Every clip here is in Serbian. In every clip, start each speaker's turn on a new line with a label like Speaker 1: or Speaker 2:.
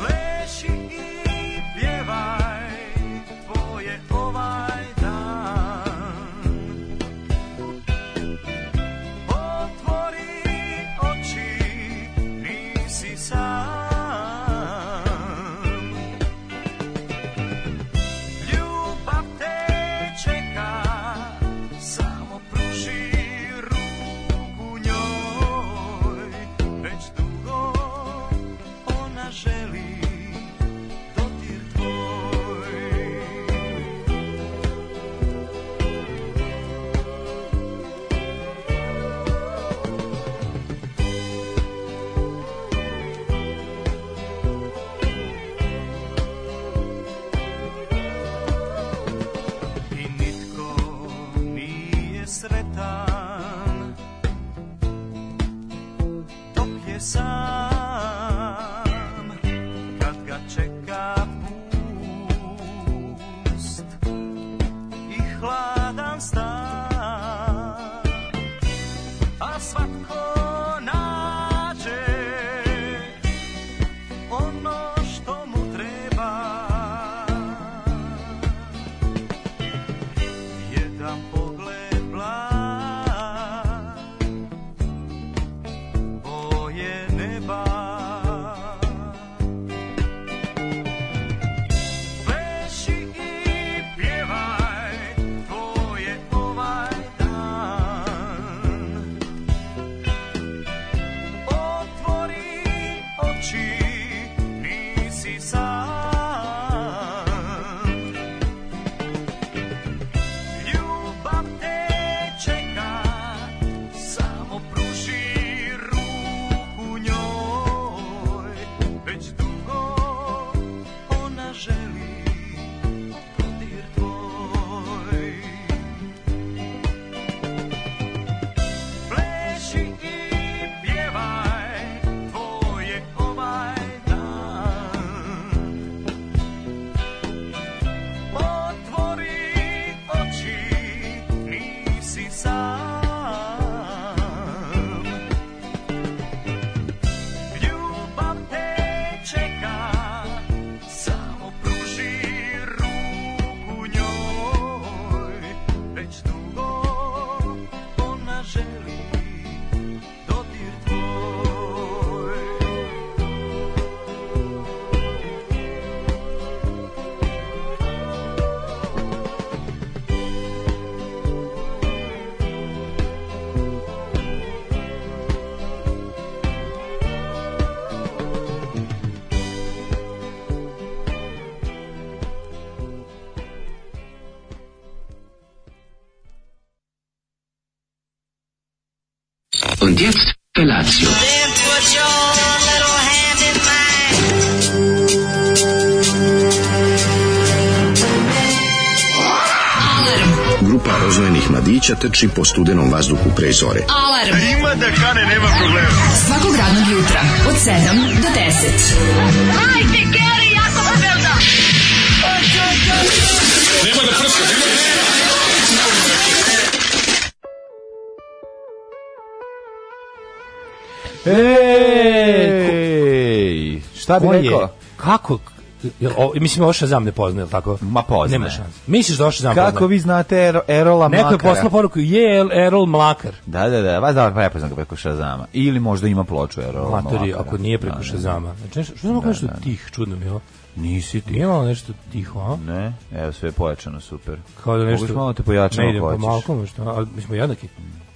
Speaker 1: ovaj je sam kad ga čeka pust i hladan stan a svatko nađe ono što mu treba jedan pogled blag boje neba Pleši i pjevaj to je ovaj dan Otvori oči nisi sam Ljubav te čeka, samo pruži ruku njoj. Već dugo ona želi dodir tvoj. Pleši i pjevaj, tvoj je ovaj dan. Otvori oči, nisi sam Ljubav te čeka, samo pruži ruku njoj Već dugo ona želi dodir tvoj
Speaker 2: Und jetzt Felatio.
Speaker 3: Then put your little hand in mine.
Speaker 4: Grupa rozvojenih mladića trči po studenom vazduhu pre zore.
Speaker 5: Alarm. E, Ima da kane, nema problema. Svakog radnog jutra, od 7 do 10. Hajde, Geri, jako se velda.
Speaker 6: Ej,
Speaker 7: Šta bi
Speaker 6: ko je?
Speaker 7: rekao?
Speaker 6: Kako? jel O, mislim, ovo Shazam ne poznaje, jel tako?
Speaker 7: Ma, poznaje.
Speaker 6: Nema šanse. Misliš da ovo Shazam
Speaker 7: Kako
Speaker 6: poznaje?
Speaker 7: vi znate Ero, Erola
Speaker 6: Neko je
Speaker 7: Makara?
Speaker 6: poslao poruku, je El- Erol Mlakar.
Speaker 7: Da, da, da, vas da prepoznam ga preko Šazama. Ili možda ima ploču Erola
Speaker 6: Matori,
Speaker 7: Makara.
Speaker 6: Pa, ako nije preko
Speaker 7: ono Da, da.
Speaker 6: Shazama. Znači, nešto- što znamo nešto tih, čudno mi je ovo.
Speaker 7: Nisi ti.
Speaker 6: Nije malo nešto tiho, a?
Speaker 7: Ne, evo sve je pojačano, super.
Speaker 6: Kao da nešto...
Speaker 7: Moguš malo te pojačamo
Speaker 6: Ne idem po
Speaker 7: ako hoćeš.
Speaker 6: malkom, što, ali mi smo jednaki.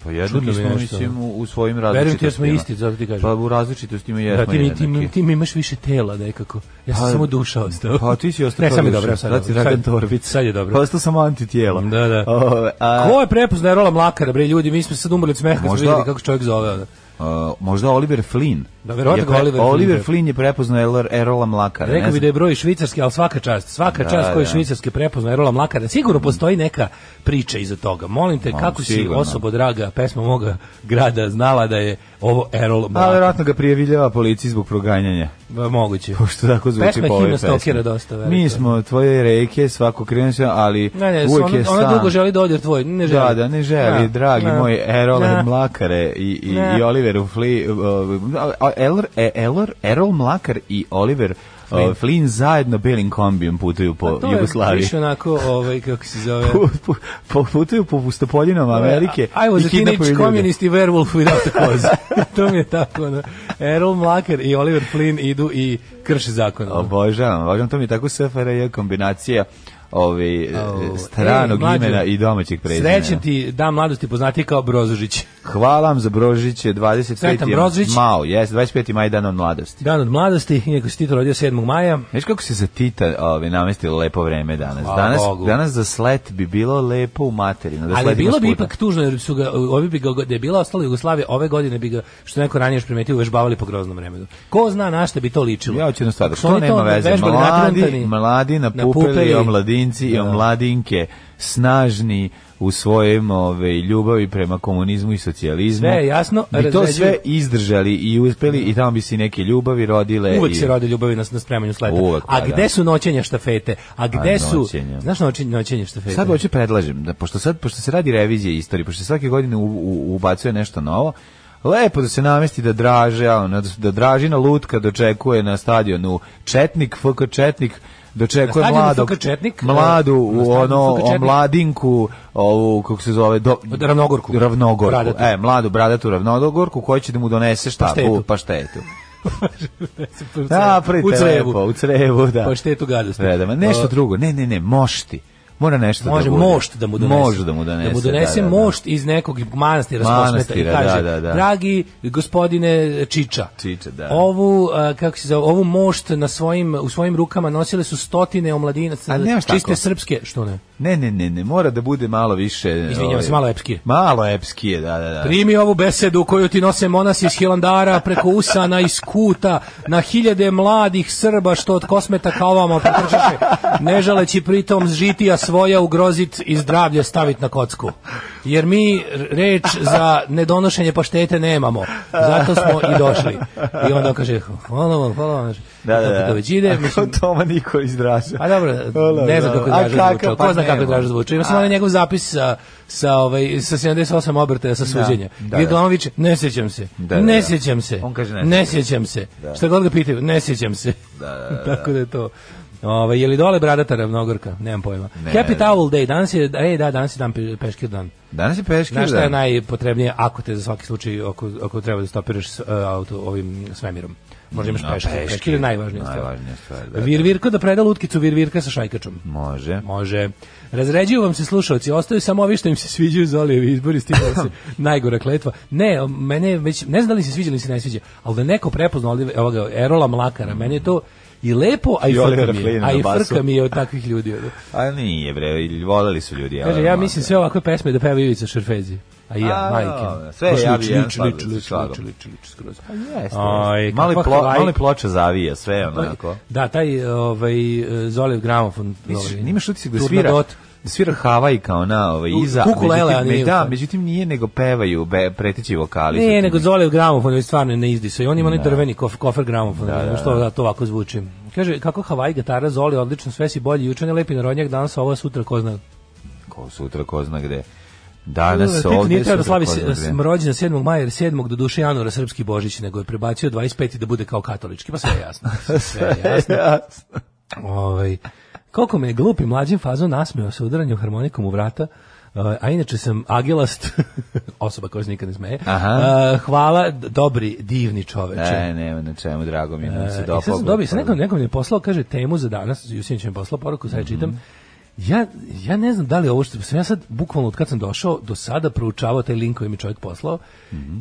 Speaker 7: Pa jedno
Speaker 6: Čudno mi
Speaker 7: mi smo,
Speaker 6: nešto. ono.
Speaker 7: mislim, u, u svojim
Speaker 6: Verujem ti
Speaker 7: različitostima.
Speaker 6: da smo isti, zato ti kažem.
Speaker 7: Pa u različitostima jesmo
Speaker 6: Da, ti, mi, ti, mi-
Speaker 7: jednaki.
Speaker 6: ti mi imaš više tela nekako. Ja sam
Speaker 7: Pa-
Speaker 6: samo duša ostao.
Speaker 7: Pa ti si ostao
Speaker 6: Ne,
Speaker 7: kao
Speaker 6: sam je
Speaker 7: duša.
Speaker 6: dobro, sad je
Speaker 7: Sad si
Speaker 6: dobro.
Speaker 7: Dragan
Speaker 6: Sad-
Speaker 7: Torbica.
Speaker 6: sad je dobro.
Speaker 7: Postao sam antitijelo.
Speaker 6: Da, da.
Speaker 7: Ove, a-
Speaker 6: Ko je prepoznao Erola Mlakara, bre, ljudi, mi smo sad umrli od smeha kad smo
Speaker 7: Možda-
Speaker 6: vidjeli kako čovjek zove. ono.
Speaker 7: Uh, možda Oliver Flynn.
Speaker 6: Da, verovatno
Speaker 7: Je
Speaker 6: ga Oliver Flynn
Speaker 7: Oliver
Speaker 6: pre-
Speaker 7: Flynn je prepoznao Erla, Erola Mlakara.
Speaker 6: Rekao
Speaker 7: ne
Speaker 6: bi
Speaker 7: znam.
Speaker 6: da je broj švicarski, ali svaka čast, svaka
Speaker 7: Da,
Speaker 6: čast koji
Speaker 7: da. Mm.
Speaker 6: švicarski prepoznao Erola Mlakara. Sigurno postoji neka priča iza toga. Molim te,
Speaker 7: Ma,
Speaker 6: kako si
Speaker 7: sigurno.
Speaker 6: osoba draga, pesma moga grada, znala da je ovo Erol
Speaker 7: A
Speaker 6: Mlakar.
Speaker 7: Pa, verovatno ga prijeviljava policiji zbog proganjanja.
Speaker 6: Ba, Moguće.
Speaker 7: Pošto Pa tako zvuči
Speaker 6: Pesma je
Speaker 7: po ovoj
Speaker 6: himna
Speaker 7: pesmi.
Speaker 6: stalkera dosta velika.
Speaker 7: Mi smo tvoje reke, svako krenu se, ali
Speaker 6: Ne, ne,
Speaker 7: uvek
Speaker 6: ona,
Speaker 7: je sam.
Speaker 6: ona dugo želi da odjer tvoj, ne želi.
Speaker 7: Da, da, ne želi,
Speaker 6: Da,
Speaker 7: dragi
Speaker 6: da,
Speaker 7: moj, Erol
Speaker 6: da.
Speaker 7: Mlakare i, i,
Speaker 6: Ne.
Speaker 7: i Oliver Fli, uh, Erol, Erol, Erol Mlakar i Oliver uh, Flynn zajedno belim kombijem putuju po
Speaker 6: Pa To je
Speaker 7: Jugoslaviji.
Speaker 6: više onako, ovaj, kako se zove...
Speaker 7: Pu- pu- pu- putuju po pustopoljinama Amerike
Speaker 6: I was
Speaker 7: i
Speaker 6: a
Speaker 7: kidnapuju
Speaker 6: teenage
Speaker 7: ljude.
Speaker 6: communist i werewolf without a cause. to mi je tako. Ono. Errol Mlaker i Oliver Flynn idu i krše zakon. ono.
Speaker 7: Obožavam, obožavam, to mi je tako SFRJ kombinacija ovaj, e,
Speaker 6: Au.
Speaker 7: stranog
Speaker 6: Ej, mlađe,
Speaker 7: imena i domaćeg prezimena.
Speaker 6: Srećem ti, da mladosti poznati kao Brozožić.
Speaker 7: Hvala vam za Brožić, je
Speaker 6: Sretan
Speaker 7: 25.
Speaker 6: Brožić.
Speaker 7: Mao, jes, 25. maj dan od mladosti.
Speaker 6: Dan od mladosti, iako si Tito rodio 7. maja.
Speaker 7: Znaš kako se za Tita ovaj, namestilo lepo vreme danas?
Speaker 6: Hvala
Speaker 7: danas,
Speaker 6: Bogu.
Speaker 7: danas za slet bi bilo lepo u materinu. Da
Speaker 6: Ali
Speaker 7: sletimo
Speaker 6: bilo bi
Speaker 7: svuda.
Speaker 6: ipak tužno jer su ga ovi bi ga da je bila ostala Jugoslavija ove godine bi ga što je neko ranije još primetio vežbavali po groznom vremenu. Ko zna na šta bi to ličilo?
Speaker 7: Ja hoću jednu stvar,
Speaker 6: Ako su
Speaker 7: to
Speaker 6: oni
Speaker 7: nema veze.
Speaker 6: vežbali
Speaker 7: Mladi,
Speaker 6: nadrntani,
Speaker 7: mladi na
Speaker 6: pupelji,
Speaker 7: pupeli, omladinci i
Speaker 6: Da.
Speaker 7: omladinke, snažni, u svojem ove, ljubavi prema komunizmu i socijalizmu.
Speaker 6: Sve je jasno,
Speaker 7: Bi to
Speaker 6: razređuju-
Speaker 7: sve izdržali i uspeli i tamo bi se i neke ljubavi rodile.
Speaker 6: Uvek
Speaker 7: E, i...
Speaker 6: se rode ljubavi na, na spremanju sleta.
Speaker 7: Uvek, pa
Speaker 6: a gde
Speaker 7: da.
Speaker 6: su noćenja štafete? A gde su...
Speaker 7: noćenja.
Speaker 6: Znaš noćenje, noćenje štafete?
Speaker 7: Sad hoću predlažem, da, pošto, sad, pošto se radi revizija istorije, pošto se svake godine u, u, ubacuje nešto novo, lepo da se namesti da draže, a ono, da, da dražina lutka dočekuje na stadionu Četnik, FK Četnik, dočekuje
Speaker 6: Na stadionu
Speaker 7: mladog,
Speaker 6: FK Četnik,
Speaker 7: mladu,
Speaker 6: e, na
Speaker 7: u
Speaker 6: stadionu
Speaker 7: ono,
Speaker 6: FK
Speaker 7: o
Speaker 6: Četnik.
Speaker 7: mladinku, ovu, kako se zove, do,
Speaker 6: Ravnogorku.
Speaker 7: Ravnogorku,
Speaker 6: Bradatu.
Speaker 7: e, mladu bradatu Ravnogorku, koja će da mu donese šta,
Speaker 6: Paštetu.
Speaker 7: pa štetu. Da,
Speaker 6: u
Speaker 7: prite
Speaker 6: crevu.
Speaker 7: lepo, u crevu, da.
Speaker 6: Pa štetu gadosti.
Speaker 7: Redama. Nešto drugo, ne, ne, ne, mošti. Mora nešto
Speaker 6: Može
Speaker 7: da bude.
Speaker 6: mošt da mu donese.
Speaker 7: Može da mu donese.
Speaker 6: Da mu donese
Speaker 7: da, da, da.
Speaker 6: mošt iz nekog manastira, manastira
Speaker 7: Manastira,
Speaker 6: i kaže,
Speaker 7: da, da, da.
Speaker 6: dragi gospodine Čiča,
Speaker 7: Čiča, da.
Speaker 6: ovu, a, kako se zove, ovu mošt na svojim, u svojim rukama nosile su stotine omladinaca,
Speaker 7: A nemaš
Speaker 6: čiste
Speaker 7: tako?
Speaker 6: srpske, što ne?
Speaker 7: Ne, ne, ne, ne, mora da bude malo više...
Speaker 6: Izvinjavam se,
Speaker 7: ovaj,
Speaker 6: malo epskije.
Speaker 7: Malo epskije, da, da, da.
Speaker 6: Primi ovu besedu koju ti nose monasi iz Hilandara preko usana iz kuta na hiljade mladih Srba što od kosmeta kavama potrčaše, ne želeći pritom žitija svoja ugrozit i zdravlje stavit na kocku. Jer mi reč za nedonošenje paštete nemamo. Zato smo i došli. I onda on kaže, hvala vam, hvala vam.
Speaker 7: Da, da, da.
Speaker 6: Kako to već ide, mislim,
Speaker 7: Kako Toma Nikolić draža.
Speaker 6: a Pa dobro,
Speaker 7: Hvala,
Speaker 6: ne znam
Speaker 7: Ono, da.
Speaker 6: kako
Speaker 7: A
Speaker 6: Draža
Speaker 7: kakav,
Speaker 6: zvučao.
Speaker 7: pa
Speaker 6: Ko zna kako
Speaker 7: nema.
Speaker 6: Draža zvučao. Ima samo
Speaker 7: A-
Speaker 6: onaj njegov zapis sa, sa, ovaj, sa 78 obrtaja sa suđenja.
Speaker 7: da,
Speaker 6: Gdje
Speaker 7: da.
Speaker 6: glavno viče, ne sjećam se,
Speaker 7: Da, da,
Speaker 6: ne
Speaker 7: da.
Speaker 6: sjećam se,
Speaker 7: On kaže, "Ne
Speaker 6: ne
Speaker 7: sjećam
Speaker 6: sjećam se. Šta god ga pitaju, ne sjećam se. Tako da je to. Ovaj je li dole bradata ravnogorka? Nemam pojma.
Speaker 7: Ne.
Speaker 6: Happy Towel Day, danas je, ej da, danas je dan pe- peškir dan.
Speaker 7: Danas je peški
Speaker 6: Znaš šta je
Speaker 7: dan.
Speaker 6: najpotrebnije ako te za svaki slučaj ako, ako treba da stopiraš s, e, auto ovim svemirom? Možda imaš
Speaker 7: No,
Speaker 6: peškir.
Speaker 7: peškir.
Speaker 6: Peškir je najvažnija stvar.
Speaker 7: Najvažnija stvar, da, da.
Speaker 6: Virvirko da preda lutkicu virvirka sa šajkačom.
Speaker 7: Može.
Speaker 6: Može. Razređuju vam se slušalci, ostaju samo ovi što im se sviđaju Zolijevi izbori, stigla se najgora kletva. Ne, mene je već, ne znam da li se sviđa ili se ne sviđa, ali da je neko prepozna ovdje, ovoga, Erola Mlakara, meni je to i lepo, a i,
Speaker 7: I
Speaker 6: frka
Speaker 7: Olivera
Speaker 6: mi je,
Speaker 7: Klina
Speaker 6: a i
Speaker 7: na basu.
Speaker 6: frka mi je od takvih ljudi.
Speaker 7: A nije, bre, voljeli su ljudi.
Speaker 6: Kaže,
Speaker 7: ali,
Speaker 6: ja
Speaker 7: ono,
Speaker 6: mislim sve ovakve pesme da peva Ivica Šerfezi. A i ja,
Speaker 7: A,
Speaker 6: majke.
Speaker 7: sve
Speaker 6: Baš
Speaker 7: ja
Speaker 6: lič,
Speaker 7: bi jedan
Speaker 6: lič,
Speaker 7: slagao
Speaker 6: lič,
Speaker 7: sa
Speaker 6: lič,
Speaker 7: slagom.
Speaker 6: lič, lič, lič, skroz.
Speaker 7: Jeste, jeste.
Speaker 6: Aj, Pa
Speaker 7: mali,
Speaker 6: kakva
Speaker 7: plo,
Speaker 6: hvaj-
Speaker 7: mali ploča zavija, sve onako.
Speaker 6: Da, taj ovaj, Zolijev gramofon.
Speaker 7: Misliš,
Speaker 6: ovaj,
Speaker 7: nimaš utisak da
Speaker 6: Turna
Speaker 7: svira
Speaker 6: Dot.
Speaker 7: da svira Havaj kao na ovaj
Speaker 6: U-
Speaker 7: iza.
Speaker 6: ukulele, a
Speaker 7: međutim,
Speaker 6: nije
Speaker 7: da,
Speaker 6: ukulele.
Speaker 7: međutim nije nego pevaju be, preteći vokali. su
Speaker 6: Ne,
Speaker 7: tu
Speaker 6: nego
Speaker 7: neki.
Speaker 6: Zolijev gramofon je stvarno ne izdisa. I on ima onaj drveni kof, kofer gramofon, da, što da, to ovako zvuči. Kaže, kako Hawaii gitara Zoli, odlično, sve si bolji. Juče ne lepi narodnjak, danas ovo sutra ko zna.
Speaker 7: ko sutra ko zna gde. Danas
Speaker 6: Tito
Speaker 7: ovde
Speaker 6: nije trebao da slavi
Speaker 7: sutra ko
Speaker 6: s-
Speaker 7: zna gde.
Speaker 6: rođendan 7. maja, jer 7. do duše januara srpski božić, nego je prebacio 25. da bude kao katolički. Pa sve je jasno. Sve je jasno. Ovaj, koliko me je glupi mlađim fazom nasmeo sa udaranjem harmonikom u vrata, Uh, a inače sam agelast, osoba koja se nikad ne smeje.
Speaker 7: Aha. E,
Speaker 6: Uh, hvala, d- dobri, divni čoveče.
Speaker 7: Ne, ne, na čemu, drago mi je da mi se
Speaker 6: E, I sad
Speaker 7: dopao.
Speaker 6: sam dobio, sad nekom, nekom mi je poslao, kaže, temu za danas, Jusinić mi je poslao poruku, sad je čitam. Ja, ja ne znam da li je ovo što sam ja sad, bukvalno od kad sam došao, do sada proučavao taj link koji mi je čovjek poslao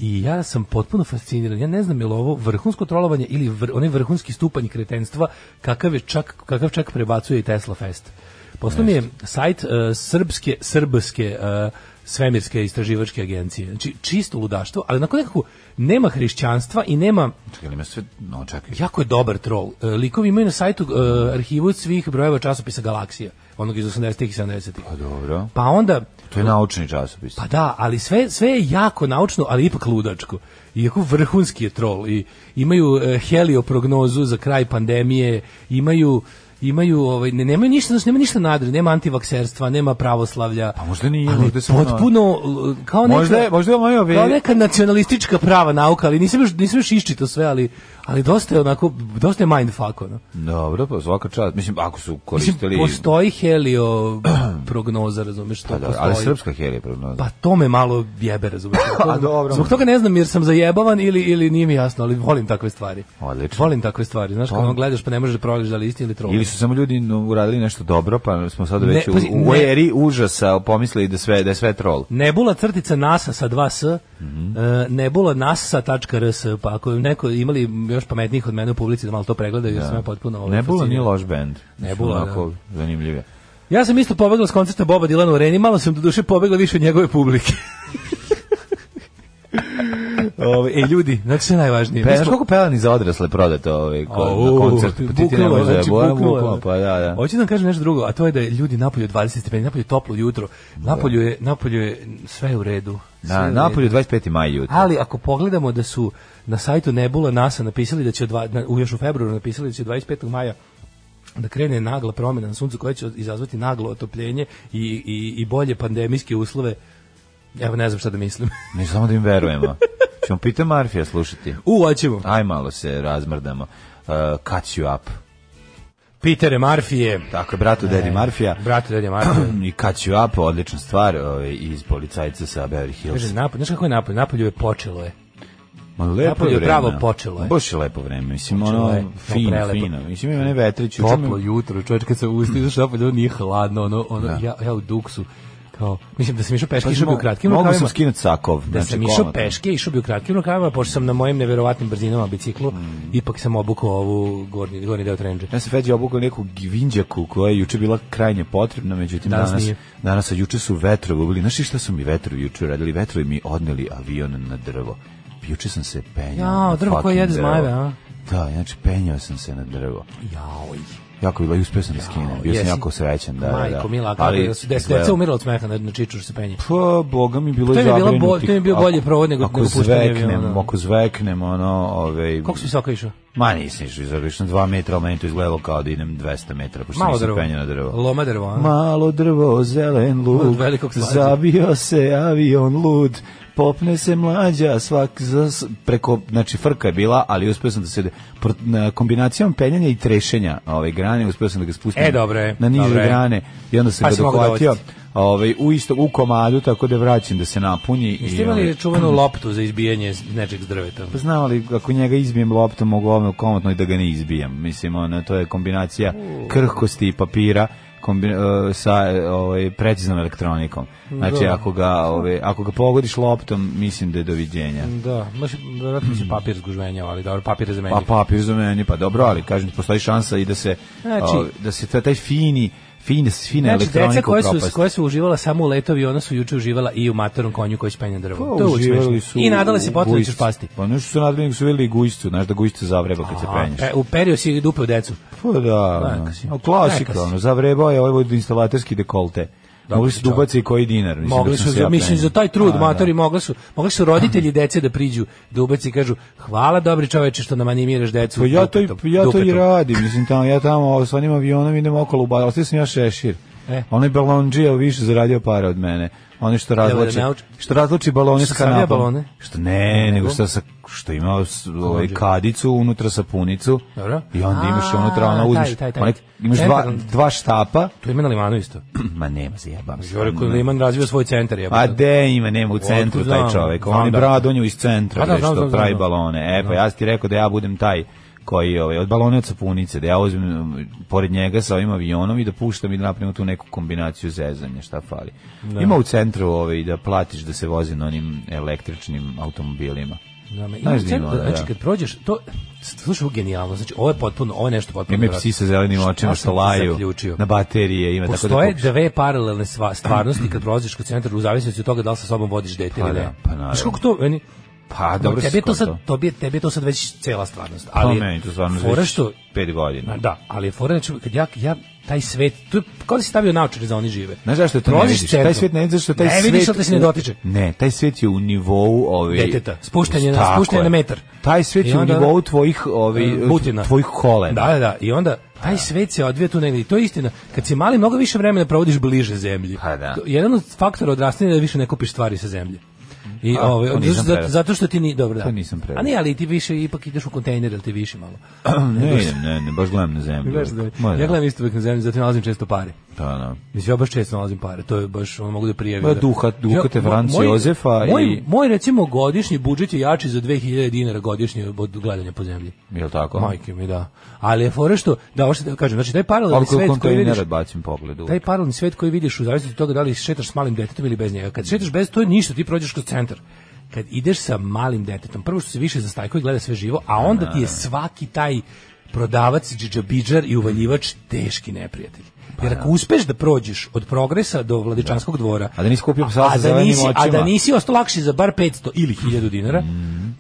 Speaker 6: i ja sam potpuno fasciniran. Ja ne znam je li ovo vrhunsko trolovanje ili vr, onaj vrhunski stupanj kretenstva kakav, je čak, kakav čak prebacuje i Tesla Fest. Poslao mi je sajt e, srpske, srbske e, svemirske istraživačke agencije. Znači, čisto ludaštvo, ali onako nekako nema hrišćanstva i nema
Speaker 7: Čekaj, ima sve, no čekaj.
Speaker 6: Jako je dobar troll. E, Likovi imaju na sajtu e, arhivu svih brojeva časopisa Galaksija, onog iz 80-ih i 70-ih.
Speaker 7: Pa dobro.
Speaker 6: Pa onda,
Speaker 7: To je naučni časopis.
Speaker 6: pa da, ali sve, sve je jako naučno, ali ipak ludačko. Iako vrhunski je troll. I, imaju e, helioprognozu za kraj pandemije, imaju imaju ovaj ne nemaju ništa znači nema ništa nadri nema antivakserstva nema pravoslavlja pa
Speaker 7: možda nije, možda samo na-
Speaker 6: potpuno l- kao neka
Speaker 7: Možda je- ovaj možda je moja ve-
Speaker 6: kao neka nacionalistička prava nauka ali nisam još nisam još iščitao sve ali ali dosta je onako dosta je mindfuck ono
Speaker 7: Dobro, pa svaka čast. Mislim, ako su koristili...
Speaker 6: Mislim, postoji helio prognoza, razumeš, to
Speaker 7: Pa dobro,
Speaker 6: postoji.
Speaker 7: ali srpska helija prognoza.
Speaker 6: Pa to me malo jebe, razumeš.
Speaker 7: A dobro.
Speaker 6: Zbog toga ne znam jer sam zajebavan ili, ili nije mi jasno, ali volim takve stvari.
Speaker 7: Odlično.
Speaker 6: Volim takve stvari, znaš,
Speaker 7: Volim.
Speaker 6: kad gledaš pa ne možeš da provališ da li je istina ili trolo.
Speaker 7: Ili su samo ljudi no, uradili nešto dobro, pa smo sad
Speaker 6: Ne,
Speaker 7: već u,
Speaker 6: pazi,
Speaker 7: u
Speaker 6: ne.
Speaker 7: eri užasa pomislili da sve da je sve troll.
Speaker 6: Nebula crtica NASA sa 2S,
Speaker 7: Mhm.
Speaker 6: e, nebula NASA.rs, pa ako neko imali još pametnijih od mene u publici da malo to pregledaju, jer sam ja potpuno... ovaj,
Speaker 7: Ne bilo ni
Speaker 6: fasciniran.
Speaker 7: loš bend.
Speaker 6: Nebula,
Speaker 7: Su onako zanimljive.
Speaker 6: Ja sam isto pobegla s koncerta Boba Dilana u Reni, malo sam do duše pobegla više od njegove publike. Ove, e, ljudi, znači sve najvažnije.
Speaker 7: Pe,
Speaker 6: Mi
Speaker 7: znaš
Speaker 6: smo-
Speaker 7: koliko pelani za odrasle prodate ove, ko,
Speaker 6: Au,
Speaker 7: na koncertu, pa ti ti ne
Speaker 6: buknula,
Speaker 7: možeš da
Speaker 6: znači,
Speaker 7: bojamo,
Speaker 6: buknula.
Speaker 7: buknula, pa da, da.
Speaker 6: Hoću da vam kažem nešto drugo, a to je da je ljudi napolju 20 stepeni, napolju je toplo jutro, napolju je, napolju je sve je u redu. sve je u
Speaker 7: Na,
Speaker 6: redu.
Speaker 7: napolju 25. maj jutro.
Speaker 6: Ali ako pogledamo da su na sajtu Nebula NASA napisali da će od dva, na, u još u februaru napisali da će 25. maja da krene nagla promjena na suncu koja će izazvati naglo otopljenje i, i, i bolje pandemijske uslove. Evo ne znam šta da mislim.
Speaker 7: Ne samo da im verujemo. Ćemo pita Marfija slušati.
Speaker 6: U, hoćemo.
Speaker 7: Aj malo se razmrdamo. Uh, catch you up.
Speaker 6: Pitere Marfije.
Speaker 7: Tako je, bratu Dedi Marfija.
Speaker 6: Brate, Dedija Marfije.
Speaker 7: I catch you up, odlična stvar ovaj, iz policajca sa Beverly Hills.
Speaker 6: Kaže, napolje, znaš kako je napolje? Napolje je počelo je.
Speaker 7: Ma lepo
Speaker 6: Napolju
Speaker 7: je
Speaker 6: je
Speaker 7: vreme.
Speaker 6: pravo počelo je.
Speaker 7: Baš je lepo vreme, mislim,
Speaker 6: Počelo
Speaker 7: ono,
Speaker 6: je,
Speaker 7: fino,
Speaker 6: prelepo.
Speaker 7: fino. Mislim, ima ne vetrić. juče mi-
Speaker 6: Toplo jutro, čovječ, kad se usti, znaš, napolje, ono nije hladno, ono, ono, ja, ja u duksu, kao, mislim da sam išao peški, išao bi Pa u kratkim
Speaker 7: Pa Mogu
Speaker 6: rukavima.
Speaker 7: sam skinuti sakov.
Speaker 6: da
Speaker 7: znači,
Speaker 6: sam išao
Speaker 7: komotno.
Speaker 6: peške, išao bi u kratkim rukavima, pošto sam na mojim neverovatnim brzinama biciklu,
Speaker 7: Mm.
Speaker 6: ipak sam obukao ovu gornji, gornji deo trenđe.
Speaker 7: Ja sam Feđa obukao neku vinđaku koja je juče bila krajnje potrebna, međutim
Speaker 6: Danas
Speaker 7: danas, danas,
Speaker 6: nije.
Speaker 7: a juče su vetrovi ubili. Znaš ti šta su mi vetrovi juče radili? Vetrovi mi odneli avion na drvo. Juče sam se penjao.
Speaker 6: Jao,
Speaker 7: na
Speaker 6: drvo koje
Speaker 7: fucking
Speaker 6: jede
Speaker 7: drvo.
Speaker 6: zmajeve, a?
Speaker 7: Da, znači penjao sam se na drvo.
Speaker 6: Jaoj.
Speaker 7: Jako je bilo i uspeo sam da skinem. Bio sam
Speaker 6: jesi.
Speaker 7: jako srećan. Da, da, da.
Speaker 6: Majko, mila, kako
Speaker 7: Ali
Speaker 6: da su deset
Speaker 7: izgleda-
Speaker 6: deca umirala od smeha na, na čiču što se penje.
Speaker 7: Pa, boga mi bilo
Speaker 6: To
Speaker 7: je
Speaker 6: im je bila bo-
Speaker 7: zabrinutih.
Speaker 6: to im je bio bolji
Speaker 7: Ako-
Speaker 6: provod nego-
Speaker 7: ako
Speaker 6: nego puštanje
Speaker 7: zveknem,
Speaker 6: aviona.
Speaker 7: Ako zveknem, ono, ovaj...
Speaker 6: Koliko si visoko išao?
Speaker 7: Ma nisam išao iz obično 2 metra, ali meni to izgledalo kao da idem 200 metara, pošto
Speaker 6: Malo
Speaker 7: nisam
Speaker 6: drvo.
Speaker 7: penjao na drvo.
Speaker 6: Loma drvo, a?
Speaker 7: Malo drvo, zelen
Speaker 6: Od
Speaker 7: luk,
Speaker 6: velikog slađa.
Speaker 7: zabio se avion lud, popne se mlađa, svak za, s- preko, znači frka je bila, ali uspeo sam da se, pro- na kombinacijom penjanja i trešenja ove grane, uspeo sam da ga spustim
Speaker 6: E, dobro je,
Speaker 7: na niže
Speaker 6: dobro je.
Speaker 7: grane i onda
Speaker 6: Pa
Speaker 7: sam ga
Speaker 6: si mogao
Speaker 7: dohvatio
Speaker 6: dovesti.
Speaker 7: ovaj, u, isto, u komadu, tako da je vraćam da se napunji. i,
Speaker 6: Jeste
Speaker 7: ovaj,
Speaker 6: imali čuvenu loptu za izbijanje s- nečeg s drveta?
Speaker 7: pa znam, ali ako njega izbijem loptom, mogu ovome komotno i da ga ne izbijem. Mislim, ono, to je kombinacija krhkosti i papira kombi, e, sa e, ovaj, preciznom elektronikom. Znači,
Speaker 6: Da.
Speaker 7: ako, ga, ovaj, ako ga pogodiš loptom, mislim da je doviđenja.
Speaker 6: Da, baš, vjerojatno se papir zgužvenjao, ali dobro, papir je zamenjiv.
Speaker 7: Hmm. Pa papir za meni, pa dobro, ali kažem, postoji šansa i da se,
Speaker 6: Znači-
Speaker 7: ovaj, da se taj- taj fini, fini, fina
Speaker 6: Znači, deca
Speaker 7: elektronika
Speaker 6: koja su,
Speaker 7: upropasti.
Speaker 6: koja su uživala samo u letovi, ona su juče uživala i u materom konju koji spenja drvo.
Speaker 7: Pa,
Speaker 6: to je uvijek
Speaker 7: uživali
Speaker 6: smešno. I nadale se
Speaker 7: u
Speaker 6: potle da ćeš
Speaker 7: gujsci.
Speaker 6: pasti.
Speaker 7: Pa nešto su nadali, nego su videli i gujscu, znaš da gujsca zavreba kad se
Speaker 6: A,
Speaker 7: penješ.
Speaker 6: pe- uperio si dupe u decu.
Speaker 7: Pa da, ono,
Speaker 6: si.
Speaker 7: no,
Speaker 6: Neka si.
Speaker 7: klasika, ono, zavrebao je ovaj instalatorski dekolte. Mogli su
Speaker 6: čovek.
Speaker 7: dubaci i koji dinar. Mislim,
Speaker 6: Mogli
Speaker 7: dok sam
Speaker 6: su,
Speaker 7: se
Speaker 6: za,
Speaker 7: ja
Speaker 6: mislim,
Speaker 7: penjao.
Speaker 6: za taj trud,
Speaker 7: A, da.
Speaker 6: matori, mogli su, mogli su roditelji dece da priđu, da ubaci i kažu, hvala dobri čoveče što nam animiraš decu.
Speaker 7: Pa ja to, i-
Speaker 6: dupetom,
Speaker 7: ja to i
Speaker 6: dupetom."
Speaker 7: radim, mislim, tamo, ja tamo s onim avionom idem okolo u bar, ostavio sam ja šešir.
Speaker 6: E.
Speaker 7: Onaj balonđija više zaradio pare od mene. Oni što
Speaker 6: da
Speaker 7: razloči,
Speaker 6: nauči-
Speaker 7: što razloči balone
Speaker 6: Što
Speaker 7: s
Speaker 6: savija
Speaker 7: kanapom.
Speaker 6: balone?
Speaker 7: Što ne, nego što, sa, što ima s- ovaj, kadicu, unutra sapunicu.
Speaker 6: Dobro.
Speaker 7: I onda imaš
Speaker 6: A,
Speaker 7: unutra, ono, uzmiš,
Speaker 6: taj, taj, taj.
Speaker 7: onaj- imaš dva,
Speaker 6: Centralni.
Speaker 7: dva štapa,
Speaker 6: To ima na limanu isto.
Speaker 7: ma nema, zajebam se.
Speaker 6: Jore koji Liman razvio svoj centar. jebote.
Speaker 7: A Pa de ima, nema u centru
Speaker 6: Otkud znam,
Speaker 7: taj čovjek.
Speaker 6: znam
Speaker 7: On je
Speaker 6: da.
Speaker 7: brat, on je iz centra,
Speaker 6: Pa da,
Speaker 7: bre,
Speaker 6: znam, znam,
Speaker 7: što
Speaker 6: znam,
Speaker 7: pravi
Speaker 6: znam.
Speaker 7: balone. E, pa ja sam ti rekao da ja budem taj koji ovaj, od balone od sapunice, da ja uzmem um, pored njega sa ovim avionom i da puštam i da napravimo tu neku kombinaciju zezanja, šta fali. Ima u centru ovaj, da platiš da se vozi na onim električnim automobilima.
Speaker 6: Da, me, ima
Speaker 7: Znaš da ima,
Speaker 6: centar,
Speaker 7: da,
Speaker 6: znači
Speaker 7: da.
Speaker 6: kad prođeš, to, slušaj, ovo je genijalno, znači ovo je potpuno, ovo je nešto potpuno.
Speaker 7: Ima i
Speaker 6: nevjerojatno.
Speaker 7: psi sa zelenim
Speaker 6: Šta
Speaker 7: očima
Speaker 6: sam
Speaker 7: što laju
Speaker 6: zaključio?
Speaker 7: na baterije. Ima, tako da
Speaker 6: Postoje
Speaker 7: kupiš.
Speaker 6: dve paralelne sva- stvarnosti kad prolaziš kroz centar u zavisnosti od toga da li sa sobom vodiš dete ili
Speaker 7: da,
Speaker 6: ne.
Speaker 7: pa naravno.
Speaker 6: Znaš kako to, meni,
Speaker 7: Pa, dobro
Speaker 6: tebi je
Speaker 7: si
Speaker 6: to sad,
Speaker 7: skonto.
Speaker 6: to bi, tebi je to sad već cela stvarnost.
Speaker 7: Pa,
Speaker 6: Ali,
Speaker 7: meni to stvarno
Speaker 6: fora
Speaker 7: već
Speaker 6: što,
Speaker 7: pet godina.
Speaker 6: da, ali je fora, znači, kad ja, ja taj svet, to je kao da si stavio naočare za oni žive.
Speaker 7: Znaš zašto to ne
Speaker 6: Prolaziš
Speaker 7: vidiš?
Speaker 6: centrom.
Speaker 7: Taj svijet ne vidiš, zašto taj
Speaker 6: Ne
Speaker 7: svijet...
Speaker 6: vidiš, ali se ne dotiče.
Speaker 7: Ne, taj svijet je u nivou... Ovaj,
Speaker 6: Deteta, spuštanje na-
Speaker 7: Tako
Speaker 6: spuštanje
Speaker 7: je.
Speaker 6: na metar.
Speaker 7: Taj svijet
Speaker 6: I
Speaker 7: je u
Speaker 6: onda-
Speaker 7: nivou tvojih, ovaj,
Speaker 6: Butina.
Speaker 7: tvojih kolena.
Speaker 6: E, Da, da, da. I onda taj svet se odvija tu negdje. I to je istina. Kad si mali, mnogo više vremena provodiš bliže zemlji.
Speaker 7: Pa da.
Speaker 6: To- Jedan od faktora odrastanja je da više ne kupiš stvari sa zemlje. I
Speaker 7: A,
Speaker 6: ovaj,
Speaker 7: to nisam
Speaker 6: zato-
Speaker 7: prerastao.
Speaker 6: zato što ti ni dobro da.
Speaker 7: To nisam
Speaker 6: A
Speaker 7: prerastao.
Speaker 6: ne, ali ti više ipak ideš u kontejner, ili ti više malo.
Speaker 7: Ne, ne, ne, ne, baš gledam na zemlju.
Speaker 6: Gledaš da-
Speaker 7: Ma, da.
Speaker 6: ja gledam isto uvek na zemlju, zato nalazim često pare.
Speaker 7: Da, da.
Speaker 6: Mislim, ja baš često nalazim pare, to je baš, ono mogu da prijavim.
Speaker 7: Ma,
Speaker 6: da-
Speaker 7: duha- duhate
Speaker 6: Ja, mo-
Speaker 7: Franci
Speaker 6: moj-
Speaker 7: Jozefa
Speaker 6: moj,
Speaker 7: i-
Speaker 6: Moj, recimo, godišnji budžet je jači za 2000 dinara godišnje od gledanja po zemlji.
Speaker 7: Jel tako?
Speaker 6: Majke mi, da. Ali je fore što, da, ovo što te kažem, znači taj paralelni
Speaker 7: Ako je
Speaker 6: svet koji vidiš,
Speaker 7: kontejnera bacim pogled.
Speaker 6: taj paralelni svet koji vidiš u zavisnosti od toga da li šetaš s malim detetom ili bez njega. Kad šetaš bez, to je ništa, ti prođeš kroz centar. Kad ideš sa malim detetom, prvo što se više zastajkuje i gleda sve živo, a onda ti je svaki taj prodavac, džidžabidžar i uvaljivač teški neprijatelj. Jer ako uspeš da prođeš od progresa do vladičanskog dvora,
Speaker 7: A da nisi kupio psa
Speaker 6: a
Speaker 7: sa
Speaker 6: da
Speaker 7: zelenim
Speaker 6: nisi, a da
Speaker 7: očima. Mhm.
Speaker 6: nisi ostao lakši za bar 500 ili 1000 dinara,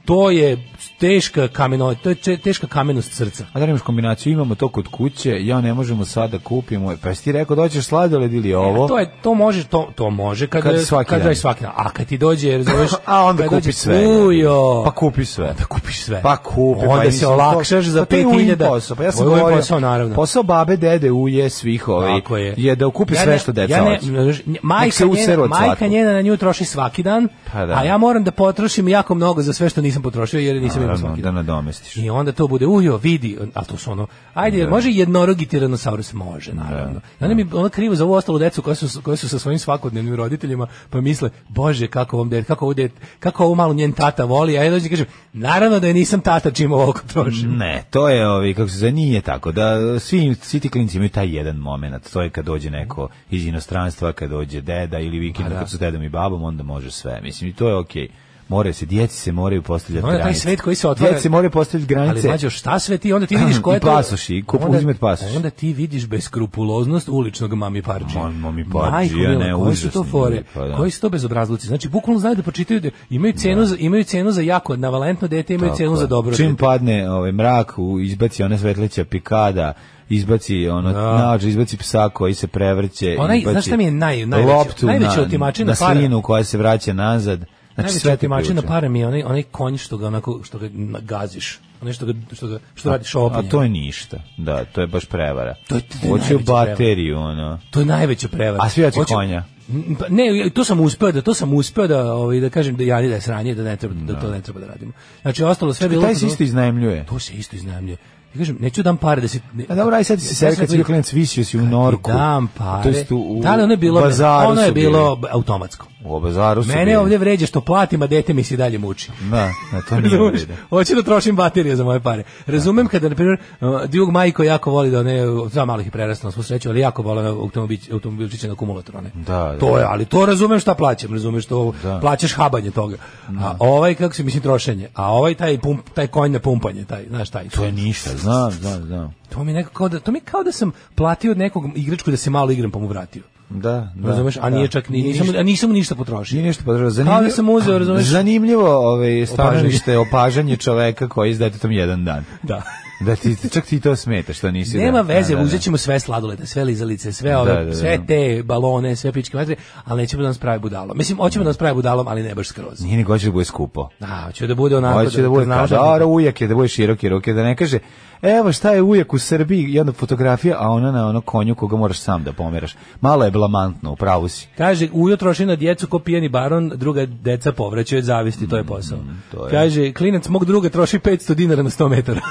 Speaker 6: to je teška kameno, to je če- teška kamennost srca.
Speaker 7: A da nemaš kombinaciju, imamo to kod kuće, ja ne možemo sad da kupimo. Pa si ti rekao da hoćeš sladoled ili ovo?
Speaker 6: E, A to je to može to to može kad
Speaker 7: Kad
Speaker 6: kad
Speaker 7: svaki
Speaker 6: svaki
Speaker 7: dan.
Speaker 6: kad dan. svaki dan. A kad ti dođe razumeš
Speaker 7: A onda
Speaker 6: kad
Speaker 7: kupiš
Speaker 6: dođe,
Speaker 7: sve.
Speaker 6: Ujo.
Speaker 7: Pa kupi sve.
Speaker 6: Da kupiš sve.
Speaker 7: Pa kupi.
Speaker 6: Onda
Speaker 7: pa
Speaker 6: se
Speaker 7: mislim,
Speaker 6: olakšaš
Speaker 7: to-
Speaker 6: za
Speaker 7: to je ujin
Speaker 6: 5000.
Speaker 7: Posao, pa ja sam
Speaker 6: Ovo je
Speaker 7: govorio,
Speaker 6: posao, naravno.
Speaker 7: Posao babe, dede, uje, svih ovi.
Speaker 6: Tako je.
Speaker 7: da ukupi
Speaker 6: Ja
Speaker 7: sve
Speaker 6: ne-
Speaker 7: što deca
Speaker 6: ja ne,
Speaker 7: hoće.
Speaker 6: znaš, nje-
Speaker 7: Nek se
Speaker 6: majka,
Speaker 7: useru
Speaker 6: njena,
Speaker 7: od
Speaker 6: majka
Speaker 7: svakoga.
Speaker 6: njena na nju troši svaki dan,
Speaker 7: Pa da.
Speaker 6: a ja moram da potrošim jako mnogo za sve što nisam potrošio jer nisam imao
Speaker 7: Naravno,
Speaker 6: svaki
Speaker 7: da
Speaker 6: dan.
Speaker 7: nadomestiš.
Speaker 6: I onda to bude ujo, vidi, a to su ono, ajde, jel može jednorogi tiranosaurus? Može, naravno. Da. Onda mi ono krivo za ovu ostalu decu koja su, koja su sa svojim svakodnevnim roditeljima, pa misle, bože, kako ovom det, kako ovo, det, kako ovo malo njen tata voli, a ja dođem i kažem, naravno da je nisam tata čim ovo trošim.
Speaker 7: Ne, to je ovi kako se zove, nije tako da svi svi ti klinci imaju taj jedan momenat. To je kad dođe neko iz inostranstva, kad dođe deda ili vikend kad su s dedom i babom, onda može sve. Mislim i to je okej. Moraju se djeci se moraju postavljati
Speaker 6: Onda taj
Speaker 7: granice.
Speaker 6: svet koji se otvara-
Speaker 7: Djeci moraju postavljati granice.
Speaker 6: Ali mlađo, šta sve ti, onda ti vidiš ko je
Speaker 7: I pasoši, i kup- uzmet pasoš.
Speaker 6: Onda ti vidiš beskrupuloznost uličnog mami parči.
Speaker 7: Ma- mamiparđija, ne,
Speaker 6: koji su
Speaker 7: užasni
Speaker 6: to fore?
Speaker 7: ljudi, pa da.
Speaker 6: Koji su to bezobrazluci? Znači, bukvalno znaju da počitaju da imaju cenu, za, imaju cenu za jako navalentno dete, imaju cenu za dobro
Speaker 7: Čim
Speaker 6: dete.
Speaker 7: padne ovaj mrak, u- izbaci one svetlića pikada, izbaci ono
Speaker 6: Da.
Speaker 7: naoče, izbaci psa koji se prevrće,
Speaker 6: Onaj,
Speaker 7: izbaci
Speaker 6: znaš šta mi je naj- najveća-
Speaker 7: loptu
Speaker 6: najveća
Speaker 7: na-
Speaker 6: otimačina
Speaker 7: na
Speaker 6: para?
Speaker 7: slinu koja se vraća nazad. Znači
Speaker 6: Najveći
Speaker 7: sve ti
Speaker 6: otimačina
Speaker 7: priuče.
Speaker 6: para mi je onaj, onaj konj što ga onako, što ga na- gaziš. Onaj što, ga, što, ga, što radiš
Speaker 7: A
Speaker 6: opanjem.
Speaker 7: to je ništa. Da, to je baš prevara.
Speaker 6: To je- to je
Speaker 7: Hoće u
Speaker 6: najveća prevara.
Speaker 7: bateriju, ono.
Speaker 6: To je najveća prevara.
Speaker 7: A svi hoće
Speaker 6: Hoću-
Speaker 7: konja.
Speaker 6: N- pa Ne, to sam uspeo da to sam uspeo da ovaj da kažem da ja da je sranje da ne treba da to ne treba da radimo. Znači ostalo sve bilo
Speaker 7: Taj
Speaker 6: kao-
Speaker 7: se isto iznajmljuje.
Speaker 6: to se isto iznajmljuje. Ja kažem neću dam pare da se ne,
Speaker 7: A dobro, aj sad si se
Speaker 6: Ja Pa sam
Speaker 7: kad si bio
Speaker 6: rekao,
Speaker 7: klinac visio si u
Speaker 6: ti
Speaker 7: norku. pa
Speaker 6: Dam pare.
Speaker 7: To jest u, u
Speaker 6: da, ali ono je bilo,
Speaker 7: bazaru
Speaker 6: ono
Speaker 7: su
Speaker 6: je
Speaker 7: bili.
Speaker 6: bilo automatsko.
Speaker 7: U bazaru su bili.
Speaker 6: Mene ovdje vređa što platim, a dete mi se i dalje muči.
Speaker 7: Da, da, to nije u
Speaker 6: Razumeš?
Speaker 7: redu.
Speaker 6: Hoću da trošim baterije za moje pare. Razumem kada, na primjer, uh, drug majko jako voli da ne, za malih je prerastao na svu sreću, ali jako vole automobilčiće automobilčiće na kumulator. one.
Speaker 7: Da, da.
Speaker 6: To je, ali to razumem šta plaćam, razumeš to, plaćaš habanje toga. A ovaj, kako se mislim, trošenje, a ovaj taj, pump, taj konj na pumpanje, taj, znaš, taj.
Speaker 7: To je ništa, znam, znam, znam.
Speaker 6: To mi nekako kao da, to mi kao da sam platio od nekog igračku da se malo igram pa mu vratio.
Speaker 7: Da, da.
Speaker 6: Razumeš? A nije čak ni, nisam, a nisam mu ništa potrošio.
Speaker 7: Nije ništa podržava.
Speaker 6: Kao da sam uzeo, razumeš?
Speaker 7: Zanimljivo ovaj, stanovište, opažanje čoveka koji je s detetom jedan dan.
Speaker 6: Da.
Speaker 7: Da ti, čak ti to smeta što nisi. da-
Speaker 6: Nema veze,
Speaker 7: da, da, da.
Speaker 6: uzet ćemo sve sladolede, sve lizalice, sve ove,
Speaker 7: Da, da, da.
Speaker 6: sve te balone, sve pičke materije, ali nećemo da nas pravi budalom. Mislim, hoćemo da nas pravi budalom, ali ne baš skroz.
Speaker 7: Nije nego hoće da bude skupo.
Speaker 6: Da, hoće da bude onako.
Speaker 7: Hoće da bude
Speaker 6: znaš
Speaker 7: kadara, ujak je, da bude široke ruke, da ne kaže, evo šta je ujak u Srbiji, i onda fotografija, a ona na ono konju koga moraš sam da pomeraš. Malo je blamantno, u pravu si.
Speaker 6: Kaže, ujo troši na djecu ko pijeni baron, druga deca povraćaju od zavisti, to je posao.
Speaker 7: Mm, to je.
Speaker 6: Kaže, klinac mog druga troši 500 dinara na 100 metara.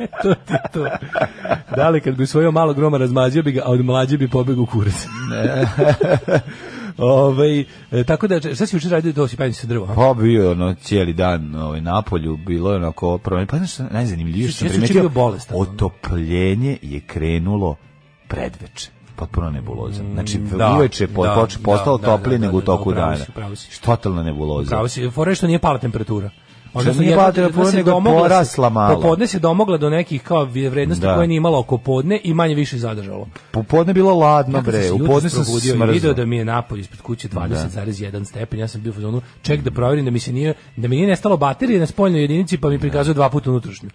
Speaker 6: E, to ti je to. Da li kad bi svojio malo groma razmazio bi ga, a od mlađe bi pobegao kurac. Ovaj, e, tako da, če- šta si juče radio to si penjao se drvo? a?
Speaker 7: Pa bio je ono cijeli dan ovaj na polju, bilo je onako promenje. Pa znaš, šta je najzanimljivije što sam
Speaker 6: Ja sam
Speaker 7: primetio,
Speaker 6: juče bio bolestan, ono.
Speaker 7: otopljenje je krenulo predveče potpuno nebuloza. Znači,
Speaker 6: Mm, da,
Speaker 7: uveče je po-
Speaker 6: da,
Speaker 7: poč-
Speaker 6: da,
Speaker 7: postalo
Speaker 6: da,
Speaker 7: toplije
Speaker 6: da,
Speaker 7: nego u
Speaker 6: da, da,
Speaker 7: toku
Speaker 6: upravo
Speaker 7: dana.
Speaker 6: si, upravo si.
Speaker 7: Totalna nebuloza.
Speaker 6: Pravo si, fore što nije pala temperatura. Odnosno,
Speaker 7: nije
Speaker 6: jedna-
Speaker 7: pala temperatura,
Speaker 6: jedna se
Speaker 7: nego je
Speaker 6: domogla se-
Speaker 7: porasla malo.
Speaker 6: Popodne se domogla do nekih kao vrednosti
Speaker 7: Da.
Speaker 6: koje nije imala oko podne i manje više zadržalo.
Speaker 7: Popodne je bilo ladno,
Speaker 6: Ja kad sam
Speaker 7: bre.
Speaker 6: se
Speaker 7: U
Speaker 6: jutros
Speaker 7: podne sam se
Speaker 6: probudio i
Speaker 7: smrzao. Pa
Speaker 6: Video da mi je napolje ispred kuće 20,1 stepen. Ja sam bio u fazonu, ček da proverim da mi se nije da mi nije nestalo baterije na spoljnoj jedinici, pa mi prikazuje dva puta unutrašnju.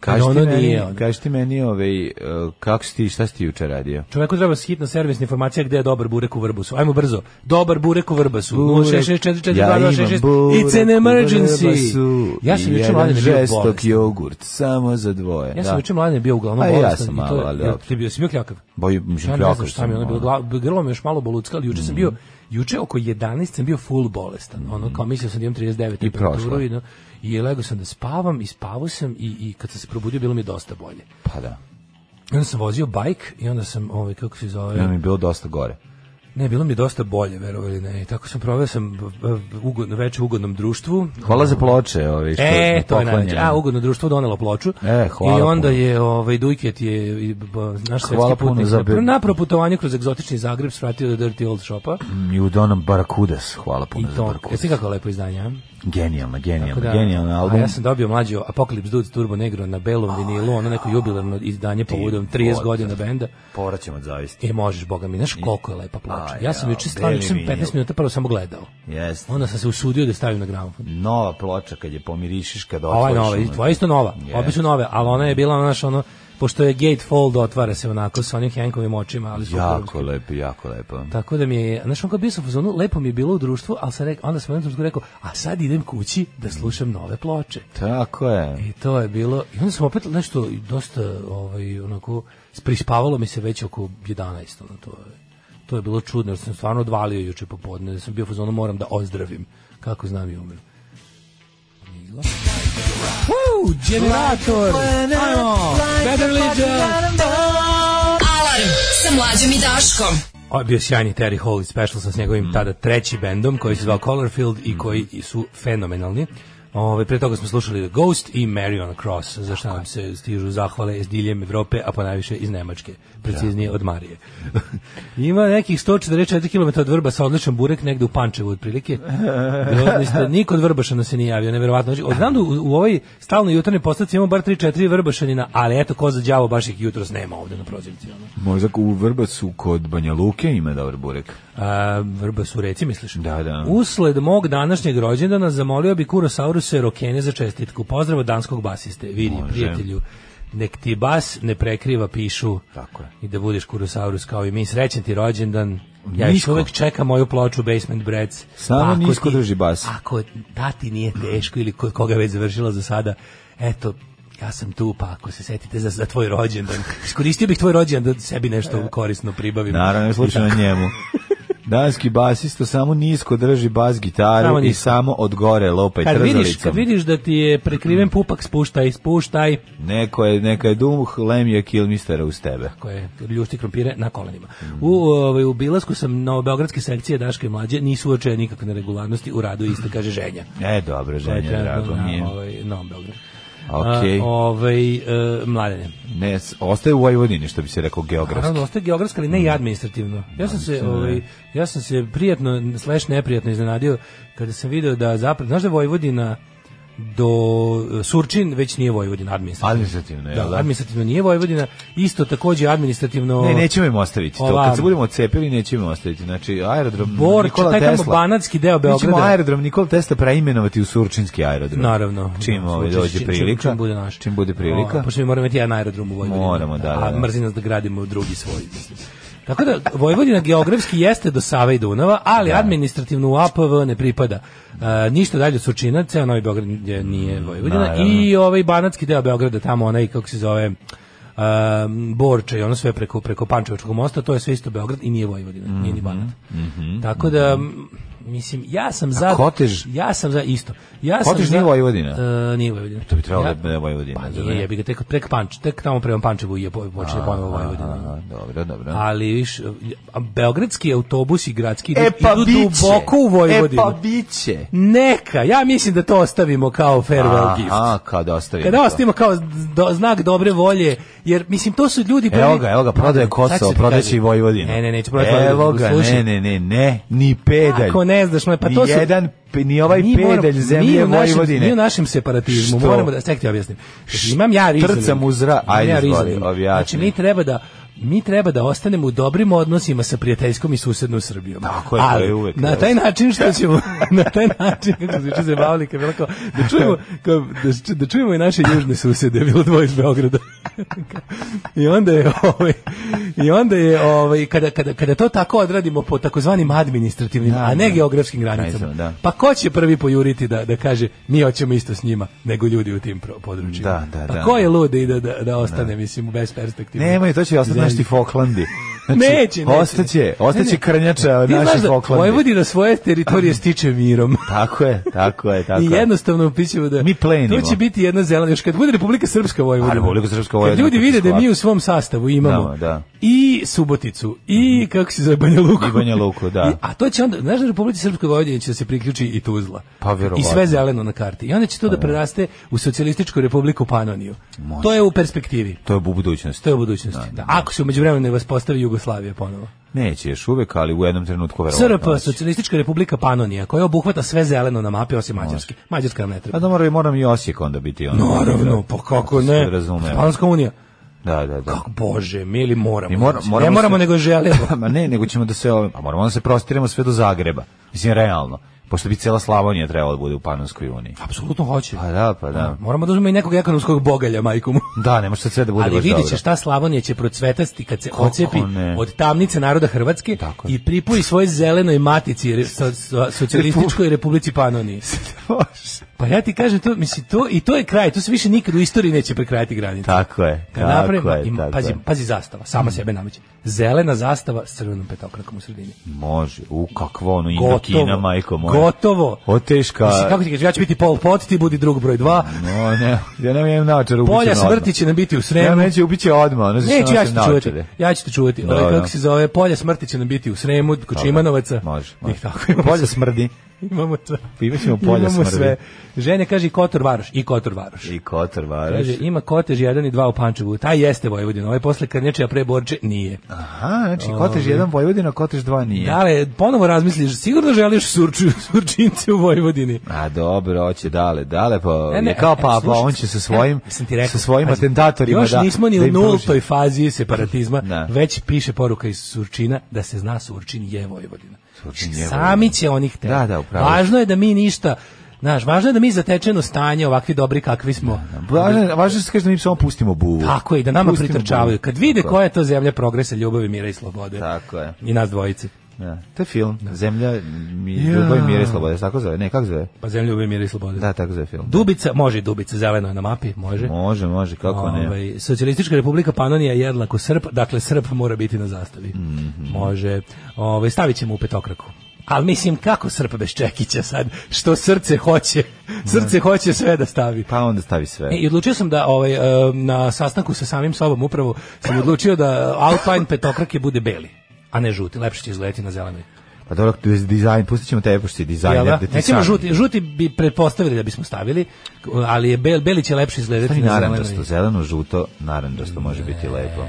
Speaker 6: Kad
Speaker 7: Kaži ti
Speaker 6: ono
Speaker 7: meni-
Speaker 6: nije. Ono.
Speaker 7: Kaži ti meni, ovaj, eh, kako si ti, šta si ti juče radio?
Speaker 6: Čoveku treba hitna servisna informacija gde je dobar burek u Vrbasu. Ajmo brzo. Dobar burek u Vrbasu.
Speaker 7: Burek.
Speaker 6: 066442266.
Speaker 7: Ja imam burek
Speaker 6: It's an
Speaker 7: u
Speaker 6: emergency.
Speaker 7: Vrbasu
Speaker 6: Ja sam
Speaker 7: i
Speaker 6: juče
Speaker 7: jedan
Speaker 6: mladen bio
Speaker 7: žestok
Speaker 6: bolestan.
Speaker 7: jogurt, samo za dvoje.
Speaker 6: Ja sam juče mladen bio uglavnom
Speaker 7: A i ja
Speaker 6: bolestan.
Speaker 7: sam
Speaker 6: i to
Speaker 7: malo,
Speaker 6: je-
Speaker 7: ali
Speaker 6: jel
Speaker 7: dobro.
Speaker 6: Ti bio si bio kljakav?
Speaker 7: Boju, mislim,
Speaker 6: Ja ne
Speaker 7: pljakao
Speaker 6: znam šta mi je
Speaker 7: sam,
Speaker 6: ono bilo,
Speaker 7: ono.
Speaker 6: gla- grlo me još malo bolucka, ali
Speaker 7: Mm.
Speaker 6: juče sam bio, juče oko 11 sam bio full bolestan, ono kao mislio sam da imam 39
Speaker 7: Mm. I prošlo.
Speaker 6: temperaturu i, no, i legao sam da spavam, i spavao sam i, i kad sam se probudio bilo mi je dosta bolje.
Speaker 7: Pa da.
Speaker 6: I onda sam vozio bajk i onda sam, ovaj, kako se zove,
Speaker 7: Ja mi ono je bilo dosta gore.
Speaker 6: ne, bilo mi je dosta bolje, verovali ne, i tako sam proveo sam b- b- ugodno, večer u ugodnom društvu,
Speaker 7: Hvala za ploče, ovaj, što
Speaker 6: E,
Speaker 7: smo
Speaker 6: to je
Speaker 7: poklonjeni.
Speaker 6: najveće. A, ugodno društvo donelo ploču.
Speaker 7: E, hvala
Speaker 6: I onda
Speaker 7: puno.
Speaker 6: je ovaj Dujket je i, b- b- naš
Speaker 7: Hvala
Speaker 6: svetski
Speaker 7: puno
Speaker 6: putnik
Speaker 7: za
Speaker 6: na,
Speaker 7: be-
Speaker 6: pr- na proputovanju kroz egzotični Zagreb svratio do Dirty Old Shopa.
Speaker 7: I u donom Barakudas, hvala puno
Speaker 6: I
Speaker 7: za
Speaker 6: to, jesi
Speaker 7: Barakudas.
Speaker 6: kako je lepo izdanje, a?
Speaker 7: Genijalna,
Speaker 6: Tako
Speaker 7: genijalna,
Speaker 6: da,
Speaker 7: genijalna
Speaker 6: A
Speaker 7: album.
Speaker 6: ja sam dobio mlađo Apocalypse Dudes Turbo Negro na belom vinilu, ono neko jubilarno izdanje povodom 30
Speaker 7: Bože.
Speaker 6: godina benda.
Speaker 7: Poraćemo od zavisti.
Speaker 6: E, možeš, boga mi, znaš koliko je lepa ploča.
Speaker 7: Aj,
Speaker 6: Ja sam
Speaker 7: jao,
Speaker 6: juče stvarno,
Speaker 7: beli
Speaker 6: juče sam
Speaker 7: vinil.
Speaker 6: 15 minuta prvo samo gledao.
Speaker 7: Jeste.
Speaker 6: Onda sam se usudio da stavim na gramofon.
Speaker 7: Nova ploča kad je pomirišiš kad
Speaker 6: A Ova je
Speaker 7: otvoriš.
Speaker 6: nova, i
Speaker 7: ono-
Speaker 6: tvoja je isto nova.
Speaker 7: Jeste.
Speaker 6: Obe su nove, ali ona je bila, ono, znaš, ono, pošto je gatefold, otvara se onako sa onim henkovim očima, ali su
Speaker 7: Jako lepo, jako lepo.
Speaker 6: Tako da mi je, znaš, on kao bio sam u fazonu, lepo mi je bilo u društvu, ali sam rekao, onda sam u jednom trenutku rekao, a sad idem kući da slušam nove ploče.
Speaker 7: Tako je.
Speaker 6: I to je bilo, i onda sam opet nešto dosta, ovaj, onako, prispavalo mi se već oko 11, ono, to je, to je bilo čudno, jer sam stvarno odvalio juče popodne, da sam bio u fazonu, moram da ozdravim, kako znam i umem. Uuu, generator! Ajmo! Better Legion!
Speaker 5: Alarm sa mlađom i Daškom.
Speaker 6: Ovo je bio sjajni Terry Hall i Special sa s njegovim tada treći bendom koji se zvao Colorfield i koji su fenomenalni. Ove, pre toga smo slušali The Ghost i Marion Cross, za što nam se stižu zahvale iz diljem Evrope, a ponajviše iz Nemačke, preciznije od Marije. Ima nekih 144 km od Vrba sa odličan burek negde u Pančevu otprilike. Grozni ste, niko od Vrbašana se nije javio, neverovatno. Znači, Odnam da u, u ovoj stalnoj jutarnjoj postaci imamo bar 3-4 Vrbašanina, ali eto, ko za đavo baš ih jutros nema ovde na prozivci. Ono.
Speaker 7: Možda u Vrbacu kod Banja Luke ima dobar burek.
Speaker 6: A, vrba su reci, misliš?
Speaker 7: Da, da.
Speaker 6: Usled mog današnjeg rođendana zamolio bi Kurosauruse Rokene za čestitku. Pozdrav od danskog basiste. Vidi,
Speaker 7: Može.
Speaker 6: prijatelju, nek ti bas ne prekriva pišu
Speaker 7: Tako je.
Speaker 6: i da budeš Kurosaurus kao i mi. Srećan ti rođendan. Ja još
Speaker 7: Miško.
Speaker 6: uvek čekam moju ploču Basement Breads.
Speaker 7: Samo
Speaker 6: Pa ako
Speaker 7: nisko
Speaker 6: ti-
Speaker 7: drži bas.
Speaker 6: Ako da ti nije teško ili ko- koga je već završila za sada, eto, ja sam tu, pa ako se setite za, za tvoj rođendan, iskoristio bih tvoj rođendan da sebi nešto korisno pribavim.
Speaker 7: E. Naravno, je slučajno njemu. Danski basista samo nisko drži bas gitaru
Speaker 6: Samo
Speaker 7: i
Speaker 6: nisko.
Speaker 7: samo od gore lopa i
Speaker 6: Kad vidiš,
Speaker 7: trzalicom.
Speaker 6: kad vidiš da ti je prekriven pupak, spuštaj, spuštaj,
Speaker 7: Neko je, neka je duh lemija kilmistera uz tebe.
Speaker 6: koje ljušti krompire na kolenima. U, ovaj, u bilasku sam na beogradske sekcije Daške i Mlađe nisu uočene nikakve neregularnosti u radu iste, kaže ženja.
Speaker 7: E, dobro,
Speaker 6: To je
Speaker 7: ženja,
Speaker 6: trenutno
Speaker 7: drago mi je.
Speaker 6: na, ovaj, Novom Beogradu.
Speaker 7: Okej.
Speaker 6: A, ovaj, e, mladene.
Speaker 7: Ne, s- ostaje u Vojvodini, što bi se rekao geografski.
Speaker 6: Naravno, ostaje geografska, ali
Speaker 7: Mm.
Speaker 6: ne i administrativno. Ja sam se, ovaj, ja sam se prijatno, slash neprijatno iznenadio kada sam video da zapravo, znaš da je Vojvodina do e, Surčin već nije Vojvodina administrativno.
Speaker 7: Administrativno, je,
Speaker 6: Da,
Speaker 7: jel da?
Speaker 6: administrativno nije Vojvodina, isto takođe administrativno...
Speaker 7: Ne, nećemo im ostaviti to.
Speaker 6: Ovamo.
Speaker 7: Kad se budemo ocepili, nećemo im ostaviti. Znači, aerodrom
Speaker 6: Bor,
Speaker 7: Nikola
Speaker 6: taj
Speaker 7: Tesla.
Speaker 6: tamo banatski deo
Speaker 7: Mi ćemo
Speaker 6: Beograda.
Speaker 7: aerodrom Nikola Tesla preimenovati u Surčinski aerodrom.
Speaker 6: Naravno.
Speaker 7: Čim ovaj
Speaker 6: Slučaj,
Speaker 7: dođe
Speaker 6: čim-
Speaker 7: prilika.
Speaker 6: Čim, čim bude naš.
Speaker 7: Čim bude prilika.
Speaker 6: O, pošto mi moramo imati jedan aerodrom u Vojvodini.
Speaker 7: Moramo, da, da, da.
Speaker 6: A mrzi nas da gradimo drugi svoj. mislim. Tako da, Vojvodina geografski jeste do Save i Dunava, ali administrativno u APV ne pripada. E, ništa dalje od Surčina, ceo Novi Beograd je- nije Vojvodina.
Speaker 7: Mm, naravno.
Speaker 6: I ovaj banatski deo Beograda, tamo onaj, kako se zove, um, Borče i ono sve preko, preko Pančevačkog mosta, to je sve isto Beograd i nije Vojvodina, nije ni
Speaker 7: Mhm,
Speaker 6: Banat. Tako da, m, mislim, ja sam za...
Speaker 7: Kotež?
Speaker 6: Ja sam za isto. Ja sam
Speaker 7: Kotež
Speaker 6: za-
Speaker 7: nije Vojvodina?
Speaker 6: E, nije Vojvodina.
Speaker 7: To bi trebalo da bude Vojvodina,
Speaker 6: Pa
Speaker 7: zar ne?
Speaker 6: nije, jebi ga, tek, prek Panč, tek tamo prema Pančevu je po- počinje ponovo Vojvodina.
Speaker 7: Aha, dobro, dobro.
Speaker 6: Ali, viš, a beogradski autobusi gradski
Speaker 7: E
Speaker 6: idu, idu
Speaker 7: biće.
Speaker 6: duboko u Vojvodinu.
Speaker 7: pa E pa biće.
Speaker 6: Neka, ja mislim da to ostavimo kao farewell gift.
Speaker 7: Aha, kad ostavimo.
Speaker 6: Kada
Speaker 7: to.
Speaker 6: ostavimo kao do, znak dobre volje, jer mislim to su ljudi...
Speaker 7: Evo ga, evo ga, prodaje
Speaker 6: Sad
Speaker 7: Kosovo,
Speaker 6: se ti
Speaker 7: prodaće
Speaker 6: kaže.
Speaker 7: i Vojvodinu.
Speaker 6: Ne, ne, neću prodati
Speaker 7: Evo
Speaker 6: Vojvodinu,
Speaker 7: ga,
Speaker 6: slušaj.
Speaker 7: ne, ne, ne, ne, ni pedalj.
Speaker 6: Ako ne znaš, no, pa to
Speaker 7: ni
Speaker 6: su-
Speaker 7: jedan, pe- ni ovaj
Speaker 6: mi moramo-
Speaker 7: pedalj
Speaker 6: mi
Speaker 7: zemlje
Speaker 6: u našem-
Speaker 7: Vojvodine.
Speaker 6: Mi u našem separatizmu
Speaker 7: Što?
Speaker 6: moramo da čekaj ti objasnim. Imam ja rizoling.
Speaker 7: Trcam uz ra-
Speaker 6: Imam
Speaker 7: ajde,
Speaker 6: ja
Speaker 7: izvoli,
Speaker 6: rizoling.
Speaker 7: objasni.
Speaker 6: Znači mi treba da mi treba da ostanemo u dobrim odnosima sa prijateljskom i susednom Srbijom.
Speaker 7: Tako je, to
Speaker 6: Ali,
Speaker 7: je uvek
Speaker 6: na
Speaker 7: dobro.
Speaker 6: taj način što ćemo na taj način kako se juče zabavili kad je bilo kao, da čujemo kao, da, ču- da čujemo i naše južne susede, je bilo dvoje iz Beograda. I onda je ovaj i onda je ovaj kada kada kada to tako odradimo po takozvanim administrativnim, a ne
Speaker 7: da.
Speaker 6: geografskim granicama.
Speaker 7: Granicama, da.
Speaker 6: Pa ko će prvi pojuriti da, da kaže mi hoćemo isto s njima nego ljudi u tim pro- područjima?
Speaker 7: Da, da,
Speaker 6: pa
Speaker 7: da.
Speaker 6: ko je lud i da, da, da ostane, mislim, bez perspektive?
Speaker 7: Nemoj, to će ostati
Speaker 6: Zemlji.
Speaker 7: naši Foklandi. Znači,
Speaker 6: Neće, neće.
Speaker 7: Ostaće, ostaće
Speaker 6: Ne, ne.
Speaker 7: krnjača
Speaker 6: Ti znaš
Speaker 7: naši
Speaker 6: da
Speaker 7: Foklandi.
Speaker 6: Vojvodina svoje teritorije stiče mirom.
Speaker 7: Tako je, tako je, tako
Speaker 6: I
Speaker 7: je.
Speaker 6: jednostavno upićemo da
Speaker 7: Mi plenimo.
Speaker 6: To će biti jedna zelena još kad bude Republika Srpska Vojvodina.
Speaker 7: A, Republika Srpska
Speaker 6: Kad
Speaker 7: Vojvodina,
Speaker 6: ljudi
Speaker 7: to
Speaker 6: vide
Speaker 7: će
Speaker 6: da mi
Speaker 7: shvatiti.
Speaker 6: u svom sastavu imamo
Speaker 7: Da, da. Mhm.
Speaker 6: i Suboticu i kako se zove Banja Luku.
Speaker 7: I Banja Luku, da.
Speaker 6: I- a to će onda, znaš da Republici Srpskoj Vojvodini će da se priključi i Tuzla.
Speaker 7: Pa, verovatno. Pa
Speaker 6: I sve zeleno na karti. I onda će to da preraste u Socijalističku Republiku Panoniju. To je u perspektivi.
Speaker 7: To je u budućnosti.
Speaker 6: To je u budućnosti. Da, Ako se umeđu vremenu ne vas postavi Jugoslavije ponovo.
Speaker 7: Neće još uvek, ali u jednom trenutku verovatno.
Speaker 6: SRP, Socijalistička republika Panonija, koja obuhvata sve zeleno na mapi osim Mađarske. Mađarska nam ne
Speaker 7: A
Speaker 6: treba.
Speaker 7: da mora, moram i Osijek onda biti ono.
Speaker 6: Naravno, pa kako ne?
Speaker 7: Razume.
Speaker 6: Španska unija.
Speaker 7: Da, da, da.
Speaker 6: Kako, bože, mi ili moramo?
Speaker 7: Mi mora-
Speaker 6: znači. ne
Speaker 7: moramo
Speaker 6: moramo,
Speaker 7: se-
Speaker 6: nego želimo.
Speaker 7: Ma ne, nego ćemo da se ovim, a moramo da se prostiremo sve do Zagreba. Mislim, realno. Pošto bi cela Slavonija trebala da bude u Panonskoj uniji.
Speaker 6: Apsolutno hoće.
Speaker 7: Pa da, pa da.
Speaker 6: Moramo da uzmemo i nekog ekonomskog bogalja, majku mu.
Speaker 7: Da, ne može sad sve da bude
Speaker 6: Ali
Speaker 7: baš
Speaker 6: vidit
Speaker 7: dobro.
Speaker 6: ćeš šta Slavonija će procvetasti kad se
Speaker 7: Kako
Speaker 6: ocepi
Speaker 7: ne?
Speaker 6: od tamnice naroda Hrvatske
Speaker 7: Tako je.
Speaker 6: i pripoji svoje zelenoj matici re- so- so- socijalističkoj republici Panoniji.
Speaker 7: Može.
Speaker 6: Pa ja ti kažem, to, mislim, to, i to je kraj, to se više nikad u istoriji neće prekrajati granica.
Speaker 7: Tako je,
Speaker 6: Kad
Speaker 7: tako
Speaker 6: napravimo,
Speaker 7: je,
Speaker 6: im-
Speaker 7: tako
Speaker 6: pazi,
Speaker 7: je. Mm.
Speaker 6: pazi zastava, sama sebe nameće. Zelena zastava s crvenom petokrakom u sredini.
Speaker 7: Može. U kakvo ono
Speaker 6: Gotovo.
Speaker 7: Indokina, majko moja.
Speaker 6: Gotovo.
Speaker 7: O teška.
Speaker 6: Mislim, kako ti kažem, ja ću biti Pol Pot, ti budi drug broj dva.
Speaker 7: No, ne, ja nemam jedan naočar ubićen
Speaker 6: Polja
Speaker 7: odmah.
Speaker 6: smrti će nam biti u
Speaker 7: Ja
Speaker 6: Sremu.
Speaker 7: neće ubići odmah. Ono, zašto
Speaker 6: Neću, ja ću
Speaker 7: nosim
Speaker 6: te čuvati.
Speaker 7: naočare?
Speaker 6: Ja ću te čuvati.
Speaker 7: Da,
Speaker 6: Ovaj,
Speaker 7: da.
Speaker 6: kako se zove, polja smrti će nam biti u Sremu, kod Čimanovaca.
Speaker 7: Može,
Speaker 6: I
Speaker 7: može.
Speaker 6: tako imamo
Speaker 7: Polje
Speaker 6: sve.
Speaker 7: smrdi.
Speaker 6: Imamo sve.
Speaker 7: Pa imat ćemo polje
Speaker 6: imamo
Speaker 7: smrdi.
Speaker 6: sve. Ženja kaže i Kotor Varoš. I Kotor Varoš.
Speaker 7: I Kotor Varaš.
Speaker 6: Kaže, ima kotež jedan i dva u Pančevu. Taj jeste Vojvodina. Ovaj posle Krnjače, a pre Borče nije.
Speaker 7: Aha, znači Kotež 1 Vojvodina, Kotež 2 nije.
Speaker 6: Dale, ponovo razmisliš, sigurno želiš surču, surčince u Vojvodini.
Speaker 7: A dobro, hoće dale, dale, pa
Speaker 6: E, ne,
Speaker 7: je kao
Speaker 6: e,
Speaker 7: papa,
Speaker 6: slušaj,
Speaker 7: on će sa
Speaker 6: e,
Speaker 7: svojim,
Speaker 6: sam ti rekao,
Speaker 7: sa svojim
Speaker 6: pazi,
Speaker 7: atentatorima
Speaker 6: još
Speaker 7: da
Speaker 6: nismo ni
Speaker 7: da
Speaker 6: u
Speaker 7: im pruži.
Speaker 6: nultoj fazi separatizma,
Speaker 7: Da.
Speaker 6: već piše poruka iz Surčina da se zna Surčin je Vojvodina.
Speaker 7: Surčin je
Speaker 6: Sami
Speaker 7: Vojvodina.
Speaker 6: će oni htjeti.
Speaker 7: Da, da, upravo.
Speaker 6: Važno je da mi ništa, znaš, važno je da mi zatečeno stanje ovakvi dobri kakvi smo.
Speaker 7: Važno, važno je da se kaže da mi samo pustimo buvu.
Speaker 6: Tako je, i da nama
Speaker 7: Pustimo
Speaker 6: pritrčavaju.
Speaker 7: buvu.
Speaker 6: Kad vide
Speaker 7: Tako
Speaker 6: koja je to zemlja progresa, ljubavi, mira i slobode.
Speaker 7: Tako je.
Speaker 6: I nas dvojice.
Speaker 7: Da. To je film. Zemlja, mi, ljubav, mir i sloboda. Tako zove? Ne, kako zove?
Speaker 6: Pa zemlja, ljubavi, mira i slobode.
Speaker 7: Da, tako zove film.
Speaker 6: Dubica, može i Dubica, zeleno je na mapi, može.
Speaker 7: Može, može, kako ne.
Speaker 6: Ovaj, Socijalistička republika Panonija jednako Srp, dakle Srp mora biti na zastavi. Može. Ovaj, stavit ćemo u petokraku. Ali mislim, kako Srp bez Čekića sad? Što srce hoće? Srce hoće sve da stavi.
Speaker 7: Pa onda stavi sve.
Speaker 6: E, I odlučio sam da ovaj, em, na sastanku sa samim sobom upravo sam odlučio da Alpine petokrake bude beli, a ne žuti. Lepše će izgledati na zelenoj.
Speaker 7: Pa dobro, tu je dizajn, pustit ćemo tebe, pošto si dizajner.
Speaker 6: Jel da?
Speaker 7: da ti
Speaker 6: Nećemo
Speaker 7: sam-
Speaker 6: žuti, žuti bi pretpostavili da bismo stavili, ali je bel, beli će lepše izgledati
Speaker 7: Stavi
Speaker 6: na zelenoj.
Speaker 7: naranđasto, zeleno, žuto, naranđasto može biti lepo.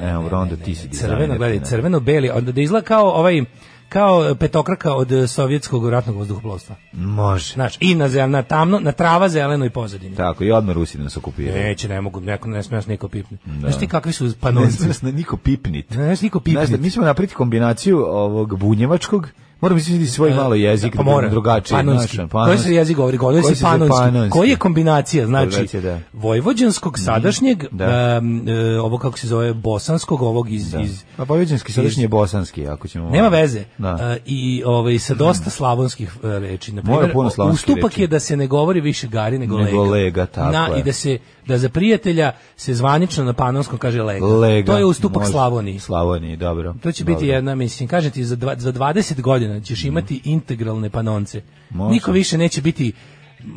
Speaker 7: Evo, onda ti si dizajner.
Speaker 6: crveno, gledaj,
Speaker 7: ne.
Speaker 6: crveno beli, onda da izgleda kao ovaj kao petokraka od eh, sovjetskog ratnog vazduhoplovstva.
Speaker 7: Može.
Speaker 6: Znaš, i na zel- na tamno, na trava zeleno i pozadini.
Speaker 7: Tako, i odmah Rusi nas okupiraju.
Speaker 6: Neće, ne mogu, neko ne smije nas niko pipne. Znaš ti kakvi su panonci?
Speaker 7: Ne zna niko pipnit.
Speaker 6: Ne znaš niko pipne.
Speaker 7: Znaš, da mi ćemo napraviti kombinaciju ovog bunjevačkog, moram izmisliti svoj malo jezik,
Speaker 6: pa mora.
Speaker 7: da drugačiji.
Speaker 6: Panonski.
Speaker 7: znaš, ono,
Speaker 6: Koji se jezik govori? Govori
Speaker 7: Koji
Speaker 6: se panonski.
Speaker 7: panonski?
Speaker 6: Koji je kombinacija? Znači,
Speaker 7: Kombinacija, da. Mhm.
Speaker 6: vojvođanskog, sadašnjeg,
Speaker 7: Da.
Speaker 6: em, e, ovo kako se zove, bosanskog, ovog iz... iz
Speaker 7: A povjeđanski, sadašnji Pa je bosanski, ako ćemo...
Speaker 6: Nema veze.
Speaker 7: Da. Mhm.
Speaker 6: E, I ovaj sa dosta slavonskih e, reči, na primjer,
Speaker 7: puno slavonskih
Speaker 6: ustupak
Speaker 7: reči.
Speaker 6: je da se ne govori više gari nego,
Speaker 7: Nego lega, tako
Speaker 6: Na,
Speaker 7: je.
Speaker 6: i da se da za prijatelja se zvanično na panonskom kaže lega.
Speaker 7: Lega.
Speaker 6: to je ustupak
Speaker 7: može.
Speaker 6: Slavoniji.
Speaker 7: Slavoniji, dobro.
Speaker 6: To će
Speaker 7: dobro. Mhm.
Speaker 6: biti jedna, mislim, kažem ti, za, dva, za 20 godina ćeš imati integralne panonce.
Speaker 7: Može.
Speaker 6: Niko više neće biti,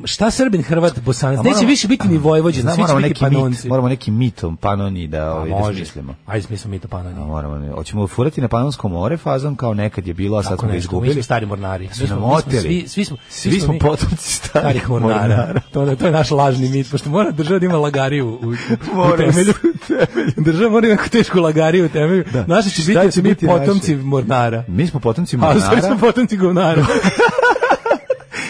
Speaker 6: šta Srbin, Hrvat, Bosanac,
Speaker 7: A
Speaker 6: neće
Speaker 7: moramo-
Speaker 6: više biti ni Vojvođan,
Speaker 7: Znam,
Speaker 6: Znači, svi će
Speaker 7: moramo
Speaker 6: biti
Speaker 7: neki mit,
Speaker 6: panonci.
Speaker 7: moramo neki mit o Panoniji da,
Speaker 6: A
Speaker 7: ovaj, da
Speaker 6: može.
Speaker 7: smislimo.
Speaker 6: Ajde, smislimo mi to panonje.
Speaker 7: A moramo, ne- hoćemo furati na Panonsko more fazom kao nekad je bilo, a sad
Speaker 6: Tako
Speaker 7: smo ga
Speaker 6: nešto, mi
Speaker 7: izgubili.
Speaker 6: smo stari mornari.
Speaker 7: Su
Speaker 6: Mi smo-
Speaker 7: nam
Speaker 6: mi smo
Speaker 7: oteli.
Speaker 6: Svi, svi smo,
Speaker 7: Svi smo
Speaker 6: mi-
Speaker 7: potomci starih
Speaker 6: starih mornara.
Speaker 7: mornara.
Speaker 6: To, je- to je naš lažni mit, pošto mora država da ima lagariju u, u, u
Speaker 7: Mora
Speaker 6: temelju.
Speaker 7: u
Speaker 6: država mora imati tešku lagariju u temelju.
Speaker 7: Da.
Speaker 6: Naši će
Speaker 7: Šta
Speaker 6: biti, da
Speaker 7: će
Speaker 6: smo mi
Speaker 7: biti naše?
Speaker 6: potomci mornara.
Speaker 7: Mi smo potomci
Speaker 6: A u stvari smo
Speaker 7: mornara,
Speaker 6: potomci govnara.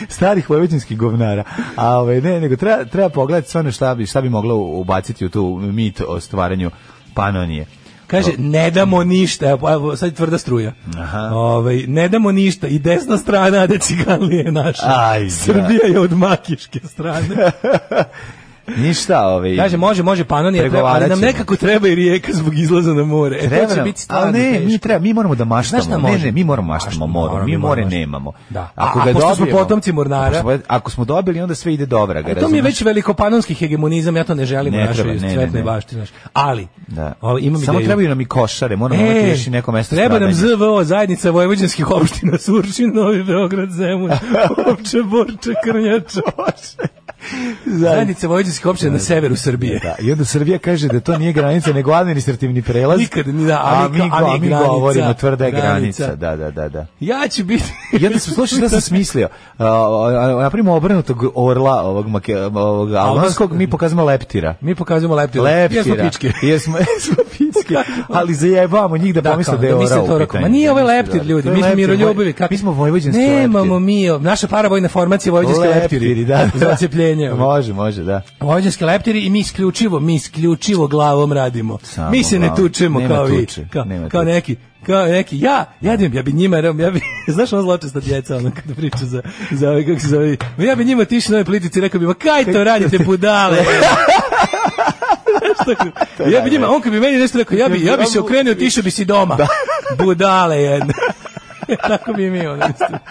Speaker 7: starih vojvođanskih govnara. A ovaj, ne, nego treba, treba pogledati stvarno šta bi, šta bi moglo ubaciti u tu mit o stvaranju Panonije.
Speaker 6: Kaže, ne damo ništa, evo, evo sad je tvrda struja.
Speaker 7: Aha.
Speaker 6: Ovaj, ne damo ništa i desna strana Ade Ciganlije je naša.
Speaker 7: Aj, da.
Speaker 6: Srbija je od makiške strane.
Speaker 7: Ništa, ovaj...
Speaker 6: Kaže, može, može, Panonija, treba, ali nam
Speaker 7: Pregovarat ćemo.
Speaker 6: nekako treba i rijeka zbog izlaza na more. E,
Speaker 7: Treba
Speaker 6: to će
Speaker 7: nam-
Speaker 6: biti
Speaker 7: ali
Speaker 6: stvarno
Speaker 7: ne,
Speaker 6: teško.
Speaker 7: mi treba, mi moramo da
Speaker 6: Znaš šta
Speaker 7: maštamo. Ne,
Speaker 6: može?
Speaker 7: ne, mi moramo maštamo
Speaker 6: Maštamo,
Speaker 7: moru.
Speaker 6: moramo,
Speaker 7: Mi
Speaker 6: mi
Speaker 7: more
Speaker 6: moramo.
Speaker 7: nemamo.
Speaker 6: Da. A- a pošto smo potomci mornara-
Speaker 7: Ako smo, ako smo dobili, onda sve ide do vraga.
Speaker 6: E, to mi je
Speaker 7: razumeš?
Speaker 6: već velikopanonski hegemonizam, ja to ne želim
Speaker 7: Ne
Speaker 6: u našoj
Speaker 7: treba, ne, ne,
Speaker 6: svetnoj
Speaker 7: ne.
Speaker 6: bašti. Znaš. Ali,
Speaker 7: Da.
Speaker 6: ovaj, imam
Speaker 7: Samo
Speaker 6: ideju.
Speaker 7: trebaju nam i košare, moramo e, imati još i neko mesto
Speaker 6: treba nam
Speaker 7: stradanja.
Speaker 6: ZVO, zajednica vojvođanskih opština, Surčin, Novi Beograd, Zemun, Opće, Borče, Krnjača. Zajednica vojvođanskih opština na severu Srbije.
Speaker 7: Da, I onda Srbija kaže da to nije granica, nego administrativni prelaz.
Speaker 6: Nikad, ni da,
Speaker 7: a,
Speaker 6: ali
Speaker 7: mi,
Speaker 6: kao- ali
Speaker 7: go- mi
Speaker 6: granica,
Speaker 7: govorimo tvrda je
Speaker 6: granica.
Speaker 7: granica. Da, da, da, da.
Speaker 6: Ja ću biti...
Speaker 7: Ja da sam slušao šta sam smislio. A, a, a, Napravimo obrnutog orla ovog, make, ovog albanskog, mi pokazamo leptira.
Speaker 6: Mi pokazujemo leptira. Ja smo
Speaker 7: Leptira.
Speaker 6: pičke.
Speaker 7: Jer smo, jer smo pičke. Ali zajebamo njih da,
Speaker 6: Da,
Speaker 7: pomisle
Speaker 6: kao,
Speaker 7: da je
Speaker 6: da misle
Speaker 7: orao
Speaker 6: to
Speaker 7: u
Speaker 6: orako.
Speaker 7: pitanju.
Speaker 6: Ma nije
Speaker 7: Da
Speaker 6: ovaj
Speaker 7: misle
Speaker 6: leptir,
Speaker 7: da.
Speaker 6: ljudi,
Speaker 7: To je
Speaker 6: mi smo
Speaker 7: leptir.
Speaker 6: miroljubivi. Kako...
Speaker 7: Mi smo vojvođanski leptiri.
Speaker 6: Nemamo mi, o- naša paravojna formacija je vojvođanski leptiri.
Speaker 7: da. da.
Speaker 6: Za ono. cepljenje.
Speaker 7: Može, može, da.
Speaker 6: Vojvođanski leptiri i mi isključivo, mi isključivo glavom radimo.
Speaker 7: Samo
Speaker 6: mi se ne
Speaker 7: glavom.
Speaker 6: tučemo
Speaker 7: Nema
Speaker 6: kao vi.
Speaker 7: tuče,
Speaker 6: Kao,
Speaker 7: nema
Speaker 6: kao
Speaker 7: tuče.
Speaker 6: neki kao neki, ja, ja bi, ja bi njima, ja bi, znaš ono zločesta djeca, ono kad priča za, za ove, kako se zove, ja bi njima tišao na ove politici i rekao bi, ma kaj to radite, budale? Znaš, tako, ja bi njima, on kad bi meni nešto rekao, ja bi, ja bi se okrenuo, otišao bi si doma. Budale jedne. Tako bi i mi ono isto.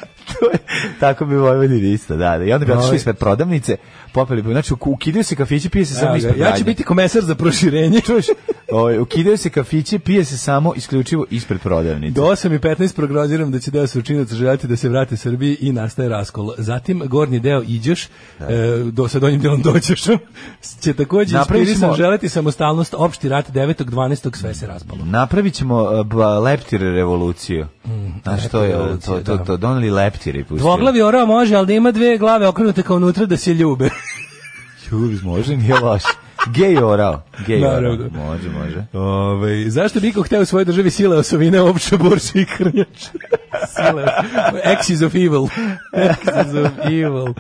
Speaker 7: To je- Tako bi Vojvodin isto, da, da. I onda bi otišli ispred prodavnice, popeli bi, znači u- ukidaju se kafići, pije se samo
Speaker 6: Evo
Speaker 7: ispred
Speaker 6: ga, Ja ću
Speaker 7: radnje.
Speaker 6: biti komesar za proširenje.
Speaker 7: Čuješ? Ovaj, ukidaju se kafići, pije se samo isključivo ispred prodavnice.
Speaker 6: Do 8 i 15 prognoziram da će deo sučinaca željati da se vrate Srbiji i nastaje raskol. Zatim gornji deo iđeš, e, do sa donjim delom dođeš, će takođe
Speaker 7: Napravili
Speaker 6: inspirisan
Speaker 7: smo-
Speaker 6: želiti samostalnost opšti rat 9. 12. sve se raspalo.
Speaker 7: Napravit ćemo uh, ba- leptir revoluciju.
Speaker 6: Mm,
Speaker 7: Znaš, to je, uh, to, to, to, doneli leptiri. pustili.
Speaker 6: Dvoglavi orao može, ali da ima dve glave okrenute kao unutra da se ljube.
Speaker 7: Čuviš, može, nije loš. Gej orao. Gej orao.
Speaker 6: Naravno.
Speaker 7: Može, može.
Speaker 6: Ove, Ovaj, zašto bi iko hteo u svojoj državi sile osovine, opšte borče i krnjač? sile, axis of evil. axis of evil.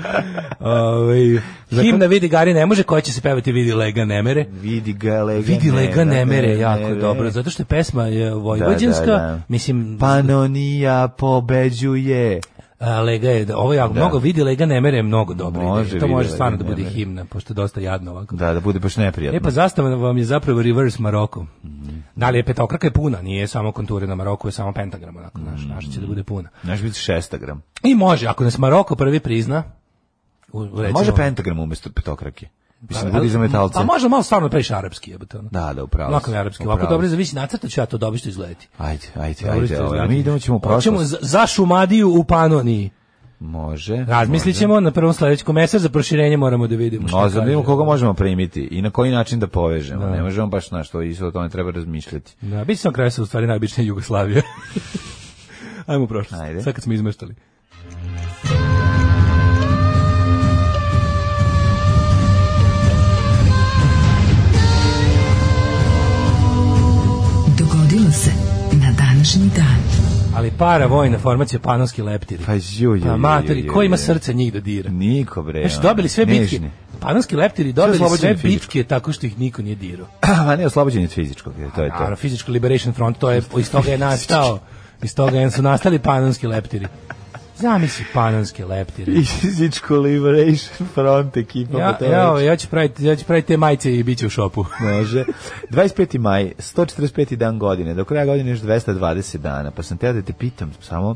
Speaker 6: Ovaj, Ove, himna vidi Gari ne može, koja će se pevati vidi Lega Nemere.
Speaker 7: Vidi ga lega.
Speaker 6: Vidi Lega Nemere, jako
Speaker 7: mere.
Speaker 6: dobro, zato što je pesma je vojvođanska,
Speaker 7: Da, da, da. Pa-
Speaker 6: mislim,
Speaker 7: Panonija pobeđuje.
Speaker 6: a, Lega je, ovo je jako,
Speaker 7: Da.
Speaker 6: mnogo vidi Lega Nemere je mnogo dobro.
Speaker 7: Može
Speaker 6: to
Speaker 7: Vidi
Speaker 6: može
Speaker 7: Lega
Speaker 6: stvarno da bude
Speaker 7: Nemere.
Speaker 6: himna, pošto je dosta jadno ovako.
Speaker 7: Da, da bude baš neprijatno.
Speaker 6: E pa zastava vam je zapravo reverse Maroko.
Speaker 7: Mhm.
Speaker 6: Da li je petokraka je puna, nije samo konture na Maroku, je samo pentagram, onako,
Speaker 7: Mhm.
Speaker 6: naš, naša će da bude puna.
Speaker 7: Znaš, biti šestagram.
Speaker 6: I može, ako nas Maroko prvi prizna, u- u, recimo,
Speaker 7: Pa Može pentagram umjesto petokrake. Mislim, da bude za metalce.
Speaker 6: A može malo stvarno da previše arapski, jebote. ono.
Speaker 7: Da, da, upravo.
Speaker 6: Lako mi je arapski, ovako dobro,
Speaker 7: za...
Speaker 6: zavisi nacrta ću ja to dobro što izgledati.
Speaker 7: Ajde, ajde,
Speaker 6: Dobro što
Speaker 7: ajde. Ovaj.
Speaker 6: izgledati.
Speaker 7: Mi idemo ćemo u prošlost.
Speaker 6: Hoćemo za, za Šumadiju u Panoniji.
Speaker 7: Može.
Speaker 6: Razmislit ćemo na prvom sledećem komesar za proširenje moramo da vidimo. šta
Speaker 7: No, znam da vidimo
Speaker 6: kaže.
Speaker 7: koga možemo primiti i na koji način da povežemo. Ne možemo baš na što i o tome treba razmišljati.
Speaker 6: Da, biće sam kraj sa u stvari najobičnije Jugoslavije. Ajmo u prošlost.
Speaker 7: Ajde.
Speaker 6: Sad kad smo izmeštali.
Speaker 5: Dogodilo se na današnji dan.
Speaker 6: Ali para vojna formacija panonski leptiri.
Speaker 7: Pa ju, ju,
Speaker 6: Pa
Speaker 7: ju,
Speaker 6: matori,
Speaker 7: ju, ju,
Speaker 6: ko ima
Speaker 7: ju.
Speaker 6: srce njih da dira?
Speaker 7: Niko bre.
Speaker 6: Znači, dobili sve
Speaker 7: ono,
Speaker 6: bitke.
Speaker 7: nežni.
Speaker 6: Panonski leptiri dobili sve,
Speaker 7: oslobođeni fizički.
Speaker 6: bitke tako što ih niko nije dirao.
Speaker 7: A ne, oslobođen je od fizičkog, jer to je to.
Speaker 6: Naravno, Physical Liberation Front, to je, iz toga je nastao. Iz toga su nastali panonski leptiri. Zamisli panonski leptiri.
Speaker 7: Fizičko Liberation Front ekipa. pa
Speaker 6: Ja, ovaj- ja, ja, ću praviti, ja ću praviti te majice i bit će u šopu.
Speaker 7: Može. 25. maj, 145. dan godine, do kraja godine još 220 dana, pa sam teo da te pitam samo,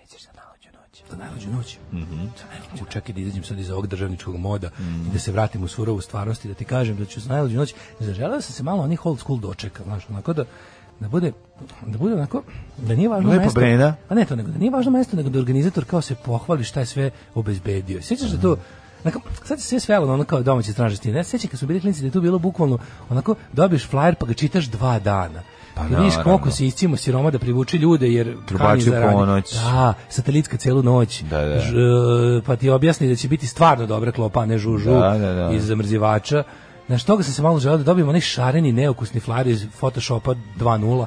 Speaker 6: Nećeš za najluđu noć. Za najluđu noć? Mhm. Za najluđu. Čekaj da izađem sad iz ovog državničkog moda
Speaker 7: Mhm.
Speaker 6: i da se vratim u surovu stvarnost i da ti kažem da ću za najluđu noć. Zaželeo sam se malo onih old school dočeka, znaš, onako da da bude da bude onako da nije važno
Speaker 7: Lepa
Speaker 6: mesto.
Speaker 7: brena.
Speaker 6: A ne to nego da nije važno mesto nego da organizator kao se pohvali šta je sve obezbedio. Sećaš da
Speaker 7: Mhm.
Speaker 6: to Onako, sad se sve svelo na ono kao domaće stražnosti. Ne sećam kad su bili klinici da je to bilo bukvalno onako dobiješ flyer pa ga čitaš dva dana. Pa vidiš
Speaker 7: naravno.
Speaker 6: koliko se iscimo siroma da privuče ljude jer
Speaker 7: Trubači
Speaker 6: kani za rane.
Speaker 7: ponoć.
Speaker 6: Da, satelitska celu noć.
Speaker 7: Da, da.
Speaker 6: Ž, e, pa ti objasni da će biti stvarno dobra klopa, a ne žužu
Speaker 7: Da, da, da.
Speaker 6: iz zamrzivača. Znaš, toga sam se malo želeo da dobijem onaj šareni, neukusni flar iz Photoshopa 2.0,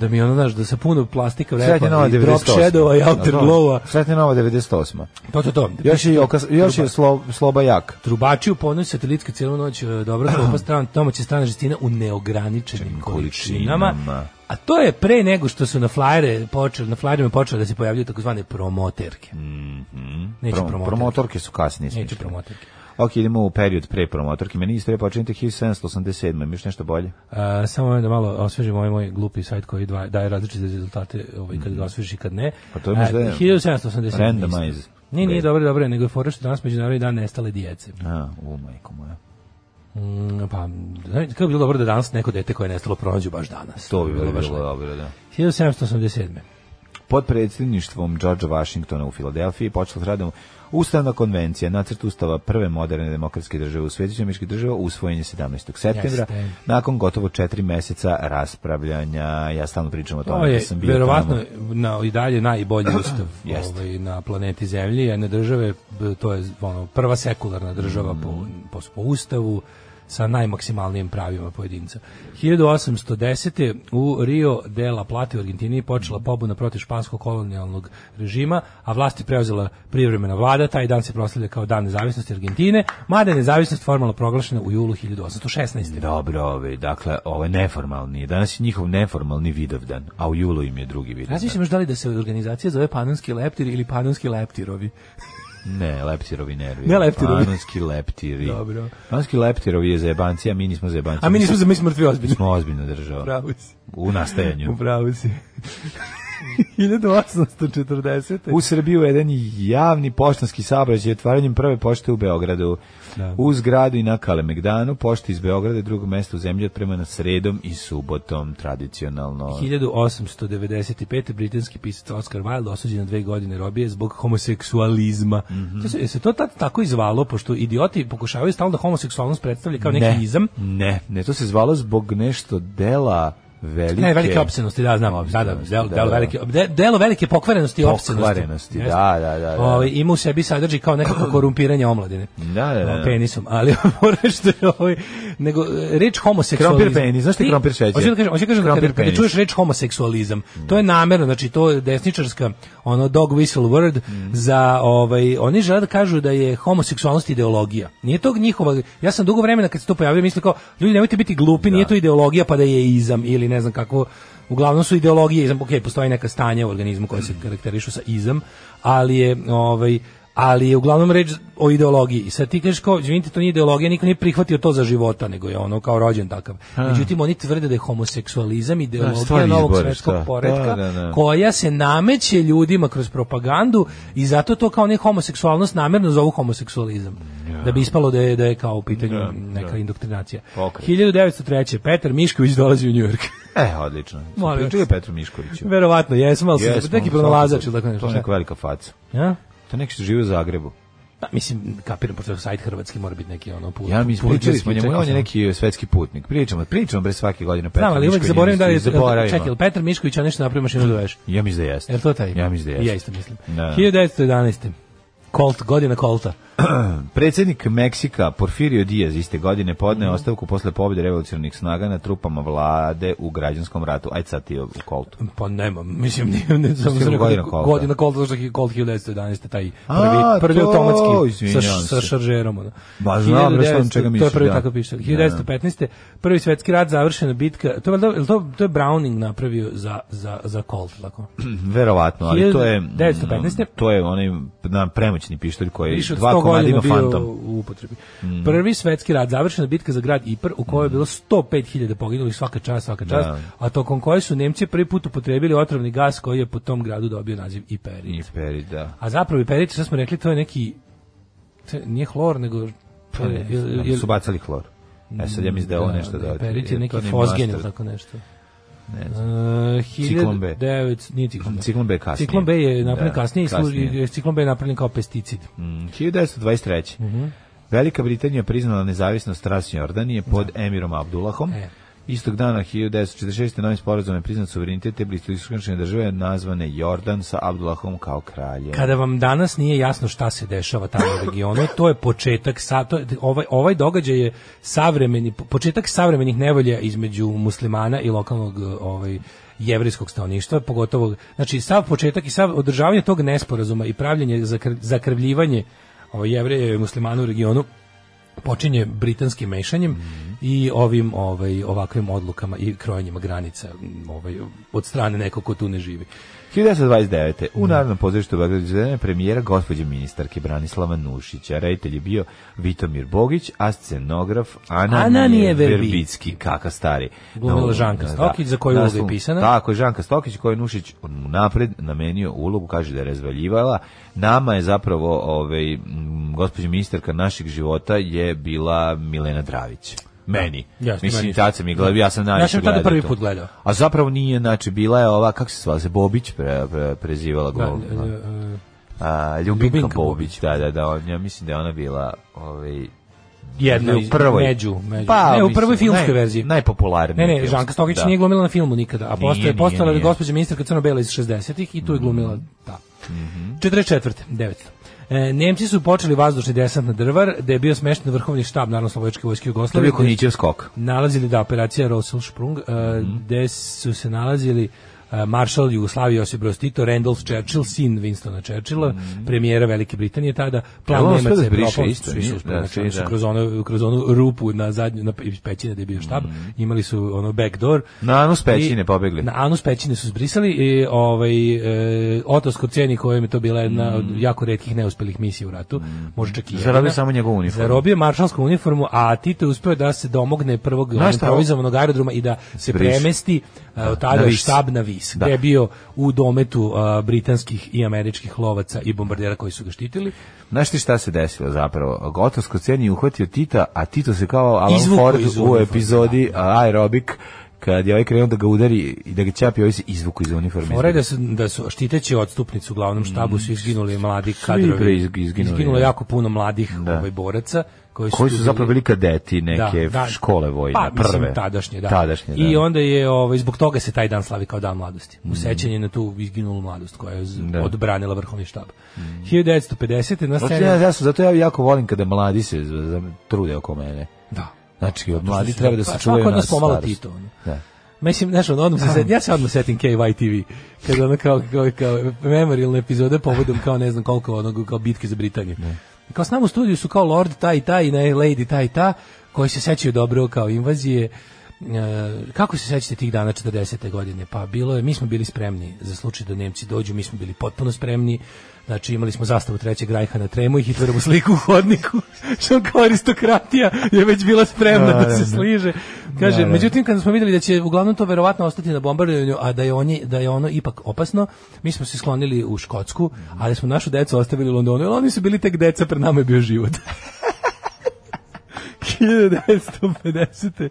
Speaker 6: da mi ono, znaš, da sa puno plastika
Speaker 7: Sretnje
Speaker 6: vrepa
Speaker 7: Mhm. nova
Speaker 6: i drop
Speaker 7: 98.
Speaker 6: shadowa i afterglowa.
Speaker 7: Sretnje nova 98.
Speaker 6: To, to, to.
Speaker 7: Još je, okas- još je slo, sloba jak.
Speaker 6: Trubači u ponoć satelitske cijelu noć, e, dobra klopa strana, domaća strana žestina u neograničenim količinama.
Speaker 7: količinama.
Speaker 6: A to je pre nego što su na flyere počeli, na flyerima počele da se pojavljuju takozvane promoterke.
Speaker 7: Mm,
Speaker 6: Neću
Speaker 7: Prom-
Speaker 6: promoterke.
Speaker 7: promotorke su kasnije.
Speaker 6: Neću
Speaker 7: smišljene.
Speaker 6: promoterke.
Speaker 7: Ok, idemo u period pre promotorke. Meni istorija počinite 1787. Ima još nešto bolje?
Speaker 6: E, samo moram da malo osvežim ovaj moj glupi sajt koji dva- daje različite rezultate ovaj, kad ga osvežiš i kad ne.
Speaker 7: Mhm. Pa to imaš
Speaker 6: E,
Speaker 7: da je
Speaker 6: 1780.
Speaker 7: randomize.
Speaker 6: Nije, nije dobro, dobro, je, nego je fora što je danas međunarodni dan nestale djece.
Speaker 7: A, u majko moja.
Speaker 6: Mm, Pa, znaš, kako bi bilo dobro da danas neko dete koje je nestalo pronađu baš danas.
Speaker 7: To bi bilo,
Speaker 6: baš
Speaker 7: bilo
Speaker 6: lepo.
Speaker 7: dobro, da.
Speaker 6: 1787.
Speaker 7: Pod predsjedništvom Georgea Washingtona u Filadelfiji počela s radom Ustavna konvencija, nacrt ustava prve moderne demokratske države u svetu, američkih država, usvojen je 17. septembra,
Speaker 6: Jeste.
Speaker 7: nakon gotovo četiri meseca raspravljanja. Pa, Ja stalno pričam o tome
Speaker 6: To je
Speaker 7: da sam bio
Speaker 6: verovatno
Speaker 7: tamo.
Speaker 6: na, i dalje najbolji ustav
Speaker 7: Jeste.
Speaker 6: ovaj, na planeti Zemlji, jedne države, b- to je ono, prva sekularna država
Speaker 7: Mm.
Speaker 6: po, po, po ustavu, sa najmaksimalnijim pravima pojedinca. 1810. u Rio de la Plata u Argentini počela pobuna protiv španskog kolonijalnog režima, a vlast je preuzela privremena vlada, taj dan se proslavlja kao dan nezavisnosti Argentine, mada je nezavisnost formalno proglašena u julu 1816.
Speaker 7: Dobro, ovaj, dakle, ovo je neformalni. Danas je njihov neformalni vidovdan, a u julu im je drugi vidovdan.
Speaker 6: Razmišljam još da li da se organizacija zove Panonski leptiri ili Panonski leptirovi.
Speaker 7: Ne, leptirovi nervi.
Speaker 6: Ne leptirovi.
Speaker 7: Panonski leptiri.
Speaker 6: Dobro.
Speaker 7: Panonski leptirovi je zebanci, a mi nismo zebanci.
Speaker 6: A mi nismo za mi smo mrtvi ozbiljno.
Speaker 7: smo ozbiljna država.
Speaker 6: Upravo si.
Speaker 7: U nastajanju.
Speaker 6: Upravo si. 1840.
Speaker 7: U Srbiji uveden je javni poštanski saobraćaj otvaranjem prve pošte u Beogradu.
Speaker 6: Da.
Speaker 7: U zgradu i na Kalemegdanu, pošte iz Beograda i drugog mesta u zemlji otpremana sredom i subotom tradicionalno.
Speaker 6: 1895. britanski pisac Oscar Wilde osuđen na dve godine robije zbog homoseksualizma. Mm
Speaker 7: Mhm.
Speaker 6: -hmm. Je se to tad tako i zvalo, pošto idioti pokušavaju stalno da homoseksualnost predstavlja kao neki izam?
Speaker 7: Ne, ne, to se zvalo zbog nešto dela velike...
Speaker 6: Ne, velike opsenosti, da, znam. Da, da,
Speaker 7: Opsenosti,
Speaker 6: delo,
Speaker 7: da,
Speaker 6: delo,
Speaker 7: da.
Speaker 6: velike, de- delo velike pokvarenosti i opsenosti.
Speaker 7: Pokvarenosti, da,
Speaker 6: Jeste.
Speaker 7: da, da, da.
Speaker 6: Ovaj, ima u sebi sadrži kao nekako korumpiranje omladine.
Speaker 7: Da, da, da.
Speaker 6: Penisom, ali moraš što je ovaj, nego e, reč homoseksualizam.
Speaker 7: Krompir penis, znaš ti krompir šećer?
Speaker 6: Hoću da kažem, hoću da kažem da
Speaker 7: Krompir
Speaker 6: kada, kada
Speaker 7: penis.
Speaker 6: čuješ reč homoseksualizam, to je namerno, znači to je desničarska ono dog whistle word za ovaj oni žele da kažu da je homoseksualnost ideologija. Nije to njihova. Ja sam dugo vremena kad se to pojavio mislio kao ljudi nemojte biti glupi, nije to ideologija pa da je izam ili ne znam kako Uglavnom su ideologije, izam, ok, postoji neka stanja u organizmu koja se karakterišu sa izam, ali je, ovaj, ali je uglavnom reč o ideologiji. I sad ti kažeš kao, izvinite, to nije ideologija, niko nije prihvatio to za života, nego je ono kao rođen takav. Međutim, oni tvrde da je homoseksualizam ideologija
Speaker 7: stvar
Speaker 6: ideologija
Speaker 7: izbora,
Speaker 6: novog
Speaker 7: šta?
Speaker 6: svetskog poretka
Speaker 7: Da, da, da.
Speaker 6: koja se nameće ljudima kroz propagandu i zato to kao ne homoseksualnost namjerno zovu homoseksualizam. Da bi ispalo da je, da je kao u pitanju neka indoktrinacija.
Speaker 7: Pokret.
Speaker 6: 1903. Petar Mišković dolazi u Njujork.
Speaker 7: E, odlično.
Speaker 6: Molim
Speaker 7: Pričali o Petru Miškoviću.
Speaker 6: Verovatno, jesmo, ali yes, neki pronalazač ili tako
Speaker 7: To
Speaker 6: nešto.
Speaker 7: je neka velika faca.
Speaker 6: Ja?
Speaker 7: To je neki što živi u Zagrebu.
Speaker 6: Pa, mislim, kapiram, pošto je sajt hrvatski mora biti neki ono put.
Speaker 7: Ja mi
Speaker 6: put-
Speaker 7: pričali smo njemu,
Speaker 6: čekao
Speaker 7: on je
Speaker 6: sam.
Speaker 7: neki e, svetski putnik. Pričamo, pričamo bre svake godine o Petru
Speaker 6: Znam, ali uvek
Speaker 7: Miškoviću,
Speaker 6: zaboravim da je...
Speaker 7: zaboravimo.
Speaker 6: Čekaj, jel Petar Mišković, ja nešto napravio mašinu da veš.
Speaker 7: Ja mislim da jeste.
Speaker 6: Jel to taj?
Speaker 7: Ja mislim da
Speaker 6: I
Speaker 7: jeste.
Speaker 6: Ja isto mislim.
Speaker 7: Da.
Speaker 6: 1911. Colt, godina Colta.
Speaker 7: Predsjednik Meksika Porfirio Diaz iste godine
Speaker 6: Mhm.
Speaker 7: podneo ostavku posle pobjede revolucionarnih snaga na trupama vlade u građanskom ratu. Aj sad ti u koltu.
Speaker 6: Pa nema, mislim, nije, ne, samo
Speaker 7: Mislim,
Speaker 6: sam rekao
Speaker 7: godina
Speaker 6: da
Speaker 7: Colta.
Speaker 6: godina Colta, zato što je Colt 1911. taj
Speaker 7: A,
Speaker 6: prvi, prvi
Speaker 7: to,
Speaker 6: automatski sa,
Speaker 7: izvinjavam
Speaker 6: š- sa
Speaker 7: se.
Speaker 6: šaržerom. Ono.
Speaker 7: Ba, znam, bre, šta vam
Speaker 6: 1900
Speaker 7: čega
Speaker 6: To
Speaker 7: misliš,
Speaker 6: je prvi
Speaker 7: da.
Speaker 6: tako piše.
Speaker 7: Da.
Speaker 6: 1915. Prvi svetski rat, završena bitka. To je, valjda- jel to, to je Browning napravio za, za, za Colt, tako?
Speaker 7: Verovatno, ali to je... mm,
Speaker 6: 1915.
Speaker 7: To je onaj na, premoćni pištolj koji
Speaker 6: Više od
Speaker 7: dva
Speaker 6: 100
Speaker 7: komada
Speaker 6: godina
Speaker 7: ima
Speaker 6: bio
Speaker 7: fantom. Mhm.
Speaker 6: u upotrebi. Prvi svetski rat, završena bitka za grad Ipr, u kojoj je bilo 105.000 poginulih svaka čast, svaka čast,
Speaker 7: Da.
Speaker 6: a tokom koje su Nemci prvi put upotrebili otrovni gas koji je po tom gradu dobio naziv Iperit.
Speaker 7: I peri, da.
Speaker 6: A zapravo Iperit, što smo rekli, to je neki, to je- nije hlor, nego...
Speaker 7: Pa ne,
Speaker 6: jel-
Speaker 7: znam,
Speaker 6: jel-
Speaker 7: su bacali hlor. E sad ja mislim da je ovo nešto da...
Speaker 6: Iperit
Speaker 7: to
Speaker 6: je neki
Speaker 7: nema
Speaker 6: fosgen ili
Speaker 7: nastavak.
Speaker 6: tako nešto.
Speaker 7: Ne znam.
Speaker 6: Uh,
Speaker 7: Ciklon B.
Speaker 6: 1900 nije ciklon B.
Speaker 7: Ciklon B je kasnije.
Speaker 6: Ciklon B je napravljen
Speaker 7: Da,
Speaker 6: kasnije, i služi-
Speaker 7: kasnije.
Speaker 6: ciklon B je napravljen kao pesticid.
Speaker 7: Mm, 1923.
Speaker 6: Mhm.
Speaker 7: Velika Britanija priznala nezavisnost Transjordanije pod emirom Abdullahom.
Speaker 6: E.
Speaker 7: Istog dana 1946. novim sporazumom je priznat suverenitet te bliskoistočne države nazvane Jordan sa Abdullahom kao kraljem.
Speaker 6: Kada vam danas nije jasno šta se dešava tamo u regionu, to je početak sa to, ovaj ovaj događaj je savremeni početak savremenih nevolja između muslimana i lokalnog ovaj jevrejskog stanovništva, pogotovo znači sav početak i sav održavanje tog nesporazuma i pravljenje zakr- zakrvljivanje ovaj jevreja i muslimana u regionu počinje britanskim mešanjem i ovim ovaj ovakvim odlukama i krojenjima granica m, ovaj od strane nekog ko tu ne živi.
Speaker 7: 1929.
Speaker 6: Mhm.
Speaker 7: U Narodnom pozorištu u Beogradu izvedena je premijera gospođe ministarke Branislava Nušića. Reditelj je bio Vitomir Bogić, a scenograf Ananije
Speaker 6: Ananije Verbicki.
Speaker 7: Verbicki, kaka stari.
Speaker 6: Glumila
Speaker 7: No,
Speaker 6: Žanka
Speaker 7: da,
Speaker 6: Stokić, za koju ulogu je
Speaker 7: naslovnu-
Speaker 6: pisana.
Speaker 7: Tako je, Žanka Stokić, koju je Nušić napred namenio ulogu, kaže da je razvaljivala. Nama je zapravo ovaj, m, gospođa ministarka našeg života je bila Milena Dravić. Meni.
Speaker 6: Jeste,
Speaker 7: Mislim,
Speaker 6: meni.
Speaker 7: tad sam je gledao, ja sam najviše
Speaker 6: Ja sam tada
Speaker 7: gledao
Speaker 6: prvi
Speaker 7: to.
Speaker 6: put gledao.
Speaker 7: A zapravo nije, znači bila je ova kako se zvala, se Bobić pre, pre, prezivala
Speaker 6: Da,
Speaker 7: glumila.
Speaker 6: e, e,
Speaker 7: a, Ljubinka,
Speaker 6: Ljubinka
Speaker 7: Bobić, da, da, da, on- ja mislim da je ona bila ovaj,
Speaker 6: Jedna
Speaker 7: ne, Pa,
Speaker 6: iz- među, među. ne, u
Speaker 7: mislim,
Speaker 6: prvoj filmskoj
Speaker 7: naj-
Speaker 6: verziji.
Speaker 7: Najpopularnija.
Speaker 6: Ne, ne,
Speaker 7: filmska,
Speaker 6: Žanka Stokić nije glumila na filmu nikada, a postoje
Speaker 7: nije,
Speaker 6: je postala je
Speaker 7: nije. Mhm.
Speaker 6: gospođa ministarka Crno-Bela iz 60-ih i tu je glumila ta. 44. 900. E, Nemci su počeli vazdušni desant na Drvar, gde je bio smešten vrhovni štab narodno slobodačke vojske
Speaker 7: To je
Speaker 6: Jugoslavije.
Speaker 7: bio Konjićev skok.
Speaker 6: Nalazili da operacija Roselsprung, e,
Speaker 7: Mhm.
Speaker 6: gde su se nalazili e, maršal Jugoslavije Josip Broz Tito, Randolph Churchill, sin Winstona Churchilla, premijera Velike Britanije tada, plan
Speaker 7: Jel Mhm. on uspeo
Speaker 6: Nemaca
Speaker 7: da
Speaker 6: je
Speaker 7: izbriše
Speaker 6: propao,
Speaker 7: isto,
Speaker 6: svi
Speaker 7: nije?
Speaker 6: su uspeli,
Speaker 7: Da,
Speaker 6: znači,
Speaker 7: svi,
Speaker 6: oni su
Speaker 7: da.
Speaker 6: kroz onu, kroz onu rupu na zadnju, na iz pećine gde je bio štab, imali su ono backdoor.
Speaker 7: Mhm. Na anus pećine pobegli.
Speaker 6: Na anus pećine su zbrisali i ovaj, e, Oto Skorceni kojem je to bila jedna od jako redkih neuspelih misija u ratu, možda čak i jedina.
Speaker 7: Mm. Zarobio samo njegovu uniformu.
Speaker 6: Zarobio maršalsku uniformu, a Tito je uspeo da se domogne prvog
Speaker 7: Znaš šta,
Speaker 6: improvizovanog aerodroma i da se
Speaker 7: Zbriše.
Speaker 6: premesti e, od tada
Speaker 7: na Vis.
Speaker 6: štab na vis,
Speaker 7: Da.
Speaker 6: gde je bio u dometu e, britanskih i američkih lovaca i bombardera koji su ga štitili.
Speaker 7: Znaš ti šta se desilo zapravo? Gotovsko cen je uhvatio Tita, a Tito se kao Alan
Speaker 6: Izvukao
Speaker 7: Ford
Speaker 6: iz
Speaker 7: u
Speaker 6: uniforme,
Speaker 7: epizodi aerobik, kad je ovaj krenuo da ga udari i da ga čapi, ovaj se izvuku iz uniforme.
Speaker 6: Fora je da su, da su štiteći odstupnicu u glavnom štabu su izginuli mladi
Speaker 7: Mm, bre
Speaker 6: kadrovi.
Speaker 7: izg- izginuli,
Speaker 6: Izginulo
Speaker 7: da.
Speaker 6: jako puno mladih
Speaker 7: Da.
Speaker 6: ovaj, boraca koji su,
Speaker 7: Koji su zapravo bili kadeti neke
Speaker 6: Da, da.
Speaker 7: škole vojne,
Speaker 6: pa,
Speaker 7: prve.
Speaker 6: Mislim, tadašnje, da.
Speaker 7: Tadašnje, da.
Speaker 6: I onda je, ovaj, zbog toga se taj dan slavi kao dan mladosti. U sećanje na tu izginulu mladost koja je z- odbranila vrhovni štab.
Speaker 7: Mm.
Speaker 6: 1950. na
Speaker 7: Zato,
Speaker 6: sceni...
Speaker 7: Znači, ja, ja sam- zato ja jako volim kada mladi se z- z- trude oko mene.
Speaker 6: Da.
Speaker 7: Znači, od
Speaker 6: Zato što
Speaker 7: mladi
Speaker 6: su-
Speaker 7: treba da se
Speaker 6: pa,
Speaker 7: čuvaju
Speaker 6: svako od
Speaker 7: na
Speaker 6: nas pomalo
Speaker 7: starost.
Speaker 6: Tito, ono.
Speaker 7: Da.
Speaker 6: Mislim, znaš, ono, odmah se setim, ja se odmah setim KYTV, kada ono kao, kao, kao memorialne epizode povodom kao ne znam koliko onog, kao bitke za Britaniju. I Kao s nama u studiju su kao Lord taj i taj i ne, Lady taj i ta, koji se sećaju dobro kao invazije. E, kako se sećate tih dana 40. godine? Pa bilo je, mi smo bili spremni za slučaj da Nemci dođu, mi smo bili potpuno spremni. Znači imali smo zastavu trećeg rajha na tremu i Hitlerovu sliku u hodniku. Što kao aristokratija je već bila spremna da se sliže. Kaže, međutim kada smo videli da će uglavnom to verovatno ostati na bombardiranju, a da je oni da je ono ipak opasno, mi smo se sklonili u Škotsku, ali smo našu decu ostavili u Londonu, jer oni su bili tek deca, pred nama je bio život. 1950.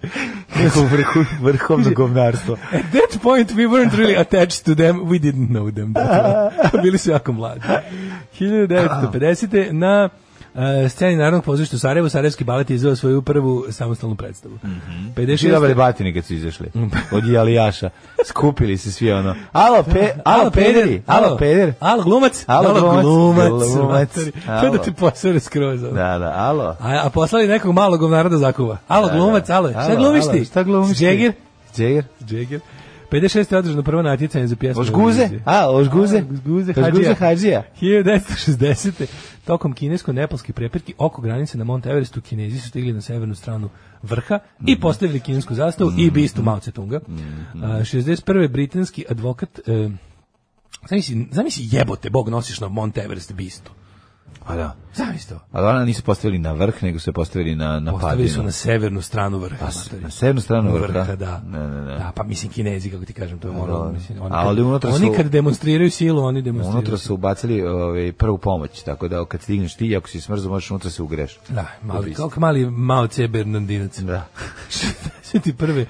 Speaker 7: Kako vrhu, vrhovno govnarstvo. Znači,
Speaker 6: At that point we weren't really attached to them, we didn't know them. Dakle, bili su jako mladi. 1950. na uh, sceni Narodnog pozorišta u Sarajevu, Sarajevski balet je izveo svoju prvu samostalnu predstavu. Mm
Speaker 7: Svi dobili batine kad su izašli. Od Jalijaša. Skupili se svi ono. Alo, pe, alo, pederi, alo, peder.
Speaker 6: Alo, glumac.
Speaker 7: Alo, glumac,
Speaker 6: glumac.
Speaker 7: glumac,
Speaker 6: matori.
Speaker 7: alo.
Speaker 6: To da ti posere skroz. ono.
Speaker 7: Da, da, alo.
Speaker 6: A, a poslali nekog malog govnara da zakuva. Alo, glumac, alo, šta glumiš ti?
Speaker 7: alo, Šta glumiš ti?
Speaker 6: Jagger?
Speaker 7: Jagger?
Speaker 6: Jagger. 56. je održano prvo natjecanje za pjesmu.
Speaker 7: Ožguze?
Speaker 6: Eurovizije.
Speaker 7: A, ožguze?
Speaker 6: Ožguze
Speaker 7: Ožguze
Speaker 6: Hadžija.
Speaker 7: Hadžija.
Speaker 6: 1960. Tokom kinesko-nepalske prepirke oko granice na Mount Everestu Kinezi su stigli na severnu stranu vrha
Speaker 7: Mhm.
Speaker 6: i postavili kinesku zastavu i bistu Mao Tse-tunga. A, 61. britanski advokat e, Zamisli, zamisli jebote, Bog nosiš na Mount Everest bistu. Pa
Speaker 7: A da.
Speaker 6: Zamisli to.
Speaker 7: Ali ona nisu postavili na vrh, nego su je postavili na, na
Speaker 6: Postavili su
Speaker 7: padinu.
Speaker 6: na severnu stranu vrha.
Speaker 7: Pa,
Speaker 6: matori.
Speaker 7: na severnu stranu vrha.
Speaker 6: da.
Speaker 7: Ne, ne, ne.
Speaker 6: Da, pa mislim kinezi, kako ti kažem, to je
Speaker 7: da.
Speaker 6: moralno. Mislim, oni,
Speaker 7: A,
Speaker 6: kad,
Speaker 7: ali unutra
Speaker 6: oni
Speaker 7: su-
Speaker 6: kad demonstriraju silu, oni demonstriraju.
Speaker 7: Unutra su ubacili ovaj, prvu pomoć, tako da kad stigneš ti, ako si smrzao, možeš unutra se ugreš.
Speaker 6: Da, mali,
Speaker 7: Lobist.
Speaker 6: kako mali Mao C. Bernardinac.
Speaker 7: Da.
Speaker 6: 61.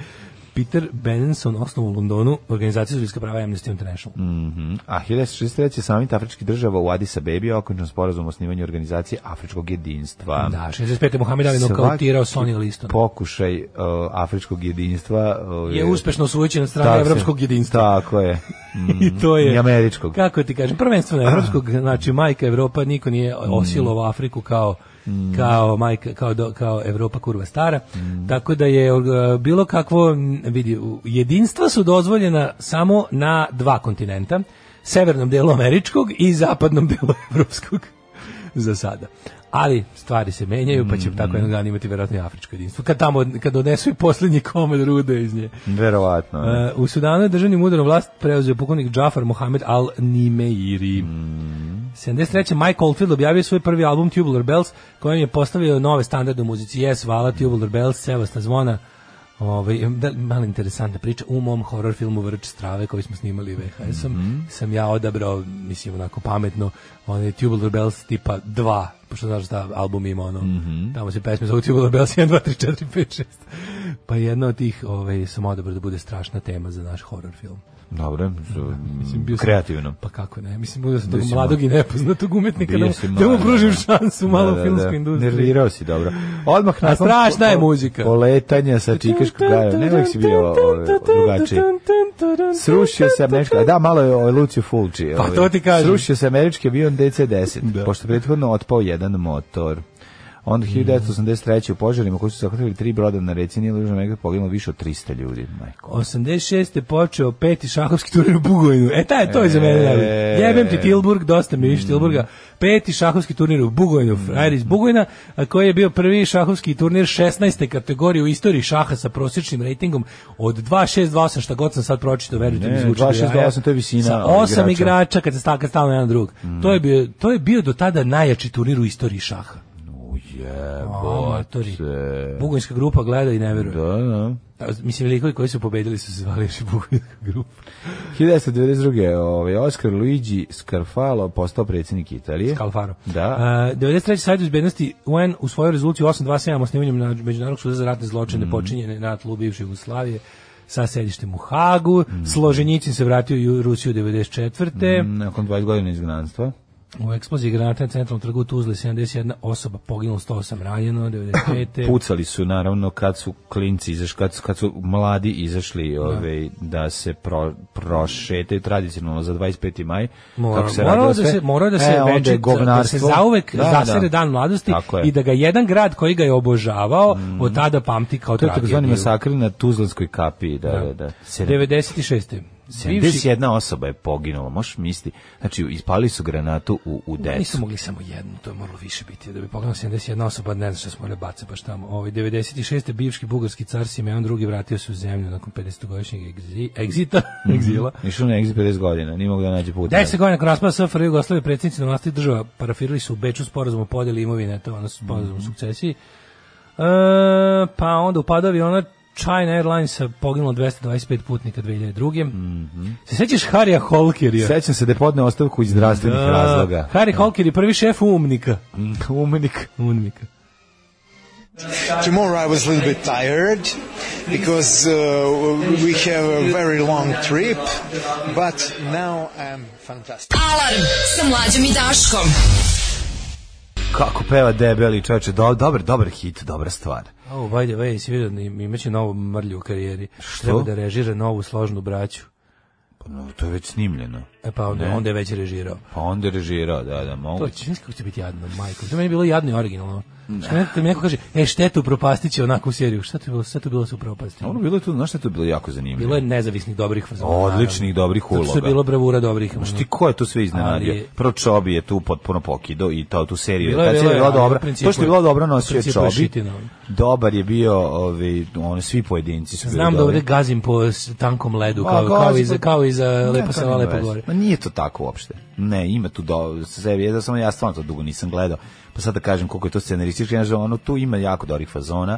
Speaker 6: Peter Benenson osnovu u Londonu organizaciju za ljudska prava Amnesty International.
Speaker 7: Mm. A 1963. samit afričkih država u Addis Abebi je okončan sporazum o osnivanju organizacije afričkog jedinstva.
Speaker 6: Da, 65. Mohamed Ali nokautirao Sonny Liston.
Speaker 7: Pokušaj uh, afričkog jedinstva uh,
Speaker 6: Je uspešno osvojići na stranu
Speaker 7: tako se-
Speaker 6: evropskog jedinstva.
Speaker 7: Tako je. Mm,
Speaker 6: I to je
Speaker 7: I američkog.
Speaker 6: Kako ti kažem, prvenstveno evropskog, znači majka Evropa, niko nije osilovao Afriku kao kao majka kao do- kao Evropa kurva stara. Tako da je e, bilo kakvo m, vidi u- jedinstva su dozvoljena samo na dva kontinenta, severnom delu američkog i zapadnom delu evropskog za sada. Ali stvari se menjaju, pa će tako jednog dana imati verovatno i afričko jedinstvo. Kad tamo kad donesu i poslednji komad rude iz nje.
Speaker 7: Verovatno. ne.
Speaker 6: E, u Sudanu je državnim udarom vlast preuzeo pukovnik Džafar Mohamed Al-Nimeiri. 73. Mike Oldfield objavio svoj prvi album Tubular Bells, kojim je postavio nove standarde u muzici. Yes, Vala, Tubular Bells, Sevasta zvona. Ovaj, da, malo interesantna priča. U mom horror filmu Vrč strave koji smo snimali VHS-om sam ja odabrao, mislim onako pametno, onaj Tubular Bells tipa 2, pošto znaš da album ima ono, tamo se pesme zove Tubular Bells 1, 2, 3, 4, 5, 6. Pa jedna od tih, ovaj, sam odabrao da bude strašna tema za naš horror film.
Speaker 7: Dobro, s-
Speaker 6: Mislim, bio sam-
Speaker 7: kreativno.
Speaker 6: Pa kako ne, mislim, uzeo sam
Speaker 7: Bio
Speaker 6: tog
Speaker 7: si
Speaker 6: mladog i nepoznatog umetnika
Speaker 7: Bio
Speaker 6: da,
Speaker 7: si
Speaker 6: mu- da mu
Speaker 7: mlad,
Speaker 6: pružim
Speaker 7: da.
Speaker 6: šansu malo u filmskoj industriji.
Speaker 7: Nervirao si, dobro. Odmah
Speaker 6: A
Speaker 7: nakon
Speaker 6: strašna je
Speaker 7: po- po-
Speaker 6: muzika.
Speaker 7: Poletanja sa Čikaškog gaja. Ne, uvijek si bio ovaj, drugačiji. Srušio se američki, a da, malo je ovaj Lucio Fulci.
Speaker 6: Pa
Speaker 7: ovaj.
Speaker 6: to ti kažem.
Speaker 7: Srušio se američki avion DC-10, pošto je prethodno otpao jedan motor.
Speaker 6: Mhm.
Speaker 7: Onda 1983. u požarima koji su zahvatili tri broda na reci Nilu Južna Amerika poginulo više od 300 ljudi. Majko.
Speaker 6: 86. je počeo peti šahovski turnir u Bugojnu. E, taj, to je za mene. najbolje.
Speaker 7: E.
Speaker 6: Jebem ti Tilburg, dosta mi je više Tilburga. Peti šahovski turnir u Bugojnu,
Speaker 7: Mm.
Speaker 6: frajer iz Bugojna, a koji je bio prvi šahovski turnir 16. kategorije u istoriji šaha sa prosječnim rejtingom od 2.628, šta god sam sad pročitao, verujte mi
Speaker 7: Ne,
Speaker 6: zvuči. do
Speaker 7: 2.628
Speaker 6: jaja.
Speaker 7: to je visina
Speaker 6: Sa
Speaker 7: ovih
Speaker 6: 8
Speaker 7: igrača. Mm.
Speaker 6: igrača kad se sta- kad stalno jedan drug. To, je bio, to je bio do tada najjači turnir u istoriji šaha. Amatori. Bugojnska grupa gleda i ne veruje.
Speaker 7: Da, E. da.
Speaker 6: A, Mislim, velikovi koji su pobedili su se zvali još i Bugojnska grupa.
Speaker 7: 1992. Ovaj, Oscar Luigi Scarfalo postao predsjednik Italije.
Speaker 6: Kalfaro.
Speaker 7: Da.
Speaker 6: Uh, 93. sajt bezbednosti UN u svojoj rezoluciji 827 o snimanju na- Međunarodnog suda za ratne
Speaker 7: Mm.
Speaker 6: zločine počinjene na tlu bivše Jugoslavije sa sedištem u Hagu.
Speaker 7: Mm.
Speaker 6: Složenjicin se vratio u Rusiju 94.
Speaker 7: Nakon 20 godina izgnanstva.
Speaker 6: U eksploziji granata na centralnom trgu Tuzle 71 osoba poginula, 108 ranjeno, 95.
Speaker 7: Pucali su naravno kad su klinci izašli, kad su, kad su mladi izašli ovaj, da se pro, prošetaju tradicionalno za 25. maj.
Speaker 6: Mora-
Speaker 7: kako
Speaker 6: moralo
Speaker 7: radilo
Speaker 6: da
Speaker 7: sve.
Speaker 6: se morao da se
Speaker 7: E, onda je
Speaker 6: veče- da se
Speaker 7: govnarstvo.
Speaker 6: zauvek
Speaker 7: Da,
Speaker 6: zasere
Speaker 7: da.
Speaker 6: dan mladosti
Speaker 7: Tako je. Mm.
Speaker 6: i da ga jedan grad koji ga je obožavao od tada pamti kao
Speaker 7: To je takozvani
Speaker 6: tragediju.
Speaker 7: masakri na Tuzlanskoj kapiji. Da, da, da.
Speaker 6: 96. Bivši
Speaker 7: 71 osoba je poginula, možeš misliti. Znači, ispali su granatu u, u decu.
Speaker 6: Nisu mogli samo jednu, to je moralo više biti. Da bi pogledao 71 osoba, ne znam što smo morali baca baš tamo. Ovaj, 96. bivški bugarski car Simeon II. vratio se u zemlju nakon 50-godišnjeg egzi, egzita,
Speaker 7: Mhm.
Speaker 6: egzila.
Speaker 7: Išao na exit 50 godina, nije mogu da nađe put.
Speaker 6: 10 godina nakon raspada SFRJ Jugoslavije predsjednici na vlasti država parafirali su u Beču sporazum o podjeli imovine, to je ono sporazum o
Speaker 7: Mhm.
Speaker 6: sukcesiji. E, pa onda upada aviona China Airlines poginulo 225 putnika 2002. Se sećaš Harija Holkerija?
Speaker 7: Mhm.
Speaker 6: E,
Speaker 7: Sećam se da je podneo ostavku iz zdravstvenih razloga. Mhm.
Speaker 6: Harry Holker je prvi šef umnika.
Speaker 7: Umenik.
Speaker 6: Umnika.
Speaker 8: Tomorrow I was a little bit tired because uh, we have a very long trip, but now I'm fantastic.
Speaker 5: Alarm sa mlađom i Daškom.
Speaker 7: Kako peva debeli čoveče, do, dobar, dobar hit, dobra stvar.
Speaker 6: Oh, by the way, si vidio da im- imaće novu mrlju u karijeri.
Speaker 7: Što?
Speaker 6: Treba da režira novu složnu braću.
Speaker 7: Pa, no, to je već snimljeno.
Speaker 6: E pa onda, onda je već režirao.
Speaker 7: Pa onda je režirao, da, da,
Speaker 6: To
Speaker 7: mogu.
Speaker 6: je znaš kako će biti jadno, majko. To meni je bilo jadno i originalno. Što meni- kad mi neko kaže, e, štetu propastit će onako u seriju. Šta to je bilo? Šta to je bilo da se upropasti?
Speaker 7: Ono bilo je tu, znaš šta je to bilo jako zanimljivo?
Speaker 6: Bilo je nezavisnih dobrih fazona.
Speaker 7: Odličnih, dobrih
Speaker 6: naravno. Zato što je
Speaker 7: uloga.
Speaker 6: bilo bravura dobrih. ono.
Speaker 7: Znaš ti ko je tu sve iznenadio?
Speaker 6: Ali je-
Speaker 7: Prvo Čobi je tu potpuno pokido i to tu seriju.
Speaker 6: Bilo je,
Speaker 7: Ta
Speaker 6: bilo
Speaker 7: serija
Speaker 6: je,
Speaker 7: bila
Speaker 6: ali u
Speaker 7: dobra.
Speaker 6: principu
Speaker 7: To što je
Speaker 6: je-
Speaker 7: bilo
Speaker 6: u
Speaker 7: dobro nosio je
Speaker 6: principu je
Speaker 7: Čobi.
Speaker 6: šitina, ono.
Speaker 7: Dobar je bio, ovaj, ono, svi pojedinci su bili
Speaker 6: Znam da
Speaker 7: dobri.
Speaker 6: ovde gazim po s- tankom ledu,
Speaker 7: Pa,
Speaker 6: kao, kao,
Speaker 7: gazi
Speaker 6: i za,
Speaker 7: po-
Speaker 6: kao i za
Speaker 7: Ne,
Speaker 6: lepo
Speaker 7: to
Speaker 6: se
Speaker 7: nema
Speaker 6: lepo
Speaker 7: veze.
Speaker 6: gore.
Speaker 7: Ma nije to tako uopšte. Ne, ima tu do serije, da samo ja stvarno to dugo nisam gledao. Pa sad da kažem koliko je to scenaristički, znaš, ono tu ima jako dobrih fazona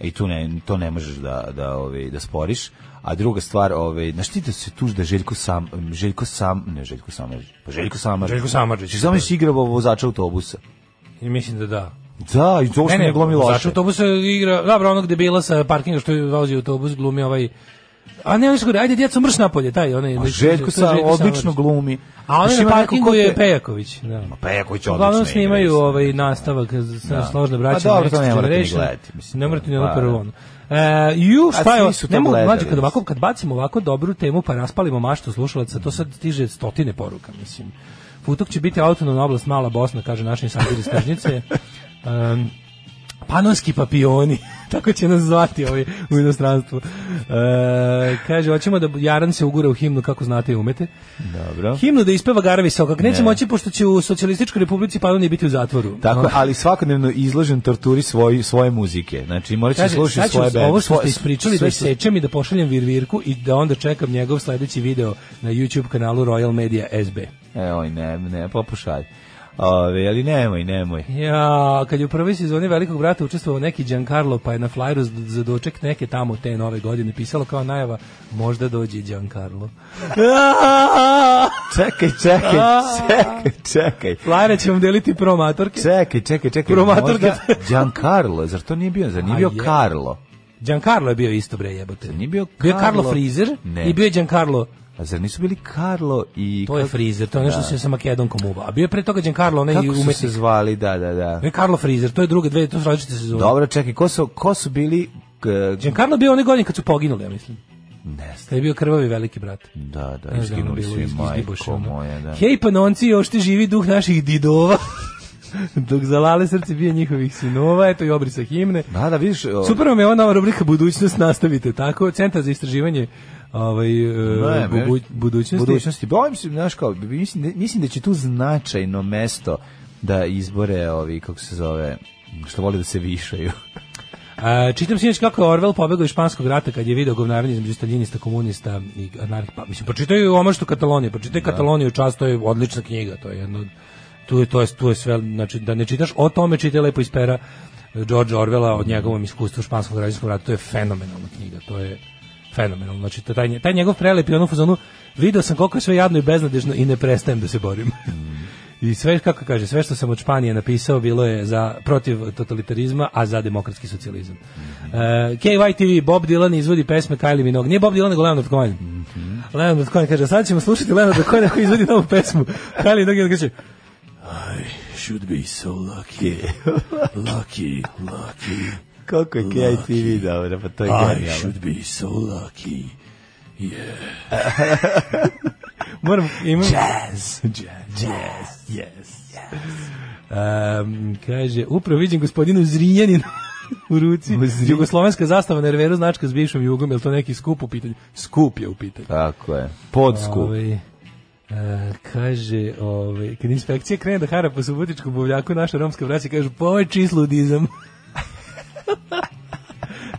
Speaker 7: i tu ne, to ne možeš da da ovaj da sporiš. A druga stvar, ovaj, znaš ti da se tuži da Željko sam Željko sam, ne Željko Samarđić, pa Željko Samarđić.
Speaker 6: Željko Samarđić.
Speaker 7: Samo je igrao vozača autobusa.
Speaker 6: I mislim da da.
Speaker 7: Da, i to uopšte ne glumi
Speaker 6: Zašto
Speaker 7: loše.
Speaker 6: autobus igra, dobro, ono onog debila sa parkinga što je vozi autobus, glumi ovaj A ne, oni su govorili, ajde, djeco, mrš napolje, taj, onaj...
Speaker 7: A Pa Željko
Speaker 6: to je
Speaker 7: sa odlično
Speaker 6: Samarđić.
Speaker 7: glumi.
Speaker 6: A
Speaker 7: Znaš,
Speaker 6: onaj na
Speaker 7: ima neko
Speaker 6: parkingu
Speaker 7: ko te-
Speaker 6: je Pejaković, da.
Speaker 7: Pa ja koji će odlično.
Speaker 6: Uglavnom
Speaker 7: igra,
Speaker 6: snimaju
Speaker 7: mislim.
Speaker 6: ovaj nastavak
Speaker 7: Da.
Speaker 6: da. složne braće.
Speaker 7: Pa dobro, to ne
Speaker 6: Next
Speaker 7: morate ni
Speaker 6: Generation.
Speaker 7: gledati, mislim.
Speaker 6: ne morate ni
Speaker 7: Pa,
Speaker 6: ono prvo
Speaker 7: da.
Speaker 6: ono. E, ju,
Speaker 7: A
Speaker 6: šta je,
Speaker 7: svi
Speaker 6: ovo?
Speaker 7: su to
Speaker 6: ne mogu,
Speaker 7: gledali,
Speaker 6: mlađe, kad,
Speaker 7: mislim.
Speaker 6: ovako, kad bacimo ovako dobru temu pa raspalimo maštu slušalaca, to sad stiže stotine poruka, mislim. Futok će biti autonomna oblast Mala Bosna, kaže naši sandir iz Tržnice. Um, Panonski papioni, tako će nas zvati ovi u inostranstvu. E, kaže, hoćemo da Jaran se ugura u himnu kako znate i umete.
Speaker 7: Dobro.
Speaker 6: Himnu da ispeva Gara Visokak. Neće moći pošto će u Socijalističkoj republici Panonije biti u zatvoru. Ono,
Speaker 7: Tako,
Speaker 6: No.
Speaker 7: je, ali svakodnevno izložen torturi svoj, svoje muzike. Znači, morat će
Speaker 6: Kaže,
Speaker 7: slušati
Speaker 6: sad ću
Speaker 7: svoje bende.
Speaker 6: ovo što
Speaker 7: svoje-
Speaker 6: ste ispričali
Speaker 7: sve
Speaker 6: da
Speaker 7: što-
Speaker 6: sečem i da pošaljem virvirku i da onda čekam njegov sledeći video na YouTube kanalu Royal Media SB.
Speaker 7: E, oj, ne, ne, popušaj. Ove, ali nemoj, nemoj.
Speaker 6: Ja, kad je u prvoj sezoni Velikog brata učestvovao neki Giancarlo, pa je na flyeru z- za doček neke tamo te nove godine pisalo kao najava, možda dođe i Giancarlo.
Speaker 7: Čekaj, čekaj, čekaj, čekaj.
Speaker 6: Flyere ćemo deliti promatorke.
Speaker 7: Čekaj, čekaj, čekaj.
Speaker 6: Promatorka.
Speaker 7: Možda Giancarlo, zar to nije bio, zar nije
Speaker 6: A
Speaker 7: bio
Speaker 6: je.
Speaker 7: Carlo?
Speaker 6: Giancarlo je bio isto bre jebote.
Speaker 7: Nije bio
Speaker 6: Bio je Carlo
Speaker 7: Carlo-
Speaker 6: Frizer
Speaker 7: Ne.
Speaker 6: i bio je Giancarlo
Speaker 7: A zar nisu bili Karlo i...
Speaker 6: To je
Speaker 7: kako-
Speaker 6: Frizer, to je nešto
Speaker 7: Da.
Speaker 6: što se sa Makedonkom uba. A bio je pre toga Giancarlo, onaj
Speaker 7: Kako su
Speaker 6: umetnik.
Speaker 7: se zvali, da, da, da.
Speaker 6: Bio je Carlo Frizer, to je druge dve, to su različite sezone.
Speaker 7: Dobro, čekaj, ko su, ko su bili... k-
Speaker 6: Giancarlo je bio one godine kad su poginuli, ja mislim.
Speaker 7: Ne znam.
Speaker 6: Da je bio krvavi veliki brat.
Speaker 7: Da, da,
Speaker 6: Ne znam, ono
Speaker 7: izginuli
Speaker 6: bilo
Speaker 7: su i
Speaker 6: iz- izgiboše,
Speaker 7: majko
Speaker 6: ono.
Speaker 7: moja, da.
Speaker 6: Hej panonci, još ti živi duh naših didova. Dok zalale srce bije njihovih sinova, eto i obrisa himne.
Speaker 7: Da, da, vidiš... o-
Speaker 6: Super vam je ona rubrika budućnost, nastavite tako. Centar za istraživanje ovaj, e,
Speaker 7: Ne,
Speaker 6: bubu-
Speaker 7: baš-
Speaker 6: budućnosti.
Speaker 7: Budućnosti. Bojim se, znaš kao, mislim, da- mislim da će tu značajno mesto da izbore ovi, kako se zove, što vole da se višaju.
Speaker 6: A, čitam sinoć kako je Orwell pobegao iz španskog rata kad je video govnaranje između staljinista, komunista i anarhista. Pa, mislim, pročitaju o maštu Katalonije, pročitaj Kataloniju čast, to je odlična knjiga, to je jedno, od- tu je, to je, tu je sve, znači, da ne čitaš o tome, čitaj lepo iz pera eh, George Orwella o njegovom iskustvu u španskom građanskom ratu, to je fenomenalna knjiga, to je fenomenalno, znači, to, taj, nje- taj njegov prelep i ono u fazonu, video sam koliko je sve jadno i beznadežno i ne prestajem da se borim. I sve kako kaže, sve što sam od Španije napisao bilo je za protiv totalitarizma, a za demokratski socijalizam. Mm KYTV Bob Dylan izvodi pesme Kylie Minogue. Nije Bob Dylan, nego Leonard Cohen. Mhm. Leonard Cohen kaže, sad ćemo slušati Leonard Cohen koji izvodi novu pesmu. Kylie Minogue i on kaže, I should be so lucky. Lucky, lucky.
Speaker 7: Kako je KITV, dobro, pa to je
Speaker 6: I
Speaker 7: genijalno.
Speaker 6: should be so lucky. Yeah. Moram, imam... Jazz. Jazz. Jazz. Yes. Um, kaže, upravo vidim gospodinu Zrinjaninu u ruci. Jugoslovenska zastava na reveru značka s bivšom jugom, je li to neki skup u pitanju? Skup je u pitanju.
Speaker 7: Tako je. Podsku.
Speaker 6: Ovaj, e, kaže, ovaj, kad inspekcija krene da hara po subotičkom buvljaku, naša romska braća kažu, pa ovo je čist ludizam.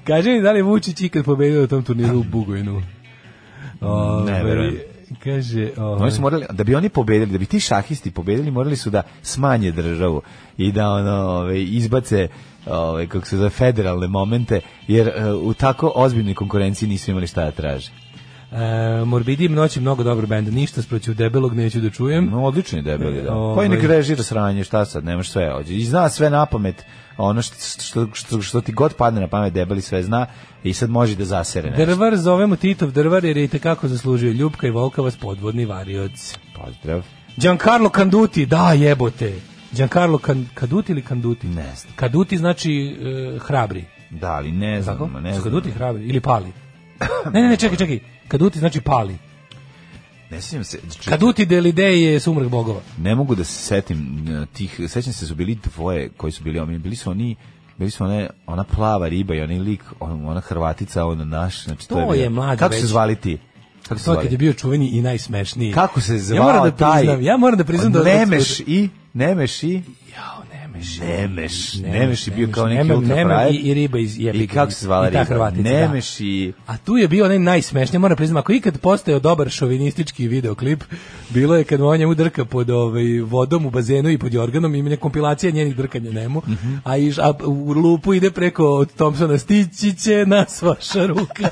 Speaker 6: kaže mi da li je Vučić ikad pobedio u tom turniru u Bugojnu? Ovaj,
Speaker 7: verujem.
Speaker 6: Kaže, ovaj,
Speaker 7: Oni su morali, da bi oni pobedili, da bi ti šahisti pobedili, morali su da smanje državu i da ono, ove, izbace ove, kako se zove, federalne momente, jer e, u tako ozbiljnoj konkurenciji nisu imali šta da traže.
Speaker 6: e, Morbidi noći mnogo dobro benda, ništa sproću debelog neću da čujem.
Speaker 7: No, odlični debeli, da.
Speaker 6: Ovaj.
Speaker 7: Pa i nek režira sranje, šta sad, nemaš sve ođe. I zna sve na pamet, ono što, što, što, što ti god padne na pamet, debeli sve zna i sad može da zasere nešto.
Speaker 6: Drvar zovemo Titov drvar jer je i tekako zaslužio Ljubka i Volkavac podvodni varioc.
Speaker 7: Pozdrav.
Speaker 6: Giancarlo Canduti, da jebote. Giancarlo Can, Caduti ili Canduti?
Speaker 7: Ne znam.
Speaker 6: Caduti znači e, hrabri.
Speaker 7: Da, ali ne znam,
Speaker 6: Tako?
Speaker 7: ne
Speaker 6: Su
Speaker 7: znam.
Speaker 6: Caduti hrabri ili pali? Ne, ne, ne, čekaj, čekaj. Caduti znači pali.
Speaker 7: Ne sjećam se. če-
Speaker 6: Caduti del idee je sumrak bogova.
Speaker 7: Ne mogu da se setim e, tih, sećam se su bili dvoje koji su bili omiljeni, bili su oni bili su one, ona plava riba i onaj lik, on- ona Hrvatica, on naš, znači to,
Speaker 6: To
Speaker 7: bio-
Speaker 6: je mlađe
Speaker 7: Kako
Speaker 6: već.
Speaker 7: se zvali ti? Kako se
Speaker 6: To kad je
Speaker 7: zvali?
Speaker 6: bio čuveni i najsmešniji.
Speaker 7: Kako se zvao
Speaker 6: ja moram da
Speaker 7: taj? Pa
Speaker 6: priznam, Ja moram da priznam da...
Speaker 7: Nemeš i Nemeš i
Speaker 6: Jao, nemeš.
Speaker 7: Nemeš,
Speaker 6: Nemeš,
Speaker 7: Nemeš je bio
Speaker 6: Nemeš,
Speaker 7: kao neki
Speaker 6: Nemem,
Speaker 7: ultra
Speaker 6: Nemem
Speaker 7: frajer.
Speaker 6: i- i riba iz jebiga,
Speaker 7: I kako se zvala
Speaker 6: i ta
Speaker 7: riba?
Speaker 6: Hrvatica, da.
Speaker 7: Nemeš i...
Speaker 6: A tu je bio onaj najsmešniji, moram priznam, ako je ikad postao dobar šovinistički videoklip, bilo je kad on njemu drka pod ovaj, vodom u bazenu i pod jorganom, ima neka kompilacija njenih drkanja njemu,
Speaker 7: Mhm.
Speaker 6: a, iš, a u lupu ide preko od Thompsona, stići će nas vaša ruka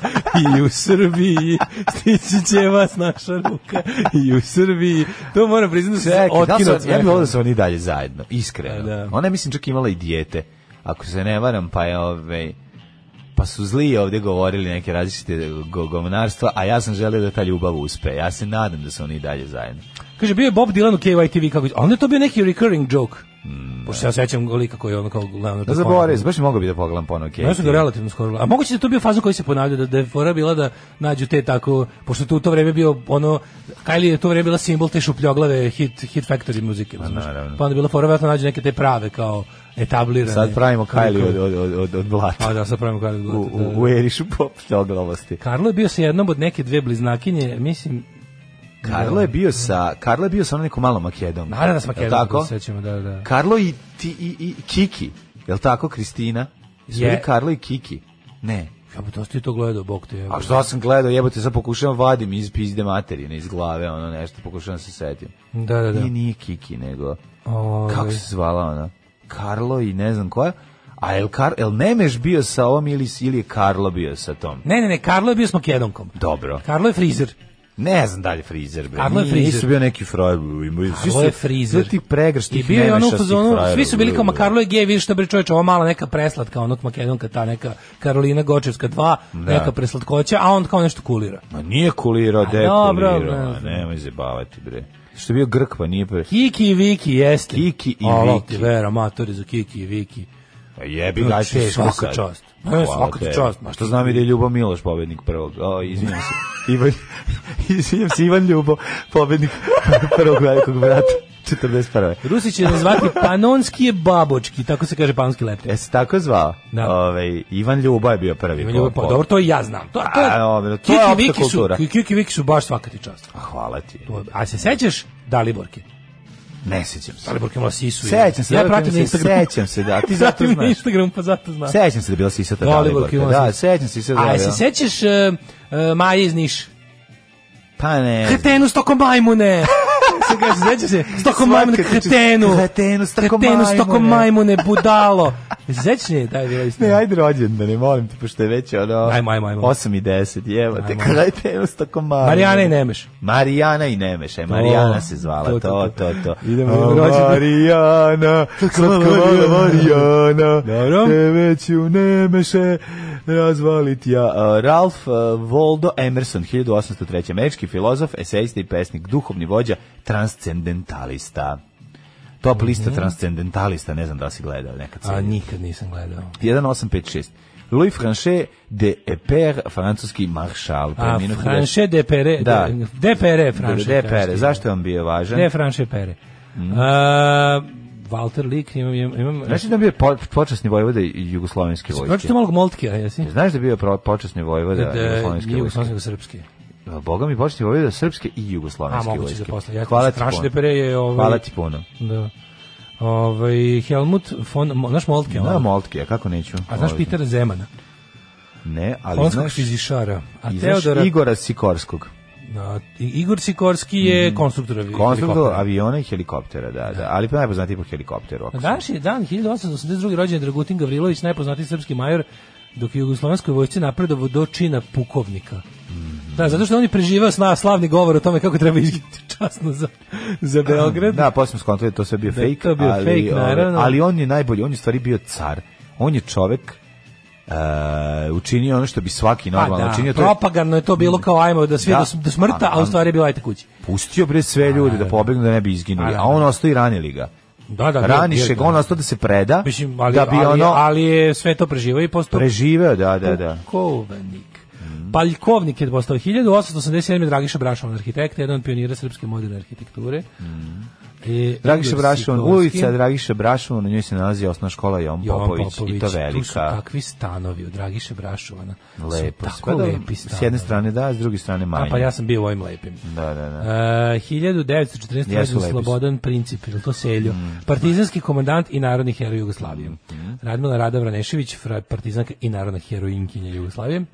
Speaker 6: i u Srbiji, stići će vas naša ruka i u Srbiji. To moram priznati da sam se
Speaker 7: Čekaj, da li su-
Speaker 6: otkinuo od
Speaker 7: ja bih
Speaker 6: smeha.
Speaker 7: volio da su oni dalje zajedno, iskreno.
Speaker 6: Da.
Speaker 7: Ona je, mislim, čak imala i dijete, ako se ne varam, pa je ovaj... Pa su zli ovde govorili neke različite go- govnarstva, a ja sam želeo da ta ljubav uspe. Ja se nadam da su oni i dalje zajedno.
Speaker 6: Kaže, bio je Bob Dylan u KYTV, kako, a onda je to bio neki recurring joke. Pošto ja sećam lika koji je ono kao Leonard
Speaker 7: Mm, Da
Speaker 6: Cohen.
Speaker 7: zaboravim, baš mogao bi da pogledam ponovo Katie.
Speaker 6: Ja sam ga relativno skoro. A moguće da je to bio faza koji se ponavlja da da je fora bila da nađu te tako pošto tu u to vreme bio ono Kylie je to vreme bila simbol te šupljoglave hit hit factory muzike, razumeš?
Speaker 7: naravno.
Speaker 6: Pa onda je bila fora verovatno nađu neke te prave kao etablirane.
Speaker 7: Sad pravimo Kylie od, od, od, od, od blata.
Speaker 6: A Pa da, sad pravimo Kylie.
Speaker 7: U,
Speaker 6: od blata, da, da.
Speaker 7: u, u erišu pop štoglavosti.
Speaker 6: Karlo je bio sa jednom od neke dve bliznakinje, mislim,
Speaker 7: Karlo je bio sa, Karlo je bio sa onom nekom malom Makedom.
Speaker 6: naravno da smo
Speaker 7: Tako?
Speaker 6: se sećamo, da, da.
Speaker 7: Karlo i, ti, i, i Kiki, je li tako, Kristina? Jesu
Speaker 6: Je.
Speaker 7: bili Karlo i Kiki? Ne.
Speaker 6: Ja bi dosta i to gledao, bog te.
Speaker 7: A Pa što sam gledao, jebote, sad pokušavam vadim iz pizde materine, iz glave, ono nešto, pokušavam se setim.
Speaker 6: Da, da, da.
Speaker 7: Nije, nije Kiki, nego,
Speaker 6: Ovaj.
Speaker 7: kako se zvala ona? Karlo i ne znam koja? A el, Kar, el Nemeš bio sa ovom ili, ili je Karlo bio sa tom?
Speaker 6: Ne, ne, ne, Karlo je bio s Makedonkom.
Speaker 7: Dobro.
Speaker 6: Karlo je frizer.
Speaker 7: Ne znam da li je frizer, bre.
Speaker 6: Arlo je
Speaker 7: Nije-
Speaker 6: frizer.
Speaker 7: Nisu bio neki frajer. imaju- svi
Speaker 6: Arlo
Speaker 7: su-
Speaker 6: je frizer.
Speaker 7: Sve ti pregrš,
Speaker 6: I
Speaker 7: tih
Speaker 6: bio je ono u
Speaker 7: nemašastih
Speaker 6: fazonu,
Speaker 7: frajera,
Speaker 6: svi su bili kao, ma
Speaker 7: bre.
Speaker 6: Karlo je gej, vidiš što bre čoveče, ova mala neka preslatka, onog makedonka, ta neka Karolina Gočevska 2, neka preslatkoća, a on kao nešto kulira.
Speaker 7: Ma nije kulirao, da je
Speaker 6: dobro,
Speaker 7: kulirao,
Speaker 6: ne
Speaker 7: ma,
Speaker 6: znam.
Speaker 7: nemoj zebavati, bre. Što je bio grk, pa nije pre...
Speaker 6: Kiki i Viki jeste.
Speaker 7: Kiki i
Speaker 6: Alo,
Speaker 7: Viki.
Speaker 6: ti vera, matori za Kiki i Viki.
Speaker 7: Pa Jebi ga,
Speaker 6: Znači,
Speaker 7: teško
Speaker 6: svaka
Speaker 7: sad.
Speaker 6: čast. Ne,
Speaker 7: Hvala
Speaker 6: svaka ti
Speaker 7: tebi.
Speaker 6: čast.
Speaker 7: Ma što znam i da je Ljubo Miloš pobednik prvog. O, izvinjam se. Ivan, izvinjam se, Ivan Ljubo, pobednik prvog velikog brata. 41.
Speaker 6: Rusi će nas zvati panonski babočki, tako se kaže panonski lepte.
Speaker 7: E se tako zvao?
Speaker 6: Da.
Speaker 7: Ovaj, Ivan Ljubo je bio prvi.
Speaker 6: Ima
Speaker 7: po-
Speaker 6: ljubav, pa
Speaker 7: po-
Speaker 6: dobro, to i ja znam. To, to,
Speaker 7: A, dobro, to
Speaker 6: Kiki
Speaker 7: je
Speaker 6: i
Speaker 7: opšta
Speaker 6: Viki su,
Speaker 7: kultura.
Speaker 6: Kiki i Viki su baš svaka ti čast.
Speaker 7: A, Hvala ti.
Speaker 6: To je- A se sećaš Daliborke?
Speaker 7: Ne sećam se.
Speaker 6: Daliborke imala sisu. i-
Speaker 7: Sećam se,
Speaker 6: ja
Speaker 7: da,
Speaker 6: pratim na Instagramu.
Speaker 7: Sećam se, da, ti zato
Speaker 6: Pratim na
Speaker 7: znaš.
Speaker 6: Instagramu, pa zato znam.
Speaker 7: Sećam se da je bila sisata
Speaker 6: Daliborka
Speaker 7: Daliborka.
Speaker 6: imala
Speaker 7: Da,
Speaker 6: sisata.
Speaker 7: sećam se sisata
Speaker 6: A se
Speaker 7: Daliborka.
Speaker 6: sećaš e, e, Maje iz Niš?
Speaker 7: Pa ne. znam.
Speaker 6: Kretenu stoko majmune! se kaže, sećaš se? Stoko
Speaker 7: Svaka
Speaker 6: majmune,
Speaker 7: ti čast.
Speaker 6: kretenu!
Speaker 7: Kretenu, stoko
Speaker 6: stoko
Speaker 7: majmune.
Speaker 6: majmune, budalo! Sećaš nje, da je bila
Speaker 7: Ne,
Speaker 6: istina.
Speaker 7: ajde rođen, da ne molim te, pošto je već ono...
Speaker 6: Ajmo, ajmo, ajmo.
Speaker 7: 8 i 10, jevo te,
Speaker 6: Ajmo.
Speaker 7: kraj tenu stoko malo.
Speaker 6: Marijana i Nemeš.
Speaker 7: Marijana i Nemeš, aj, Marijana se zvala, to, to, to.
Speaker 6: Idemo, idemo
Speaker 7: A,
Speaker 6: rođendan.
Speaker 7: Marijana, slatka mala Marijana,
Speaker 6: Dobro.
Speaker 7: te već u Nemeše razvalit ja. A, Ralph a, Waldo Emerson, 1803. američki filozof, esejista i pesnik, duhovni vođa, transcendentalista. Top lista transcendentalista, ne znam da li si gledao nekad.
Speaker 6: Mhm. A
Speaker 7: si.
Speaker 6: nikad nisam gledao.
Speaker 7: 1856. Louis Franchet de Eper, francuski maršal.
Speaker 6: A,
Speaker 7: preminuo
Speaker 6: Franše de Pere.
Speaker 7: Da.
Speaker 6: De, de Pere,
Speaker 7: 1900.
Speaker 6: Franše.
Speaker 7: De
Speaker 6: kažeš
Speaker 7: Pere,
Speaker 6: ti.
Speaker 7: zašto je on bio važan?
Speaker 6: De Franše Pere. A, Walter Lik, imam, imam, imam
Speaker 7: Znači da je bio po- počasni vojvoda i jugoslovenske vojske.
Speaker 6: Pročite malo Moltkija, jesi?
Speaker 7: Znaš da je bio pro- počasni vojvoda
Speaker 6: Da,
Speaker 7: jugoslovenske vojske? Pa,
Speaker 6: Jugoslovensko srpske.
Speaker 7: Boga mi počasni vojvoda srpske i
Speaker 6: A,
Speaker 7: jugoslovenske
Speaker 6: moguće
Speaker 7: vojske.
Speaker 6: za posle. Ja
Speaker 7: Hvala ti
Speaker 6: Franše de
Speaker 7: puno.
Speaker 6: Pere je ovaj...
Speaker 7: Hvala ti puno.
Speaker 6: Da. Ovaj, Helmut von, Mo- znaš Moltke?
Speaker 7: Na
Speaker 6: ovaj?
Speaker 7: Moltke, a kako neću?
Speaker 6: A znaš
Speaker 7: Ovaj,
Speaker 6: Pitera Zemana,
Speaker 7: Ne, ali
Speaker 6: polonskog
Speaker 7: znaš...
Speaker 6: fizišara. A
Speaker 7: i znaš
Speaker 6: Teodora, Igor,
Speaker 7: Igora Sikorskog.
Speaker 6: Igor Sikorski je konstruktor avi-
Speaker 7: Mhm. Konstruktor
Speaker 6: helikoptera.
Speaker 7: aviona i helikoptera, da, da. Ali pa najpoznatiji po helikopteru. ako
Speaker 6: Na
Speaker 7: se
Speaker 6: današnji dan 1882. rođen je Dragutin Gavrilović, najpoznatiji srpski major, dok je u jugoslovenskoj vojsci napredovo do čina pukovnika.
Speaker 7: Mhm.
Speaker 6: Da, zato što on je preživao sna, slavni govor o tome kako treba izgledati časno za, za Beograd.
Speaker 7: Da, posle smo skontali da je to sve bio
Speaker 6: Da je
Speaker 7: fake,
Speaker 6: to bio
Speaker 7: ali,
Speaker 6: fake,
Speaker 7: ovaj,
Speaker 6: naravno.
Speaker 7: ali on je najbolji, on je u stvari bio car. On je čovek e, učinio ono što bi svaki
Speaker 6: Pa
Speaker 7: normalno
Speaker 6: da,
Speaker 7: učinio, to je
Speaker 6: propagandno je to bilo kao ajmo da svi
Speaker 7: Da. pa
Speaker 6: do, s- do smrta, a u stvari je bilo ajte kući.
Speaker 7: pustio bre sve ljude da pobegnu da ne bi izginuli,
Speaker 6: A,
Speaker 7: a on ostao i ranili ga.
Speaker 6: Da, da,
Speaker 7: Raniše ga, on ostao da se preda,
Speaker 6: Mislim, ali,
Speaker 7: da bi
Speaker 6: ali,
Speaker 7: ono
Speaker 6: ali je sve to preživao i postao
Speaker 7: preživeo, da, da, da.
Speaker 6: Pukovnik. Paljkovnik je postao 1887. Dragiša Brašovan arhitekta, jedan od pionira srpske moderne arhitekture. E,
Speaker 7: Mm. Dragiša
Speaker 6: Igor
Speaker 7: Brašovan,
Speaker 6: Sikorski,
Speaker 7: ulica Dragiša Brašovan, u njoj se nalazi osnovna škola Jovan
Speaker 6: Jovan
Speaker 7: Popović, i to
Speaker 6: Tu su
Speaker 7: velika.
Speaker 6: takvi stanovi od Dragiše Brašovana. Su
Speaker 7: Lepo.
Speaker 6: Tako
Speaker 7: Pa da,
Speaker 6: lepi stanovi.
Speaker 7: S jedne strane da, s druge strane
Speaker 6: A
Speaker 7: manje.
Speaker 6: pa ja sam bio u ovim lepim.
Speaker 7: Da, da, da.
Speaker 6: Uh, 1914.
Speaker 7: Jesu
Speaker 6: rođen
Speaker 7: lepi su. Mm,
Speaker 6: Slobodan Princip, ili to Seljo, partizanski komandant i narodni heroj Jugoslavije.
Speaker 7: mm.
Speaker 6: Radmila Rada Vranešević, fra- partizanka i narodna heroinkinja Jugoslavije.
Speaker 7: Mm,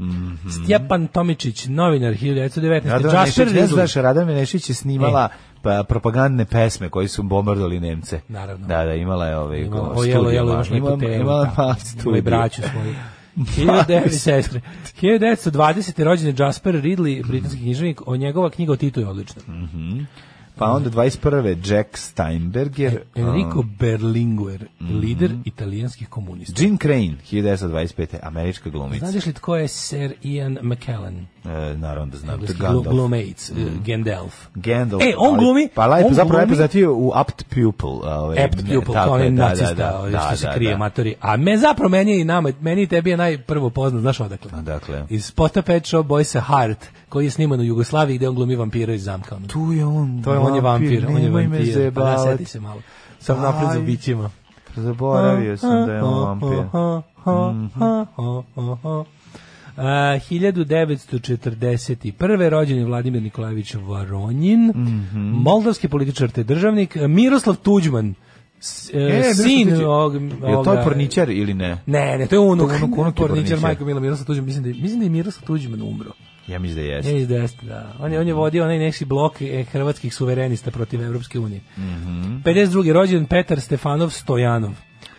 Speaker 6: Stjepan Tomičić, novinar 1919.
Speaker 7: Radovan
Speaker 6: Jasper E.
Speaker 7: Nešić, ne
Speaker 6: Ridl.
Speaker 7: znaš, Radovan Nešić je snimala pa, propagandne pesme koji su bombardovali Nemce.
Speaker 6: Naravno.
Speaker 7: Da, da, imala je ove
Speaker 6: Imala-
Speaker 7: go-
Speaker 6: o, jelo,
Speaker 7: studije
Speaker 6: jelo,
Speaker 7: mala.
Speaker 6: imaš neku
Speaker 7: Imala-
Speaker 6: temu,
Speaker 7: Imala
Speaker 6: da.
Speaker 7: mala
Speaker 6: Imala i
Speaker 7: studiju.
Speaker 6: braću svoju. 1909. sestre. 1920. rođen je Jasper Ridley, britanski književnik. O njegova knjiga o Titu je odlična.
Speaker 7: Mm. Pa onda 21. Jack
Speaker 6: E,
Speaker 7: Steinberger, um,
Speaker 6: Enrico Berlinguer,
Speaker 7: Mm.
Speaker 6: lider italijanskih komunista.
Speaker 7: Jean Crane, 1925. američka glumica.
Speaker 6: Pa Znaš li tko je Sir Ian McKellen?
Speaker 7: E, naravno da znam. To je
Speaker 6: Engleski glu-
Speaker 7: Gandalf. Mm-hmm.
Speaker 6: Glumates, eh, Gandalf.
Speaker 7: Gandalf.
Speaker 6: E, on
Speaker 7: ali-
Speaker 6: glumi-
Speaker 7: Pa lepo,
Speaker 6: on
Speaker 7: zapravo
Speaker 6: glumi-
Speaker 7: najpoznatiji u Apt Pupil. ovaj,
Speaker 6: Apt
Speaker 7: ne,
Speaker 6: pupil,
Speaker 7: tako
Speaker 6: kao onaj
Speaker 7: je, da, da,
Speaker 6: nacista,
Speaker 7: da,
Speaker 6: ovaj
Speaker 7: da,
Speaker 6: što se
Speaker 7: da,
Speaker 6: krije,
Speaker 7: da.
Speaker 6: matori. A me zapravo meni je i nama, meni i tebi je najprvo poznat, znaš odakle?
Speaker 7: Odakle?
Speaker 6: Iz Spota Pet Shop Boysa Heart, koji je sniman u Jugoslaviji gde on glumi vampira iz zamka. ono.
Speaker 7: Tu je on.
Speaker 6: To je, on je vampir, on je
Speaker 7: nemoj me
Speaker 6: vampir. Pa da,
Speaker 7: zajebavati.
Speaker 6: seti se malo. Sam napred
Speaker 7: Aj.
Speaker 6: za bićima.
Speaker 7: Zaboravio sam da je on vampir. Mhm.
Speaker 6: Uh, 1941. rođen je Vladimir Nikolajević Varonjin,
Speaker 7: Mhm.
Speaker 6: moldavski političar te državnik, Miroslav Tuđman, s- e,
Speaker 7: E, Miroslav
Speaker 6: sin
Speaker 7: Tuđi-
Speaker 6: ovog...
Speaker 7: Je to
Speaker 6: ovoga-
Speaker 7: je porničar ili ne?
Speaker 6: Ne, ne, to je unuk,
Speaker 7: To je unuk, unuk je
Speaker 6: porničar,
Speaker 7: porničar.
Speaker 6: majko Mila Miroslav Tuđman, mislim da je, mislim da je Miroslav Tuđman umro.
Speaker 7: Ja mislim da jeste.
Speaker 6: Ne iz desne, da. On je, on je vodio onaj neki blok eh,
Speaker 7: Mhm.
Speaker 6: hrvatskih suverenista protiv Evropske unije. 52. rođen Petar Stefanov Stojanov.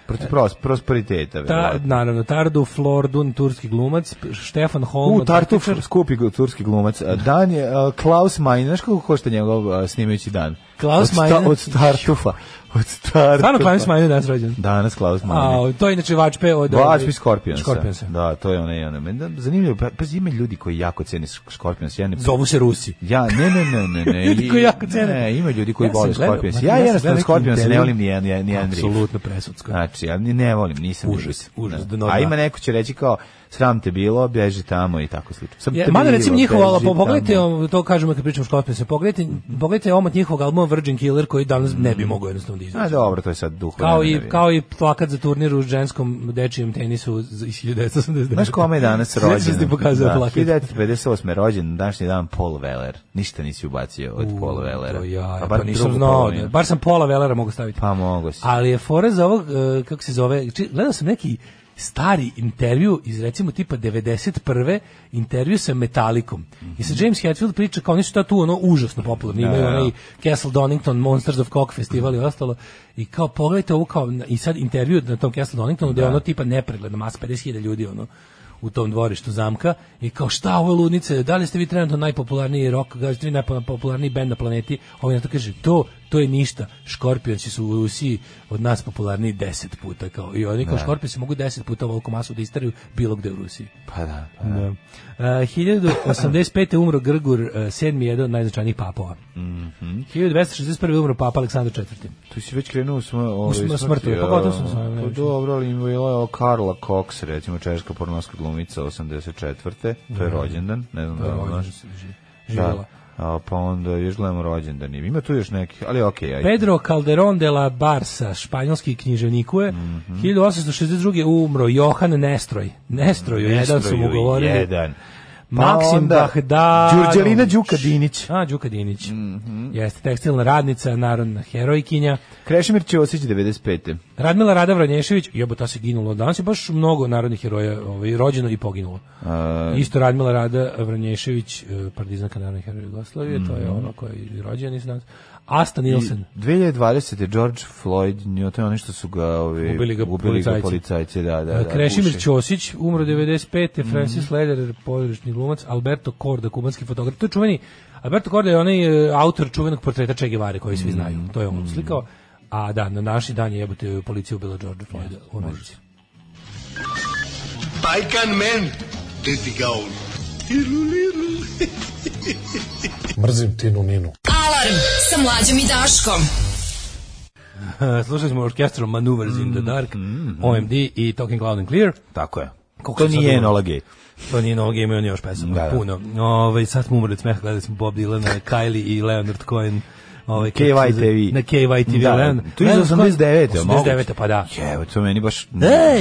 Speaker 7: Protiv pros, prosperiteta.
Speaker 6: Ta,
Speaker 7: verovatno.
Speaker 6: naravno, Tardu Flordun, turski glumac, Štefan Holm,
Speaker 7: U, Tartuf, skupi gu- turski glumac. A, Dan je a, Klaus Majner, znaš kako košta njegov a, snimajući dan?
Speaker 6: Klaus
Speaker 7: od sta-
Speaker 6: Majner?
Speaker 7: Od Tartufa. Od Tartufa.
Speaker 6: Stvarno Klaus Majner danas rođen.
Speaker 7: Danas Klaus Majner.
Speaker 6: A, to je inače Vačpe od...
Speaker 7: Vač
Speaker 6: ovaj,
Speaker 7: bi Skorpionsa.
Speaker 6: Skorpionsa.
Speaker 7: Da, to je onaj, onaj. Meni da- Zanimljivo, pa, pa ima ljudi koji jako cene Skorpions. Ja ne
Speaker 6: Zovu se Rusi.
Speaker 7: Ja, ne, ne, ne, ne, ne.
Speaker 6: Ljudi koji jako cene.
Speaker 7: Ne, ima ljudi koji
Speaker 6: Ja sam
Speaker 7: vole
Speaker 6: gledao,
Speaker 7: Scorpions.
Speaker 6: Martin,
Speaker 7: Ja,
Speaker 6: ja sam
Speaker 7: jednostavno
Speaker 6: gledao
Speaker 7: Scorpions
Speaker 6: neki
Speaker 7: ne volim ni jedan, ni jedan riff.
Speaker 6: Apsolutno presudsko.
Speaker 7: Znači, ja ni- ne volim, nisam
Speaker 6: Užas,
Speaker 7: ljubitelj.
Speaker 6: užas,
Speaker 7: Da.
Speaker 6: do dna.
Speaker 7: A ima neko će reći kao, sram te bilo, beži tamo i tako slično. Sam
Speaker 6: Ja,
Speaker 7: te
Speaker 6: mada
Speaker 7: bilo,
Speaker 6: recimo njihova,
Speaker 7: beži
Speaker 6: po- pogledajte,
Speaker 7: tamo. Mhm.
Speaker 6: o, to kažemo kad pričamo o Scorpionsima, pogledajte, pogledajte omot njihovog albuma Virgin Killer koji danas ne bi mogao jednostavno da
Speaker 7: A
Speaker 6: izađe.
Speaker 7: dobro, to je sad duho.
Speaker 6: Kao i,
Speaker 7: nenavijen.
Speaker 6: kao i plakat za turnir u ženskom dečijem tenisu iz 1989.
Speaker 7: Znaš kome je danas
Speaker 6: Sve
Speaker 7: rođen?
Speaker 6: što ti pokazao
Speaker 7: da,
Speaker 6: plakat.
Speaker 7: 1958. rođen, na današnji dan Paul Weller. Ništa nisi ubacio od Paul Wellera.
Speaker 6: To ja, pa,
Speaker 7: Pa bar
Speaker 6: nisam
Speaker 7: drugu
Speaker 6: znao.
Speaker 7: polovinu.
Speaker 6: da- bar sam pola velera mogu staviti.
Speaker 7: Pa mogo si.
Speaker 6: Ali je fora za ovog, e, kako se zove, či, gledao sam neki stari intervju iz recimo tipa 91. intervju sa Metallicom. I sa James Hetfield priča kao oni su tad tu ono užasno popularni, imaju
Speaker 7: Mhm. Da, da.
Speaker 6: onaj Castle Donington, Monsters of Cock festival i ostalo. I kao pogledajte ovu kao, i sad intervju na tom Castle Doningtonu gde je ono tipa nepregledno, mas 50.000 ljudi ono u tom dvorištu zamka i kao šta ovo je ludnice, da li ste vi trenutno najpopularniji rock, da li ste vi najpopularniji band na planeti, ovaj na to kaže, to, to je ništa, škorpionci su u Rusiji od nas popularniji deset puta, kao, i oni kao škorpionci mogu deset puta ovoliku masu da istraju bilo gde u Rusiji.
Speaker 7: Pa da, pa
Speaker 6: Da. Uh, 1085. umro Grgur, uh, sedmi jedan od najznačajnijih papova. Mm 1261. umro papa Aleksandar IV.
Speaker 7: Tu si već krenuo smo ovaj
Speaker 6: sm- smrti, pa gotovo sam sa ovim,
Speaker 7: Pa
Speaker 6: znači.
Speaker 7: dobro, ali ima je o Karla Cox, recimo češka pornoska glumica 84. To je rođendan, ne znam da li
Speaker 6: Rođen
Speaker 7: znaš.
Speaker 6: Ovaj, se ži-
Speaker 7: Da.
Speaker 6: živjela.
Speaker 7: A, pa onda još gledamo rođendan. Ima tu još nekih, ali okej, ajde.
Speaker 6: Pedro Calderón de la Barca, španjolski književnikuje,
Speaker 7: Mhm.
Speaker 6: 1862. umro Johan Nestroj. Nestroju, jedan su mu
Speaker 7: Nestroju
Speaker 6: govorili.
Speaker 7: Jedan. Pa
Speaker 6: Maksim
Speaker 7: onda
Speaker 6: Bahdarović.
Speaker 7: Đurđelina Mhm. Đuka Dinić.
Speaker 6: A, Đuka Dinić. Jeste tekstilna radnica, narodna herojkinja.
Speaker 7: Krešimir Ćosić 95.
Speaker 6: Radmila Rada Vranješević, jebo, ta se ginulo. Danas je baš mnogo narodnih heroja ovaj, rođeno i poginulo. Isto Radmila Rada Vranješević, eh, partizanka narodnih heroja Jugoslavije, to
Speaker 7: Mhm.
Speaker 6: je ono koji je rođen iz nas. Asta Nilsen.
Speaker 7: 2020. George Floyd, njo, to je ono što su ga, ovi,
Speaker 6: Ubili ga policajci.
Speaker 7: policajci, da, E, da, Mhm. da.
Speaker 6: Da, Krešimir
Speaker 7: guše.
Speaker 6: Ćosić, umro 95. Francis Lederer, područni glumac, Alberto Korda, kubanski fotograf. To je čuveni, Alberto Korda je onaj e, autor čuvenog portreta Che Guevare koji
Speaker 7: Mhm.
Speaker 6: svi znaju. To je on slikao. A da, na naši dan je jebote policija ubila George Floyda u Americi.
Speaker 9: Balkan men, deti gaun.
Speaker 8: Mrzim Tinu Ninu.
Speaker 5: Alarm sa mlađom i Daškom.
Speaker 6: Slušali smo orkestrom Maneuvers in the
Speaker 7: Mhm.
Speaker 6: Dark, OMD i Talking Loud and Clear.
Speaker 7: Tako je.
Speaker 6: Koliko
Speaker 7: to
Speaker 6: sam sad
Speaker 7: nije
Speaker 6: umro?
Speaker 7: Enola Gay.
Speaker 6: To nije noge, imaju oni još pesama,
Speaker 7: Da, da.
Speaker 6: puno. Ovaj sad smo umrli od smeha, gledali smo Bob Dylan, eh, Kylie i Leonard Cohen. Ovaj kako se zove-
Speaker 7: KYTV.
Speaker 6: Na KYTV.
Speaker 7: Da,
Speaker 6: Leonard-
Speaker 7: tu je iz
Speaker 6: Leonard Cohen-
Speaker 7: 89. a moguće.
Speaker 6: 89. pa da.
Speaker 7: Jevo, to meni baš...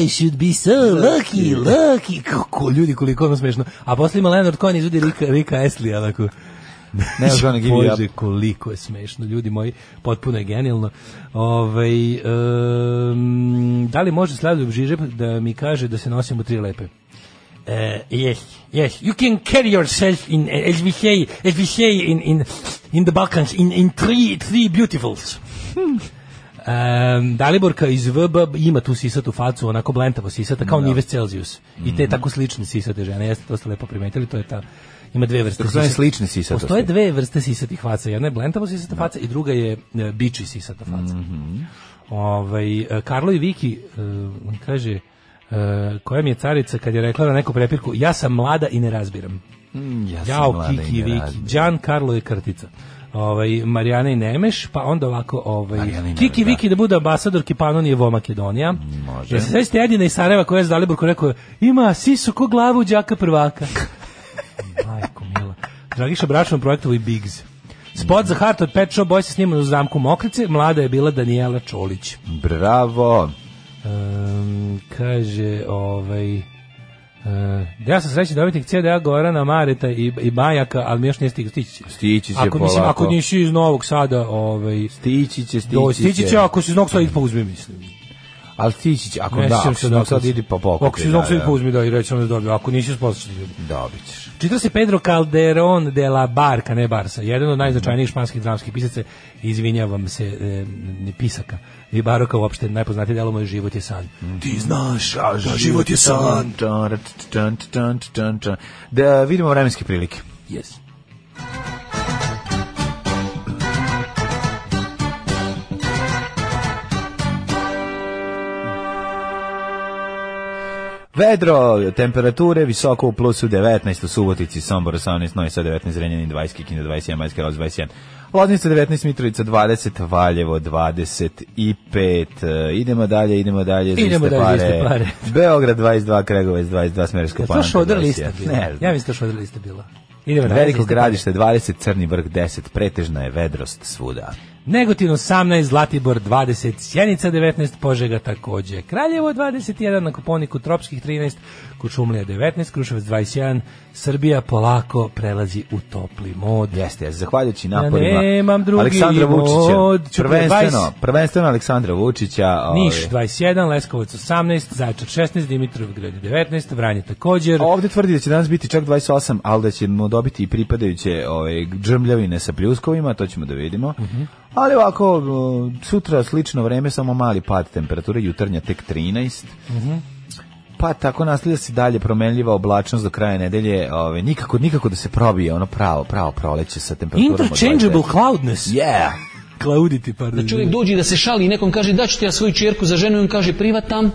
Speaker 6: I should be so Mm. lucky, lucky. Kako ljudi, koliko ono smešno. A posle ima Leonard Cohen izvodi Rika, Rika Astley, onako.
Speaker 7: Ne znam, ono, give it
Speaker 6: Bože, koliko je smešno, ljudi moji, potpuno je genijalno. Ovaj em, da li može Slavoljub Žižep da mi kaže da se nosim u tri lepe? Uh, yes, yes. You can carry yourself in, eh, as we say, as we say in, in, in the Balkans, in, in three, three beautifuls. Um, Daliborka iz VB ima tu sisatu facu, onako blentavo sisata, kao Nives Celsius. I
Speaker 7: Mhm.
Speaker 6: te tako slične sisate žene, jeste to ste lepo primetili, to je ta, ima dve vrste
Speaker 7: Tako zvane
Speaker 6: sisata.
Speaker 7: slične sisatosti.
Speaker 6: Postoje dve vrste sisatih faca, jedna je blentavo sisata faca i druga je e, biči sisata faca.
Speaker 7: Mhm.
Speaker 6: Ovaj, e, Karlo i Viki e, on kaže, e, koja mi je carica kad je rekla na neku prepirku, ja sam mlada i ne razbiram.
Speaker 7: Ja sam
Speaker 6: Jao,
Speaker 7: mlada
Speaker 6: Kiki i
Speaker 7: i ne
Speaker 6: Viki.
Speaker 7: razmišljam.
Speaker 6: Gian Carlo je kartica. Ovaj, Marijana i Nemeš, pa onda ovako ovaj,
Speaker 7: Marijana i
Speaker 6: Kiki
Speaker 7: Nemeš, da.
Speaker 6: Viki da bude ambasador Kipanonije vo Makedonija.
Speaker 7: može.
Speaker 6: Ja se sećate Edina iz Sarajeva koja je za Daliborku rekao ima sisu ko glavu đaka prvaka. Majko mila. Dragiša Bračan projektovi Bigs. Spot za Hart od Pet Shop Boys je sniman u zamku Mokrice, mlada je bila Danijela Čolić.
Speaker 7: Bravo.
Speaker 6: Ehm, kaže, ovaj... e, da ja sam srećen dobiti CD-a Gorana, Mareta i, i Bajaka, ali mi još nije stigao stići.
Speaker 7: Stići će
Speaker 6: ako,
Speaker 7: polako.
Speaker 6: Mislim, ako nisi iz Novog Sada, ovaj,
Speaker 7: Stići će, stići,
Speaker 6: do, stići će, ako si iz Novog Sada, pa uzmi, mislim.
Speaker 7: ali ti će, ako
Speaker 6: Ne
Speaker 7: da,
Speaker 6: sjećam
Speaker 7: ako
Speaker 6: se
Speaker 7: si
Speaker 6: dokle
Speaker 7: sad
Speaker 6: si.
Speaker 7: idi pa pokupi.
Speaker 6: Ako si znao sad uzmi da i reći ono da dobio, ako nisi spasiti ljudi.
Speaker 7: Dobit ćeš.
Speaker 6: Čitao se Pedro Calderón de la Barca, ne Barsa, jedan od najznačajnijih španskih dramskih pisaca, izvinjavam se, e, pisaka. I Baroka uopšte najpoznatiji delo moj život je san.
Speaker 7: Mm.
Speaker 6: Ti znaš, a
Speaker 7: Pa
Speaker 6: život je san.
Speaker 7: Da vidimo vremenske prilike.
Speaker 6: Yes.
Speaker 7: Vedro, temperature visoko u plusu 19 u Subotici, Sombor 18, Novi Sad 19, Zrenjanin 20, Kikinda 21, Majska Roz 21. Loznica 19, Mitrovica 20, Valjevo 25. E, Idemo dalje, idemo dalje. za
Speaker 6: Idemo
Speaker 7: iste
Speaker 6: dalje za iste pare.
Speaker 7: Beograd 22, Kragovec 22, Smerska
Speaker 6: Je
Speaker 7: Palanka
Speaker 6: to
Speaker 7: 21.
Speaker 6: šoder lista bila?
Speaker 7: Ne,
Speaker 6: Ja mislim da je šoder lista bila. Idemo dalje,
Speaker 7: Veliko
Speaker 6: lista.
Speaker 7: gradište 20, Crni vrh 10, pretežna je vedrost svuda.
Speaker 6: Negotin 18, Zlatibor 20, Sjenica 19, Požega takođe, Kraljevo 21, na Koponiku Tropskih 13, Kučumlija 19, Kruševac 21, Srbija polako prelazi u topli mod.
Speaker 7: Jeste, jeste, zahvaljujući naporima
Speaker 6: Ja nemam drugi
Speaker 7: Aleksandra
Speaker 6: mod,
Speaker 7: Vučića,
Speaker 6: ću pre
Speaker 7: prvenstveno,
Speaker 6: 20.
Speaker 7: prvenstveno Aleksandra Vučića. ovaj,
Speaker 6: Niš 21, Leskovac 18, Zaječar 16, Dimitrovgrad 19, Vranje također.
Speaker 7: A Ovde tvrdi da će danas biti čak 28, ali da ćemo dobiti i pripadajuće ove, džrmljavine sa pljuskovima, to ćemo da vidimo.
Speaker 6: Mhm.
Speaker 7: Ali ovako, o, sutra slično vreme, samo mali pad temperature, jutarnja tek 13.
Speaker 6: Mhm.
Speaker 7: Pa tako nastavlja se dalje promenljiva oblačnost do kraja nedelje, ove, nikako, nikako da se probije ono pravo, pravo proleće sa temperaturom. od
Speaker 6: Interchangeable
Speaker 7: 29.
Speaker 6: cloudness.
Speaker 7: Yeah!
Speaker 6: Cloudity, pardon.
Speaker 10: Čovjek dođe da se šali i nekom kaže da ću ti ja svoju čerku za ženu i on kaže privatam,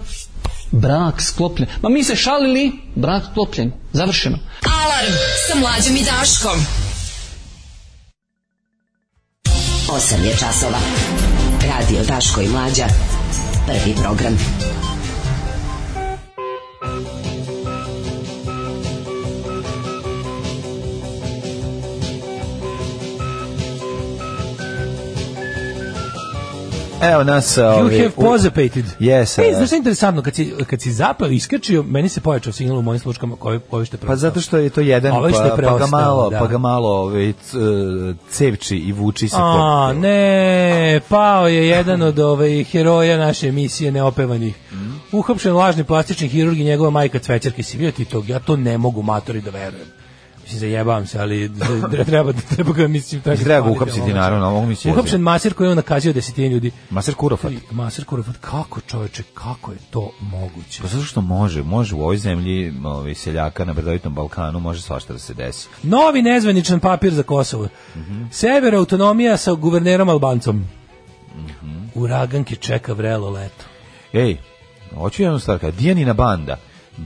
Speaker 10: brak sklopljen. Ma mi se šalili, brak sklopljen, završeno.
Speaker 5: Alarm sa mlađom i Daškom.
Speaker 3: 8 je časova. Radio Daško i Mlađa. Prvi program.
Speaker 7: Evo nas... Ove,
Speaker 6: You have
Speaker 7: u-
Speaker 6: posipated.
Speaker 7: Yes, uh,
Speaker 6: Ej,
Speaker 7: a-
Speaker 6: znaš što je interesantno, kad si, kad si zapeo i iskačio, meni se pojačao signal u mojim slučkama koji, koji ste
Speaker 7: Pa zato što je to jedan,
Speaker 6: Ovo Ovaj što je
Speaker 7: pa, pa ga
Speaker 6: preostalo,
Speaker 7: malo,
Speaker 6: da.
Speaker 7: pa ga malo ove, c- e, cevči i vuči se
Speaker 6: A, ne, pao je jedan od ovaj, heroja naše emisije neopevanih.
Speaker 7: Mhm.
Speaker 6: Uhapšen lažni plastični hirurg i njegova majka cvećarke. Si vidio ti tog? Ja to ne mogu matori da verujem. Mislim, zajebavam se, ali da- treba, treba ga, mislim, tako...
Speaker 7: Treba ga uhapsiti, naravno, ovo mi se jezi.
Speaker 6: znači, Uhapšen masir koji je on nakazio desetine ljudi.
Speaker 7: Maser Kurofat.
Speaker 6: Masir Kurofat, kako čoveče, kako je to moguće?
Speaker 7: Pa zato što može, može u ovoj zemlji ovaj, seljaka na Brdovitom Balkanu, može svašta da se desi.
Speaker 6: Novi nezvaničan papir za Kosovo. Sever autonomija sa guvernerom Albancom. Uraganke čeka vrelo leto.
Speaker 7: Ej, hoću jednu stvar, kada Dijanina banda,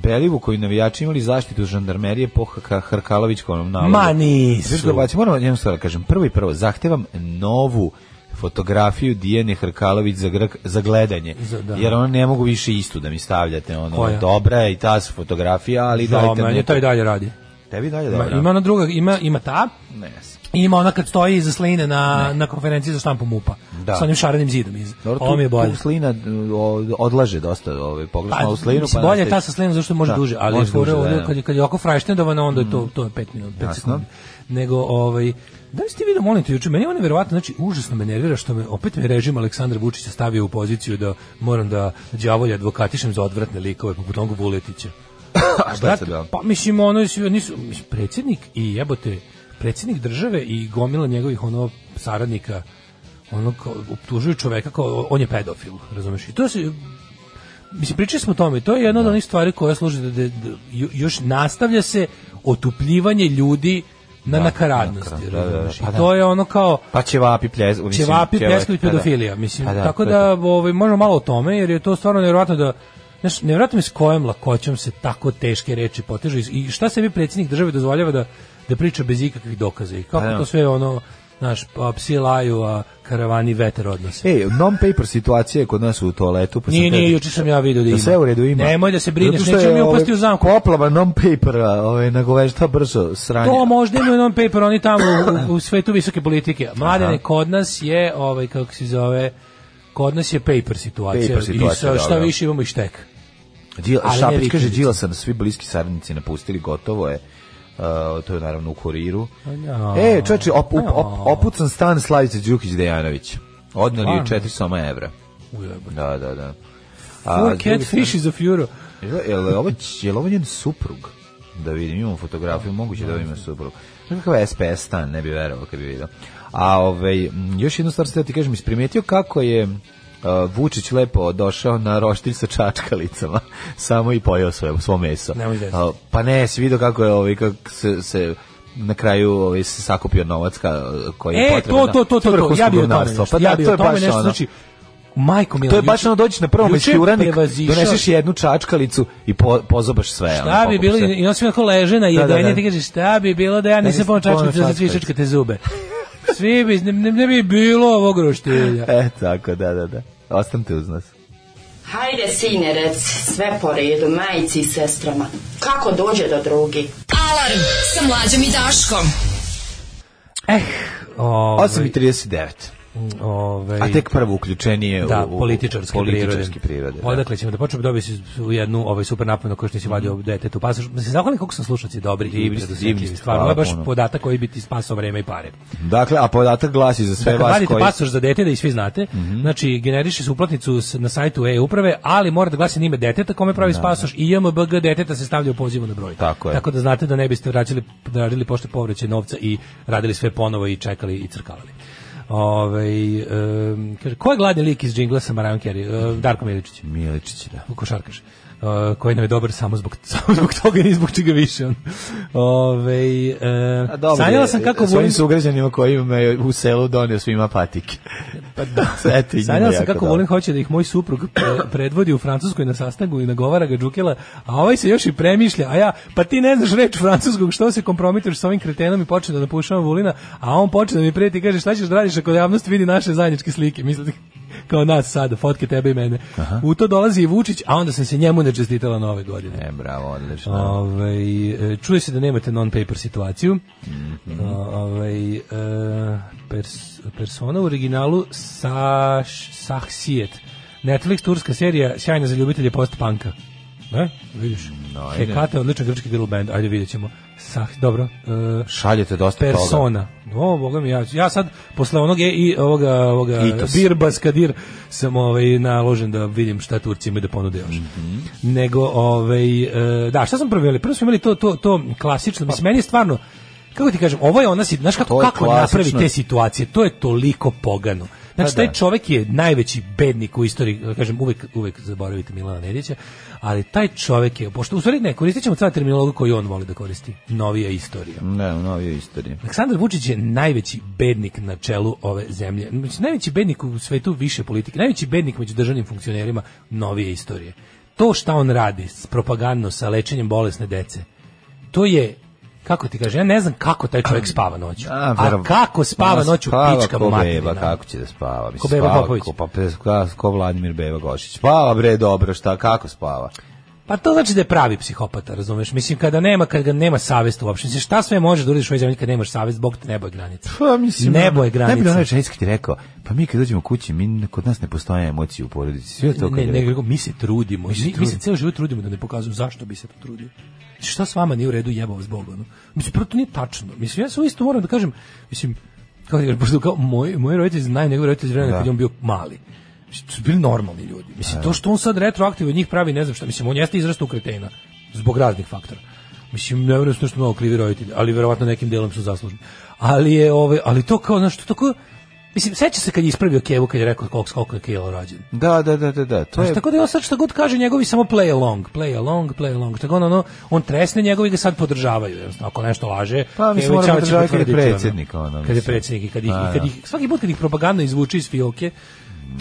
Speaker 7: Belivu koji navijači imali zaštitu žandarmerije po HK Hrkalovićkovom nalogu.
Speaker 6: Ma nisu.
Speaker 7: Znaš, Gorbaci, moram jednu stvar da kažem. Prvo i prvo, zahtevam novu fotografiju Dijane Hrkalović za, gr- za gledanje.
Speaker 6: Za- da.
Speaker 7: Jer ono ne mogu više istu da mi stavljate. Ono,
Speaker 6: Koja?
Speaker 7: Dobra je i ta fotografija, ali
Speaker 6: Da,
Speaker 7: dajte
Speaker 6: meni
Speaker 7: mi.
Speaker 6: to i dalje radi.
Speaker 7: Tebi dalje
Speaker 6: Ma,
Speaker 7: dobro.
Speaker 6: Ima ona druga, ima, ima ta,
Speaker 7: Ne znam.
Speaker 6: i ima ona kad stoji iza sline na, na konferenciji za štampu MUPA.
Speaker 7: Da.
Speaker 6: Sa onim šarenim zidom. Iz,
Speaker 7: Dobro,
Speaker 6: ovo mi je
Speaker 7: tu,
Speaker 6: bolje.
Speaker 7: tu slina e, o, odlaže dosta, ovaj pogrešno
Speaker 6: Pa,
Speaker 7: ovu slinu.
Speaker 6: mislim,
Speaker 7: pa
Speaker 6: bolje je ta
Speaker 7: nastavi-
Speaker 6: sa slinom zašto može
Speaker 7: Da,
Speaker 6: duže, ali
Speaker 7: može
Speaker 6: može
Speaker 7: duže, da, da.
Speaker 6: kad, je- kad je oko frajštendovano, onda je to, to je 5 minut, 5
Speaker 7: Jasno.
Speaker 6: sekundi. Nego, ovaj, da li ste vidio, molim te, juče, meni je ono verovatno, znači, užasno me nervira što me, opet me režim Aleksandra Vučića stavio u poziciju da moram da đavolja advokatišem za odvratne likove, poput onog Vuletića.
Speaker 7: A šta je
Speaker 6: Brat,
Speaker 7: sad bilo?
Speaker 6: pa mislim ono svi oni su mislim, predsjednik i jebote predsjednik države i gomila njegovih ono saradnika ono kao, optužuju čoveka kao on je pedofil, razumeš? I to se mislim pričali smo o tome, to je jedna od onih stvari koja služi da, da- da- jo- još nastavlja se otupljivanje ljudi na nakaradnosti,
Speaker 7: nakaradnosti, da, da, da,
Speaker 6: razumeš? I
Speaker 7: pa da.
Speaker 6: to je ono kao
Speaker 7: Pa ćevapi pljez, mislim,
Speaker 6: ćevapi, pljeskovi,
Speaker 7: pa da.
Speaker 6: pedofilija, mislim.
Speaker 7: Pa
Speaker 6: tako
Speaker 7: to je to.
Speaker 6: da ovaj možemo malo o tome jer je to stvarno nevjerojatno da Znaš, nevjerojatno mi s kojom lakoćom se tako teške reči potežu iz- i šta sebi predsjednik države dozvoljava da, da priča bez ikakvih dokaza i kako
Speaker 7: Pa da.
Speaker 6: to sve ono, znaš, pa psi laju, a karavani veter odnose.
Speaker 7: Ej, non-paper situacija je kod nas u toaletu. E, Pa sam
Speaker 6: nije,
Speaker 7: teo
Speaker 6: nije,
Speaker 7: da-
Speaker 6: juče sam ja vidio da
Speaker 7: Da
Speaker 6: ima.
Speaker 7: sve u redu ima.
Speaker 6: Nemoj da se brineš,
Speaker 7: Zato što je,
Speaker 6: neće mi
Speaker 7: ovaj,
Speaker 6: upasti u zamku.
Speaker 7: Poplava non-papera, ovaj, nagovešta brzo sranje.
Speaker 6: To možda imaju non paper, oni tamo u, u svetu visoke politike. Mladene, kod nas je, ovaj, kako se zove, kod nas je paper situacija.
Speaker 7: Paper situacija,
Speaker 6: I sa, šta
Speaker 7: dobro.
Speaker 6: više imamo i štek.
Speaker 7: Đil,
Speaker 6: ali ne
Speaker 7: Šapić
Speaker 6: vikendice.
Speaker 7: kaže, Đila sam svi bliski saradnici napustili, gotovo je. Uh, to je naravno u kuriru.
Speaker 6: Ja.
Speaker 7: E, čoveče, op, op,
Speaker 6: Ja.
Speaker 7: op, opucan stan Slavice Đukić Dejanović. Odnali je
Speaker 6: Stvarno?
Speaker 7: 4 soma evra.
Speaker 6: Ujebe.
Speaker 7: Da, da, da.
Speaker 6: Four
Speaker 7: s druge
Speaker 6: catfish is a furo.
Speaker 7: strane- Jel jel ovo, jel ovo njen suprug? Da vidim, imam fotografiju, moguće da ovo ima suprug. Znaš kakav SPS stan, ne bi verovao kad bi vidio. A ovaj, m, još jednu stvar sad ti kažem, isprimetio kako je a, Vučić lepo došao na roštilj sa čačkalicama, samo i pojeo svoje, svo meso.
Speaker 6: Nemoj da je.
Speaker 7: A, pa ne, si vidio kako je ovaj, kako se, se na kraju ovaj, se sakupio novac ka, koji je
Speaker 6: E,
Speaker 7: potreban
Speaker 6: to, to, to, to, to, ja bi o tome nešto.
Speaker 7: vrhunsko gurnarstvo. Pa
Speaker 6: ja
Speaker 7: da,
Speaker 6: bi
Speaker 7: to
Speaker 6: o
Speaker 7: je
Speaker 6: tome
Speaker 7: baš
Speaker 6: nešto,
Speaker 7: ono.
Speaker 6: znači, majko mila.
Speaker 7: To je baš ono dođeš na prvom
Speaker 6: juče je
Speaker 7: uranik,
Speaker 6: prevazišao-
Speaker 7: doneseš jednu čačkalicu i po, pozobaš sve. ono,
Speaker 6: Šta bi
Speaker 7: pokupaš
Speaker 6: bilo,
Speaker 7: sve.
Speaker 6: i on sve onako leže na
Speaker 7: da,
Speaker 6: jedenje,
Speaker 7: da.
Speaker 6: ti kažeš, šta bi bilo da ja nisam
Speaker 7: nisi
Speaker 6: pomoć čačkati
Speaker 7: ponoćno
Speaker 6: za svičačkate zube. Svi bi, ne, ne- ne bi bilo ovog roštilja.
Speaker 7: E, tako, da, da, da. Ostanite uz nas.
Speaker 11: Hajde, sinerec, sve po redu, majici i sestrama. Kako dođe do drugi?
Speaker 5: Alarm sa mlađom i Daškom.
Speaker 6: Eh, ovaj,
Speaker 7: 8.39.
Speaker 6: ovaj,
Speaker 7: A tek prvo uključenije
Speaker 6: da,
Speaker 7: u, u
Speaker 6: političarske, prirode.
Speaker 7: političarske prirode. da.
Speaker 6: Odakle ćemo da počnemo dobiti si u jednu ovaj super napomenu koju što si vadio detetu. Pa se zahvalim koliko sam slušaoci dobri i
Speaker 7: Mm. Divni ste,
Speaker 6: predosetljivi.
Speaker 7: divni ste,
Speaker 6: Stvarno, ovo
Speaker 7: hvala
Speaker 6: je baš
Speaker 7: puno.
Speaker 6: podatak koji bi ti spasao vreme i pare.
Speaker 7: Dakle, a podatak glasi za sve
Speaker 6: Da, kad
Speaker 7: vas
Speaker 6: Dakle, vadite
Speaker 7: koji... Mhm.
Speaker 6: pasoš za dete, da i svi znate, znači generiše se uplatnicu s- na sajtu e-uprave, ali mora da glasi ime deteta kome pravi pasoš i JMBG deteta se stavlja u pozivu na broj.
Speaker 7: Tako je.
Speaker 6: da znate da ne biste vraćali, da radili pošte povraćaj novca i radili sve ponovo i čekali i crkavali. Ovaj em, kaže, ko je gladni lik iz džingla sa Marion Carey? E, Darko Miličić
Speaker 7: Miličić, da.
Speaker 6: košarkaš uh, koji nam je dobar samo zbog, samo zbog toga i ni zbog čega više. on. Ovaj, e,
Speaker 7: A dobro,
Speaker 6: sanjala sam kako
Speaker 7: svojim
Speaker 6: volim,
Speaker 7: sugrađanima koji me u selu donio svima patike. Pa da. Eto, i njima
Speaker 6: sanjala sam
Speaker 7: jako
Speaker 6: kako
Speaker 7: dobro.
Speaker 6: volim hoće da ih moj suprug pre- predvodi u Francuskoj na sastanku i nagovara ga Đukela, a ovaj se još i premišlja, a ja, pa ti ne znaš reč francuskog, što se kompromituješ s ovim kretenom i počne da napušavam Vulina, a on počne da mi preti i kaže šta ćeš da radiš ako javnost vidi naše zajedničke slike, mislim kao nas sada, fotke tebe i mene. U to dolazi i Vučić, a onda sam se njemu ne čestitala nove godine.
Speaker 7: E, bravo, odlično.
Speaker 6: Ovaj, e, čuje se da nemate non-paper situaciju. Ovaj, e, pers- persona u originalu Saš, Sahsijet. Netflix turska serija sjajna za ljubitelje post-punka. Ne? Vidiš?
Speaker 7: ajde.
Speaker 6: Hekate, odličan grčki girl band. Ajde, vidjet ćemo. Sah, dobro. e,
Speaker 7: Šaljete dosta toga.
Speaker 6: persona. O, boga mi, ja, ja sad, posle onog e, i ovoga, ovoga
Speaker 7: Itos.
Speaker 6: Birba Skadir, sam ovaj, naložen da vidim šta Turci imaju da ponude još.
Speaker 7: Mhm.
Speaker 6: Nego, ovaj, e, da, šta sam prvo imali? Prvo smo imali to, to, to klasično, mislim, meni je stvarno, kako ti kažem, ovo je ona, si- znaš kako,
Speaker 7: To je
Speaker 6: kako
Speaker 7: klasično.
Speaker 6: napravi te situacije, to je toliko pogano. Znači,
Speaker 7: Pa
Speaker 6: taj
Speaker 7: da.
Speaker 6: čovek je najveći bednik u istoriji, da kažem, uvek, uvek zaboravite Milana Nedića, ali taj čovek je, pošto, u stvari ne, koristit ćemo sada terminologu koju on voli da koristi, novija istorija.
Speaker 7: Ne, u novijoj istoriji.
Speaker 6: Aleksandar Vučić je najveći bednik na čelu ove zemlje. Znači, najveći bednik u svetu više politike, najveći bednik među državnim funkcionerima novije istorije. To šta on radi s propagandno sa lečenjem bolesne dece, to je kako ti kaže, ja ne znam kako taj čovjek spava noću.
Speaker 7: A,
Speaker 6: A
Speaker 7: vero-
Speaker 6: kako spava noću
Speaker 7: spava
Speaker 6: pička
Speaker 7: ko
Speaker 6: materina.
Speaker 7: beba, kako će da spava? Mislim,
Speaker 6: Ko Beba
Speaker 7: spava
Speaker 6: Popović.
Speaker 7: Ko, pa, pa, ko Vladimir Beba Gošić. Spava bre, dobro, šta, kako spava?
Speaker 6: Pa to znači da je pravi psihopata, razumeš? Mislim kada nema kad ga nema savest uopšte. Mislim šta sve možeš da uradiš u ovoj zemlji kad nemaš savest, bog te nebo je granica.
Speaker 7: Pa, mislim,
Speaker 6: nebo je granica.
Speaker 7: Najbolje ono onaj čenik ti rekao, pa mi kad dođemo kući, mi, kod nas ne postoje emocije u porodici. Sve to kad
Speaker 6: ne,
Speaker 7: je
Speaker 6: ne,
Speaker 7: rekao.
Speaker 6: nego mi se trudimo. Mi, mi se
Speaker 7: trudimo.
Speaker 6: ceo život trudimo da ne pokazujemo zašto bi se to trudio. Znači, šta s vama nije u redu jebao vas Bog, ono. Mislim, prvo to nije tačno. Mislim, ja sam isto moram da kažem, mislim, kao da kažem, pošto kao moj, moji roditelji znaju njegove roditelji iz vremena
Speaker 7: Da.
Speaker 6: kad je on bio mali. Mislim, to su bili normalni ljudi. Mislim, to što on sad retroaktivno njih pravi, ne znam šta, mislim, on jeste izrastao u kretena, zbog raznih faktora. Mislim, ne vjerujem što mnogo krivi roditelji, ali verovatno nekim delom su zaslužni. Ali je, ovaj, ali to kao, znaš, to tako, mislim, seća se kad je ispravio Kevu, kad je rekao koliko, koliko je Kejla rođen.
Speaker 7: Da, da, da, da, da. To
Speaker 6: Znaš,
Speaker 7: Pa je,
Speaker 6: Pa tako da je on sad šta god kaže njegovi samo play along, play along, play along. Tako on, ono, on tresne njegovi ga sad podržavaju. Jednostavno, ako nešto laže,
Speaker 7: Pa, mislim,
Speaker 6: Evo,
Speaker 7: mora
Speaker 6: Ćao će
Speaker 7: podržavati kad je
Speaker 6: potvrditi, ono.
Speaker 7: predsjednik, ono,
Speaker 6: Kad je
Speaker 7: mislim.
Speaker 6: predsjednik i kad, ih,
Speaker 7: Pa,
Speaker 6: i kad
Speaker 7: da.
Speaker 6: ih, svaki put kad ih propagandno izvuče iz fioke,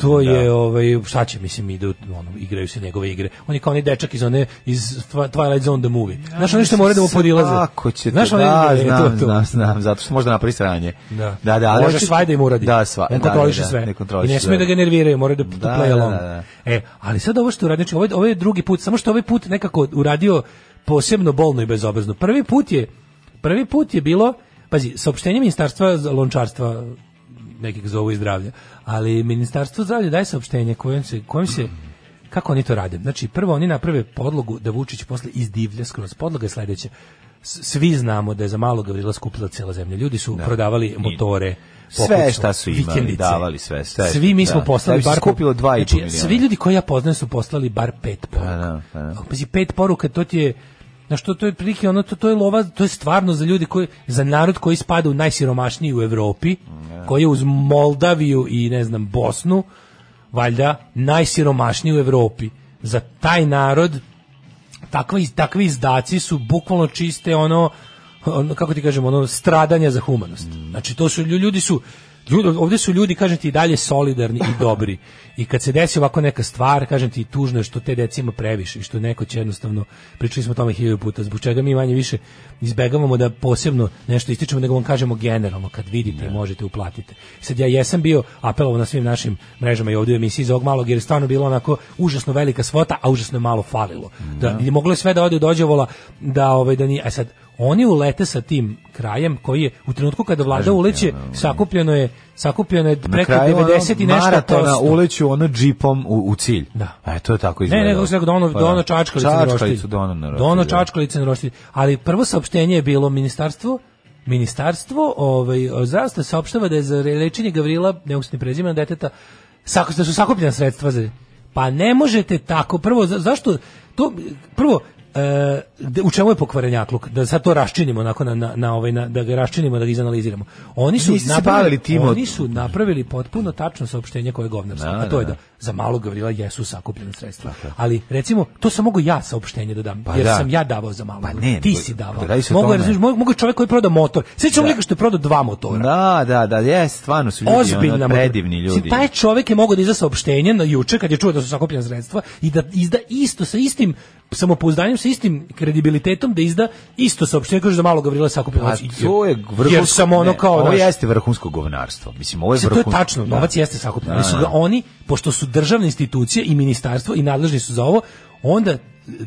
Speaker 6: to je ovaj šta će mislim idu ono igraju se njegove igre on je kao onaj dečak iz one iz Twi- Twilight Zone the movie znaš oni što moraju da mu podilaze
Speaker 7: Kako će
Speaker 6: znaš
Speaker 7: to,
Speaker 6: onaj-
Speaker 7: da,
Speaker 6: e, to,
Speaker 7: znam,
Speaker 6: to.
Speaker 7: znam, znam, zato što možda napravi sranje.
Speaker 6: Da.
Speaker 7: da, da ali
Speaker 6: Može
Speaker 7: hoće-
Speaker 6: svaj da im uradi.
Speaker 7: Da, sva,
Speaker 6: On
Speaker 7: da, da,
Speaker 6: kontroliše
Speaker 7: da,
Speaker 6: sve.
Speaker 7: ne kontroliše
Speaker 6: I ne sme da
Speaker 7: sve.
Speaker 6: ga nerviraju, mora da, da,
Speaker 7: Da,
Speaker 6: play
Speaker 7: da,
Speaker 6: along.
Speaker 7: da, da.
Speaker 6: E, ali sad ovo što uradi, znači ovo, je- ovo je drugi put, samo što ovaj put nekako uradio posebno bolno i bezobrazno. Prvi put je, prvi put je bilo, pazi, saopštenje ministarstva za lončarstva nekih zovu i zdravlja, ali ministarstvo zdravlja daje saopštenje kojim se, kojim se kako oni to rade? Znači, prvo oni naprave podlogu da Vučić posle izdivlja skroz. Podloga je sledeća. svi znamo da je za malog Gavrila skupila cela zemlja. Ljudi su prodavali motore,
Speaker 7: sve
Speaker 6: pokućno,
Speaker 7: šta su imali,
Speaker 6: vikendice.
Speaker 7: davali sve, sve.
Speaker 6: Svi mi smo
Speaker 7: Da.
Speaker 6: poslali
Speaker 7: Da bi se
Speaker 6: bar po-
Speaker 7: skupilo dva i po
Speaker 6: znači,
Speaker 7: miliona.
Speaker 6: Svi ljudi koji ja poznajem su poslali bar pet poruka.
Speaker 7: da, pa da.
Speaker 6: Ali, Pazi, pet poruka, to ti je Na što to je prilike, ono to, to je lova, to je stvarno za ljudi koji za narod koji spada u najsiromašniji u Evropi, koji je uz Moldaviju i ne znam Bosnu valjda najsiromašniji u Evropi. Za taj narod takvi takvi izdaci su bukvalno čiste ono, ono kako ti kažemo ono stradanja za humanost. Znači to su lju- ljudi su ljudi, ovde su ljudi kažem ti i dalje solidarni i dobri. I kad se desi ovako neka stvar, kažem ti tužno je što te deci ima previše i što neko će jednostavno pričali smo o tome hiljadu puta zbog čega mi manje više izbegavamo da posebno nešto ističemo nego vam kažemo generalno kad vidite i možete uplatite. Sad ja jesam bio apelovao na svim našim mrežama i ovdje u emisiji iz ovog malog jer je stvarno bilo onako užasno velika svota, a užasno je malo falilo. Da, i moglo je sve da ode dođe vola da ovaj da ni a sad oni ulete sa tim krajem koji je u trenutku kada vlada uleće sakupljeno je sakupljeno je
Speaker 7: ono, Na
Speaker 6: preko
Speaker 7: kraju, ono,
Speaker 6: 90 i nešto
Speaker 7: maratona
Speaker 6: posto.
Speaker 7: uleću ono džipom u, u cilj.
Speaker 6: Da.
Speaker 7: E, to je tako
Speaker 6: Ne,
Speaker 7: izgledalo.
Speaker 6: ne, kako se rekao, ono- dono,
Speaker 7: Pa da.
Speaker 6: dono čačkalice na roštilj. ono
Speaker 7: Čačkalicu dono na roštilj,
Speaker 6: Dono
Speaker 7: da.
Speaker 6: čačkalice na roštilj. Ali prvo saopštenje je bilo ministarstvo Ministarstvo ovaj, zdravstva saopštava da je za lečenje Gavrila, ne mogu se ni prezimena deteta, sako, da su sakupljena sredstva za... Pa ne možete tako. Prvo, za- zašto? To, prvo, e, de- u čemu je pokvarenjakluk? Da sad to raščinimo, onako na, na, na ovaj, na, da ga raščinimo, da ga izanaliziramo. Oni su,
Speaker 7: Niste se bavili
Speaker 6: napravili,
Speaker 7: tim od-
Speaker 6: oni su napravili potpuno tačno saopštenje koje je govnarsko,
Speaker 7: Da,
Speaker 6: a to je
Speaker 7: da,
Speaker 6: da za malog Gavrila jesu sakupljena sredstva. Ali recimo to sam mogu ja saopštenje da dam,
Speaker 7: Pa
Speaker 6: jer
Speaker 7: da.
Speaker 6: sam ja davao za malog.
Speaker 7: Pa
Speaker 6: Gavrila.
Speaker 7: ne,
Speaker 6: ti
Speaker 7: nego-
Speaker 6: si davao.
Speaker 7: pa radi se o
Speaker 6: Mogu,
Speaker 7: tome.
Speaker 6: razumiješ, mogu, mogu čovjek koji je prodao motor. Sećam lika što je prodao dva motora.
Speaker 7: Da, da, da, jes, stvarno su ljudi,
Speaker 6: Ozbiljna
Speaker 7: ono,
Speaker 6: motor-
Speaker 7: predivni ljudi.
Speaker 6: Mislim, Taj čovjek je mogao da izda saopštenje na juče kad je čuo da su sakupljena sredstva i da izda isto sa istim samopouzdanjem, sa istim kredibilitetom da izda isto saopštenje kaže za malog Gavrila je sakupljena.
Speaker 7: A
Speaker 6: sredstva.
Speaker 7: Pa to je vrhunsko...
Speaker 6: Jer sam ono
Speaker 7: ne,
Speaker 6: kao
Speaker 7: Ovo
Speaker 6: znaš,
Speaker 7: jeste vrhunsko govnarstvo. Mislim, ovo je
Speaker 6: Mislim, to je
Speaker 7: vrhunsko...
Speaker 6: tačno,
Speaker 7: da.
Speaker 6: novac jeste sakupljen, ali su
Speaker 7: Da,
Speaker 6: ga
Speaker 7: da.
Speaker 6: oni, pošto su državne institucije i ministarstvo i nadležni su za ovo, onda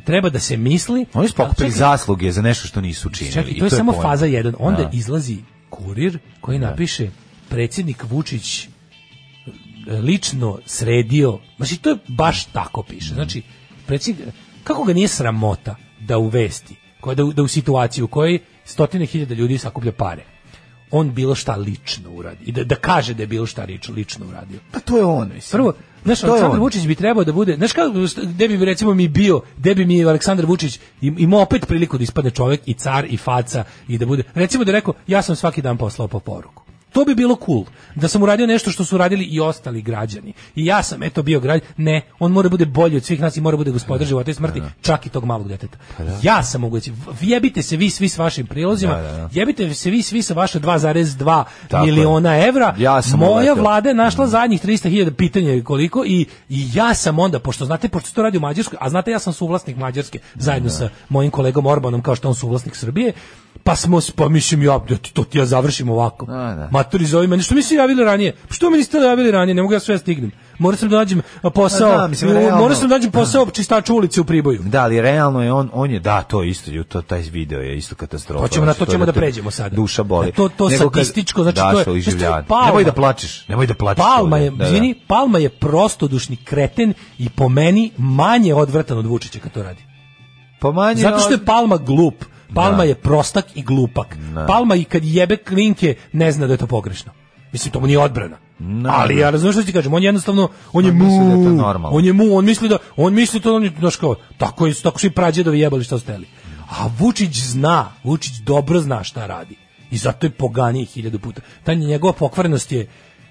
Speaker 6: treba da se misli...
Speaker 7: Oni su pokupili
Speaker 6: A, čekaj,
Speaker 7: zasluge za nešto što nisu činili.
Speaker 6: Čekaj,
Speaker 7: i
Speaker 6: to je samo
Speaker 7: pojenta.
Speaker 6: faza 1. Onda
Speaker 7: Da.
Speaker 6: izlazi kurir koji napiše predsjednik Vučić e, lično sredio. Znači, to je baš tako piše. Znači, predsjednik, kako ga nije sramota da u vesti, koja, da, u, da u situaciji u kojoj stotine hiljada ljudi sakuplja pare, on bilo šta lično uradi i da, da kaže da je bilo šta lič- lično uradio.
Speaker 7: Pa to je ono, mislim.
Speaker 6: Prvo, znaš,
Speaker 7: To je
Speaker 6: Aleksandar
Speaker 7: on.
Speaker 6: Vučić bi trebao da bude, znaš kako, gde bi recimo mi bio, gde bi mi Aleksandar Vučić im- imao opet priliku da ispadne čovjek i car i faca i da bude, recimo da je rekao, ja sam svaki dan poslao po poruku. To bi bilo cool, da sam uradio nešto što su uradili i ostali građani. I ja sam, eto, bio građan. Ne, on mora da bude bolji od svih nas i mora da bude gospodar života i smrti, čak i tog malog deteta.
Speaker 7: Pa
Speaker 6: Ja sam mogući. Jebite se vi svi s vašim prilozima, jebite se vi svi sa vaša 2,2
Speaker 7: Tako je.
Speaker 6: miliona evra.
Speaker 7: Ja sam
Speaker 6: Moja
Speaker 7: uleteo.
Speaker 6: vlada vlada je našla zadnjih 300.000 pitanja je koliko i, i ja sam onda, pošto znate, pošto se to radi u Mađarskoj, a znate ja sam suvlasnik Mađarske zajedno sa mojim kolegom Orbanom kao što je on suvlasnik Srbije, pa smo, s- pa mislim ja, da ti- to ti ja završim ovako.
Speaker 7: Da, da.
Speaker 6: Matori zove mene, što mi se javili ranije? Pa Što mi niste javili ranije? Ne mogu ja sve da stignem. Moram sam da nađem a,
Speaker 7: Pa
Speaker 6: posao,
Speaker 7: da, mislim,
Speaker 6: u-
Speaker 7: realno.
Speaker 6: moram sam da nađem posao čistaču ulice u Priboju.
Speaker 7: Da, ali realno je on, on je, da, to je isto, ju, to, taj video je isto katastrofa.
Speaker 6: Hoćemo na to
Speaker 7: Znači,
Speaker 6: ćemo da
Speaker 7: te
Speaker 6: pređemo sada.
Speaker 7: Duša boli.
Speaker 6: Na to to
Speaker 7: Nego kad
Speaker 6: statističko, znači to je,
Speaker 7: Dašo
Speaker 6: znači, to je
Speaker 7: Iživljan.
Speaker 6: Palma.
Speaker 7: Nemoj da plačeš, nemoj da plačeš.
Speaker 6: Palma
Speaker 7: ovdje.
Speaker 6: je,
Speaker 7: Da, da.
Speaker 6: izvini, Palma je prostodušni kreten i po meni manje odvratan od Vučića kad to radi.
Speaker 7: Pa manje
Speaker 6: Zato što
Speaker 7: od-
Speaker 6: je Palma glup. Palma
Speaker 7: Da.
Speaker 6: je prostak i glupak.
Speaker 7: Da.
Speaker 6: Palma i kad jebe klinke ne zna da je to pogrešno. Mislim, to mu nije odbrana.
Speaker 7: Da,
Speaker 6: Ali
Speaker 7: da.
Speaker 6: ja razumem što ti kažem, on jednostavno, on je
Speaker 7: On misli da je to
Speaker 6: mu,
Speaker 7: normalno.
Speaker 6: on je mu, on misli da, on misli to, on je, znaš kao, tako, je, tako su i prađedovi jebali šta su teli. A Vučić zna, Vučić dobro zna šta radi. I zato je poganiji hiljadu puta. Ta njegova pokvarenost je,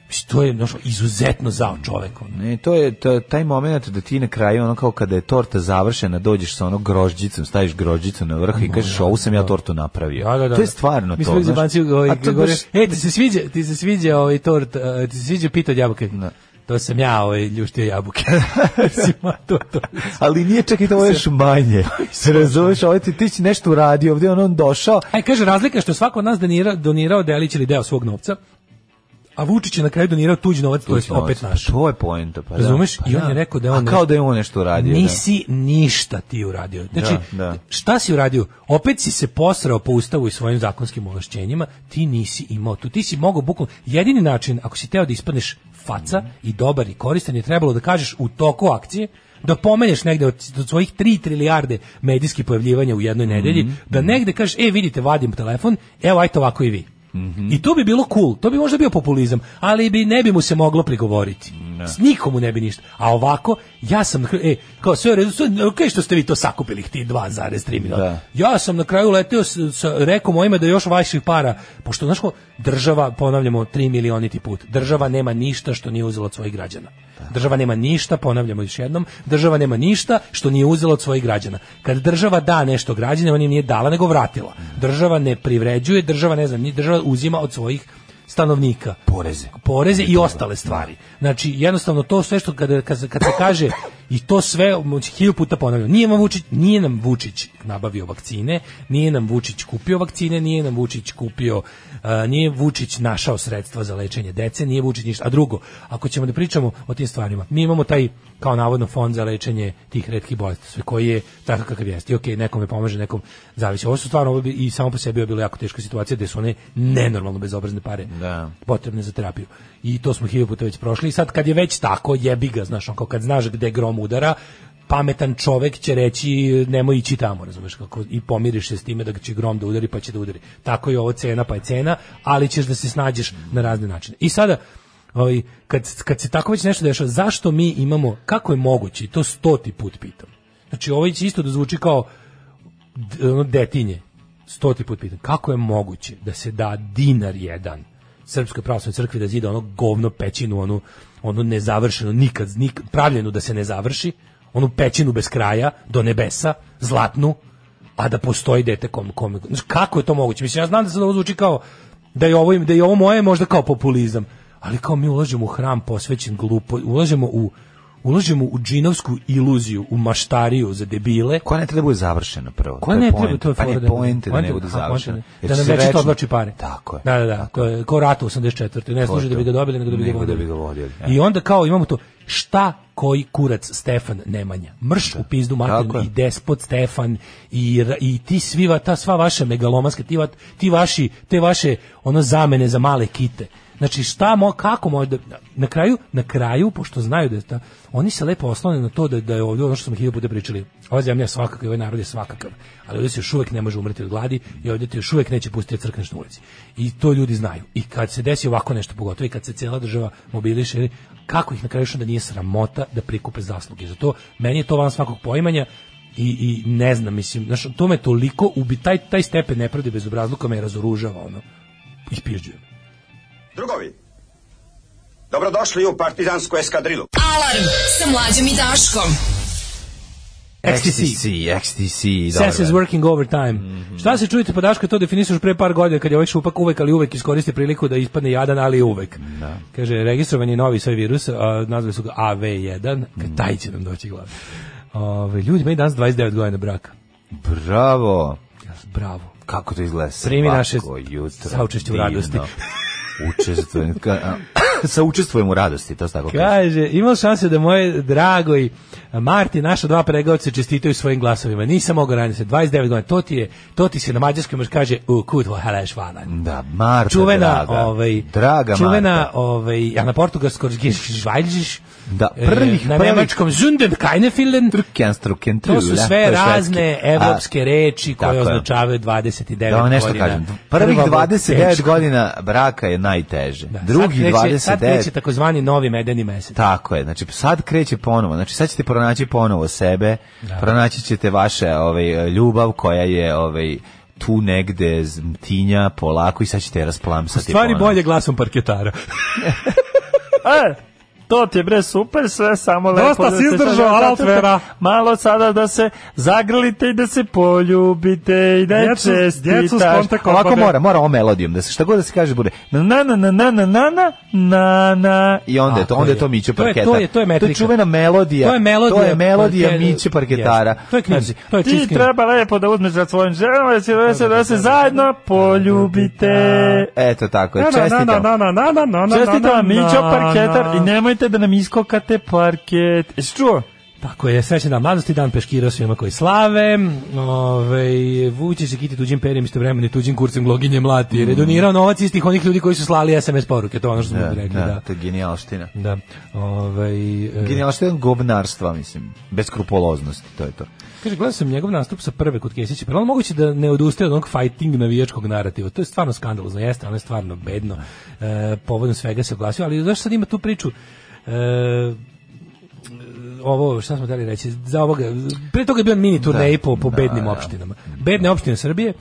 Speaker 6: mislim, to je znaš, izuzetno zao čovek. On.
Speaker 7: Ne, to je to, taj moment da ti na kraju ono kao kada je torta završena dođeš sa onog grožđicom, staviš grožđicu na vrh i kažeš ovu sam ja tortu napravio.
Speaker 6: Da, da, da.
Speaker 7: To je stvarno
Speaker 6: Mi
Speaker 7: to.
Speaker 6: smo bili za
Speaker 7: znaš.
Speaker 6: Banciju, ovaj,
Speaker 7: A to
Speaker 6: govorio,
Speaker 7: baš-
Speaker 6: e, ti se sviđa, ti se sviđa ovaj tort, eh, ti se sviđa pita od jabuke. To sam ja, ovaj, ljuštio jabuke. Mislim, a to, to.
Speaker 7: ali nije čak i to ovo još manje. Razumeš, ovaj ti, ti si nešto uradio, ovdje je on, on došao,
Speaker 6: Aj, kaže, razlika je što je svako od nas donirao, donirao delić ili deo svog novca, a Vučić je na kraju donirao tuđ novac, to je
Speaker 7: Tuđi
Speaker 6: opet
Speaker 7: novac.
Speaker 6: naš.
Speaker 7: pa To je poenta, pa da.
Speaker 6: Razumeš?
Speaker 7: Pa
Speaker 6: I on
Speaker 7: da.
Speaker 6: je rekao da je on
Speaker 7: A kao da je on nešto uradio.
Speaker 6: Nisi ništa ti uradio. Znači,
Speaker 7: Da, da.
Speaker 6: šta si uradio? Opet si se posrao po ustavu i svojim zakonskim ovlašćenjima, ti nisi imao tu. Ti si mogao bukvalno, jedini način, ako si teo da ispadneš faca i dobar i koristan, je trebalo da kažeš u toku akcije da pomeneš negde od, od svojih 3 trilijarde medijskih pojavljivanja u jednoj nedelji,
Speaker 7: Mhm,
Speaker 6: da negde kažeš, e vidite, vadim telefon, evo ajte ovako i vi. I to bi bilo cool, to bi možda bio populizam, ali bi ne bi mu se moglo prigovoriti. S nikomu ne bi ništa. A ovako, ja sam na kraju, e, kao sve u redu, sve- okej što ste vi to sakupili, ti 2,3 miliona.
Speaker 7: Da.
Speaker 6: Ja sam na kraju leteo, s, sa, rekao mojima da još vaših para, pošto, znaš ko, država, ponavljamo, 3 milioniti put, država nema ništa što nije uzela od svojih građana. Država nema ništa, ponavljamo još jednom, država nema ništa što nije uzela od svojih građana. Kad država da nešto građanima, on im nije dala, nego vratila. Država ne privređuje, država ne znam, ni- država uzima od svojih stanovnika.
Speaker 7: Poreze.
Speaker 6: Poreze i ostale stvari. Znači, jednostavno to sve što kada, kad, se- kad se kaže i to sve, znači, hilju puta ponavljam, nije nam Vučić, nije nam Vučić nabavio vakcine, nije nam Vučić kupio vakcine, nije nam Vučić kupio, a, nije Vučić našao sredstva za lečenje dece, nije Vučić ništa. A drugo, ako ćemo da pričamo o tim stvarima, mi imamo taj, kao navodno, fond za lečenje tih retkih bolesti, sve koji je takav kakav jeste. I okej, nekome pomaže, nekom zavisi. Ovo su stvarno, ovo bi i samo po sebi je bila jako teška situacija, gde su one nenormalno bezobrazne pare
Speaker 7: Da.
Speaker 6: potrebne za terapiju. I to smo hiljadu puta već prošli. I sad kad je već tako, jebi ga, znaš, on kao kad znaš gde grom udara, pametan čovek će reći nemoj ići tamo, razumeš kako, i pomiriš se s time da će grom da udari, pa će da udari. Tako je ovo cena, pa je cena, ali ćeš da se snađeš na razne načine. I sada, ovaj, kad, kad se tako već nešto dešava, zašto mi imamo, kako je moguće, i to stoti put pitam. Znači, ovo će isto da zvuči kao d- ono detinje, stoti put pitam, kako je moguće da se da dinar jedan Srpskoj pravoslavnoj crkvi da zida ono govno pećinu, onu, onu nezavršenu, nikad, nikad, pravljenu da se ne završi, onu pećinu bez kraja, do nebesa, zlatnu, a da postoji dete kom, kom, znaš, kako je to moguće? Mislim, ja znam da se ovo zvuči kao, da je ovo, im- da je ovo moje možda kao populizam, ali kao mi ulažemo u hram posvećen glupo, ulažemo u ulažemo u džinovsku iluziju, u maštariju za debile.
Speaker 7: Koja ne treba da bude završena prvo?
Speaker 6: Koja
Speaker 7: je
Speaker 6: ne treba
Speaker 7: poenta.
Speaker 6: to je
Speaker 7: Pa
Speaker 6: fora
Speaker 7: ne
Speaker 6: da-
Speaker 7: poente da ne
Speaker 6: poenta-
Speaker 7: bude
Speaker 6: aha,
Speaker 7: završena.
Speaker 6: poenta-
Speaker 7: Jer
Speaker 6: Da
Speaker 7: će
Speaker 6: nam
Speaker 7: se
Speaker 6: večito
Speaker 7: reći-
Speaker 6: odloči pare.
Speaker 7: Tako je.
Speaker 6: Da, da, da. To je kao rat u 84. Ne služi da bi ga dobili, nego da bi ga
Speaker 7: Nego da
Speaker 6: vodili.
Speaker 7: bi ga vodili, e.
Speaker 6: I onda kao imamo to, šta koji kurac Stefan Nemanja? Mrš u pizdu
Speaker 7: Tako
Speaker 6: materinu
Speaker 7: je.
Speaker 6: i despot Stefan i, ra- i ti svi, va- ta sva vaša megalomanska, ti, va- ti vaši, te vaše ono zamene za male kite. Znači šta mo, kako možda na kraju na kraju pošto znaju da je ta, oni se lepo oslone na to da, da je ovdje ono što smo hiljadu puta pričali ova zemlja je svakakav i ovaj narod je svakakav ali ovdje se još uvek ne može umreti od gladi i ovdje te još uvek neće pustiti da crkneš na ulici i to ljudi znaju i kad se desi ovako nešto pogotovo i kad se cijela država mobiliše kako ih na kraju što da nije sramota da prikupe zasluge za to meni je to van svakog poimanja i, i ne znam, mislim, znaš, to me toliko ubi, taj, taj stepen nepravde bez obrazluka me razoružava, ono, ispižđuje me.
Speaker 12: Drugovi, dobrodošli u partizansku eskadrilu.
Speaker 5: Alarm sa mlađom i Daškom.
Speaker 7: XTC, XTC,
Speaker 6: Sess is working overtime. Šta se čujete, pa Daško je to definisuš pre par godina kad je ovaj šupak uvek, ali uvek iskoristi priliku da ispadne jadan, ali uvek. Kaže, registrovan je novi svoj virus, a, nazvali su ga AV1, mm. taj će nam doći glav. Ove, ljudi, meni danas 29 godina braka.
Speaker 7: Bravo.
Speaker 6: Bravo.
Speaker 7: Kako to izgleda?
Speaker 6: Primi naše
Speaker 7: svako jutro.
Speaker 6: saučešće u radosti.
Speaker 7: Divno. Učestvujem. ka- a, Saučestvujem u radosti, to se tako kaže.
Speaker 6: Kaže, imao šanse da moje drago i Marti, naša dva pregaoce čestitaju svojim glasovima. Nisam mogao ranije se, 29 godina, to ti je, to ti se na mađarskom još kaže, u kutvo heleš vana.
Speaker 7: Da, Marta,
Speaker 6: čuvena,
Speaker 7: draga.
Speaker 6: ovaj,
Speaker 7: draga
Speaker 6: čuvena,
Speaker 7: Marta.
Speaker 6: ovaj, a na portugalskom žvajlžiš,
Speaker 7: Da, prvih,
Speaker 6: E, na
Speaker 7: prvih-
Speaker 6: nemačkom zunden keine filen,
Speaker 7: Kenstruken
Speaker 6: to su
Speaker 7: Trula,
Speaker 6: sve
Speaker 7: je švedski.
Speaker 6: razne
Speaker 7: A,
Speaker 6: evropske reči
Speaker 7: tako
Speaker 6: koje
Speaker 7: je.
Speaker 6: označavaju 29
Speaker 7: Da
Speaker 6: godina.
Speaker 7: vam nešto kažem. Prvih
Speaker 6: Krvavog
Speaker 7: 29
Speaker 6: tečka.
Speaker 7: godina braka je najteže. Drugi
Speaker 6: sad kreće, Sad
Speaker 7: 29
Speaker 6: kreće takozvani novi medeni mesec.
Speaker 7: Tako je, znači sad kreće ponovo, znači sad ćete pronaći ponovo sebe, pronaći ćete vaše ovaj, ljubav koja je ovaj, tu negde z- tinja polako i sad ćete je rasplamsati.
Speaker 6: Stvari
Speaker 7: ponovo.
Speaker 6: bolje glasom parketara.
Speaker 13: E, to ti je bre super sve, samo
Speaker 6: Dosta
Speaker 13: lepo.
Speaker 6: si
Speaker 13: se
Speaker 6: izdržao,
Speaker 13: sada-
Speaker 6: al
Speaker 13: zato što-
Speaker 6: Altvera.
Speaker 13: Malo sada da se zagrlite i da se poljubite i da je
Speaker 7: Djecu-
Speaker 13: čestitaš.
Speaker 7: djecu s kontakom, Ovako
Speaker 13: babe.
Speaker 7: mora, mora o melodijom, da se šta god da se kaže bude na na na na na na na na na na i onda je to,
Speaker 6: Tako
Speaker 7: onda je
Speaker 6: je.
Speaker 7: to
Speaker 6: To
Speaker 7: Mićo
Speaker 6: je- to
Speaker 7: parketara.
Speaker 6: je- to je metrika.
Speaker 7: čuvena melodija.
Speaker 6: To je melodija
Speaker 7: To je melodija
Speaker 6: parke-
Speaker 7: Miće parketara.
Speaker 6: Jeste.
Speaker 7: Znači,
Speaker 6: To je knjizi- to je
Speaker 13: Ti
Speaker 6: čiskinja.
Speaker 13: treba lepo da uzmeš za svojim ženama i da se, da se zajedno poljubite.
Speaker 7: Eto tako je,
Speaker 13: Na, na, na,
Speaker 7: čestitam.
Speaker 13: na, na, na, na, na, na,
Speaker 7: Čestitam
Speaker 13: na,
Speaker 7: vam, Mićo
Speaker 13: na,
Speaker 7: Parketar,
Speaker 13: na.
Speaker 7: i
Speaker 13: nemojte da nam iskokate parket. Jesi čuo?
Speaker 6: Tako je, srećan dan mladosti, dan peškira svima koji slave, ove, vuče se kiti tuđim perjem istovremeno i tuđim kurcem gloginje mlati, jer je donirao novac istih onih ljudi koji su slali SMS poruke, to je ono što smo
Speaker 7: Mm. Da,
Speaker 6: rekli,
Speaker 7: da,
Speaker 6: da.
Speaker 7: to je genijalština.
Speaker 6: Da. Ovaj e,
Speaker 7: Genijalština gobnarstva, mislim, beskrupuloznosti, to je to.
Speaker 6: Kaže, gledao sam njegov nastup sa prve kod Kesića, pa je li moguće da ne odustaje od onog fighting navijačkog narativa? To je stvarno skandalozno, jeste, ono je stvarno bedno. E, povodom svega se oglasio, ali zašto sad ima tu priču? E, ovo, šta smo dali reći, za ovoga, pre toga je bio mini turnej po, po bednim opštinama. Bedne opštine Srbije,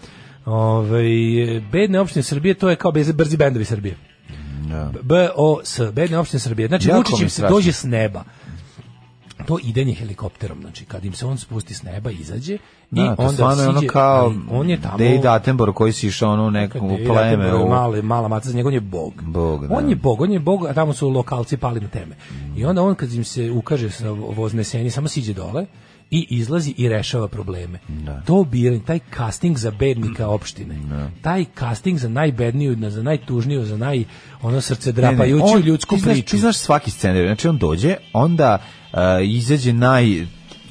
Speaker 6: ovaj, bedne opštine Srbije, to je kao bez- brzi bendovi Srbije. BOS, bedne opštine Srbije. Znači,
Speaker 7: Jako
Speaker 6: Vučić
Speaker 7: mi
Speaker 6: im
Speaker 7: je
Speaker 6: se
Speaker 7: strašno.
Speaker 6: dođe s neba to idenje helikopterom, znači kad im se on spusti s neba, izađe i
Speaker 7: Da, to
Speaker 6: onda
Speaker 7: stvarno
Speaker 6: siđe,
Speaker 7: je ono kao
Speaker 6: ali on je tamo
Speaker 7: Dej Datenbor koji si išao ono u
Speaker 6: kad
Speaker 7: nekom u
Speaker 6: je
Speaker 7: pleme.
Speaker 6: Datenbor
Speaker 7: U...
Speaker 6: male, mala maca, za njega on je bog.
Speaker 7: Bog, da.
Speaker 6: On je bog, on je bog, a tamo su lokalci pali na teme. I onda on kad im se ukaže sa vozneseni, samo siđe dole i izlazi i rešava probleme. To biranje, taj casting za bednika opštine, taj casting za najbedniju, na- za najtužniju, za naj ono srce
Speaker 7: Ne, ne,
Speaker 6: drapajuću
Speaker 7: on-
Speaker 6: ljudsku
Speaker 7: ti znaš-
Speaker 6: priču.
Speaker 7: Ti znaš svaki scenario, znači on dođe, onda uh, izađe naj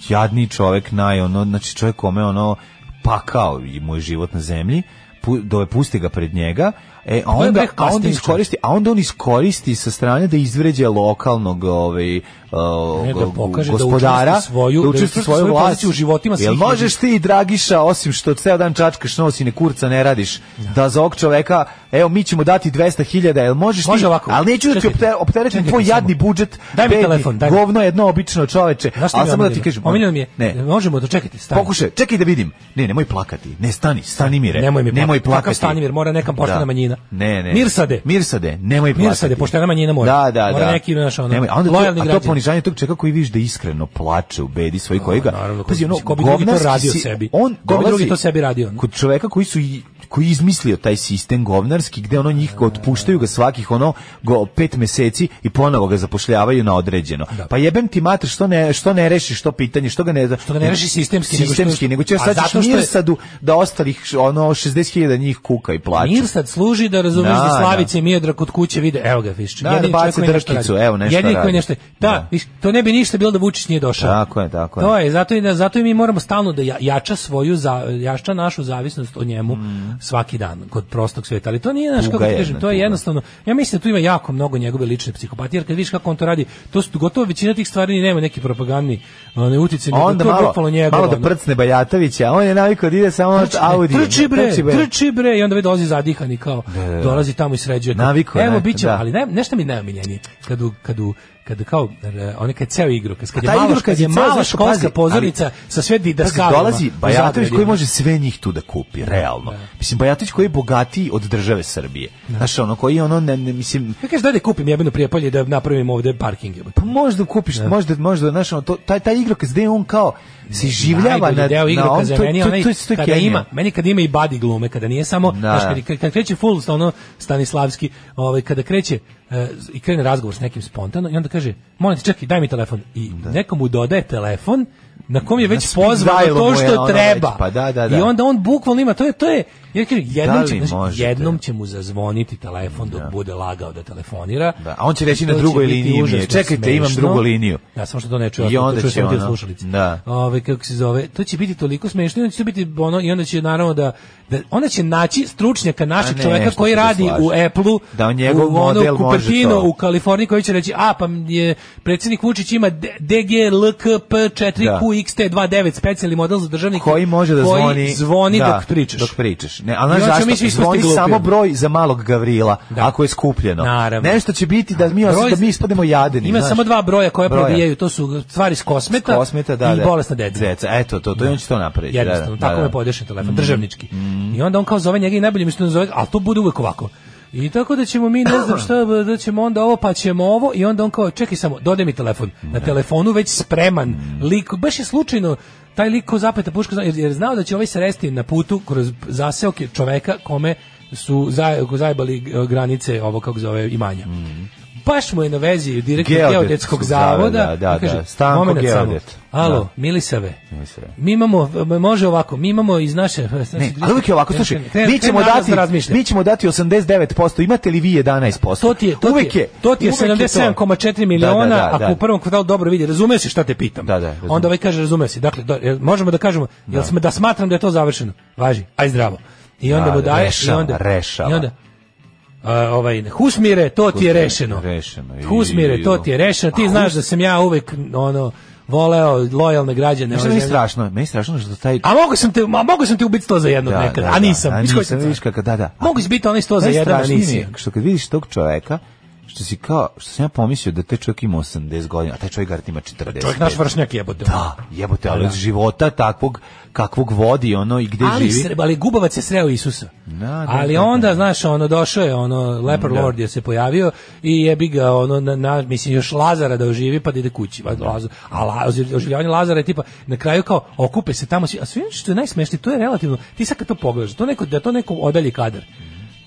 Speaker 7: jadni čovek, naj ono, znači čovek kome ono pakao i mu je život na zemlji, pu, do pusti ga pred njega, e, a
Speaker 6: To je
Speaker 7: onda,
Speaker 6: bre
Speaker 7: a onda
Speaker 6: casting,
Speaker 7: iskoristi, a onda on iskoristi sa strane da izvređa lokalnog ovaj uh,
Speaker 6: Ne, da pokaže da
Speaker 7: gospodara,
Speaker 6: učvrsti svoju- da
Speaker 7: učvrsti
Speaker 6: učvrsti svoju
Speaker 7: vlast.
Speaker 6: poziciju u životima
Speaker 7: Jel
Speaker 6: svih
Speaker 7: možeš ti Dragiša osim što ceo dan čačkaš nos i ne kurca ne radiš da za ovog čoveka evo mi ćemo dati 200.000 jel možeš
Speaker 6: Može
Speaker 7: ti
Speaker 6: ovako.
Speaker 7: ali neću da ti
Speaker 6: Čekajte.
Speaker 7: opte- opteretim
Speaker 6: Čekajte
Speaker 7: tvoj
Speaker 6: samo.
Speaker 7: jadni budžet
Speaker 6: Daj mi
Speaker 7: bedni,
Speaker 6: telefon, daj mi.
Speaker 7: govno jedno obično čoveče
Speaker 6: Znaš šta mi
Speaker 7: ali
Speaker 6: je
Speaker 7: samo da ti
Speaker 6: omiljeno?
Speaker 7: kažem ono,
Speaker 6: Omiljeno mi je,
Speaker 7: ne
Speaker 6: možemo, dočekajte, stani.
Speaker 7: pokušaj čekaj da vidim ne nemoj plakati ne stani stani mire
Speaker 6: Nemoj mi
Speaker 7: nemoj
Speaker 6: plakati. Kakav
Speaker 7: plakati
Speaker 6: Stanimir, mora neka poštena manjina.
Speaker 7: ne ne
Speaker 6: Mirsade.
Speaker 7: mirsade nemoj plakati
Speaker 6: Mirsade, poštena manjina mora.
Speaker 7: da da
Speaker 6: Mora
Speaker 7: da
Speaker 6: neki, znaš, ono,
Speaker 7: Nemoj, a onda to-
Speaker 6: lojalni
Speaker 7: a to
Speaker 6: građani.
Speaker 7: ponižanje tog čeka koji vidiš da iskreno plače u bedi svoj koji ga
Speaker 6: naravno, ko-
Speaker 7: pazi ono
Speaker 6: ko bi drugi to
Speaker 7: govnarski
Speaker 6: radio
Speaker 7: si-
Speaker 6: sebi?
Speaker 7: on
Speaker 6: Ko bi drugi
Speaker 7: dolazi-
Speaker 6: to sebi radio?
Speaker 7: kod čoveka koji su i- koji je izmislio taj sistem govnarski gde ono njih otpuštaju ga svakih ono go pet meseci i ponovo ga zapošljavaju na određeno. Pa jebem ti mater što ne što ne reši što pitanje što ga ne što
Speaker 6: ga ne reši sistemski, nego što-
Speaker 7: sistemski nego ćeš
Speaker 6: A
Speaker 7: sad
Speaker 6: zato
Speaker 7: ćeš
Speaker 6: što je-
Speaker 7: Mirsadu da ostalih š- ono 60.000 njih kuka i plače.
Speaker 6: Mirsad služi da razumeš
Speaker 7: Da,
Speaker 6: da,
Speaker 7: da.
Speaker 6: Slavice i Mijedra kod kuće vide, evo ga, viš.
Speaker 7: Da, da baci drkicu, evo, nešto
Speaker 6: Jedini koji
Speaker 7: radi.
Speaker 6: nešto, da, viš, to ne bi ništa bilo da Vučić nije došao.
Speaker 7: Tako je, tako je.
Speaker 6: To je, zato i, da, zato i mi moramo stalno da ja- jača svoju, za, jača našu zavisnost o njemu svaki dan, kod prostog sveta. Ali to nije, znaš,
Speaker 7: Mm. Tuga
Speaker 6: kako ti
Speaker 7: jedna,
Speaker 6: kažem, to je
Speaker 7: tuga.
Speaker 6: jednostavno, ja mislim da tu ima jako mnogo njegove lične psihopatije, jer kad vidiš kako on to radi, to su gotovo većina tih stvari ni nema neki propagandni ne utice, nego
Speaker 7: Onda
Speaker 6: to je
Speaker 7: malo,
Speaker 6: bukvalno njegovo.
Speaker 7: malo da
Speaker 6: ono.
Speaker 7: prcne Bajatovića, on je navikao da ide samo od Audi.
Speaker 6: Trči bre, trči bre i onda već dolazi zadihani kao
Speaker 7: da, da.
Speaker 6: dolazi tamo i sređuje. kao,
Speaker 7: Naviko je,
Speaker 6: Evo
Speaker 7: ne,
Speaker 6: biće,
Speaker 7: da.
Speaker 6: ali ne, nešto mi je najomiljenije. Kad u, kad u, kad kao e, one kad ceo igru, kad, kad je
Speaker 7: taj
Speaker 6: malo,
Speaker 7: igrokaz
Speaker 6: kad je
Speaker 7: je ceo,
Speaker 6: mala
Speaker 7: znaš, pazi,
Speaker 6: školska
Speaker 7: ali-
Speaker 6: pozornica sa sve
Speaker 7: Pazi,
Speaker 6: didaskalima.
Speaker 7: dolazi
Speaker 6: u
Speaker 7: Bajatović
Speaker 6: zagradi.
Speaker 7: koji može sve njih tu da kupi, realno. Mislim, Bajatović koji je bogatiji od države Srbije. Znaš, ono, koji je ono, ne, ne, mislim,
Speaker 6: Ja kažem, daj da kupim jebeno prijepolje i da napravim ovde parking. jebote.
Speaker 7: pa možda kupiš, možda, možda, znaš, ono, to, taj, taj igrokaz gde on kao se življava
Speaker 6: Najbolji
Speaker 7: na,
Speaker 6: deo
Speaker 7: na on,
Speaker 6: igrokaza
Speaker 7: to,
Speaker 6: je meni
Speaker 7: to-
Speaker 6: onaj
Speaker 7: to- to je
Speaker 6: kada
Speaker 7: genijalno.
Speaker 6: ima, meni kada ima i body glume, kada nije samo, znaš, kad, kad, kad kreće full ono Stanislavski, ovaj kada kreće e, i krene razgovor s nekim spontano i onda kaže: "Molim te, čekaj, daj mi telefon." I nekomu dodaje telefon na kom je
Speaker 7: Na
Speaker 6: već
Speaker 7: speed
Speaker 6: pozvao
Speaker 7: dialu mu
Speaker 6: to
Speaker 7: je
Speaker 6: što
Speaker 7: ono
Speaker 6: treba.
Speaker 7: već, pa da, da, da.
Speaker 6: I onda on bukvalno ima to je to je jer kaže, jednom
Speaker 7: li
Speaker 6: će, znaš,
Speaker 7: možete?
Speaker 6: jednom će mu zazvoniti telefon dok bude lagao da telefonira.
Speaker 7: Da, a on će reći
Speaker 6: I
Speaker 7: na
Speaker 6: to će
Speaker 7: drugoj
Speaker 6: biti
Speaker 7: liniji mi je.
Speaker 6: užasno
Speaker 7: Čekajte, imam
Speaker 6: smešno.
Speaker 7: drugu liniju.
Speaker 6: Da, samo što to ne čuje.
Speaker 7: I onda će ono,
Speaker 6: slušalice. Ovaj,
Speaker 7: da.
Speaker 6: Ove, kako se zove, to će biti toliko smešno, i onda će to biti ono, i onda će naravno da, da onda će naći stručnjaka našeg
Speaker 7: A ne,
Speaker 6: čoveka
Speaker 7: što
Speaker 6: koji
Speaker 7: se
Speaker 6: radi
Speaker 7: slažem.
Speaker 6: u Apple-u,
Speaker 7: Da, njegov
Speaker 6: u ono,
Speaker 7: model
Speaker 6: u
Speaker 7: može
Speaker 6: Cupertino,
Speaker 7: to.
Speaker 6: u Kaliforniji, koji će reći, a, pa je, predsjednik Vučić ima D- DGLKP4QXT29 specijalni model za državnike
Speaker 7: koji može da
Speaker 6: koji
Speaker 7: zvoni
Speaker 6: zvoni
Speaker 7: da,
Speaker 6: dok pričaš.
Speaker 7: dok pričaš ne a
Speaker 6: I
Speaker 7: znaš
Speaker 6: onda ćemo mi
Speaker 7: zašto
Speaker 6: svi
Speaker 7: zvoni
Speaker 6: ispasti glupi
Speaker 7: samo
Speaker 6: onda.
Speaker 7: broj za malog Gavrila
Speaker 6: Da.
Speaker 7: ako je skupljeno
Speaker 6: Naravno.
Speaker 7: nešto će biti da mi osim,
Speaker 6: Broj-
Speaker 7: da mi ispademo jadeni
Speaker 6: Ima
Speaker 7: znaš.
Speaker 6: samo dva broja koja
Speaker 7: Broja.
Speaker 6: probijaju, to su stvari s kosmeta,
Speaker 7: kosmeta da
Speaker 6: i
Speaker 7: da
Speaker 6: bolesna deca.
Speaker 7: deca eto to to i on će to napraviti da, da,
Speaker 6: Jednostavno,
Speaker 7: da, Mm-hmm.
Speaker 6: tako
Speaker 7: da.
Speaker 6: me podeše telefon, državnički. I onda on kao zove njega i najbolje mi što ne zove, ali to bude uvek ovako. I tako da ćemo mi, ne znam šta, da ćemo onda ovo, pa ćemo ovo, i onda on kao, čekaj samo, dodaj mi telefon. Na telefonu već spreman,
Speaker 7: Mm-hmm.
Speaker 6: lik, baš je slučajno, taj lik ko zapeta puška, zna- jer, jer znao da će ovaj sresti na putu kroz zaseoke čoveka kome su zaj- zajebali e, granice ovo kako zove imanja. baš mu je na vezi direktor
Speaker 7: Mm-hmm. Geodetskog
Speaker 6: geodetskog
Speaker 7: zavoda,
Speaker 6: zavoda.
Speaker 7: da, da,
Speaker 6: i kaže,
Speaker 7: da, Stanko
Speaker 6: "Momenat samo.
Speaker 7: geodet."
Speaker 6: Alo,
Speaker 7: Da. Mm-hmm.
Speaker 6: Milisave.
Speaker 7: Milisave.
Speaker 6: Mi imamo, m- može ovako, mi imamo iz naše...
Speaker 7: Ne, ali uvijek je ovako, slušaj,
Speaker 6: Kren-
Speaker 7: mi ćemo
Speaker 6: kren narod da
Speaker 7: dati,
Speaker 6: razmišlja.
Speaker 7: mi ćemo dati 89%, imate li vi 11%?
Speaker 6: To ti je, to ti
Speaker 7: uvijek
Speaker 6: je, to ti je
Speaker 7: uvijek to.
Speaker 6: 77,4 miliona,
Speaker 7: Da, da, da,
Speaker 6: ako
Speaker 7: da.
Speaker 6: u prvom kvartalu dobro vidi, razumeš se šta te pitam.
Speaker 7: Da, da, razumem.
Speaker 6: Onda ovaj kaže, razume se. Dakle, do- jel možemo da kažemo, jel
Speaker 7: Da.
Speaker 6: sme- da smatram da je to završeno. Važi, aj zdravo. I onda
Speaker 7: Da,
Speaker 6: mu daje,
Speaker 7: rešava,
Speaker 6: i onda,
Speaker 7: rešava.
Speaker 6: I onda, a, ovaj, husmire, to ti je rešeno.
Speaker 7: Rešeno. I-
Speaker 6: Husmire, to ti je rešeno. Ti
Speaker 7: A,
Speaker 6: znaš
Speaker 7: hus-
Speaker 6: da sam ja uvek, ono, voleo lojalne građane.
Speaker 7: Znaš šta
Speaker 6: ove
Speaker 7: mi je
Speaker 6: zemlje.
Speaker 7: strašno? Meni je strašno što taj...
Speaker 6: A mogu sam te, a mogu sam te ubiti sto za jednog nekad, a nisam.
Speaker 7: Da, a
Speaker 6: Viš koji
Speaker 7: nisam,
Speaker 6: sam
Speaker 7: vidiš kako, da, da.
Speaker 6: car. Mogu izbiti onaj sto za jedan, a
Speaker 7: Najstrašnije
Speaker 6: nisi.
Speaker 7: mi je Što kad vidiš tog čoveka, što si kao, što sam ja pomislio da taj čovjek ima 80 godina, a taj čovjek garant ima 40.
Speaker 6: Pa Čovjek naš vršnjak jebote.
Speaker 7: Da, jebote, ali
Speaker 6: Da.
Speaker 7: iz života takvog, kakvog vodi ono i gde
Speaker 6: ali,
Speaker 7: živi.
Speaker 6: sre, ali Gubavac je sreo Isusa.
Speaker 7: da,
Speaker 6: ali
Speaker 7: da,
Speaker 6: onda, znaš, ono, došao je, ono, Leper
Speaker 7: Da.
Speaker 6: Lord je se pojavio i jebi ga, ono, na, na, mislim, još Lazara da oživi pa da ide kući. Pa, Lazu, a la, oži- oživljavanje Lazara je tipa, na kraju kao, okupe se tamo, svi, a sve što je najsmešnije, to je relativno, ti sad kad to pogledaš, to neko, da je to neko odalji kadar.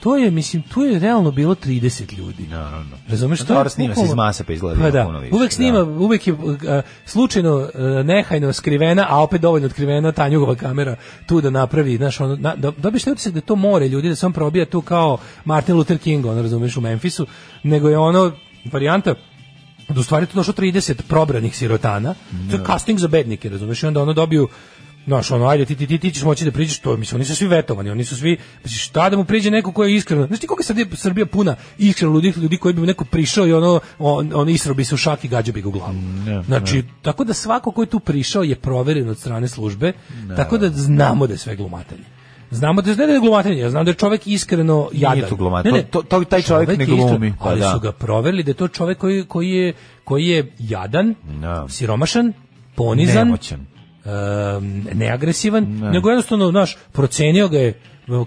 Speaker 6: To je, mislim, tu je realno bilo 30 ljudi.
Speaker 7: Naravno.
Speaker 6: Razumeš što?
Speaker 7: Pa Dobro, snima se iz mase, pa izgleda
Speaker 6: da.
Speaker 7: puno više,
Speaker 6: Uvek snima,
Speaker 7: da.
Speaker 6: uvek je a, slučajno a, nehajno skrivena, a opet dovoljno otkrivena Tanjugova kamera tu da napravi, znaš, ono, na, da, dobiješ taj utisak da je to more ljudi, da se on probija tu kao Martin Luther King, ono, razumeš, u Memfisu, nego je ono varijanta da u stvari je tu došlo 30 probranih sirotana, to je casting za bednike, razumeš, i onda ono dobiju Znaš, ono, ajde, ti, ti, ti, ti ćeš moći da priđeš, to, mislim, oni su svi vetovani, oni su svi, mislim, šta da mu priđe neko ko je iskreno, znaš ti koliko je sad je Srbija puna iskreno ludih ljudi koji bi mu neko prišao i ono, on, on isro bi se u šak i gađao bi ga u glavu.
Speaker 7: Mm,
Speaker 6: znači, tako da svako ko je tu prišao je proveren od strane službe, tako da znamo da je sve glumatanje. Znamo da je ne da je glumatanje, ja znam da je čovek iskreno jadan.
Speaker 7: to glumatanje, to- to- taj čovek ne
Speaker 6: je iskreno,
Speaker 7: glumi, pa
Speaker 6: ali
Speaker 7: da.
Speaker 6: su ga proverili da je to čovek koji, koji, je, koji je jadan,
Speaker 7: Da.
Speaker 6: siromašan, ponizan,
Speaker 7: Nemoćan.
Speaker 6: em, neagresivan, nego jednostavno, znaš, procenio ga je e,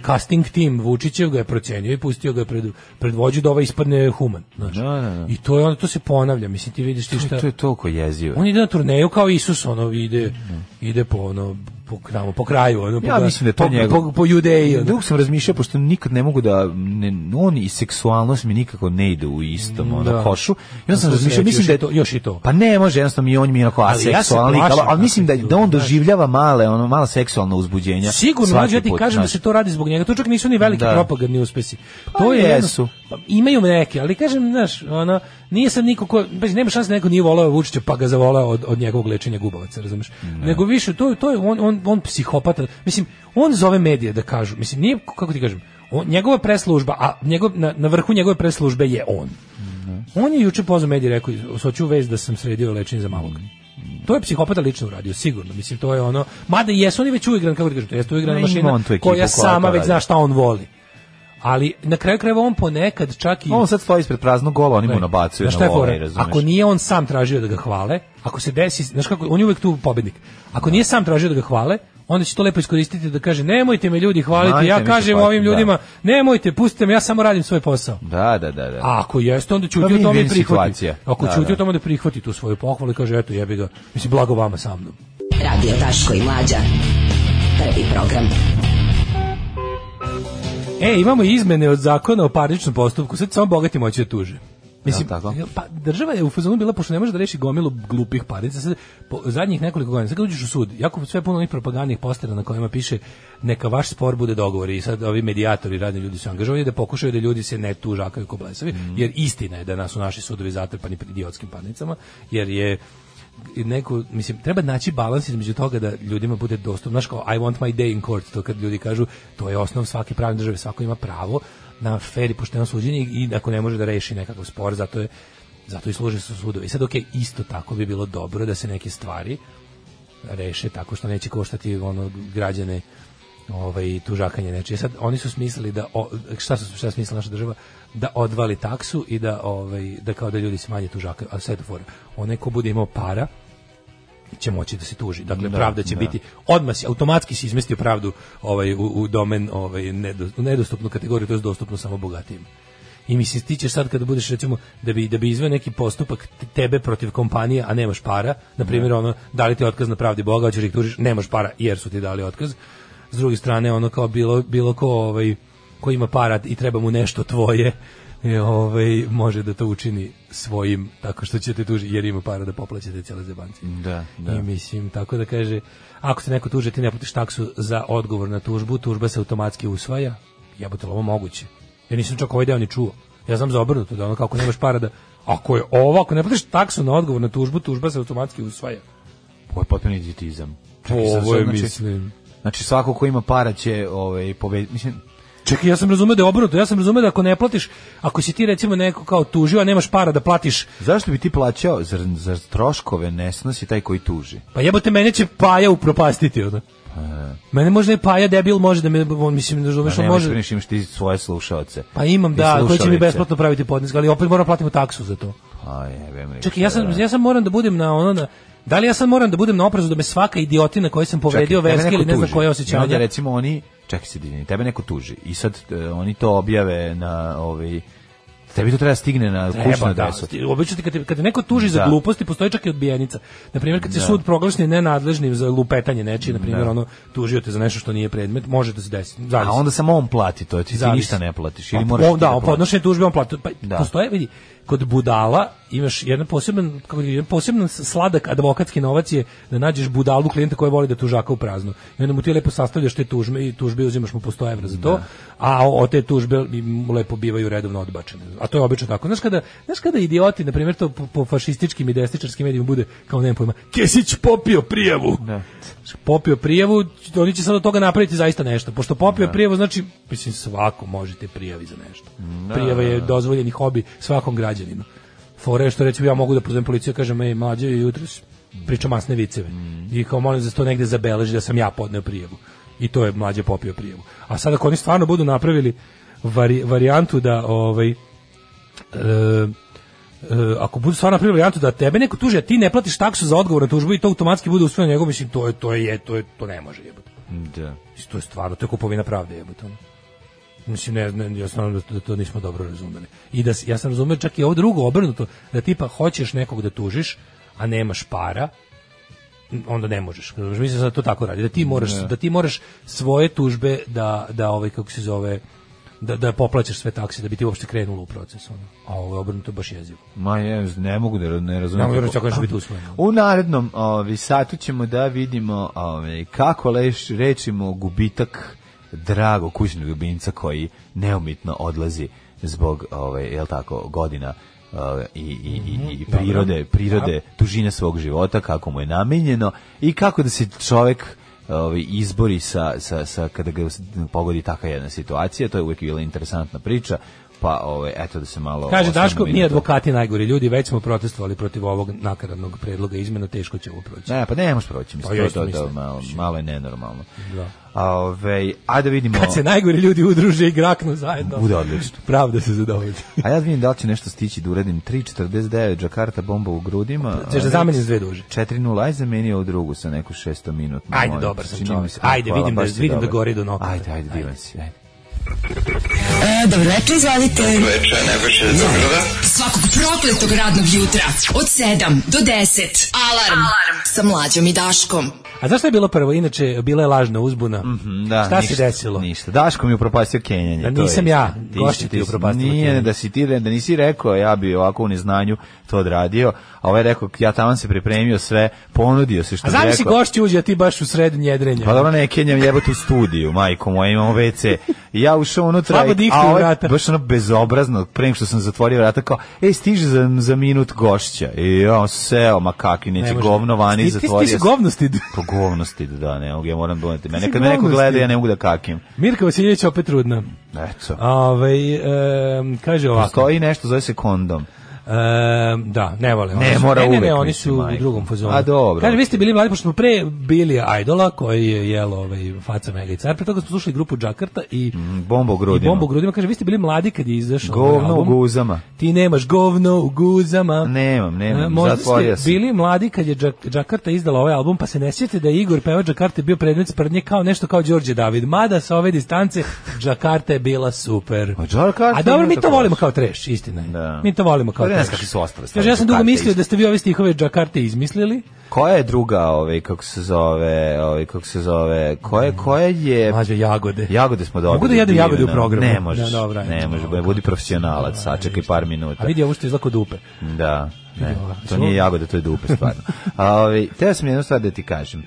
Speaker 6: casting tim Vučićev ga je procenio i pustio ga je pred, pred vođu da ovaj ispadne human. Znaš.
Speaker 7: Da, da, da.
Speaker 6: I to je ono, to se ponavlja, mislim, ti vidiš ti
Speaker 7: To
Speaker 6: šta...
Speaker 7: je- To je toliko jezivo.
Speaker 6: On ide na turneju kao Isus, ono, ide, ide po, ono, po, tamo, po kraju, ono, po,
Speaker 7: Ja mislim da je to
Speaker 6: po,
Speaker 7: njegov.
Speaker 6: po, po Judeji, ono.
Speaker 7: Dug sam razmišljao, pošto nikad ne mogu da, ne, on i seksualnost mi nikako ne ide u istom ono,
Speaker 6: da.
Speaker 7: košu. I onda sam
Speaker 6: Slušaj,
Speaker 7: razmišljao, mislim
Speaker 6: još
Speaker 7: da je
Speaker 6: i to- još i to.
Speaker 7: Pa ne može, jednostavno mi on mi je onako
Speaker 6: Ali ja se
Speaker 7: aseksualni, lik,
Speaker 6: plašim
Speaker 7: ali, ali mislim da,
Speaker 6: takvih
Speaker 7: da on
Speaker 6: ljudi, znaš.
Speaker 7: doživljava male, ono, mala seksualna uzbuđenja.
Speaker 6: Sigurno,
Speaker 7: svaki
Speaker 6: mlađe, ja ti
Speaker 7: put,
Speaker 6: kažem da
Speaker 7: znaš.
Speaker 6: se to radi zbog njega. To čak nisu ni veliki
Speaker 7: Da.
Speaker 6: propagandni uspesi.
Speaker 7: Pa
Speaker 6: to je jedno-
Speaker 7: jesu.
Speaker 6: pa imaju neke, ali kažem, znaš, ono, nije sad niko ko, bez nema šanse da neko nije voleo Vučića pa ga zavoleo od, od njegovog lečenja gubavaca, razumeš? Nego više to to je on on on psihopata. Mislim, on zove medije da kažu, mislim, nije kako ti kažem, on, njegova preslužba, a njegov, na, na vrhu njegove preslužbe je on. On je juče pozvao medije i rekao, hoću vez da sam sredio lečenje za malog. To je psihopata lično uradio, sigurno. Mislim, to je ono... Mada i jesu oni već uigran, kako ti kažem, to jeste uigrana
Speaker 7: Ne, ima
Speaker 6: mašina
Speaker 7: on tu ekipu koja
Speaker 6: koja
Speaker 7: to
Speaker 6: sama već
Speaker 7: radi.
Speaker 6: zna šta on voli. Ali na kraju krajeva on ponekad čak i...
Speaker 7: On sad stoji ispred praznog gola, oni mu nabacuju
Speaker 6: Znaš šta
Speaker 7: na
Speaker 6: je fora?
Speaker 7: vole, razumeš?
Speaker 6: Ako nije on sam tražio da ga hvale, ako se desi, znaš kako, on je uvek tu pobednik. Ako nije sam tražio da ga hvale, onda će to lepo iskoristiti da kaže nemojte me ljudi hvaliti,
Speaker 7: Manite mi
Speaker 6: ja
Speaker 7: se
Speaker 6: kažem
Speaker 7: hvaliti,
Speaker 6: ovim
Speaker 7: da.
Speaker 6: ljudima nemojte, pustite me, ja samo radim svoj posao.
Speaker 7: Da, da, da, da.
Speaker 6: A ako jeste, onda ćuti
Speaker 7: Pa
Speaker 6: o tome i
Speaker 7: win-win
Speaker 6: prihvati.
Speaker 7: situacija.
Speaker 6: Ako
Speaker 7: Da,
Speaker 6: ćuti
Speaker 7: da.
Speaker 6: o tome da prihvati tu svoju pohvalu i kaže eto jebi ga, mislim blago vama sa mnom.
Speaker 3: Radio Daško i Mlađa. Prvi program.
Speaker 6: E, imamo izmene od zakona o parničnom postupku, sad samo bogati moći da tuže. Mislim,
Speaker 7: Jel tako?
Speaker 6: pa država je u fazonu bila, pošto ne može da reši gomilu glupih parnica, sad, po, zadnjih nekoliko godina, sad kad uđeš u sud, jako sve puno onih propagandnih postera na kojima piše neka vaš spor bude dogovor i sad ovi medijatori radni ljudi su angažovani da pokušaju da ljudi se ne tužakaju ko blesavi,
Speaker 7: Mhm.
Speaker 6: jer istina je da nas su naši sudovi zatrpani pred idiotskim parnicama, jer je i neku, mislim, treba naći balans između toga da ljudima bude dostupno, znaš kao I want my day in court, to kad ljudi kažu to je osnov svake pravne države, svako ima pravo na fer i pošteno suđenje i ako ne može da reši nekakav spor, zato je zato i služe su sudovi. I sad, ok, isto tako bi bilo dobro da se neke stvari reše tako što neće koštati ono građane ovaj tužakanje nečije. Sad oni su smislili da o- šta su šta je smislila naša država da odvali taksu i da ovaj da kao da ljudi smanje tužaka, a sve je to fora. Onaj ko bude imao para će moći da se tuži. Dakle pravda će biti odmah si- automatski se izmestio pravdu ovaj u, u domen ovaj nedo- u nedostupnu kategoriju, to je dostupno samo bogatijima. I mislim ti ćeš sad kada budeš recimo da bi da bi izveo neki postupak te- tebe protiv kompanije, a nemaš para, na primjer ono dali ti otkaz na pravdi Boga, hoćeš da ih tužiš, nemaš para jer su ti dali otkaz. S druge strane ono kao bilo bilo ko ovaj ko ima para i treba mu nešto tvoje e, ovaj, može da to učini svojim, tako što ćete tužiti, jer ima para da poplaćate cele zebanci.
Speaker 7: Da, da.
Speaker 6: I mislim, tako da kaže, ako se neko tuže, ti ne platiš taksu za odgovor na tužbu, tužba se automatski usvaja, jebote, li ovo moguće. Ja nisam čak ovaj deo ni čuo. Ja znam za obrnuto, da ono kako nemaš para da, ako je ovo, ako ne platiš taksu na odgovor na tužbu, tužba se automatski usvaja.
Speaker 7: Ovo je potpuni idiotizam. Čekaj, sad,
Speaker 6: Ovo je,
Speaker 7: znači-
Speaker 6: mislim.
Speaker 7: Znači svako ko ima para će ovaj pobe- mislim
Speaker 6: Čekaj, ja sam razumeo da je obrnuto. Ja sam razumeo da ako ne platiš, ako si ti recimo neko kao tužio, a nemaš para da platiš,
Speaker 7: Pa zašto bi ti plaćao za za troškove ne snosi taj koji tuži.
Speaker 6: pa jebote mene će paja upropastiti onda. Mene možda i paja debil može da me on mislim da razumeš,
Speaker 7: Pa
Speaker 6: on
Speaker 7: nemaš,
Speaker 6: može.
Speaker 7: imaš, imaš ti svoje slušaoce.
Speaker 6: Pa imam
Speaker 7: I
Speaker 6: da, koji će mi
Speaker 7: slušalice.
Speaker 6: besplatno praviti podnesak, ali opet moram platiti taksu za to.
Speaker 7: Pa jebem li,
Speaker 6: Čekaj, ja
Speaker 7: šta
Speaker 6: sam
Speaker 7: da-
Speaker 6: ja sam moram da budem na ono na Da li ja sad moram da budem na oprezu da me svaka idiotina koju sam povredio
Speaker 7: tebe
Speaker 6: verski
Speaker 7: neko
Speaker 6: ili ne znam
Speaker 7: tuži.
Speaker 6: koje
Speaker 7: I onda,
Speaker 6: osjećanje?
Speaker 7: recimo oni, čekaj se divini, tebe neko tuži i sad e, oni to objave na ovaj tebi to treba stigne na kućnu
Speaker 6: Treba, da.
Speaker 7: adresu.
Speaker 6: Obično ti kad, te- kad te neko tuži za
Speaker 7: Da.
Speaker 6: gluposti, postoji čak i odbijenica. Na primjer, kad se
Speaker 7: Da.
Speaker 6: sud proglasi nenadležnim za lupetanje nečije, na primjer,
Speaker 7: Da.
Speaker 6: ono tužio te za nešto što nije predmet, može da se desi.
Speaker 7: A
Speaker 6: Zavisi.
Speaker 7: onda samo on plati to, ti, ti
Speaker 6: Zavisi.
Speaker 7: ništa ne platiš ili
Speaker 6: A,
Speaker 7: moraš
Speaker 6: o,
Speaker 7: ti
Speaker 6: da, o
Speaker 7: platiš.
Speaker 6: podnošenje tužbe on plati. Pa,
Speaker 7: Da.
Speaker 6: Postoje, vidi, kod budala imaš jedan poseban, kako je, jedan poseban sladak advokatski novac je da nađeš budalu klijenta koji voli da tužaka u prazno. I onda mu ti lepo sastavljaš te tužbe i tužbe i uzimaš mu po 100 evra za to, a o, o te tužbe im lepo bivaju redovno odbačene. A to je obično tako. Znaš kada, znaš kada idioti, na primjer, to po, po fašističkim i desničarskim medijima bude kao nema pojma, Kesić popio prijavu. Popio prijavu, oni će sad od toga napraviti zaista nešto. Pošto popio prijavu, znači, mislim, svako možete prijavi za nešto.
Speaker 7: Da.
Speaker 6: Prijava je dozvoljeni hobi svakom građaninu. Fore je što recimo ja mogu da pozovem policiju i kažem, ej, mlađe, jutros pričam masne viceve.
Speaker 7: Mm.
Speaker 6: I kao molim da se to negde zabeleži da sam ja podneo prijavu. I to je mlađe popio prijavu. A sad ako oni stvarno budu napravili vari, varijantu da ovaj, e, e, ako budu stvarno napravili varijantu da tebe neko tuži, a ti ne platiš taksu za odgovor na tužbu i to automatski bude usvojeno njegov, mislim, to je, to je, to je, to ne može jebote.
Speaker 7: Da.
Speaker 6: Mislim, to je stvarno, to je kupovina pravde jebote. ono. Mislim, ne, ne, ja sam da, da to nismo dobro razumeli. I da, s- ja sam razumeo čak i ovo drugo obrnuto, da tipa hoćeš nekog da tužiš, a nemaš para, n- onda ne možeš. Razumeš? Mislim da to tako radi, da ti moraš,
Speaker 7: Ne.
Speaker 6: da ti moraš svoje tužbe da, da ovaj, kako se zove, da, da poplaćaš sve takse, da bi ti uopšte krenulo u proces. Ono. A ovo je obrnuto baš jezivo.
Speaker 7: Ma je, ne mogu da ra- ne razumem.
Speaker 6: Ne mogu da
Speaker 7: kako-
Speaker 6: razumijem kako će biti usvojeno.
Speaker 7: U narednom ovi, satu ćemo da vidimo ovi, kako leš, rečimo gubitak drago kućnog ljubimca koji neumitno odlazi zbog ovaj jel tako godina ovaj, i, i, i, i
Speaker 6: Mhm, dobro.
Speaker 7: prirode prirode dužine svog života kako mu je namenjeno i kako da se čovek ovaj, izbori sa, sa, sa kada ga us- pogodi takva jedna situacija to je uvijek bila interesantna priča pa ovaj eto da se malo
Speaker 6: Kaže
Speaker 7: osvrnemo
Speaker 6: Daško,
Speaker 7: i na
Speaker 6: mi
Speaker 7: to.
Speaker 6: advokati najgori ljudi, već smo protestovali protiv ovog nakaradnog predloga izmena, teško će ovo proći.
Speaker 7: Ne, pa ne možeš proći, mislim,
Speaker 6: Pa ja
Speaker 7: to,
Speaker 6: isto
Speaker 7: to, to,
Speaker 6: mislim.
Speaker 7: malo, malo je nenormalno.
Speaker 6: Da.
Speaker 7: A, Ovaj, a da vidimo...
Speaker 6: Kad se najgori ljudi udruže i graknu zajedno.
Speaker 7: Bude odlično.
Speaker 6: Pravda se zadovolji.
Speaker 7: A ja vidim da li će nešto stići da uradim. 3.49, Jakarta bomba u grudima.
Speaker 6: Pa, Ćeš da
Speaker 7: ali-
Speaker 6: zameniš dve duže.
Speaker 7: 4.0, aj zamenio u drugu sa neku 600 minutnu.
Speaker 6: Ajde,
Speaker 7: molim.
Speaker 6: dobar sam
Speaker 7: Čini
Speaker 6: čovjek.
Speaker 7: mi se-
Speaker 6: Ajde,
Speaker 7: hvala,
Speaker 6: vidim da-
Speaker 7: baš si
Speaker 6: vidim
Speaker 7: dobar.
Speaker 6: da gori do nokta.
Speaker 7: Ajde, ajde, divan si. Ajde.
Speaker 3: E, dobro večer, izvolite.
Speaker 9: Veče, najbrže je Beograda.
Speaker 3: Svakog prokletog radnog jutra od 7 do 10. Alarm, Alarm. sa mlađom i Daškom.
Speaker 6: A zašto je bilo prvo? Inače, bila je lažna uzbuna.
Speaker 7: Mhm, Da,
Speaker 6: Šta
Speaker 7: ništa,
Speaker 6: se desilo?
Speaker 7: Ništa. Daško mi je upropastio Kenjanje.
Speaker 6: Da
Speaker 7: to je
Speaker 6: nisam
Speaker 7: isto.
Speaker 6: ja,
Speaker 7: Ti
Speaker 6: gošća
Speaker 7: si-
Speaker 6: ti je
Speaker 7: si-
Speaker 6: upropastila
Speaker 7: Nije,
Speaker 6: Kenjanje.
Speaker 7: da, si ti, re- da nisi rekao, ja bi ovako u neznanju to odradio. A ovaj je rekao, ja tamo se pripremio sve, ponudio se što
Speaker 6: A
Speaker 7: bi
Speaker 6: zamisli
Speaker 7: rekao.
Speaker 6: gošći uđe, a ti baš u sred njedrenja.
Speaker 7: Pa dobro, ne, Kenjam jebati u studiju, majko moja, imamo WC. I ja ušao unutra,
Speaker 6: Slabo
Speaker 7: i-
Speaker 6: dihnu
Speaker 7: a ovaj,
Speaker 6: vrata.
Speaker 7: baš ono bezobrazno, prema što sam zatvorio vrata, kao, ej, stiže za, za minut gošća. I ja on seo, ma kakvi, neće
Speaker 6: može.
Speaker 7: govno vani,
Speaker 6: Ti- ti- ti
Speaker 7: zatvorio.
Speaker 6: si
Speaker 7: sam.
Speaker 6: govnosti.
Speaker 7: Po govnosti, da, ne, mogu, ja moram doneti. Mene
Speaker 6: si
Speaker 7: kad me neko
Speaker 6: govnosti.
Speaker 7: gleda, ja ne mogu da kakim.
Speaker 6: Mirka Vasiljević opet trudna.
Speaker 7: Eto.
Speaker 6: Ove, kaže ovako.
Speaker 7: Postoji nešto, zove se kondom.
Speaker 6: Ehm, da, ne vole.
Speaker 7: Ne,
Speaker 6: Oni su-
Speaker 7: mora
Speaker 6: ne, ne, ne,
Speaker 7: uvek,
Speaker 6: oni
Speaker 7: mislim,
Speaker 6: su u
Speaker 7: majko.
Speaker 6: drugom fazonu.
Speaker 7: A, dobro.
Speaker 6: Kaže, vi ste bili mladi, pošto smo pre bili Idola, koji je jelo ovaj, faca Mega i Car. Pre toga smo slušali grupu Džakarta i,
Speaker 7: Mm, Bombo u
Speaker 6: i
Speaker 7: grudima.
Speaker 6: Bombu u grudima. Kaže, vi ste bili mladi kad je izašao ovaj
Speaker 7: Govno u
Speaker 6: album.
Speaker 7: guzama.
Speaker 6: Ti nemaš govno u guzama.
Speaker 7: Nemam,
Speaker 6: E,
Speaker 7: nemam,
Speaker 6: možda
Speaker 7: zatvorio
Speaker 6: ste
Speaker 7: sam.
Speaker 6: bili mladi kad je Džak- Džakarta izdala ovaj album, pa se ne sjetite da je Igor pevač Džakarte bio predmet sprdnje kao nešto kao Đorđe David. Mada sa ove distance Džakarta je bila super.
Speaker 7: A Džakarta
Speaker 6: A dobro,
Speaker 7: ima
Speaker 6: mi to
Speaker 7: tako
Speaker 6: volimo
Speaker 7: loše.
Speaker 6: kao treš, istina je.
Speaker 7: Da.
Speaker 6: Mi to volimo kao
Speaker 7: Pa ne, ne znam kakve su ostale stvari.
Speaker 6: Kaže, ja sam dugo
Speaker 7: Džakarte
Speaker 6: mislio da ste vi ove stihove Džakarte izmislili.
Speaker 7: Koja je druga, ovaj kako se zove, ovaj kako se zove, koje koje je
Speaker 6: Mađe jagode.
Speaker 7: Jagode smo dobili.
Speaker 6: Mogu da jedem jagode u
Speaker 7: divno.
Speaker 6: programu?
Speaker 7: Ne možeš.
Speaker 6: Da, dobra,
Speaker 7: ne
Speaker 6: ajde.
Speaker 7: možeš, budi- budi profesionalac, sačekaj par minuta.
Speaker 6: A vidi ovo što je izlako dupe.
Speaker 7: Da. Ne,
Speaker 6: Vidi ovo.
Speaker 7: to nije jagode, to je dupe stvarno. A, ovaj teo sam jednu stvar da ti kažem.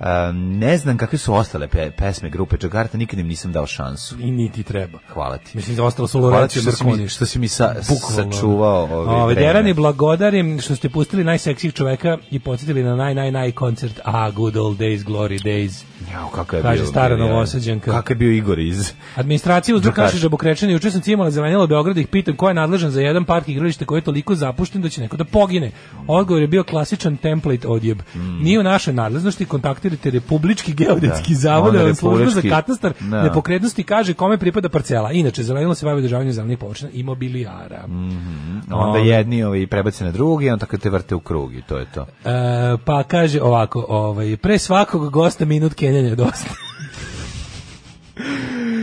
Speaker 7: A, ne znam kakve su ostale pe- pesme grupe Jakarta, nikad im nisam dao šansu.
Speaker 6: I niti treba.
Speaker 7: Hvala ti.
Speaker 6: Mislim da ostalo su
Speaker 7: Hvala ti
Speaker 6: Lorenzo
Speaker 7: Pa što si mi,
Speaker 6: Marconi.
Speaker 7: što si mi sa,
Speaker 6: Bukvalno.
Speaker 7: sačuvao ove,
Speaker 6: Ove,
Speaker 7: vreme.
Speaker 6: Derani, blagodarim što ste pustili najseksijih čoveka i podsjetili na naj, naj, naj koncert. A, good old days, glory days.
Speaker 7: Jao, kakav je
Speaker 6: Kaže
Speaker 7: bio,
Speaker 6: stara
Speaker 7: bio je.
Speaker 6: Novosađanka.
Speaker 7: Kakav je bio Igor iz...
Speaker 6: Administracija uzrok
Speaker 7: Đukar.
Speaker 6: naše žabokrečani, juče sam cimala zelenjelo Beograd i ih pitam ko je nadležan za jedan park igralište koji je toliko zapušten da će neko da pogine. Odgovor je bio klasičan template odjeb. Nije u našoj nadležnosti, kontaktirajte Republički geodetski
Speaker 7: Hmm. Da,
Speaker 6: zavod,
Speaker 7: onda
Speaker 6: da vam služba za
Speaker 7: republički.
Speaker 6: katastar
Speaker 7: Da.
Speaker 6: nepokretnosti kaže kome pripada parcela. Inače, zelenilo se bavi održavanjem zelenih površina i mobilijara.
Speaker 7: Hmm. Onda
Speaker 6: Ove.
Speaker 7: jedni ovaj, prebace na drugi, onda kad te vrte u krug i to je to.
Speaker 6: E, pa kaže ovako, ovaj, pre svakog gosta minut kenjanja je dosta.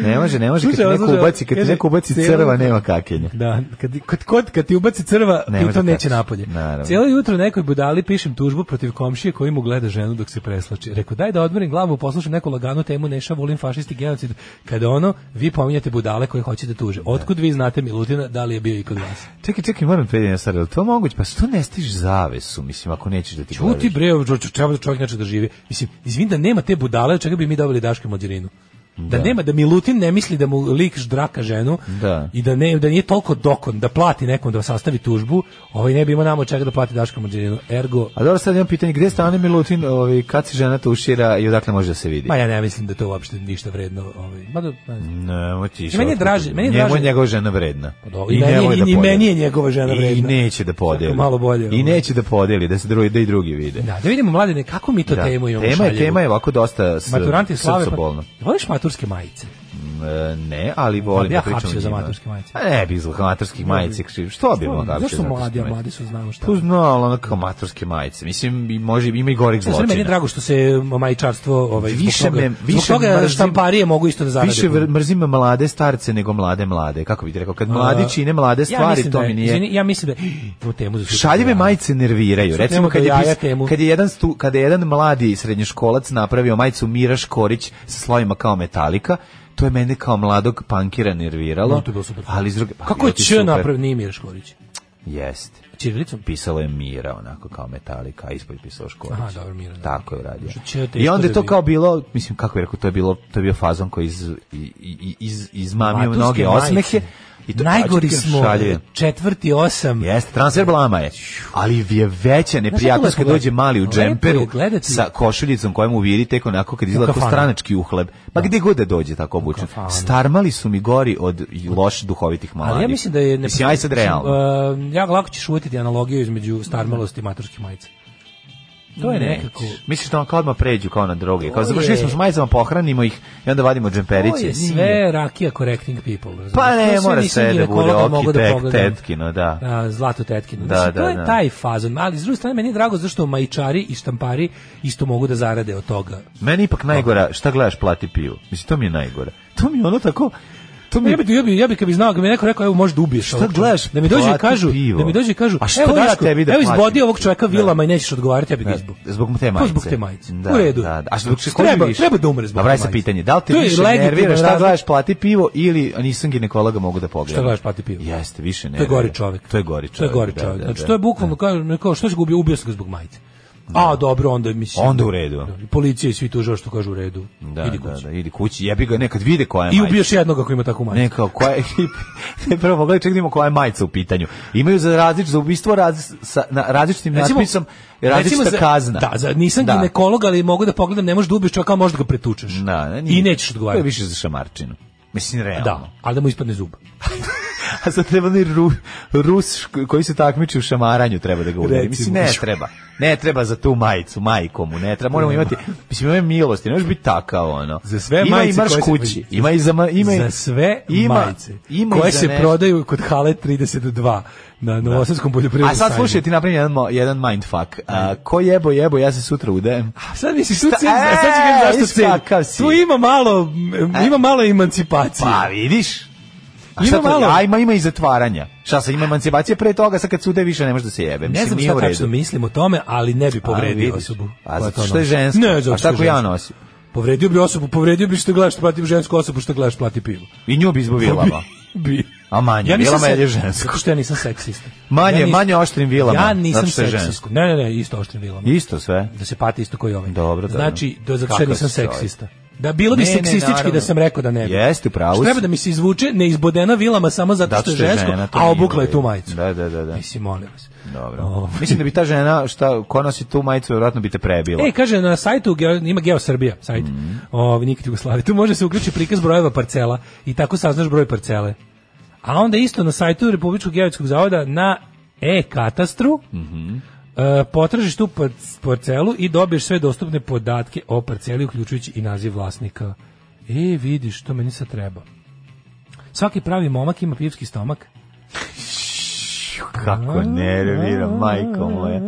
Speaker 7: Ne može, ne može, kad ti
Speaker 6: Slušaj,
Speaker 7: neko
Speaker 6: slušaj,
Speaker 7: ubaci, kad ti
Speaker 6: kaže,
Speaker 7: neko ubaci
Speaker 6: cijelo-
Speaker 7: crva, nema kakenja.
Speaker 6: Da, kad, kad, kad, kad ti ubaci crva,
Speaker 7: Ne
Speaker 6: ti to
Speaker 7: može tako.
Speaker 6: neće napolje.
Speaker 7: Naravno.
Speaker 6: Cijelo jutro nekoj budali pišem tužbu protiv komšije koji mu gleda ženu dok se preslači. Rekao, daj da odmorim glavu, poslušam neku laganu temu, neša volim fašisti genocid. Kada ono, vi pominjate budale koje hoćete tuže. Otkud vi znate Milutina, da li je bio i kod vas?
Speaker 7: Čekaj, čekaj, moram prijeti na stvar, je li to moguće? Pa što ne stiš zavesu, mislim, ako nećeš da ti govoriš?
Speaker 6: Čuti bre, čovjek- treba da čovjek način da živi. Mislim, izvin da nema te budale, od čega bi mi dobili Daške mlađerinu? Da,
Speaker 7: Da.
Speaker 6: nema, da Milutin ne misli da mu lik ždraka ženu
Speaker 7: Da.
Speaker 6: i da, ne, da nije toliko dokon da plati nekom da sastavi tužbu, ovaj ne bi imao nama od čega da plati Daška mlađerinu. Ergo,
Speaker 7: A dobro, sad imam pitanje, gde stane Milutin, ovaj, kad se žena tušira i odakle može da se vidi?
Speaker 6: ma pa ja ne mislim da to uopšte ništa vredno. Ovaj, ma da, ne znam.
Speaker 7: Ne, moj ti
Speaker 6: I meni je draže- meni je
Speaker 7: Njemu je
Speaker 6: draže-
Speaker 7: njegova žena vredna.
Speaker 6: do- i meni je-
Speaker 7: nemoj
Speaker 6: i- i
Speaker 7: podeli.
Speaker 6: meni je njegova žena
Speaker 7: I
Speaker 6: vredna.
Speaker 7: neće da podeli.
Speaker 6: Čekaj, malo bolje,
Speaker 7: I
Speaker 6: ovaj.
Speaker 7: neće da podeli, da se drugi, da i drugi vide.
Speaker 6: Da, da vidimo mladine, kako mi to
Speaker 7: Da.
Speaker 6: temu imamo
Speaker 7: Tema je,
Speaker 6: šaljivu?
Speaker 7: tema je ovako dosta s,
Speaker 6: Maturanti slave,
Speaker 7: srcobolna.
Speaker 6: pa, voliš maturske majice?
Speaker 7: Mm, e, Ne, ali volim
Speaker 6: bi ja
Speaker 7: da pričam
Speaker 6: hapsio
Speaker 7: o
Speaker 6: za
Speaker 7: njima.
Speaker 6: maturske majice.
Speaker 7: A ne bi zbog maturskih majice. Što bi mogao hapsio?
Speaker 6: Zašto
Speaker 7: za maturske
Speaker 6: mladi, a
Speaker 7: majice?
Speaker 6: mladi su znamo šta.
Speaker 7: Tu znao, ono kao maturske majice. Mislim, i može, ima i gorih
Speaker 6: Sve E, meni je
Speaker 7: zločina.
Speaker 6: drago što se um, majčarstvo ovaj zbog
Speaker 7: Više
Speaker 6: toga-
Speaker 7: me-
Speaker 6: zbog
Speaker 7: više
Speaker 6: toga
Speaker 7: mrzim-
Speaker 6: štamparije mogu isto da zarade.
Speaker 7: Više vr- mrzim mlade starce nego mlade mlade. Kako bih ti rekao, kad mladi čine mlade
Speaker 6: Ja
Speaker 7: stvari,
Speaker 6: mislim
Speaker 7: to
Speaker 6: da je-
Speaker 7: mi nije...
Speaker 6: izvini, ja mislim da imamo temu za sutra.
Speaker 7: Šaljive majice nerviraju.
Speaker 6: Sad
Speaker 7: Recimo
Speaker 6: nemamo
Speaker 7: kad
Speaker 6: do
Speaker 7: je,
Speaker 6: jaja
Speaker 7: pis-
Speaker 6: temu.
Speaker 7: kad je jedan stu, kada je jedan mladi srednjoškolac napravio majicu Mira Škorić sa slovima kao Metalika, to je mene kao mladog pankira nerviralo.
Speaker 6: No, to je bilo super.
Speaker 7: Ali s druge, pa,
Speaker 6: Kako
Speaker 7: bilo
Speaker 6: je
Speaker 7: ti
Speaker 6: Č
Speaker 7: super.
Speaker 6: naprav nije Mira Škorić?
Speaker 7: Jeste.
Speaker 6: Čirilicom?
Speaker 7: Pisalo je Mira onako kao Metalika, a ispod je pisalo Škorić.
Speaker 6: Aha, dobro, Mira, da.
Speaker 7: Tako je uradio.
Speaker 6: Što će, teško
Speaker 7: I onda je
Speaker 6: da
Speaker 7: to
Speaker 6: bi-
Speaker 7: kao bilo, mislim kako je rekao, to je bilo to je bio fazon koji iz, i- i- iz, izmamio
Speaker 6: Maturske
Speaker 7: mnoge
Speaker 6: majice.
Speaker 7: osmehe. I to
Speaker 6: Najgori
Speaker 7: čak i
Speaker 6: smo,
Speaker 7: šaljive.
Speaker 6: četvrti osam.
Speaker 7: Jeste, transfer blama je. Ali je veća neprijatnost
Speaker 6: kako
Speaker 7: kad
Speaker 6: lepo
Speaker 7: dođe mali u
Speaker 6: gledati?
Speaker 7: džemperu
Speaker 6: Lepo je gledati.
Speaker 7: sa košuljicom koja mu viri tek onako kad izgleda kao
Speaker 6: kafanu.
Speaker 7: stranački uhleb. Ma gde god da dođe tako obučen.
Speaker 6: kafanu.
Speaker 7: Starmali su mi gori od loš duhovitih mladih.
Speaker 6: Ali ja mislim da je... ne-
Speaker 7: Mislim, aj sad realno.
Speaker 6: Mislim, e, ja lako ćeš uvetiti analogiju između starmelosti i maturskih majica. To je
Speaker 7: Ne.
Speaker 6: nekako...
Speaker 7: Misliš da on kao odmah pređu kao na droge. Kao
Speaker 6: To
Speaker 7: završili
Speaker 6: je-
Speaker 7: smo s majicama, pohranimo ih i onda vadimo
Speaker 6: To
Speaker 7: džemperiće.
Speaker 6: je sve rakija correcting people. razumeš?
Speaker 7: Pa
Speaker 6: To
Speaker 7: ne,
Speaker 6: sve
Speaker 7: mora
Speaker 6: nisam
Speaker 7: sve da bude
Speaker 6: ginekologa mogao
Speaker 7: oki,
Speaker 6: da
Speaker 7: tek,
Speaker 6: pogledam.
Speaker 7: tetkino, da.
Speaker 6: a, Zlato Tetkino.
Speaker 7: Da,
Speaker 6: Mislim, to
Speaker 7: da,
Speaker 6: je
Speaker 7: da.
Speaker 6: taj fazon, ali s druge strane meni je drago zašto majčari i štampari isto mogu da zarade od toga.
Speaker 7: Meni ipak najgora, šta gledaš, plati pivu. Mislim, to mi je najgora. To mi je ono tako... To mi je
Speaker 6: Ja bi, ja bi, ja bi kad bi znao, kad mi je neko rekao, evo možeš da ubiješ.
Speaker 7: Šta
Speaker 6: ovog čoveka.
Speaker 7: gledaš?
Speaker 6: Da mi dođe i
Speaker 7: Plati
Speaker 6: kažu,
Speaker 7: pivo.
Speaker 6: da mi dođe i kažu,
Speaker 7: A što
Speaker 6: evo
Speaker 7: ja
Speaker 6: Daško,
Speaker 7: tebi da
Speaker 6: evo
Speaker 7: platim?
Speaker 6: izbodi ovog čoveka
Speaker 7: Da.
Speaker 6: vilama i nećeš odgovarati, ja bi ga izbog.
Speaker 7: Zbog te
Speaker 6: To
Speaker 7: majice.
Speaker 6: zbog te majice.
Speaker 7: Da,
Speaker 6: U redu.
Speaker 7: Da, da. A što se
Speaker 6: Treba- treba da umre zbog
Speaker 7: A vraj
Speaker 6: te
Speaker 7: se
Speaker 6: majice.
Speaker 7: pitanje, da li te
Speaker 6: To je
Speaker 7: više
Speaker 6: legitiman
Speaker 7: nervira šta
Speaker 6: razlog.
Speaker 7: gledaš, plati pivo ili a nisam ginekologa mogu da pogledam.
Speaker 6: Šta gledaš, plati pivo?
Speaker 7: Jeste, više ne.
Speaker 6: To je gori čovjek.
Speaker 7: To je gori čovjek.
Speaker 6: To je gori
Speaker 7: da,
Speaker 6: čovjek.
Speaker 7: da,
Speaker 6: Znači
Speaker 7: da.
Speaker 6: to je bukvalno kao neko što se gubio, ubio sam ga zbog majice. A dobro, onda mislim.
Speaker 7: Onda u redu.
Speaker 6: Da, Policija i svi tužilaštvo što kažu u redu.
Speaker 7: Da,
Speaker 6: Idi
Speaker 7: da,
Speaker 6: kući.
Speaker 7: da, idi kući. Jebi ga, nekad vide koja je
Speaker 6: I
Speaker 7: majica.
Speaker 6: ubiješ jednog ako ima takvu majicu.
Speaker 7: Ne, kao koja je ne, prvo pogledaj, čekaj da imamo koja je majica u pitanju. Imaju za različ, za ubistvo raz, sa, na, različitim
Speaker 6: Recimo-
Speaker 7: natpisom različita
Speaker 6: recimo za-
Speaker 7: kazna.
Speaker 6: Da, za, nisam
Speaker 7: Da.
Speaker 6: ginekolog, ali mogu da pogledam, ne možeš da ubiješ čovjeka, ali možeš da ga pretučeš.
Speaker 7: Da, ne,
Speaker 6: I nećeš
Speaker 7: To je
Speaker 6: odgovarati.
Speaker 7: više za šamarčinu. Mislim, realno.
Speaker 6: Da, ali da mu ispadne zub.
Speaker 7: A sad treba ni Ru, Rus šk- koji se takmiči u šamaranju treba da ga udari. Mislim, ne
Speaker 6: Recimo.
Speaker 7: treba. Ne treba za tu majicu, majkomu, ne treba. Moramo imati, mislim, ima milosti, ne možeš biti takav, ono. Za
Speaker 6: sve
Speaker 7: ima
Speaker 6: majice
Speaker 7: i marš
Speaker 6: koje se-
Speaker 7: kući. Ima i za, ma- ima i,
Speaker 6: za sve
Speaker 7: ima-
Speaker 6: majice
Speaker 7: ima i
Speaker 6: koje
Speaker 7: za
Speaker 6: se
Speaker 7: nešto.
Speaker 6: prodaju kod Hale 32 na Novosadskom poljoprivrednom
Speaker 7: A sad
Speaker 6: sajmu.
Speaker 7: slušaj, ti napravim jedan, mo- jedan mindfuck. A, ko jebo, jebo, ja se sutra udajem.
Speaker 6: A sad misliš, tu cijel,
Speaker 7: E,
Speaker 6: a sad ću kažem zašto cijel.
Speaker 7: iskakav si. E.
Speaker 6: Tu ima malo, m, ima malo emancipacije.
Speaker 7: Pa vidiš, A šta to, a ima, ima i zatvaranja. Šta se ima emancipacije pre toga, sad kad sude više ne može da se jebe.
Speaker 6: Ne
Speaker 7: Mislim,
Speaker 6: znam
Speaker 7: nije u
Speaker 6: šta
Speaker 7: redu.
Speaker 6: tačno mislim o tome, ali ne bi povredio
Speaker 7: vidiš.
Speaker 6: osobu.
Speaker 7: A
Speaker 6: koja
Speaker 7: zato
Speaker 6: to
Speaker 7: što je
Speaker 6: nosi.
Speaker 7: žensko.
Speaker 6: Ne,
Speaker 7: A
Speaker 6: zato
Speaker 7: šta
Speaker 6: što je
Speaker 7: ako ja
Speaker 6: žensko.
Speaker 7: nosim?
Speaker 6: Povredio bi osobu, povredio bi što gledaš, plati žensku osobu što gledaš, plati pivu.
Speaker 7: I nju bi izbo vilama.
Speaker 6: Bi.
Speaker 7: A manje,
Speaker 6: nisam
Speaker 7: vilama
Speaker 6: se-
Speaker 7: je žensko.
Speaker 6: Zato što ja nisam seksista.
Speaker 7: Manje-
Speaker 6: nisam-
Speaker 7: manje oštrim vilama,
Speaker 6: Ja
Speaker 7: zato
Speaker 6: nisam
Speaker 7: što je
Speaker 6: seksista.
Speaker 7: žensko.
Speaker 6: Ne, ne, ne, isto oštrim vilama.
Speaker 7: Isto sve.
Speaker 6: Da se pati isto koji ovaj.
Speaker 7: Dobro, dobro.
Speaker 6: Znači, do, zato što ja
Speaker 7: Kako
Speaker 6: nisam
Speaker 7: si čovjek?
Speaker 6: seksista. Da bilo bi
Speaker 7: Ne, ne,
Speaker 6: seksistički
Speaker 7: naravno.
Speaker 6: da sam rekao da ne bi.
Speaker 7: Jeste, u pravu
Speaker 6: Što treba
Speaker 7: si.
Speaker 6: da mi se izvuče neizbodena vilama samo zato
Speaker 7: Zato
Speaker 6: što je
Speaker 7: što je
Speaker 6: žensko,
Speaker 7: žena, to
Speaker 6: a
Speaker 7: nije
Speaker 6: obukla
Speaker 7: u
Speaker 6: je tu
Speaker 7: redu.
Speaker 6: majicu.
Speaker 7: Da, da, da, da.
Speaker 6: Mislim, molim vas.
Speaker 7: Dobro.
Speaker 6: Ovaj.
Speaker 7: Mislim da bi ta žena šta ko nosi tu majicu verovatno bi te prebila.
Speaker 6: E, kaže, na sajtu geo- ima Geo Srbija, sajt, ovaj, nikad Jugoslavije. Tu može se uključiti prikaz brojeva parcela i tako saznaš broj parcele. A onda isto na sajtu Republičkog geodetskog zavoda na e-katastru e, potražiš tu par- parcelu i dobiješ sve dostupne podatke o parceli, uključujući i naziv vlasnika. E, vidiš, to meni sad treba. Svaki pravi momak ima pivski stomak.
Speaker 7: Kako nervira, majko moja.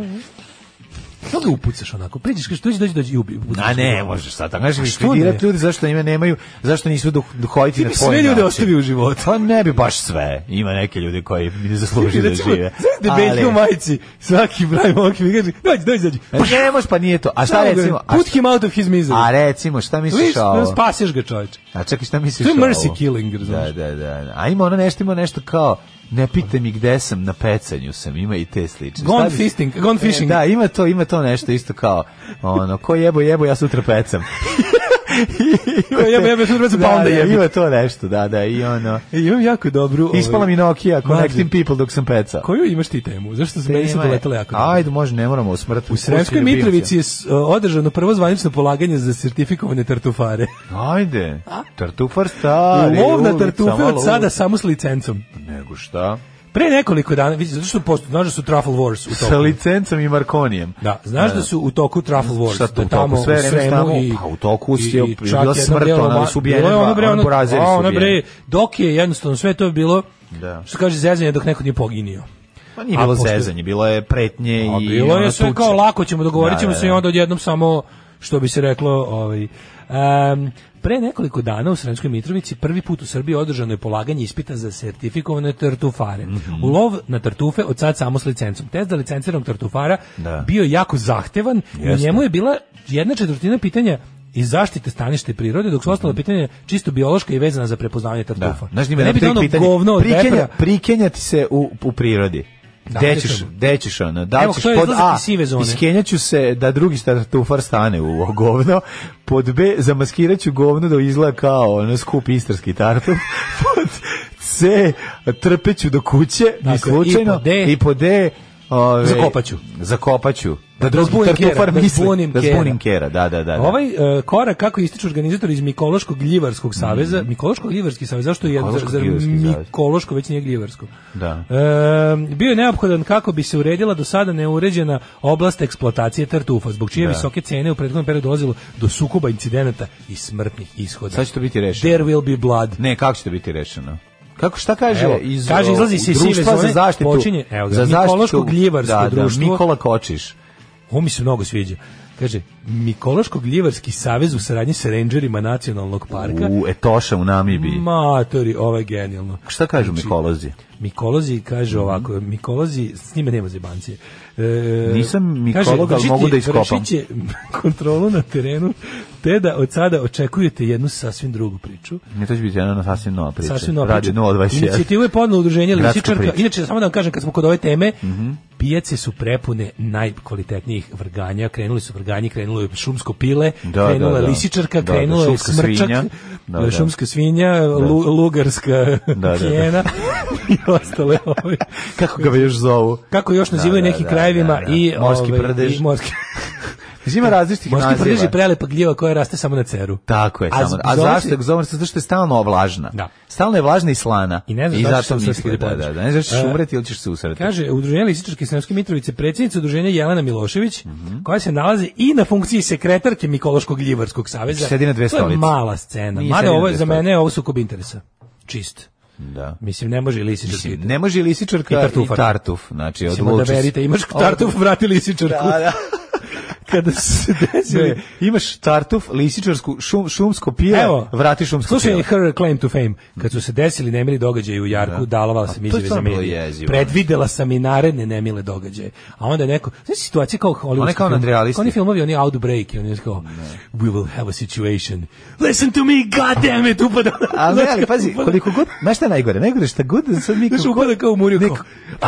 Speaker 6: To ga upucaš onako. Priđeš, kažeš, dođi, dođi, dođi, i ubi. upucaš
Speaker 7: A ne,
Speaker 6: ga.
Speaker 7: možeš sad.
Speaker 6: A
Speaker 7: Znaš,
Speaker 6: što
Speaker 7: likvidirat
Speaker 6: ne?
Speaker 7: ljudi zašto ime nemaju, zašto nisu duh, duhoviti
Speaker 6: Ti
Speaker 7: na
Speaker 6: bi
Speaker 7: tvoj
Speaker 6: sve ljude
Speaker 7: način.
Speaker 6: ostavio u životu.
Speaker 7: Pa ne bi baš sve. Ima neke ljudi koji ne zaslužuju da
Speaker 6: Recimo,
Speaker 7: žive.
Speaker 6: znaš debeljke u majici, svaki pravi momak mi kaže, dođi, dođi, dođi.
Speaker 7: Pa ne možeš, pa nije to. A šta
Speaker 6: Samo ga,
Speaker 7: recimo? A,
Speaker 6: Put him out of his misery.
Speaker 7: a recimo, šta misliš
Speaker 6: Viš,
Speaker 7: ovo?
Speaker 6: spasiš ga čoveče.
Speaker 7: A čekaj, šta misliš
Speaker 6: To je
Speaker 7: ovo?
Speaker 6: mercy killing,
Speaker 7: Da,
Speaker 6: razumiješ?
Speaker 7: da, da. A ima ono nešto, ima nešto kao ne pitaj mi gde sam, na pecanju sam, ima i te slične.
Speaker 6: Gone
Speaker 7: Šta bi-
Speaker 6: fisting, gone
Speaker 7: E,
Speaker 6: fishing.
Speaker 7: Da, ima to, ima to nešto isto kao, ono, ko jebo, jebo, ja sutra pecam.
Speaker 6: Ko jebe, jebe, sutra se pa
Speaker 7: Da,
Speaker 6: onda
Speaker 7: da,
Speaker 6: jebe.
Speaker 7: Ima to nešto, da, da, i ono...
Speaker 6: E, Imam jako dobru... ovaj,
Speaker 7: Ispala mi Nokia,
Speaker 6: mlađe.
Speaker 7: Connecting People dok sam pecao.
Speaker 6: Koju imaš ti temu? Zašto se meni su
Speaker 7: Tema je-
Speaker 6: doletale jako? dobro?
Speaker 7: Ajde, može, ne moramo u smrt.
Speaker 6: U Sremskoj Mitrovici je s- e, održano prvo zvanično polaganje za sertifikovane tartufare.
Speaker 7: Ajde, tartufar stari.
Speaker 6: Lovna
Speaker 7: ulica,
Speaker 6: tartufe
Speaker 7: malo
Speaker 6: od sada
Speaker 7: ulica.
Speaker 6: samo s licencom.
Speaker 7: Nego šta?
Speaker 6: Pre nekoliko dana, vidite, zato što postoji, znaš da su Truffle Wars u
Speaker 7: Sa
Speaker 6: toku.
Speaker 7: licencom i Markonijem.
Speaker 6: Da, znaš da su u toku Truffle Wars,
Speaker 7: Šta
Speaker 6: da
Speaker 7: to u
Speaker 6: tamo
Speaker 7: toku? Sve
Speaker 6: u
Speaker 7: vreme
Speaker 6: Sremu
Speaker 7: tamo?
Speaker 6: i...
Speaker 7: Pa u toku
Speaker 6: i-
Speaker 7: je
Speaker 6: i
Speaker 7: bila
Speaker 6: čak jedan
Speaker 7: smrt,
Speaker 6: deo
Speaker 7: ona,
Speaker 6: ma-
Speaker 7: ali su ubijene
Speaker 6: bilo je
Speaker 7: dva,
Speaker 6: ono bre,
Speaker 7: ono
Speaker 6: ono-
Speaker 7: porazili
Speaker 6: a,
Speaker 7: su
Speaker 6: ono
Speaker 7: ubijene.
Speaker 6: bre, dok je jednostavno sve to bilo,
Speaker 7: Da.
Speaker 6: što kaže, zezanje dok neko nije poginio.
Speaker 7: Pa nije
Speaker 6: A
Speaker 7: bilo
Speaker 6: pošto-
Speaker 7: zezanje, bilo je pretnje
Speaker 6: A
Speaker 7: i
Speaker 6: bilo
Speaker 7: ono
Speaker 6: je sve
Speaker 7: tuče.
Speaker 6: kao lako ćemo, dogovorit ćemo
Speaker 7: Da, da,
Speaker 6: se i
Speaker 7: da.
Speaker 6: onda odjednom samo, što bi se reklo, ovaj... em, pre nekoliko dana u Sremskoj Mitrovici prvi put u Srbiji održano je polaganje ispita za sertifikovane tartufare.
Speaker 7: Mhm.
Speaker 6: Ulov na tartufe od sad samo s licencom. Test za licenciranog tartufara
Speaker 7: Da.
Speaker 6: bio jako zahtevan i u
Speaker 7: Jeste.
Speaker 6: njemu je bila jedna četvrtina pitanja iz zaštite staništa i prirode, dok su ostala pitanja čisto biološka i vezana za prepoznavanje
Speaker 7: Mhm. Da.
Speaker 6: tartufa.
Speaker 7: Znaš,
Speaker 6: Da
Speaker 7: ima
Speaker 6: ne
Speaker 7: jedan
Speaker 6: bi
Speaker 7: trik
Speaker 6: ono
Speaker 7: pitanje.
Speaker 6: govno od
Speaker 7: Prikenja,
Speaker 6: vepra-
Speaker 7: prikenjati se u, u prirodi.
Speaker 6: Da,
Speaker 7: Gde
Speaker 6: gde
Speaker 7: ćeš,
Speaker 6: sam?
Speaker 7: gde ćeš ono, da li
Speaker 6: Evo,
Speaker 7: ćeš
Speaker 6: to je
Speaker 7: pod
Speaker 6: izlazak
Speaker 7: A,
Speaker 6: iz sive zone.
Speaker 7: iskenjaću se da drugi tartufar stane u ovo govno, pod B, zamaskiraću govno da izgleda kao ono skup istarski tartuf, pod C, trpeću do kuće,
Speaker 6: Tako
Speaker 7: ni
Speaker 6: je, Dakle, i
Speaker 7: slučajno,
Speaker 6: pod D-
Speaker 7: i pod D, ove,
Speaker 6: Zakopaću.
Speaker 7: zakopaću. Da,
Speaker 6: Da
Speaker 7: drugi
Speaker 6: zbunim kera,
Speaker 7: tartufar
Speaker 6: da
Speaker 7: misli,
Speaker 6: zbunim
Speaker 7: da
Speaker 6: kera.
Speaker 7: zbunim kera, da, da, da. da.
Speaker 6: Ovaj e, korak kako ističu organizatori iz Mikološkog gljivarskog saveza,
Speaker 7: Mm.
Speaker 6: Mikološko gljivarski savez, zašto je zar- zar
Speaker 7: Mikološko-gljivarski savez.
Speaker 6: Mikološko već nije gljivarsko?
Speaker 7: Da.
Speaker 6: E, bio je neophodan kako bi se uredila do sada neuređena oblast eksploatacije tartufa, zbog čije
Speaker 7: Da.
Speaker 6: visoke cene u prethodnom periodu dolazilo do sukoba incidenata i smrtnih ishoda.
Speaker 7: Sad će to biti rešeno.
Speaker 6: There will be blood.
Speaker 7: Ne, kako će to biti rešeno? Kako šta kaže
Speaker 6: Evo,
Speaker 7: iz
Speaker 6: kaže, izlazi
Speaker 7: o,
Speaker 6: se iz sive
Speaker 7: društva za
Speaker 6: zone,
Speaker 7: zaštitu
Speaker 6: počinje- evo ga,
Speaker 7: za zaštitu-
Speaker 6: Mikološko-gljivarsko
Speaker 7: da,
Speaker 6: društvo.
Speaker 7: Da, Mikola Kočiš.
Speaker 6: Ovo mi se mnogo sviđa. Kaže, Mikološko-gljivarski savez u saradnji sa rangerima nacionalnog parka
Speaker 7: U Etoša u Namibiji.
Speaker 6: Matori, ovo je genijalno.
Speaker 7: Šta kažu
Speaker 6: Znači,
Speaker 7: Mikolozi?
Speaker 6: Mikolozi kaže
Speaker 7: Mhm.
Speaker 6: ovako, Mikolozi, s njima nema zebancije. E,
Speaker 7: Nisam
Speaker 6: kaže,
Speaker 7: mikolog, ali
Speaker 6: vršiti-
Speaker 7: mogu da iskopam.
Speaker 6: vršit će kontrolu na terenu, te da od sada očekujete jednu sasvim drugu priču.
Speaker 7: Ne, to će biti jedna sasvim nova priča.
Speaker 6: Sasvim nova
Speaker 7: Radio
Speaker 6: priča.
Speaker 7: 021.
Speaker 6: Inicijativu je podnelo udruženje
Speaker 7: Gradska
Speaker 6: Lisičarka.
Speaker 7: priča. Mhm.
Speaker 6: Inače, samo da vam kažem, kad smo kod ove teme, pijace su prepune najkvalitetnijih vrganja. Krenuli su vrganji, krenulo je šumsko pile,
Speaker 7: Da,
Speaker 6: krenula
Speaker 7: da,
Speaker 6: je
Speaker 7: da.
Speaker 6: lisičarka,
Speaker 7: Da, da,
Speaker 6: krenulo je
Speaker 7: šumska
Speaker 6: smrčak,
Speaker 7: svinja. Da, da.
Speaker 6: šumska svinja, lu- lugarska
Speaker 7: da, da.
Speaker 6: hijena i ostale ove.
Speaker 7: Kako ga još zovu?
Speaker 6: Kako još nazivaju
Speaker 7: da,
Speaker 6: neki
Speaker 7: da,
Speaker 6: krajevima
Speaker 7: da, da.
Speaker 6: i...
Speaker 7: Morski
Speaker 6: ovaj,
Speaker 7: prdež.
Speaker 6: i morski, Znači,
Speaker 7: Zima različitih
Speaker 6: morski
Speaker 7: naziva.
Speaker 6: prdež je prelepa gljiva koja raste samo na ceru.
Speaker 7: Tako je,
Speaker 6: A
Speaker 7: samo.
Speaker 6: z-
Speaker 7: A
Speaker 6: zove
Speaker 7: zašto?
Speaker 6: se-
Speaker 7: Zove se zato što je stalno vlažna.
Speaker 6: Da.
Speaker 7: Stalno je vlažna i slana.
Speaker 6: I ne znaš
Speaker 7: I
Speaker 6: da li ćeš
Speaker 7: zato
Speaker 6: se
Speaker 7: misle,
Speaker 6: usrati
Speaker 7: da,
Speaker 6: ili
Speaker 7: da,
Speaker 6: podići.
Speaker 7: da. Ne znaš ćeš
Speaker 6: E,
Speaker 7: umreti ili ćeš se usrati.
Speaker 6: Kaže, udruženje Lisičarske Sremske Mitrovice, predsjednica udruženja Jelena Milošević, koja se nalazi i na funkciji sekretarke Mikološkog Ljivarskog saveza.
Speaker 7: Sedi na dve
Speaker 6: To je
Speaker 7: stolice.
Speaker 6: mala scena.
Speaker 7: Nije
Speaker 6: Mada
Speaker 7: sedi na
Speaker 6: ovo je
Speaker 7: dve
Speaker 6: za
Speaker 7: stolice.
Speaker 6: mene je ovo sukob interesa. Čist.
Speaker 7: Da.
Speaker 6: Mislim, ne može i Lisičarski.
Speaker 7: Mislim, Ne može i lisičarka
Speaker 6: I
Speaker 7: i
Speaker 6: tartufar.
Speaker 7: tartuf. Znači,
Speaker 6: Mislim, da
Speaker 7: odluči se.
Speaker 6: verite, imaš tartuf, vrati Lisičarku.
Speaker 7: Da, da. kada su se desili, imaš tartuf, lisičarsku, šum, šumsko pile,
Speaker 6: Evo,
Speaker 7: vrati šumsko
Speaker 6: Slušaj
Speaker 7: pile.
Speaker 6: her claim to fame. Kad su se desili nemili događaji u Jarku,
Speaker 7: Da.
Speaker 6: dalavala
Speaker 7: A
Speaker 6: sam
Speaker 7: to je
Speaker 6: izjave za
Speaker 7: stvarno bilo
Speaker 6: medije.
Speaker 7: jezivo.
Speaker 6: Predvidela sam i naredne nemile događaje. A onda je neko, znaš situacija kao Hollywood.
Speaker 7: One kao nadrealisti.
Speaker 6: Oni filmovi, oni outbreak, i oni kao, we will have a situation. Listen to me, god damn it, upada.
Speaker 7: Ali,
Speaker 6: Znaš,
Speaker 7: ali,
Speaker 6: kao
Speaker 7: pazi,
Speaker 6: upada.
Speaker 7: koliko god, znaš šta je najgore, najgore šta god da sad mi...
Speaker 6: Znaš, upada kao u muriju, kao,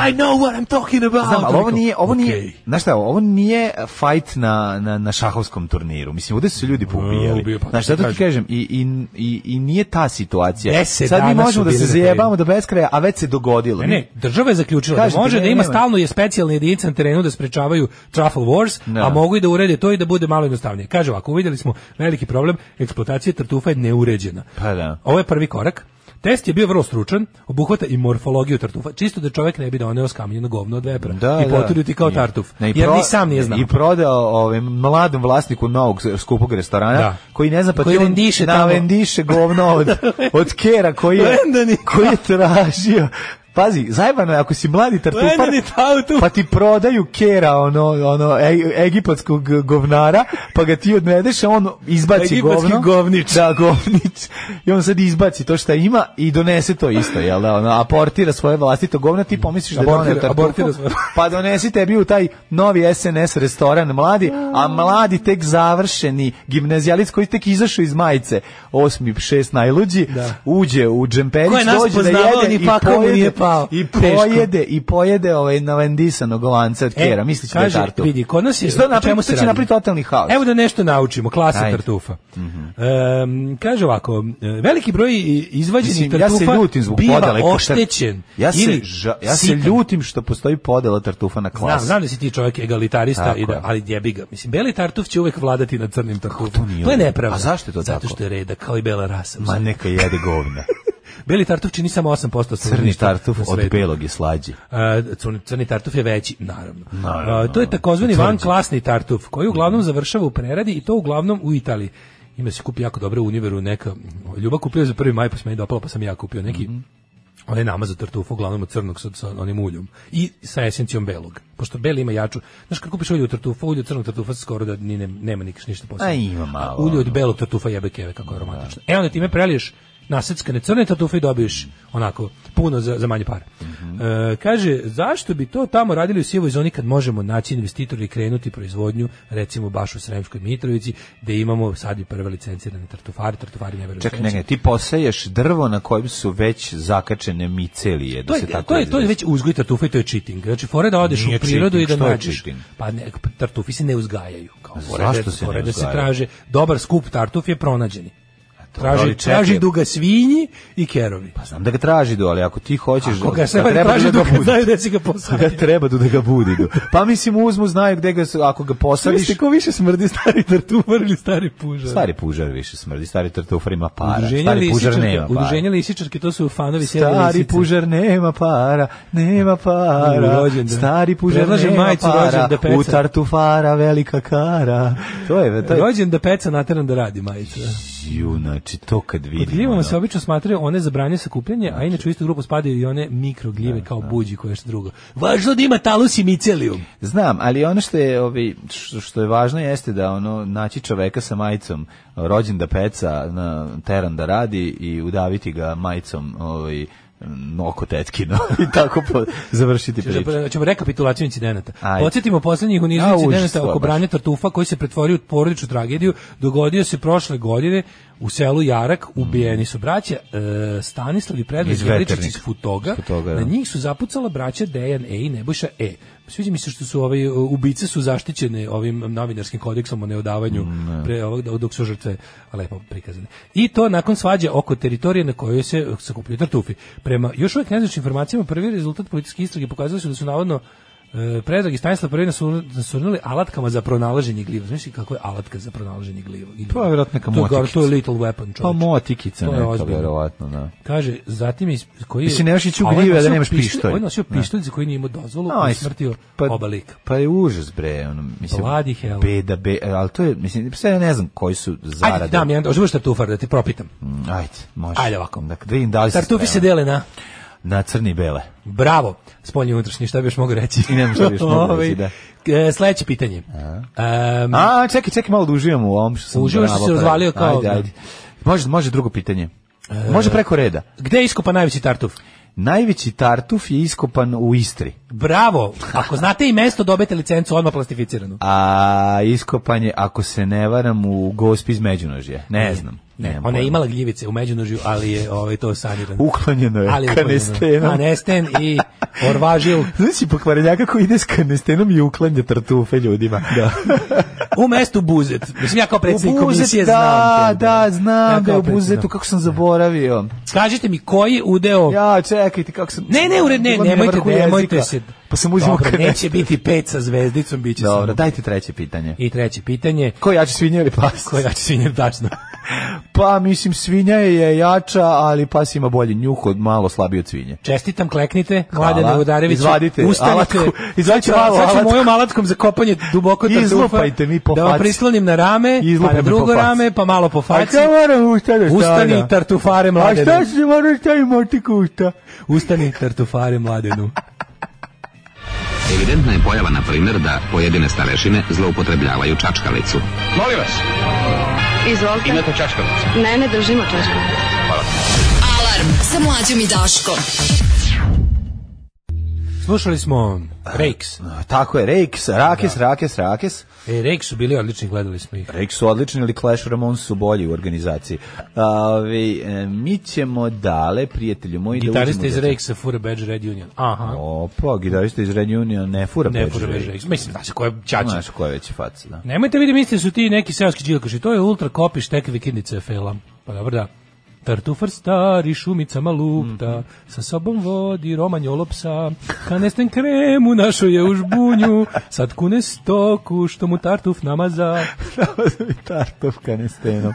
Speaker 6: I know what I'm talking about.
Speaker 7: Znam, ali ovo
Speaker 6: Rekao,
Speaker 7: nije, ovo
Speaker 6: "Okej."
Speaker 7: nije, znaš šta, ovo nije fight na, na, na šahovskom turniru. Mislim, ovde su se ljudi
Speaker 6: E,
Speaker 7: poubijali.
Speaker 6: ubio, pa
Speaker 7: Znaš,
Speaker 6: ti
Speaker 7: zato ti
Speaker 6: kažem.
Speaker 7: kažem, i, i, i, i nije ta situacija.
Speaker 6: Deset
Speaker 7: Sad mi
Speaker 6: dana su
Speaker 7: možemo da
Speaker 6: bili
Speaker 7: se
Speaker 6: na kraju.
Speaker 7: zajebamo do beskraja, a već se dogodilo.
Speaker 6: Ne, ne, država je zaključila
Speaker 7: Kažem
Speaker 6: da
Speaker 7: ti,
Speaker 6: može
Speaker 7: ne,
Speaker 6: da ima
Speaker 7: nema.
Speaker 6: stalno je specijalne jedinice na terenu da sprečavaju truffle wars,
Speaker 7: Da.
Speaker 6: a mogu i da urede to i da bude malo jednostavnije. Kaže ovako, uvidjeli smo veliki problem, eksploatacija tartufa je neuređena.
Speaker 7: Pa da.
Speaker 6: Ovo je prvi korak. Test je bio vrlo stručan, obuhvata i morfologiju tartufa, čisto da čovjek ne bi doneo skamljeno govno od vepra
Speaker 7: Da,
Speaker 6: i
Speaker 7: da.
Speaker 6: poturio ti kao
Speaker 7: I-
Speaker 6: tartuf,
Speaker 7: Ne, i
Speaker 6: jer
Speaker 7: pro-
Speaker 6: ni sam nije znao.
Speaker 7: I prodao ovaj, mladom vlasniku novog skupog restorana,
Speaker 6: Da.
Speaker 7: koji ne zna pa
Speaker 6: Koji
Speaker 7: ti on
Speaker 6: vendiše tamo.
Speaker 7: navendiše govno od, od kera koji je,
Speaker 6: Vendani.
Speaker 7: koji je tražio Pazi, zajebano je, ako si mladi tartufar,
Speaker 6: Vendani tartuf.
Speaker 7: pa ti prodaju kera, ono, ono e- egipatskog govnara, pa ga ti odnedeš, a on izbaci
Speaker 6: Egipatski
Speaker 7: govno.
Speaker 6: govnič.
Speaker 7: Da, govnič. I on sad izbaci to šta ima i donese to isto, jel da, ono, aportira svoje vlastito govno, ti pomisliš da je doneo
Speaker 6: Abortira- abortira
Speaker 7: tartufu,
Speaker 6: svoje-
Speaker 7: pa donesi tebi u taj novi SNS restoran mladi, a mladi tek završeni gimnazijalic koji tek izašao iz majice, osmi, šest najluđi, uđe u
Speaker 6: Ko je
Speaker 7: džemperić,
Speaker 6: nas
Speaker 7: dođe da
Speaker 6: poznavao,
Speaker 7: jede
Speaker 6: ni
Speaker 7: i
Speaker 6: pakao mu nije
Speaker 7: pojede,
Speaker 6: pao.
Speaker 7: i
Speaker 6: Teško.
Speaker 7: pojede, i pojede ovaj navendisanog lanca od
Speaker 6: E,
Speaker 7: kera, mislići da je
Speaker 6: kaže,
Speaker 7: tartuf.
Speaker 6: vidi, kod nas je-
Speaker 7: Što
Speaker 6: o
Speaker 7: napravi-
Speaker 6: čemu se
Speaker 7: što će
Speaker 6: radi?
Speaker 7: napraviti totalni haos.
Speaker 6: Evo da nešto naučimo, klasa
Speaker 7: Ajde. Mhm.
Speaker 6: tartufa. Em, kaže ovako, e, veliki broj i- izvađenih
Speaker 7: Mislim, ja
Speaker 6: tartufa
Speaker 7: se ljutim zbog
Speaker 6: biva
Speaker 7: podele. kad-
Speaker 6: oštećen.
Speaker 7: Ja se,
Speaker 6: ili
Speaker 7: ža- ja se
Speaker 6: sitan.
Speaker 7: ljutim što postoji podela tartufa na
Speaker 6: Znam,
Speaker 7: klase.
Speaker 6: znam da si ti čovjek egalitarista,
Speaker 7: Tako
Speaker 6: i da,
Speaker 7: je.
Speaker 6: ali jebi ga. Mislim, beli tartuf će uvek vladati nad crnim tartufom. To,
Speaker 7: nije
Speaker 6: je
Speaker 7: u redu.
Speaker 6: nepravda.
Speaker 7: A zašto je to
Speaker 6: Zato
Speaker 7: tako?
Speaker 6: što je reda, kao i bela rasa.
Speaker 7: Ma neka jede govna.
Speaker 6: Beli tartuf čini samo 8%
Speaker 7: Crni
Speaker 6: stanovništva
Speaker 7: tartuf
Speaker 6: na
Speaker 7: od
Speaker 6: svetu.
Speaker 7: belog je slađi.
Speaker 6: E, crni, crni tartuf je veći, naravno.
Speaker 7: Naravno. Mhm.
Speaker 6: E, to je takozvani
Speaker 7: Tvrđi.
Speaker 6: vanklasni tartuf, koji uglavnom završava u preradi i to uglavnom u Italiji. Ima se kupi jako dobre u univeru, neka Ljuba kupio za prvi maj, pa se meni dopalo, pa sam i ja kupio neki
Speaker 7: Mhm.
Speaker 6: onaj namaz za tartufu, uglavnom od crnog sa, sa onim uljom i sa esencijom belog. Pošto beli ima jaču, znaš kad kupiš ulje od tartufa, ulje od crnog tartufa skoro da ni ne, nema nikakš ništa posebno.
Speaker 7: A ima malo,
Speaker 6: A Ulje od
Speaker 7: ono.
Speaker 6: belog tartufa jebe keve kako je aromatično. E onda time preliješ naseckane crne tartufe i dobiješ onako puno za, za manje pare.
Speaker 7: Mhm.
Speaker 6: E, kaže, zašto bi to tamo radili u sivoj zoni kad možemo naći investitori i krenuti proizvodnju, recimo baš u Sremskoj Mitrovici, gde imamo sad i prve licencirane tartufari, tartufari ne veruju.
Speaker 7: Čekaj, ne, ne, ti poseješ drvo na kojem su već zakačene micelije. Da
Speaker 6: To je,
Speaker 7: se tako
Speaker 6: to, je, to je
Speaker 7: izrazi.
Speaker 6: već uzgoj tartufa i to je cheating. Znači, fore da odeš
Speaker 7: Nije
Speaker 6: u prirodu
Speaker 7: cheating,
Speaker 6: i da
Speaker 7: što je
Speaker 6: nađeš.
Speaker 7: cheating? Pa
Speaker 6: Pa ne, tartufi se ne uzgajaju. Kao, fore
Speaker 7: Zašto
Speaker 6: da-
Speaker 7: se ne
Speaker 6: fore da se
Speaker 7: uzgajaju?
Speaker 6: traže. Dobar skup tartuf je pronađeni. Traži,
Speaker 7: ali čekaj.
Speaker 6: traži duga svinji i kerovi.
Speaker 7: Pa znam da ga traži do, ali ako ti hoćeš...
Speaker 6: Ako ga se
Speaker 7: treba
Speaker 6: traži
Speaker 7: da
Speaker 6: duga,
Speaker 7: ga budi.
Speaker 6: znaju da si ga
Speaker 7: Ga
Speaker 6: posadio.
Speaker 7: treba da ga budi. do. Pa mislim uzmu, znaju gde ga, su- ako ga posadiš...
Speaker 6: Mislite ko više smrdi, stari tartufar ili stari pužar?
Speaker 7: Stari pužar više smrdi, stari tartufar ima para,
Speaker 6: Udruženje
Speaker 7: stari pužar
Speaker 6: lisičarke-
Speaker 7: nema para.
Speaker 6: Udruženje lisičarke, to su fanovi sjede
Speaker 7: Stari
Speaker 6: lisice.
Speaker 7: pužar nema para, nema para.
Speaker 6: U rođendan.
Speaker 7: Stari pužar
Speaker 6: Predlažem
Speaker 7: nema
Speaker 6: majicu
Speaker 7: para.
Speaker 6: rođen da peca.
Speaker 7: U tartufara velika kara. To je, to je.
Speaker 6: Rođen da peca, nateran da radi, majica.
Speaker 7: Ju, znači, to kad
Speaker 6: Pod
Speaker 7: vidim.
Speaker 6: gljivama
Speaker 7: ono.
Speaker 6: se obično smatraju one zabranje sakupljanje,
Speaker 7: Znači.
Speaker 6: a inače u istu grupu spadaju i one mikrogljive kao buđi koje što drugo. Važno da ima talus i micelijum.
Speaker 7: Znam, ali ono što je ovi što- što je važno jeste da ono naći čoveka sa majicom rođen da peca na teran da radi i udaviti ga majicom ovaj m, oko tetkino i tako po, završiti
Speaker 6: Ćeš da
Speaker 7: priču.
Speaker 6: pre- Ćemo rekapitulaciju incidenata.
Speaker 7: Ajde.
Speaker 6: Podsjetimo posljednjih u nizu
Speaker 7: A,
Speaker 6: incidenata
Speaker 7: užasno,
Speaker 6: oko
Speaker 7: baš.
Speaker 6: branja tartufa koji se pretvorio u porodičnu tragediju. Dogodio se prošle godine u selu Jarak, ubijeni su braća e, Stanislav i Predrag
Speaker 7: Iz
Speaker 6: Jeličić
Speaker 7: Veternika.
Speaker 6: iz Futoga.
Speaker 7: Iz Futoga,
Speaker 6: Na
Speaker 7: da.
Speaker 6: njih su zapucala braća Dejan E i Nebojša E. Sviđa mi se što su ovaj ubice su zaštićene ovim novinarskim kodeksom o neodavanju
Speaker 7: Mm,
Speaker 6: pre ovog dok su žrtve lepo prikazane. I to nakon svađe oko teritorije na kojoj se sakupljaju tartufi. Prema još uvijek nezvaničnim informacijama prvi rezultat političke istrage pokazali su da su navodno e, Predrag i Stanislav prvi nasur- nasurnuli alatkama za pronalaženje gliva. Znaš li kako je alatka za pronalaženje gliva?
Speaker 7: Pa, vjerojatno neka
Speaker 6: To je gar- To je
Speaker 7: motikica.
Speaker 6: little weapon, čovječe.
Speaker 7: Pa motikica
Speaker 6: To je
Speaker 7: neka,
Speaker 6: ozbiljno.
Speaker 7: verovatno, da.
Speaker 6: Kaže, zatim iz koji je...
Speaker 7: Mislim, nemaš ići u
Speaker 6: A ovaj
Speaker 7: gljive da
Speaker 6: nosio
Speaker 7: nemaš
Speaker 6: pištolj-
Speaker 7: pištolj.
Speaker 6: Ovaj nosio
Speaker 7: Ne.
Speaker 6: pištolj za koji nije imao dozvolu,
Speaker 7: Aj,
Speaker 6: i smrtio
Speaker 7: pa,
Speaker 6: oba lika.
Speaker 7: Pa je užas bre, ono, mislim.
Speaker 6: Vladi hell.
Speaker 7: Beda, be, ali to je, mislim, sve ja ne znam koji su zarade.
Speaker 6: Ajde, dam jedan, oživuješ tartufar, da ti propitam.
Speaker 7: Mm, Ajde, može.
Speaker 6: Ajde ovako.
Speaker 7: Dakle, da vidim da li si
Speaker 6: Tartufi se
Speaker 7: spreman.
Speaker 6: dele na...
Speaker 7: Na crni i bele.
Speaker 6: Bravo, spoljni i unutrašnji, šta bi još mogu reći?
Speaker 7: I nemam šta bi još mogu reći, da.
Speaker 6: da. Sledeće pitanje. Um,
Speaker 7: A, čekaj, čekaj, malo da uživamo u ovom što sam...
Speaker 6: Uživaš što si
Speaker 7: nabao pre.
Speaker 6: razvalio kao- E.
Speaker 7: Ajde, ajde. Može, može drugo pitanje. Može preko reda.
Speaker 6: Gde je iskopan najveći tartuf?
Speaker 7: Najveći tartuf je iskopan u Istri.
Speaker 6: Bravo, ako znate i mesto, dobete licencu odmah plastificiranu.
Speaker 7: A iskopan je, ako se ne varam, u gospi iz Međunožja. Ne znam.
Speaker 6: Ne,
Speaker 7: nemam
Speaker 6: ona je
Speaker 7: pojma.
Speaker 6: imala gljivice u međunožju, ali je ovaj, to sanirano.
Speaker 7: Uklonjeno je
Speaker 6: Ali je uklonjeno.
Speaker 7: kanestenom.
Speaker 6: Kanesten i orvažil.
Speaker 7: Znači, pokvarenjaka koji ide s kanestenom i uklanja tartufe ljudima. Da.
Speaker 6: U mestu Buzet. Mislim, ja kao predsjednik
Speaker 7: U Buzet,
Speaker 6: komisije
Speaker 7: da,
Speaker 6: znam. te.
Speaker 7: da, znam
Speaker 6: Ja
Speaker 7: da
Speaker 6: kao
Speaker 7: je u Buzetu,
Speaker 6: predsjednik.
Speaker 7: kako sam zaboravio.
Speaker 6: Kažite mi koji udeo...
Speaker 7: Ja, čekajte, kako sam...
Speaker 6: Ne, ne, ured, ne,
Speaker 7: Bilo mi je na
Speaker 6: nemojte,
Speaker 7: vrhu
Speaker 6: nemojte
Speaker 7: jezika.
Speaker 6: se.
Speaker 7: Pa sam uzimao
Speaker 6: Dobro,
Speaker 7: kanesten.
Speaker 6: neće biti pet sa zvezdicom, bit će
Speaker 7: Dobro,
Speaker 6: samo-
Speaker 7: dajte treće pitanje.
Speaker 6: I treće pitanje.
Speaker 7: Ko jači svinja ili pas?
Speaker 6: Ko jači svinja, tačno.
Speaker 7: Pa, mislim, svinja je jača, ali pas ima bolji njuh od malo slabiji od svinje.
Speaker 6: Čestitam, kleknite, Mladene
Speaker 7: Hvala.
Speaker 6: Vodarević.
Speaker 7: Izvadite
Speaker 6: ustanite.
Speaker 7: alatku. Izvadite
Speaker 6: Sad ću-
Speaker 7: malu
Speaker 6: sad ću
Speaker 7: alatku.
Speaker 6: mojom alatkom za kopanje duboko tartufa.
Speaker 7: Izlupajte mi po
Speaker 6: Da vam
Speaker 7: faci.
Speaker 6: prislonim na rame, pa
Speaker 7: Izlupaj
Speaker 6: na
Speaker 7: mi po
Speaker 6: drugo
Speaker 7: faci.
Speaker 6: rame, pa malo po
Speaker 7: A
Speaker 6: faci.
Speaker 7: šta moram usta da
Speaker 6: Ustani,
Speaker 7: stavljam?
Speaker 6: tartufare,
Speaker 7: A šta
Speaker 6: Mladene.
Speaker 7: se moram stavim motiku usta?
Speaker 6: Ustani, tartufare, Mladenu.
Speaker 2: Evidentna je pojava, na primjer, da pojedine starešine zloupotrebljavaju čačkalicu.
Speaker 9: Molim vas,
Speaker 3: Izvolite.
Speaker 9: imate čačkalicu.
Speaker 3: Ne, ne držimo čačka. Alarm sa mlađom i Daškom.
Speaker 6: Slušali smo Rakes.
Speaker 7: Tako je, Rakes, Rakes, Rakes, Rakes.
Speaker 6: E, Rakes su bili odlični, gledali smo ih.
Speaker 7: Rakes su odlični, ali Clash Ramones su bolji u organizaciji. Ove, e, mi ćemo dale, prijatelju moji, da
Speaker 6: Gitarista
Speaker 7: uđemo
Speaker 6: iz
Speaker 7: u detalje.
Speaker 6: Rakesa, Fura Badge Red Union. Aha.
Speaker 7: Opa, gitarista iz Red Union ne fura
Speaker 6: Ne,
Speaker 7: Badge
Speaker 6: Fura Badge Rakes. Mislim, znaš ko je Čača.
Speaker 7: Znaš koja je veća faca, da.
Speaker 6: Nemojte vidim isti su ti neki seoski džilkoši. To je ultra kopiš tek vikindice fela. Pa dobro da. Tartufar stari šumicama lupta,
Speaker 7: Mhm.
Speaker 6: sa sobom vodi romanjolo psa, kanesten kremu našo je u žbunju, sad kune stoku što mu tartuf namaza.
Speaker 7: Tartuf kanestenom.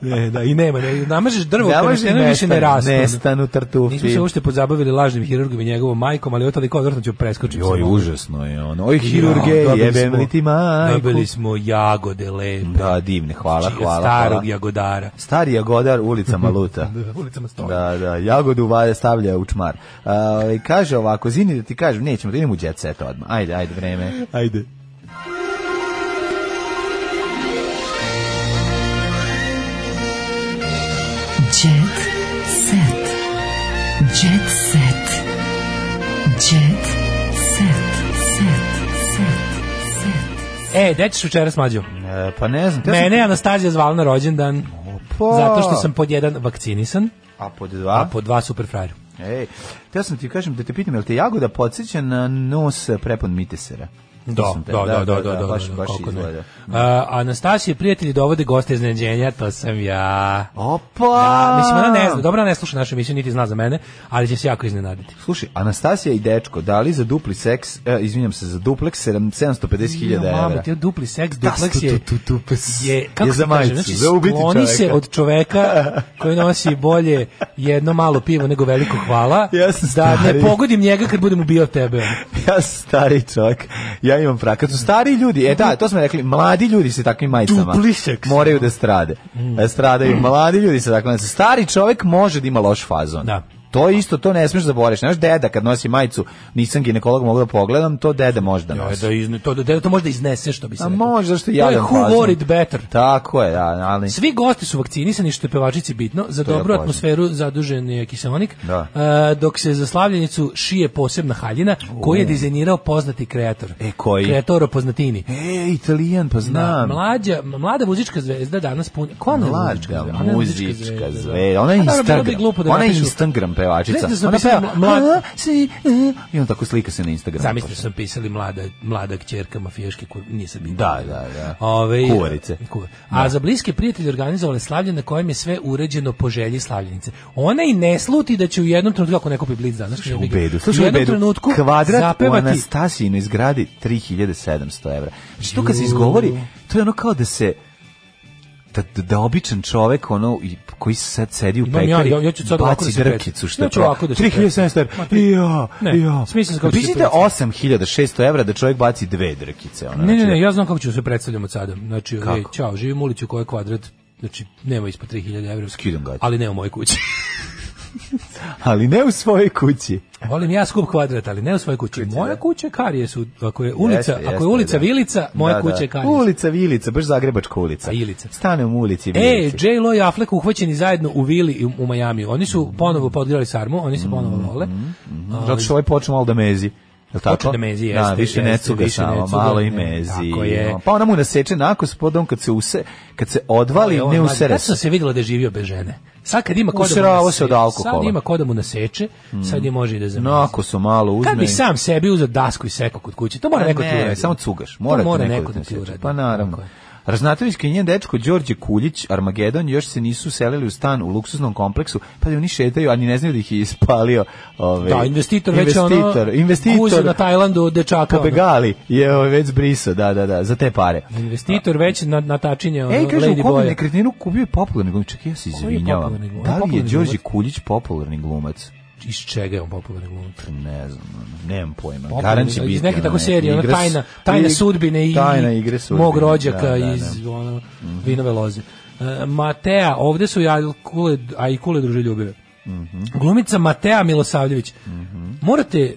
Speaker 6: Ne, da, i nema, ne, namažeš drvo,
Speaker 7: Namaži
Speaker 6: kanestene više ne
Speaker 7: nestanu,
Speaker 6: rastu.
Speaker 7: nestanu tartufi.
Speaker 6: Nismo se uopšte pozabavili lažnim hirurgom i njegovom majkom, ali ovo toliko odvrtno ću preskočiti.
Speaker 7: Joj,
Speaker 6: samo.
Speaker 7: užasno je ono. Oj,
Speaker 6: Ja,
Speaker 7: hirurge,
Speaker 6: dobili
Speaker 7: jebem
Speaker 6: smo-
Speaker 7: li ti majku?
Speaker 6: Dobili smo jagode lepe.
Speaker 7: Da, divne, hvala,
Speaker 6: Znači,
Speaker 7: hvala.
Speaker 6: starog
Speaker 7: hvala.
Speaker 6: jagodara.
Speaker 7: Stari jagodar ulicama luta.
Speaker 6: Da, ulicama stoji.
Speaker 7: Da, da, jagodu valja stavlja u čmar. A, ovaj, kaže ovako, zini da ti kažem, nećemo, da idemo u jet set odmah. Ajde, ajde, vreme. Ajde.
Speaker 3: Jet set. Jet set. Jet set. Set. Set. Set.
Speaker 6: E, gde ćeš večeras mlađo?
Speaker 7: E, pa ne znam. te sam-
Speaker 6: Mene je Anastazija zvala na rođendan.
Speaker 7: Pa.
Speaker 6: Zato što sam pod jedan vakcinisan,
Speaker 7: A pod
Speaker 6: a
Speaker 7: dva?
Speaker 6: pod dva super frajer.
Speaker 7: Ej, teo sam ti kažem da te pitam, je li te jagoda podsjeća na nos prepon mitesera?
Speaker 6: Da,
Speaker 7: Mislim te-
Speaker 6: da, da, da, da, da,
Speaker 7: baš,
Speaker 6: da,
Speaker 7: baš
Speaker 6: kako ne.
Speaker 7: izgleda.
Speaker 6: A, Anastasije prijatelji dovode goste iznenađenja, to sam ja.
Speaker 7: Opa!
Speaker 6: Ja, mislim, ona ne zna, dobro ona ne sluša našu emisiju, niti zna za mene, ali će se jako iznenaditi.
Speaker 7: Slušaj, Anastasija i dečko dali za dupli seks, e, izvinjam se, za dupleks 7- 750.000 evra.
Speaker 6: Ja, mama, ti dupli seks,
Speaker 7: Da,
Speaker 6: dupleks
Speaker 7: tu,
Speaker 6: je...
Speaker 7: tu, tu, tu, pes.
Speaker 6: je, kako
Speaker 7: Je
Speaker 6: se
Speaker 7: za
Speaker 6: kaže,
Speaker 7: majicu,
Speaker 6: znači,
Speaker 7: za ubiti
Speaker 6: skloni se
Speaker 7: čoveka.
Speaker 6: od čoveka koji nosi bolje jedno malo pivo nego veliko hvala,
Speaker 7: Ja sam
Speaker 6: da ne
Speaker 7: stari.
Speaker 6: pogodim njega kad budem ubio tebe.
Speaker 7: Ja sam stari čovjek, ja imam frak. Kad su stari ljudi, e da, to smo rekli, mladi ljudi sa takvim majicama
Speaker 6: Dupli seks. Mm.
Speaker 7: moraju da strade. Da stradaju mladi ljudi sa takvim majicama. Stari čovjek može da ima loš fazon.
Speaker 6: Da.
Speaker 7: To je isto, to ne smiješ zaboraviš. Znaš, deda kad nosi majicu, nisam ginekolog, mogu da pogledam, to deda može da
Speaker 6: Ja,
Speaker 7: nosi.
Speaker 6: da izne, to, da, to možda iznese što bi se
Speaker 7: A
Speaker 6: reklo.
Speaker 7: može, zašto je
Speaker 6: To je
Speaker 7: jadan
Speaker 6: who
Speaker 7: fazon.
Speaker 6: wore it better.
Speaker 7: Tako je, da, ali...
Speaker 6: Svi gosti su vakcinisani, što je pevačici bitno. Za
Speaker 7: To je
Speaker 6: dobru
Speaker 7: jako važno.
Speaker 6: atmosferu zadužen je kiseonik,
Speaker 7: Da.
Speaker 6: E, dok se za slavljenicu šije posebna haljina, koju je dizajnirao poznati kreator.
Speaker 7: E, koji?
Speaker 6: Kreatoro poznatini.
Speaker 7: E, Italijan, pa
Speaker 6: Da,
Speaker 7: znam.
Speaker 6: mlađa, mlada muzička zvezda danas puni. Ko ona je muzička
Speaker 7: Mlada
Speaker 6: zvezda? Ona je
Speaker 7: muzička
Speaker 6: da.
Speaker 7: zvezda. Ona je
Speaker 6: A dobro, bilo bi
Speaker 7: Instagram.
Speaker 6: glupo da
Speaker 7: Ona je
Speaker 6: napišu-
Speaker 7: Instagram pevačica.
Speaker 6: Znaš da su
Speaker 7: Ona
Speaker 6: napisali
Speaker 7: peva
Speaker 6: mlad-
Speaker 7: "A, si, e", i on tako slika se na Instagramu.
Speaker 6: Zamislite su pisali mlada, mlada kćerka mafijaške kur... nisam bio.
Speaker 7: Da, da, da.
Speaker 6: Ove,
Speaker 7: Kuvarice.
Speaker 6: Kuvar. A za bliske prijatelje organizovale slavlje na kojem je sve uređeno po želji slavljenice. Ona i ne sluti da će u jednom trenutku, ako ne kupi blic danas,
Speaker 7: Slušaj u
Speaker 6: jebi ga,
Speaker 7: bedu.
Speaker 6: u
Speaker 7: Slušaj u
Speaker 6: jednom
Speaker 7: bedu.
Speaker 6: trenutku
Speaker 7: Kvadrat u
Speaker 6: zapevati.
Speaker 7: Anastasijinoj zgradi 3700 evra. Znači to kad se izgovori, to je ono kao da se da, da, da običan čovek ono i- koji sad sedi u
Speaker 6: Imam
Speaker 7: pekari
Speaker 6: ja- ja- ja ću sad ovako da
Speaker 7: baci
Speaker 6: se
Speaker 7: drkicu
Speaker 6: pretim.
Speaker 7: što
Speaker 6: Ja ću
Speaker 7: pro-
Speaker 6: ovako da se
Speaker 7: 3700
Speaker 6: pretim.
Speaker 7: evra ja
Speaker 6: Ne,
Speaker 7: ja
Speaker 6: smislim se kako ću se
Speaker 7: Bićete
Speaker 6: pretim.
Speaker 7: 8600 evra da čovek baci dve drkice ona
Speaker 6: Ne, ne,
Speaker 7: znači,
Speaker 6: ne, ja znam kako ću se predstavljam od sada. Znači,
Speaker 7: Kako?
Speaker 6: ej, čao, živim u ulici u kojoj je kvadrat, znači, nema ispod 3000 evra.
Speaker 7: Skidam gaće.
Speaker 6: Ali ne u mojoj kući.
Speaker 7: ali ne u svojoj kući.
Speaker 6: Volim ja skup kvadrat, ali ne u svojoj kući. Moja kuća je karijes, u- ako je ulica,
Speaker 7: Jeste,
Speaker 6: ako
Speaker 7: jeste,
Speaker 6: je ulica
Speaker 7: da.
Speaker 6: Vilica, moja
Speaker 7: Da,
Speaker 6: kuća
Speaker 7: da.
Speaker 6: je karijes.
Speaker 7: Ulica Vilica, baš Zagrebačka ulica.
Speaker 6: Ilica.
Speaker 7: Stanem u ulici
Speaker 6: E,
Speaker 7: Vilici.
Speaker 6: J-Lo i Affleck uhvaćeni zajedno u Vili i u- u Majamiju. Oni su
Speaker 7: Mm.
Speaker 6: ponovo podgrali sarmu, oni se ponovo vole.
Speaker 7: Zato što ovaj počne malo da mezi. Je li tako?
Speaker 6: Počne da mezi,
Speaker 7: Da,
Speaker 6: jeste,
Speaker 7: više ne
Speaker 6: jeste,
Speaker 7: cuga
Speaker 6: više ne
Speaker 7: samo,
Speaker 6: cuga,
Speaker 7: malo i
Speaker 6: ne,
Speaker 7: mezi.
Speaker 6: tako je.
Speaker 7: Pa ona mu naseče nakos, pa onda on kad se, use, kad se odvali,
Speaker 6: E, on
Speaker 7: ne
Speaker 6: mlad.
Speaker 7: usere
Speaker 6: Tad sam se vidjela da je živio bez žene. Sad kad ima ko da mu
Speaker 7: Userava
Speaker 6: nase-
Speaker 7: se od alkohola.
Speaker 6: Sad ima ko da mu naseče, sad je može i da zamrzi.
Speaker 7: Nakosu malo uzme.
Speaker 6: Kad bi sam sebi uzeo dasku i sekao kod kuće, to mora
Speaker 7: Pa
Speaker 6: neko ti
Speaker 7: ne,
Speaker 6: uradi.
Speaker 7: samo cugaš.
Speaker 6: To
Speaker 7: Mora, ti
Speaker 6: mora
Speaker 7: neko,
Speaker 6: neko
Speaker 7: da
Speaker 6: da ti
Speaker 7: naseče.
Speaker 6: uradi.
Speaker 7: Pa naravno. Raznatović i njen dečko Đorđe Kuljić, Armagedon, još se nisu selili u stan u luksuznom kompleksu, pa da oni šetaju, a ni ne znaju da ih je ispalio. Ove,
Speaker 6: Da, investitor već je ono
Speaker 7: investitor, investitor
Speaker 6: guzio na Tajlandu dečaka. ono.
Speaker 7: Pobegali je ovaj, već briso, da, da, da, za te pare.
Speaker 6: Investitor već na, na tačinje ono,
Speaker 7: Ej, kaže, E, u
Speaker 6: Lady
Speaker 7: kojem
Speaker 6: Boya.
Speaker 7: nekretninu kupio je popularni glumac. Čekaj, ja se
Speaker 6: je
Speaker 7: izvinjavam.
Speaker 6: popularni glumac?
Speaker 7: Da li je
Speaker 6: Popularni
Speaker 7: Đorđe
Speaker 6: glumac?
Speaker 7: Kuljić popularni glumac?
Speaker 6: Iz čega je on popularni glumac?
Speaker 7: Ne znam, ono, nemam pojma.
Speaker 6: Popularni,
Speaker 7: Garan će
Speaker 6: iz
Speaker 7: biti.
Speaker 6: neke
Speaker 7: ono,
Speaker 6: tako serije, ona
Speaker 7: igra s-
Speaker 6: tajna- tajne
Speaker 7: ig-
Speaker 6: sudbine i-
Speaker 7: tajna igre sudbine,
Speaker 6: mog rođaka
Speaker 7: da, Mhm. da, da.
Speaker 6: iz ono, vinove loze. E, Matea, ovde su ja kule, a i kule druže ljubio.
Speaker 7: Mhm.
Speaker 6: Glumica Matea Milosavljević. Morate,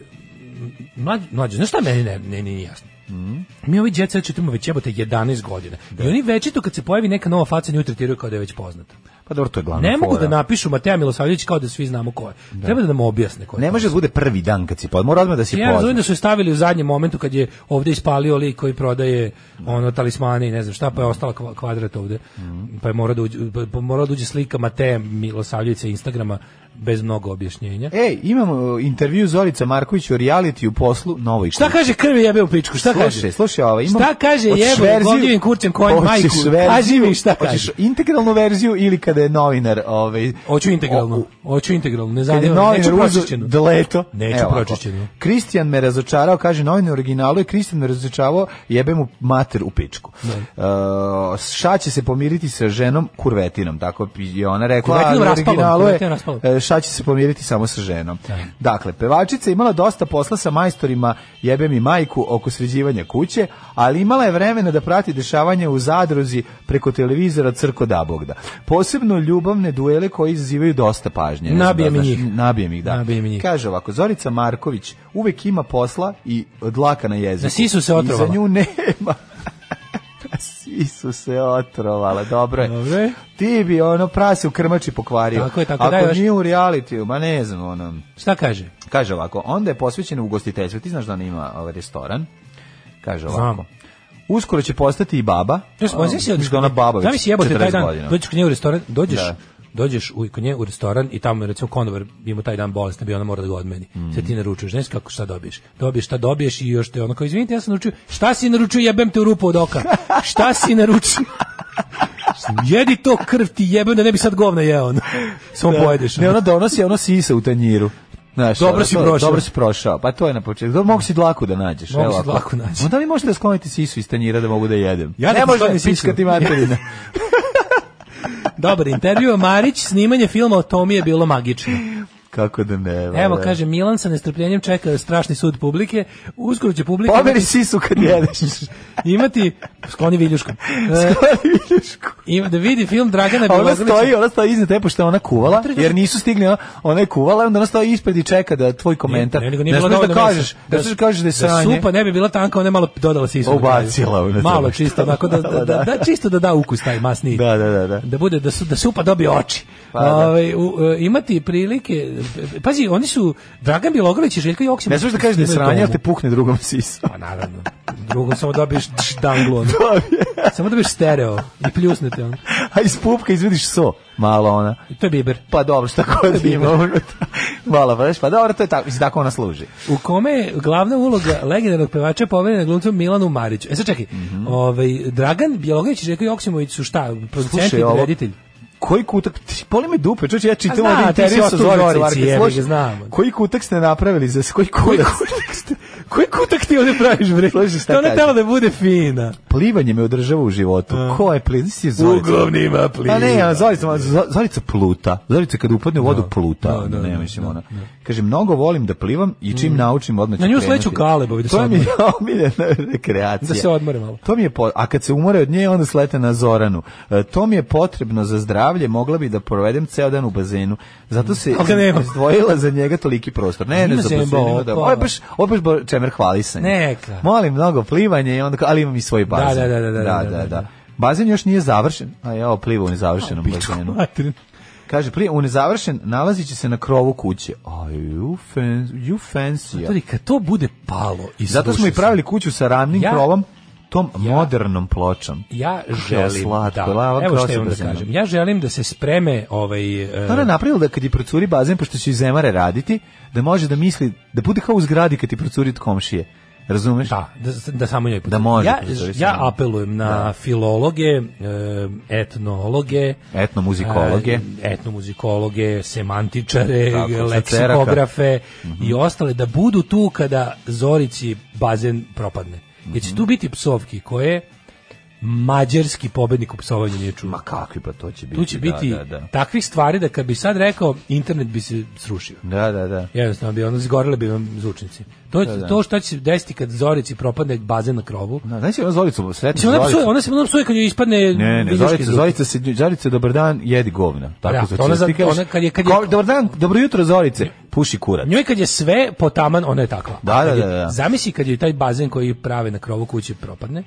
Speaker 6: mlađe, mlađe, znaš šta meni ne, ne, nije jasno?
Speaker 7: Mhm.
Speaker 6: Mi ovi djeca čitamo već jebote 11 godina. I oni večito kad se pojavi neka nova faca nju tretiraju kao da je već poznata.
Speaker 7: Pa dobro, to je glavna
Speaker 6: Ne mogu
Speaker 7: fora.
Speaker 6: da napišu Matea Milosavljević kao da svi znamo ko je. Treba da nam objasne ko je.
Speaker 7: Ne može da bude prvi dan kad si pod, mora odmah da si
Speaker 6: Ja
Speaker 7: pod.
Speaker 6: razumijem da su je stavili u zadnjem momentu kad je ovdje ispalio lik koji prodaje ono talismane i ne znam šta, pa je ostala kva- kvadrat ovdje.
Speaker 7: Mhm.
Speaker 6: Pa je morao da uđe, pa- pa morao da uđe slika Mateja Milosavljevića Instagrama bez mnogo objašnjenja.
Speaker 7: Ej, imamo intervju Zorica Marković o reality u poslu Novoj
Speaker 6: Šta kaže krvi jebe u pičku? Šta
Speaker 7: Slušaj,
Speaker 6: kaže?
Speaker 7: slušaj, ovo, imam-
Speaker 6: Šta kaže
Speaker 7: hoćeš
Speaker 6: jebe?
Speaker 7: verziju-
Speaker 6: Godivim kurcem konj
Speaker 7: hoćeš
Speaker 6: majku. Kaži mi šta
Speaker 7: hoćeš
Speaker 6: kaže.
Speaker 7: integralnu verziju ili kada je novinar... Ovaj,
Speaker 6: Hoću integralno. Hoću integralno. Ne
Speaker 7: Kad je
Speaker 6: zanima. me, Neću
Speaker 7: novinar
Speaker 6: pročišćenu.
Speaker 7: uzeo deleto.
Speaker 6: Neću
Speaker 7: Evo ovako.
Speaker 6: pročišćenu.
Speaker 7: Kristijan me razočarao, kaže novinar u originalu, je Kristijan me razočarao, jebe mu mater u pičku. Uh, ša će se pomiriti sa ženom kurvetinom, tako je ona rekla.
Speaker 6: Kurvetinom
Speaker 7: ali u
Speaker 6: raspalom,
Speaker 7: originalu je,
Speaker 6: kurvetinom raspalom.
Speaker 7: e, Ša će se pomiriti samo sa ženom. Dakle, pevačica je imala dosta posla sa majstorima jebe mi majku oko sređivanja kuće, ali imala je vremena da prati dešavanje u zadruzi preko televizora Crko Dabogda. Posebno ljubavne duele koje izazivaju dosta pažnje. Ne znam
Speaker 6: Nabijem
Speaker 7: da
Speaker 6: i
Speaker 7: znaš,
Speaker 6: njih.
Speaker 7: Nabijem ih, da.
Speaker 6: Nabijem i njih.
Speaker 7: Kaže ovako, Zorica Marković uvek ima posla i dlaka na jeziku.
Speaker 6: Na sisu se
Speaker 7: I
Speaker 6: otrovala.
Speaker 7: za nju nema. Na sisu se otrovala, dobro je.
Speaker 6: Dobro je.
Speaker 7: Ti bi ono prase u krmači pokvario.
Speaker 6: Tako je, tako je,
Speaker 7: Ako
Speaker 6: daj još.
Speaker 7: nije u realitiju, ma ne znam, ono...
Speaker 6: Šta kaže?
Speaker 7: Kaže ovako, onda je posvećena ugostiteljstvu. Ti znaš da ona ima ovaj restoran. Kaže ovako.
Speaker 6: Znam.
Speaker 7: Uskoro će postati i baba.
Speaker 6: Znaš,
Speaker 7: A,
Speaker 6: možeš
Speaker 7: misliš da ona baba već
Speaker 6: Zamisli jebote taj
Speaker 7: 40
Speaker 6: dan,
Speaker 7: godina.
Speaker 6: dođeš kod nje u restoran, dođeš,
Speaker 7: Da.
Speaker 6: dođeš u, kod nje u restoran i tamo je recimo konobar bi mu taj dan bolestan bio, ona mora da ga odmeni.
Speaker 7: Mm.
Speaker 6: Sve ti naručuješ, znaš kako šta dobiješ. Dobiješ šta dobiješ i još te ono kao, izvinite, ja sam naručio, šta si naručio, jebem te u rupu od oka. Šta si naručio? Jedi to krv ti jebem da ne bi sad govna jeo. ono. Samo
Speaker 7: Da.
Speaker 6: pojedeš.
Speaker 7: Ne,
Speaker 6: ono.
Speaker 7: ona donosi, ono sisa u tanjiru. Znaš,
Speaker 6: Dobro
Speaker 7: ono,
Speaker 6: si
Speaker 7: to-
Speaker 6: prošao.
Speaker 7: Dobro si prošao. Pa to je na početku. Dobro, mogu si dlaku da nađeš.
Speaker 6: Mogu
Speaker 7: evo
Speaker 6: si
Speaker 7: ovako.
Speaker 6: dlaku naći.
Speaker 7: Onda li možete da skloniti sisu iz tanjira da mogu da jedem?
Speaker 6: Ja da
Speaker 7: ne može
Speaker 6: sklonim sisu.
Speaker 7: pičkati materina.
Speaker 6: Dobar intervju, Marić, snimanje filma o Tomi je bilo magično.
Speaker 7: Kako da ne? ma
Speaker 6: Evo,
Speaker 7: da.
Speaker 6: kaže, Milan sa nestrpljenjem čeka strašni sud publike. Uskoro će publika...
Speaker 7: Pomeri sisu kad jedeš.
Speaker 6: imati skloni viljušku. E, Ima da vidi film Dragana
Speaker 7: A Pa ona
Speaker 6: Bjelogrlića.
Speaker 7: stoji, ona stoji iznad tebe što je ona kuvala, jer nisu stigli, ona, ona je kuvala, onda ona stoji ispred i čeka da tvoj komentar.
Speaker 6: Ne, nego nije
Speaker 7: da
Speaker 6: bilo
Speaker 7: smeš da
Speaker 6: dovoljno
Speaker 7: kažeš,
Speaker 6: mesa.
Speaker 7: da smeš da kažeš da je
Speaker 6: Da
Speaker 7: sranje.
Speaker 6: supa ne bi bila tanka, ona je malo dodala sisu.
Speaker 7: Ubacila u nešto.
Speaker 6: Malo čisto, onako da, da, da, da, čisto da da ukus taj masni.
Speaker 7: Da, da, da, da.
Speaker 6: Da bude da su da supa dobije oči.
Speaker 7: Pa, da.
Speaker 6: Ovaj, u, e, imati prilike pazi oni su Dragan Bjelogrlić i Željko Joksimović.
Speaker 7: Ne smeš da kažeš da je
Speaker 6: snimaju
Speaker 7: sranje,
Speaker 6: domu.
Speaker 7: ali te pukne drugom sisu.
Speaker 6: ono. Pa naravno. Drugom samo dobiješ tš, danglu. ono. Samo dobiješ stereo i pljusnete on.
Speaker 7: A iz pupka izvidiš so, malo ona.
Speaker 6: To je biber.
Speaker 7: Pa dobro, šta god ima unutra. Malo, pa, znaš, pa dobro, to je tako, mislim, tako ona služi.
Speaker 6: u kome je glavna uloga legendarnog pevača poverena glumcu Milanu Mariću. E sad čekaj,
Speaker 7: Mhm.
Speaker 6: ovaj, Dragan Bjelogović i Željko Joksimović su šta, producent i
Speaker 7: Slušaj, ovo-
Speaker 6: reditelj?
Speaker 7: Koji kutak, ti poli me dupe, čuče, ja čitam ono
Speaker 6: A
Speaker 7: ovdje
Speaker 6: zna, ti si
Speaker 7: intervju sa
Speaker 6: ostao u
Speaker 7: Zoricom
Speaker 6: Zorici,
Speaker 7: Varkić,
Speaker 6: jebi ga,
Speaker 7: slušaj,
Speaker 6: znam.
Speaker 7: Koji kutak ste napravili za koji kutak?
Speaker 6: kutak ste- Koji kutak ti ovde praviš, bre?
Speaker 7: Slušaj šta
Speaker 6: To ona
Speaker 7: kaže.
Speaker 6: tela da bude fina.
Speaker 7: Plivanje me održava u životu. Ko je pliv? Nisi Zolica.
Speaker 6: Uglavnima pliva.
Speaker 7: A ne, a Zolica, Zo- Zolica pluta. Zolica kada upadne u vodu pluta.
Speaker 6: da,
Speaker 7: ne,
Speaker 6: da, Mm.
Speaker 7: mislim ona. Kaže, mnogo volim da plivam i čim naučim odmah ću
Speaker 6: Na nju
Speaker 7: krenuti.
Speaker 6: sleću Galebovi da se
Speaker 7: To mi je
Speaker 6: odmore.
Speaker 7: omiljena rekreacija.
Speaker 6: Da se odmore malo.
Speaker 7: To mi je po- a kad se umore od nje, onda slete na Zoranu. E, to mi je potrebno za zdravlje, mogla bi da provedem ceo dan u bazenu. Zato se
Speaker 6: Ali ga nema.
Speaker 7: izdvojila za njega toliki prostor. Ne,
Speaker 6: Ima
Speaker 7: ne, za
Speaker 6: zemba,
Speaker 7: bazen ima da...
Speaker 6: opa.
Speaker 7: Ovo je baš, ovo je baš bo- čemer hvalisanje.
Speaker 6: Neka.
Speaker 7: Molim mnogo plivanje, i onda, kao, ali imam i svoj bazen.
Speaker 6: da, da, da, da,
Speaker 7: da,
Speaker 6: da, da.
Speaker 7: Bazen još nije završen, a ja pliva u nezavršenom bazenu.
Speaker 6: Materin.
Speaker 7: Kaže, prije, u nezavršen nalaziće se na krovu kuće. Aj, you, fan, you fancy.
Speaker 6: Zato kad to bude palo i
Speaker 7: Zato smo i pravili kuću sa ravnim
Speaker 6: Ja-
Speaker 7: krovom, tom modernom pločom.
Speaker 6: Ja
Speaker 7: Kako je
Speaker 6: želim,
Speaker 7: slatko,
Speaker 6: da.
Speaker 7: lava
Speaker 6: Evo
Speaker 7: krosa
Speaker 6: što imam da
Speaker 7: brzinom.
Speaker 6: kažem. Ja želim da se spreme ovaj... e,
Speaker 7: Ona je napravila da kad ti procuri bazen, pošto će i zemare raditi, da može da misli, da bude kao u zgradi kad ti procuri od komšije. Razumeš?
Speaker 6: Da, da, da samo njoj
Speaker 7: Da može
Speaker 6: Ja,
Speaker 7: procuri
Speaker 6: ja
Speaker 7: samo.
Speaker 6: apelujem na filologe, e, etnologe,
Speaker 7: Etnomuzikologe.
Speaker 6: e, etnomuzikologe, semantičare,
Speaker 7: Tako, sa Mhm.
Speaker 6: leksikografe i ostale da budu tu kada Zorici bazen propadne. Jer
Speaker 7: Mhm.
Speaker 6: će tu biti psovki koje mađarski pobednik u psovanju nije čuo.
Speaker 7: Ma kakvi pa to će biti.
Speaker 6: Tu će biti
Speaker 7: Da, da,
Speaker 6: takvih stvari da kad bi sad rekao internet bi se srušio.
Speaker 7: da. da, da, da.
Speaker 6: Jednostavno bi ono zgorele bi vam zvučnici. To,
Speaker 7: Da, da.
Speaker 6: to što će se desiti kad Zorici propadne bazen na krovu.
Speaker 7: Da, Znaš, ono ona Zolicu, sretna
Speaker 6: Mislim, ona, psuje,
Speaker 7: Zolicu.
Speaker 6: ona se ona psuje kad joj ispadne
Speaker 7: Ne, ne,
Speaker 6: viljuški
Speaker 7: Zorica,
Speaker 6: zub.
Speaker 7: Zorica, se, Zorica, dobar dan, jedi govna.
Speaker 6: Da,
Speaker 7: Tako se
Speaker 6: ona za-
Speaker 7: ti kažeš,
Speaker 6: ona kad je- kad je-
Speaker 7: "Ko- Dobar dan, dobro jutro, Zorice, puši kurac.
Speaker 6: Njoj kad je sve potaman, ona je takva.
Speaker 7: Da, da,
Speaker 6: Kad je-
Speaker 7: da, da.
Speaker 6: Zamisli kad je taj bazen koji prave na krovu kuće propadne,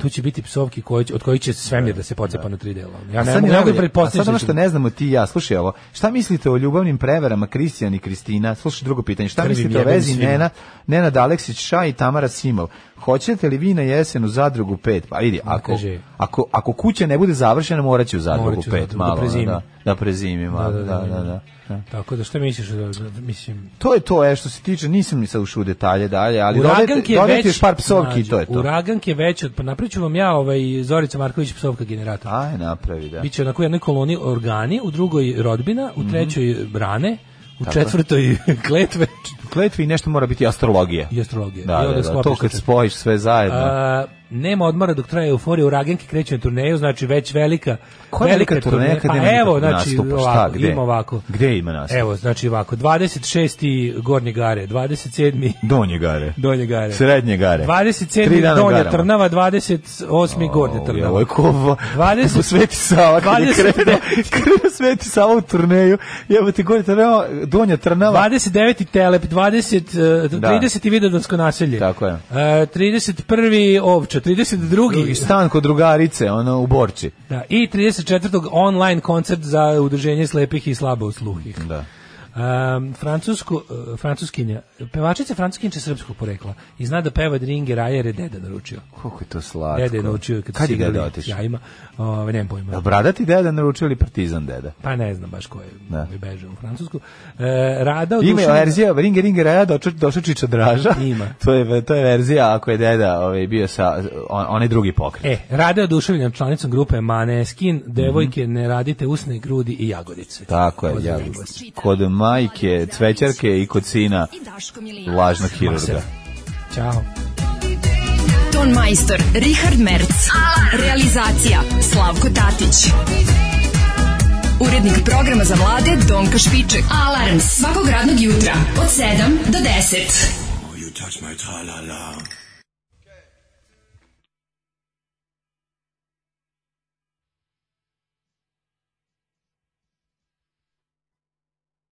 Speaker 6: tu će biti psovki koje će- od kojih će svemir da se pocepa na tri dela. Ja
Speaker 7: A
Speaker 6: ne mogu
Speaker 7: sad ni
Speaker 6: ne mogu
Speaker 7: najbolje-
Speaker 6: da pretpostavim
Speaker 7: a sad ono
Speaker 6: će-
Speaker 7: što ne znamo ti i ja, slušaj ovo. Šta mislite o ljubavnim prevarama Kristijan i Kristina? Slušaj drugo pitanje. Šta
Speaker 6: Krvim
Speaker 7: mislite o
Speaker 6: jebem
Speaker 7: vezi
Speaker 6: svima.
Speaker 7: Nena, Nenad Aleksić Ša i Tamara Simov? Hoćete li vi na jesen u Zadrugu 5? Pa vidi, ako,
Speaker 6: kaže-
Speaker 7: ako, ako kuća ne bude završena, morat će u Zadrugu
Speaker 6: Morat će u
Speaker 7: 5
Speaker 6: Zadrugu, da
Speaker 7: malo.
Speaker 6: prezimi.
Speaker 7: Da, da prezimi malo.
Speaker 6: Da,
Speaker 7: Da,
Speaker 6: da,
Speaker 7: da,
Speaker 6: da.
Speaker 7: da.
Speaker 6: Tako da što misliš da, da- mislim
Speaker 7: To je to, e, što se tiče, nisam ni sad ušao u detalje dalje, ali
Speaker 6: Uragank
Speaker 7: dodajte-
Speaker 6: je
Speaker 7: dodajte
Speaker 6: već
Speaker 7: još par psovki i
Speaker 6: mlađe,
Speaker 7: to je to.
Speaker 6: Uragank je već od pa napraviću vam ja ovaj Zorica Marković psovka generator.
Speaker 7: Aj, napravi, da.
Speaker 6: Biće onako u jednoj koloni organi, u drugoj rodbina, u trećoj rane, u
Speaker 7: Mhm. Tako.
Speaker 6: četvrtoj kletve
Speaker 7: Kletvi i nešto mora biti astrologija.
Speaker 6: i astrologija.
Speaker 7: Da,
Speaker 6: I onda
Speaker 7: da, da, to
Speaker 6: sklopiš
Speaker 7: kad
Speaker 6: četvrtu.
Speaker 7: spojiš sve zajedno.
Speaker 6: A, nema odmora dok traje euforija, Uraganke kreće na turneju, znači već velika
Speaker 7: Koja je velika turneja kad
Speaker 6: pa
Speaker 7: nema nikakvog
Speaker 6: evo, znači,
Speaker 7: nastupa? Šta,
Speaker 6: ovako,
Speaker 7: gde?
Speaker 6: ima ovako.
Speaker 7: Gde ima nastup?
Speaker 6: Evo, znači ovako, 26. Gornje Gare, 27.
Speaker 7: Donje gare.
Speaker 6: Donje Gare.
Speaker 7: Srednje gare. Tri
Speaker 6: 27.
Speaker 7: dana u
Speaker 6: Donja
Speaker 7: garama.
Speaker 6: Trnava, 28. Gornja
Speaker 7: Ja,
Speaker 6: Trnava.
Speaker 7: Ovo je ko,
Speaker 6: 20
Speaker 7: kako Sveti Sava, kad je
Speaker 6: 29.
Speaker 7: krenuo, krenuo Sveti Sava u turneju, jebate gore Trnava, Donja Trnava,
Speaker 6: 29. Telep, e, 20,
Speaker 7: Da.
Speaker 6: 30. Vidodonsko naselje.
Speaker 7: Tako je.
Speaker 6: E, 31. Ovča, 32.
Speaker 7: i stan kod drugarice, ono, u Borči.
Speaker 6: Da, i 34. online koncert za udruženje slepih i slabo sluhih.
Speaker 7: Da.
Speaker 6: Um, francusku, uh, francuskinja, pevačica francuskinja srpskog porekla i zna da peva Dringe Raja jer je deda naručio.
Speaker 7: Koliko je to slatko.
Speaker 6: Deda je naučio kad,
Speaker 7: Kad
Speaker 6: su
Speaker 7: je deda
Speaker 6: igrali
Speaker 7: otišao?
Speaker 6: Jajima, ove, nemam pojma.
Speaker 7: Jel Bradati deda naručio ili partizan deda?
Speaker 6: Pa ne znam baš ko je
Speaker 7: Da.
Speaker 6: koji beže u Francusku. E, Rada od
Speaker 7: Ima je
Speaker 6: Dušana-
Speaker 7: verzija Ringe Ringe Raja do Čr- do Šočića Draža.
Speaker 6: Ima.
Speaker 7: To je, to je verzija ako je deda ovaj, bio sa on, onaj drugi pokret.
Speaker 6: E, Rada je oduševljena članicom grupe Maneskin, devojke ne radite usne grudi i jagodice.
Speaker 7: Tako je, ja. Kod majke, cvećarke i kod sina lažnog hirurga.
Speaker 6: Ćao.
Speaker 3: Ton majstor Richard Merc. Realizacija Slavko Tatić. Urednik programa za mlade Donka Špiček. Alarms svakog radnog jutra od 7 do 10.
Speaker 14: You touch my tra-la-la.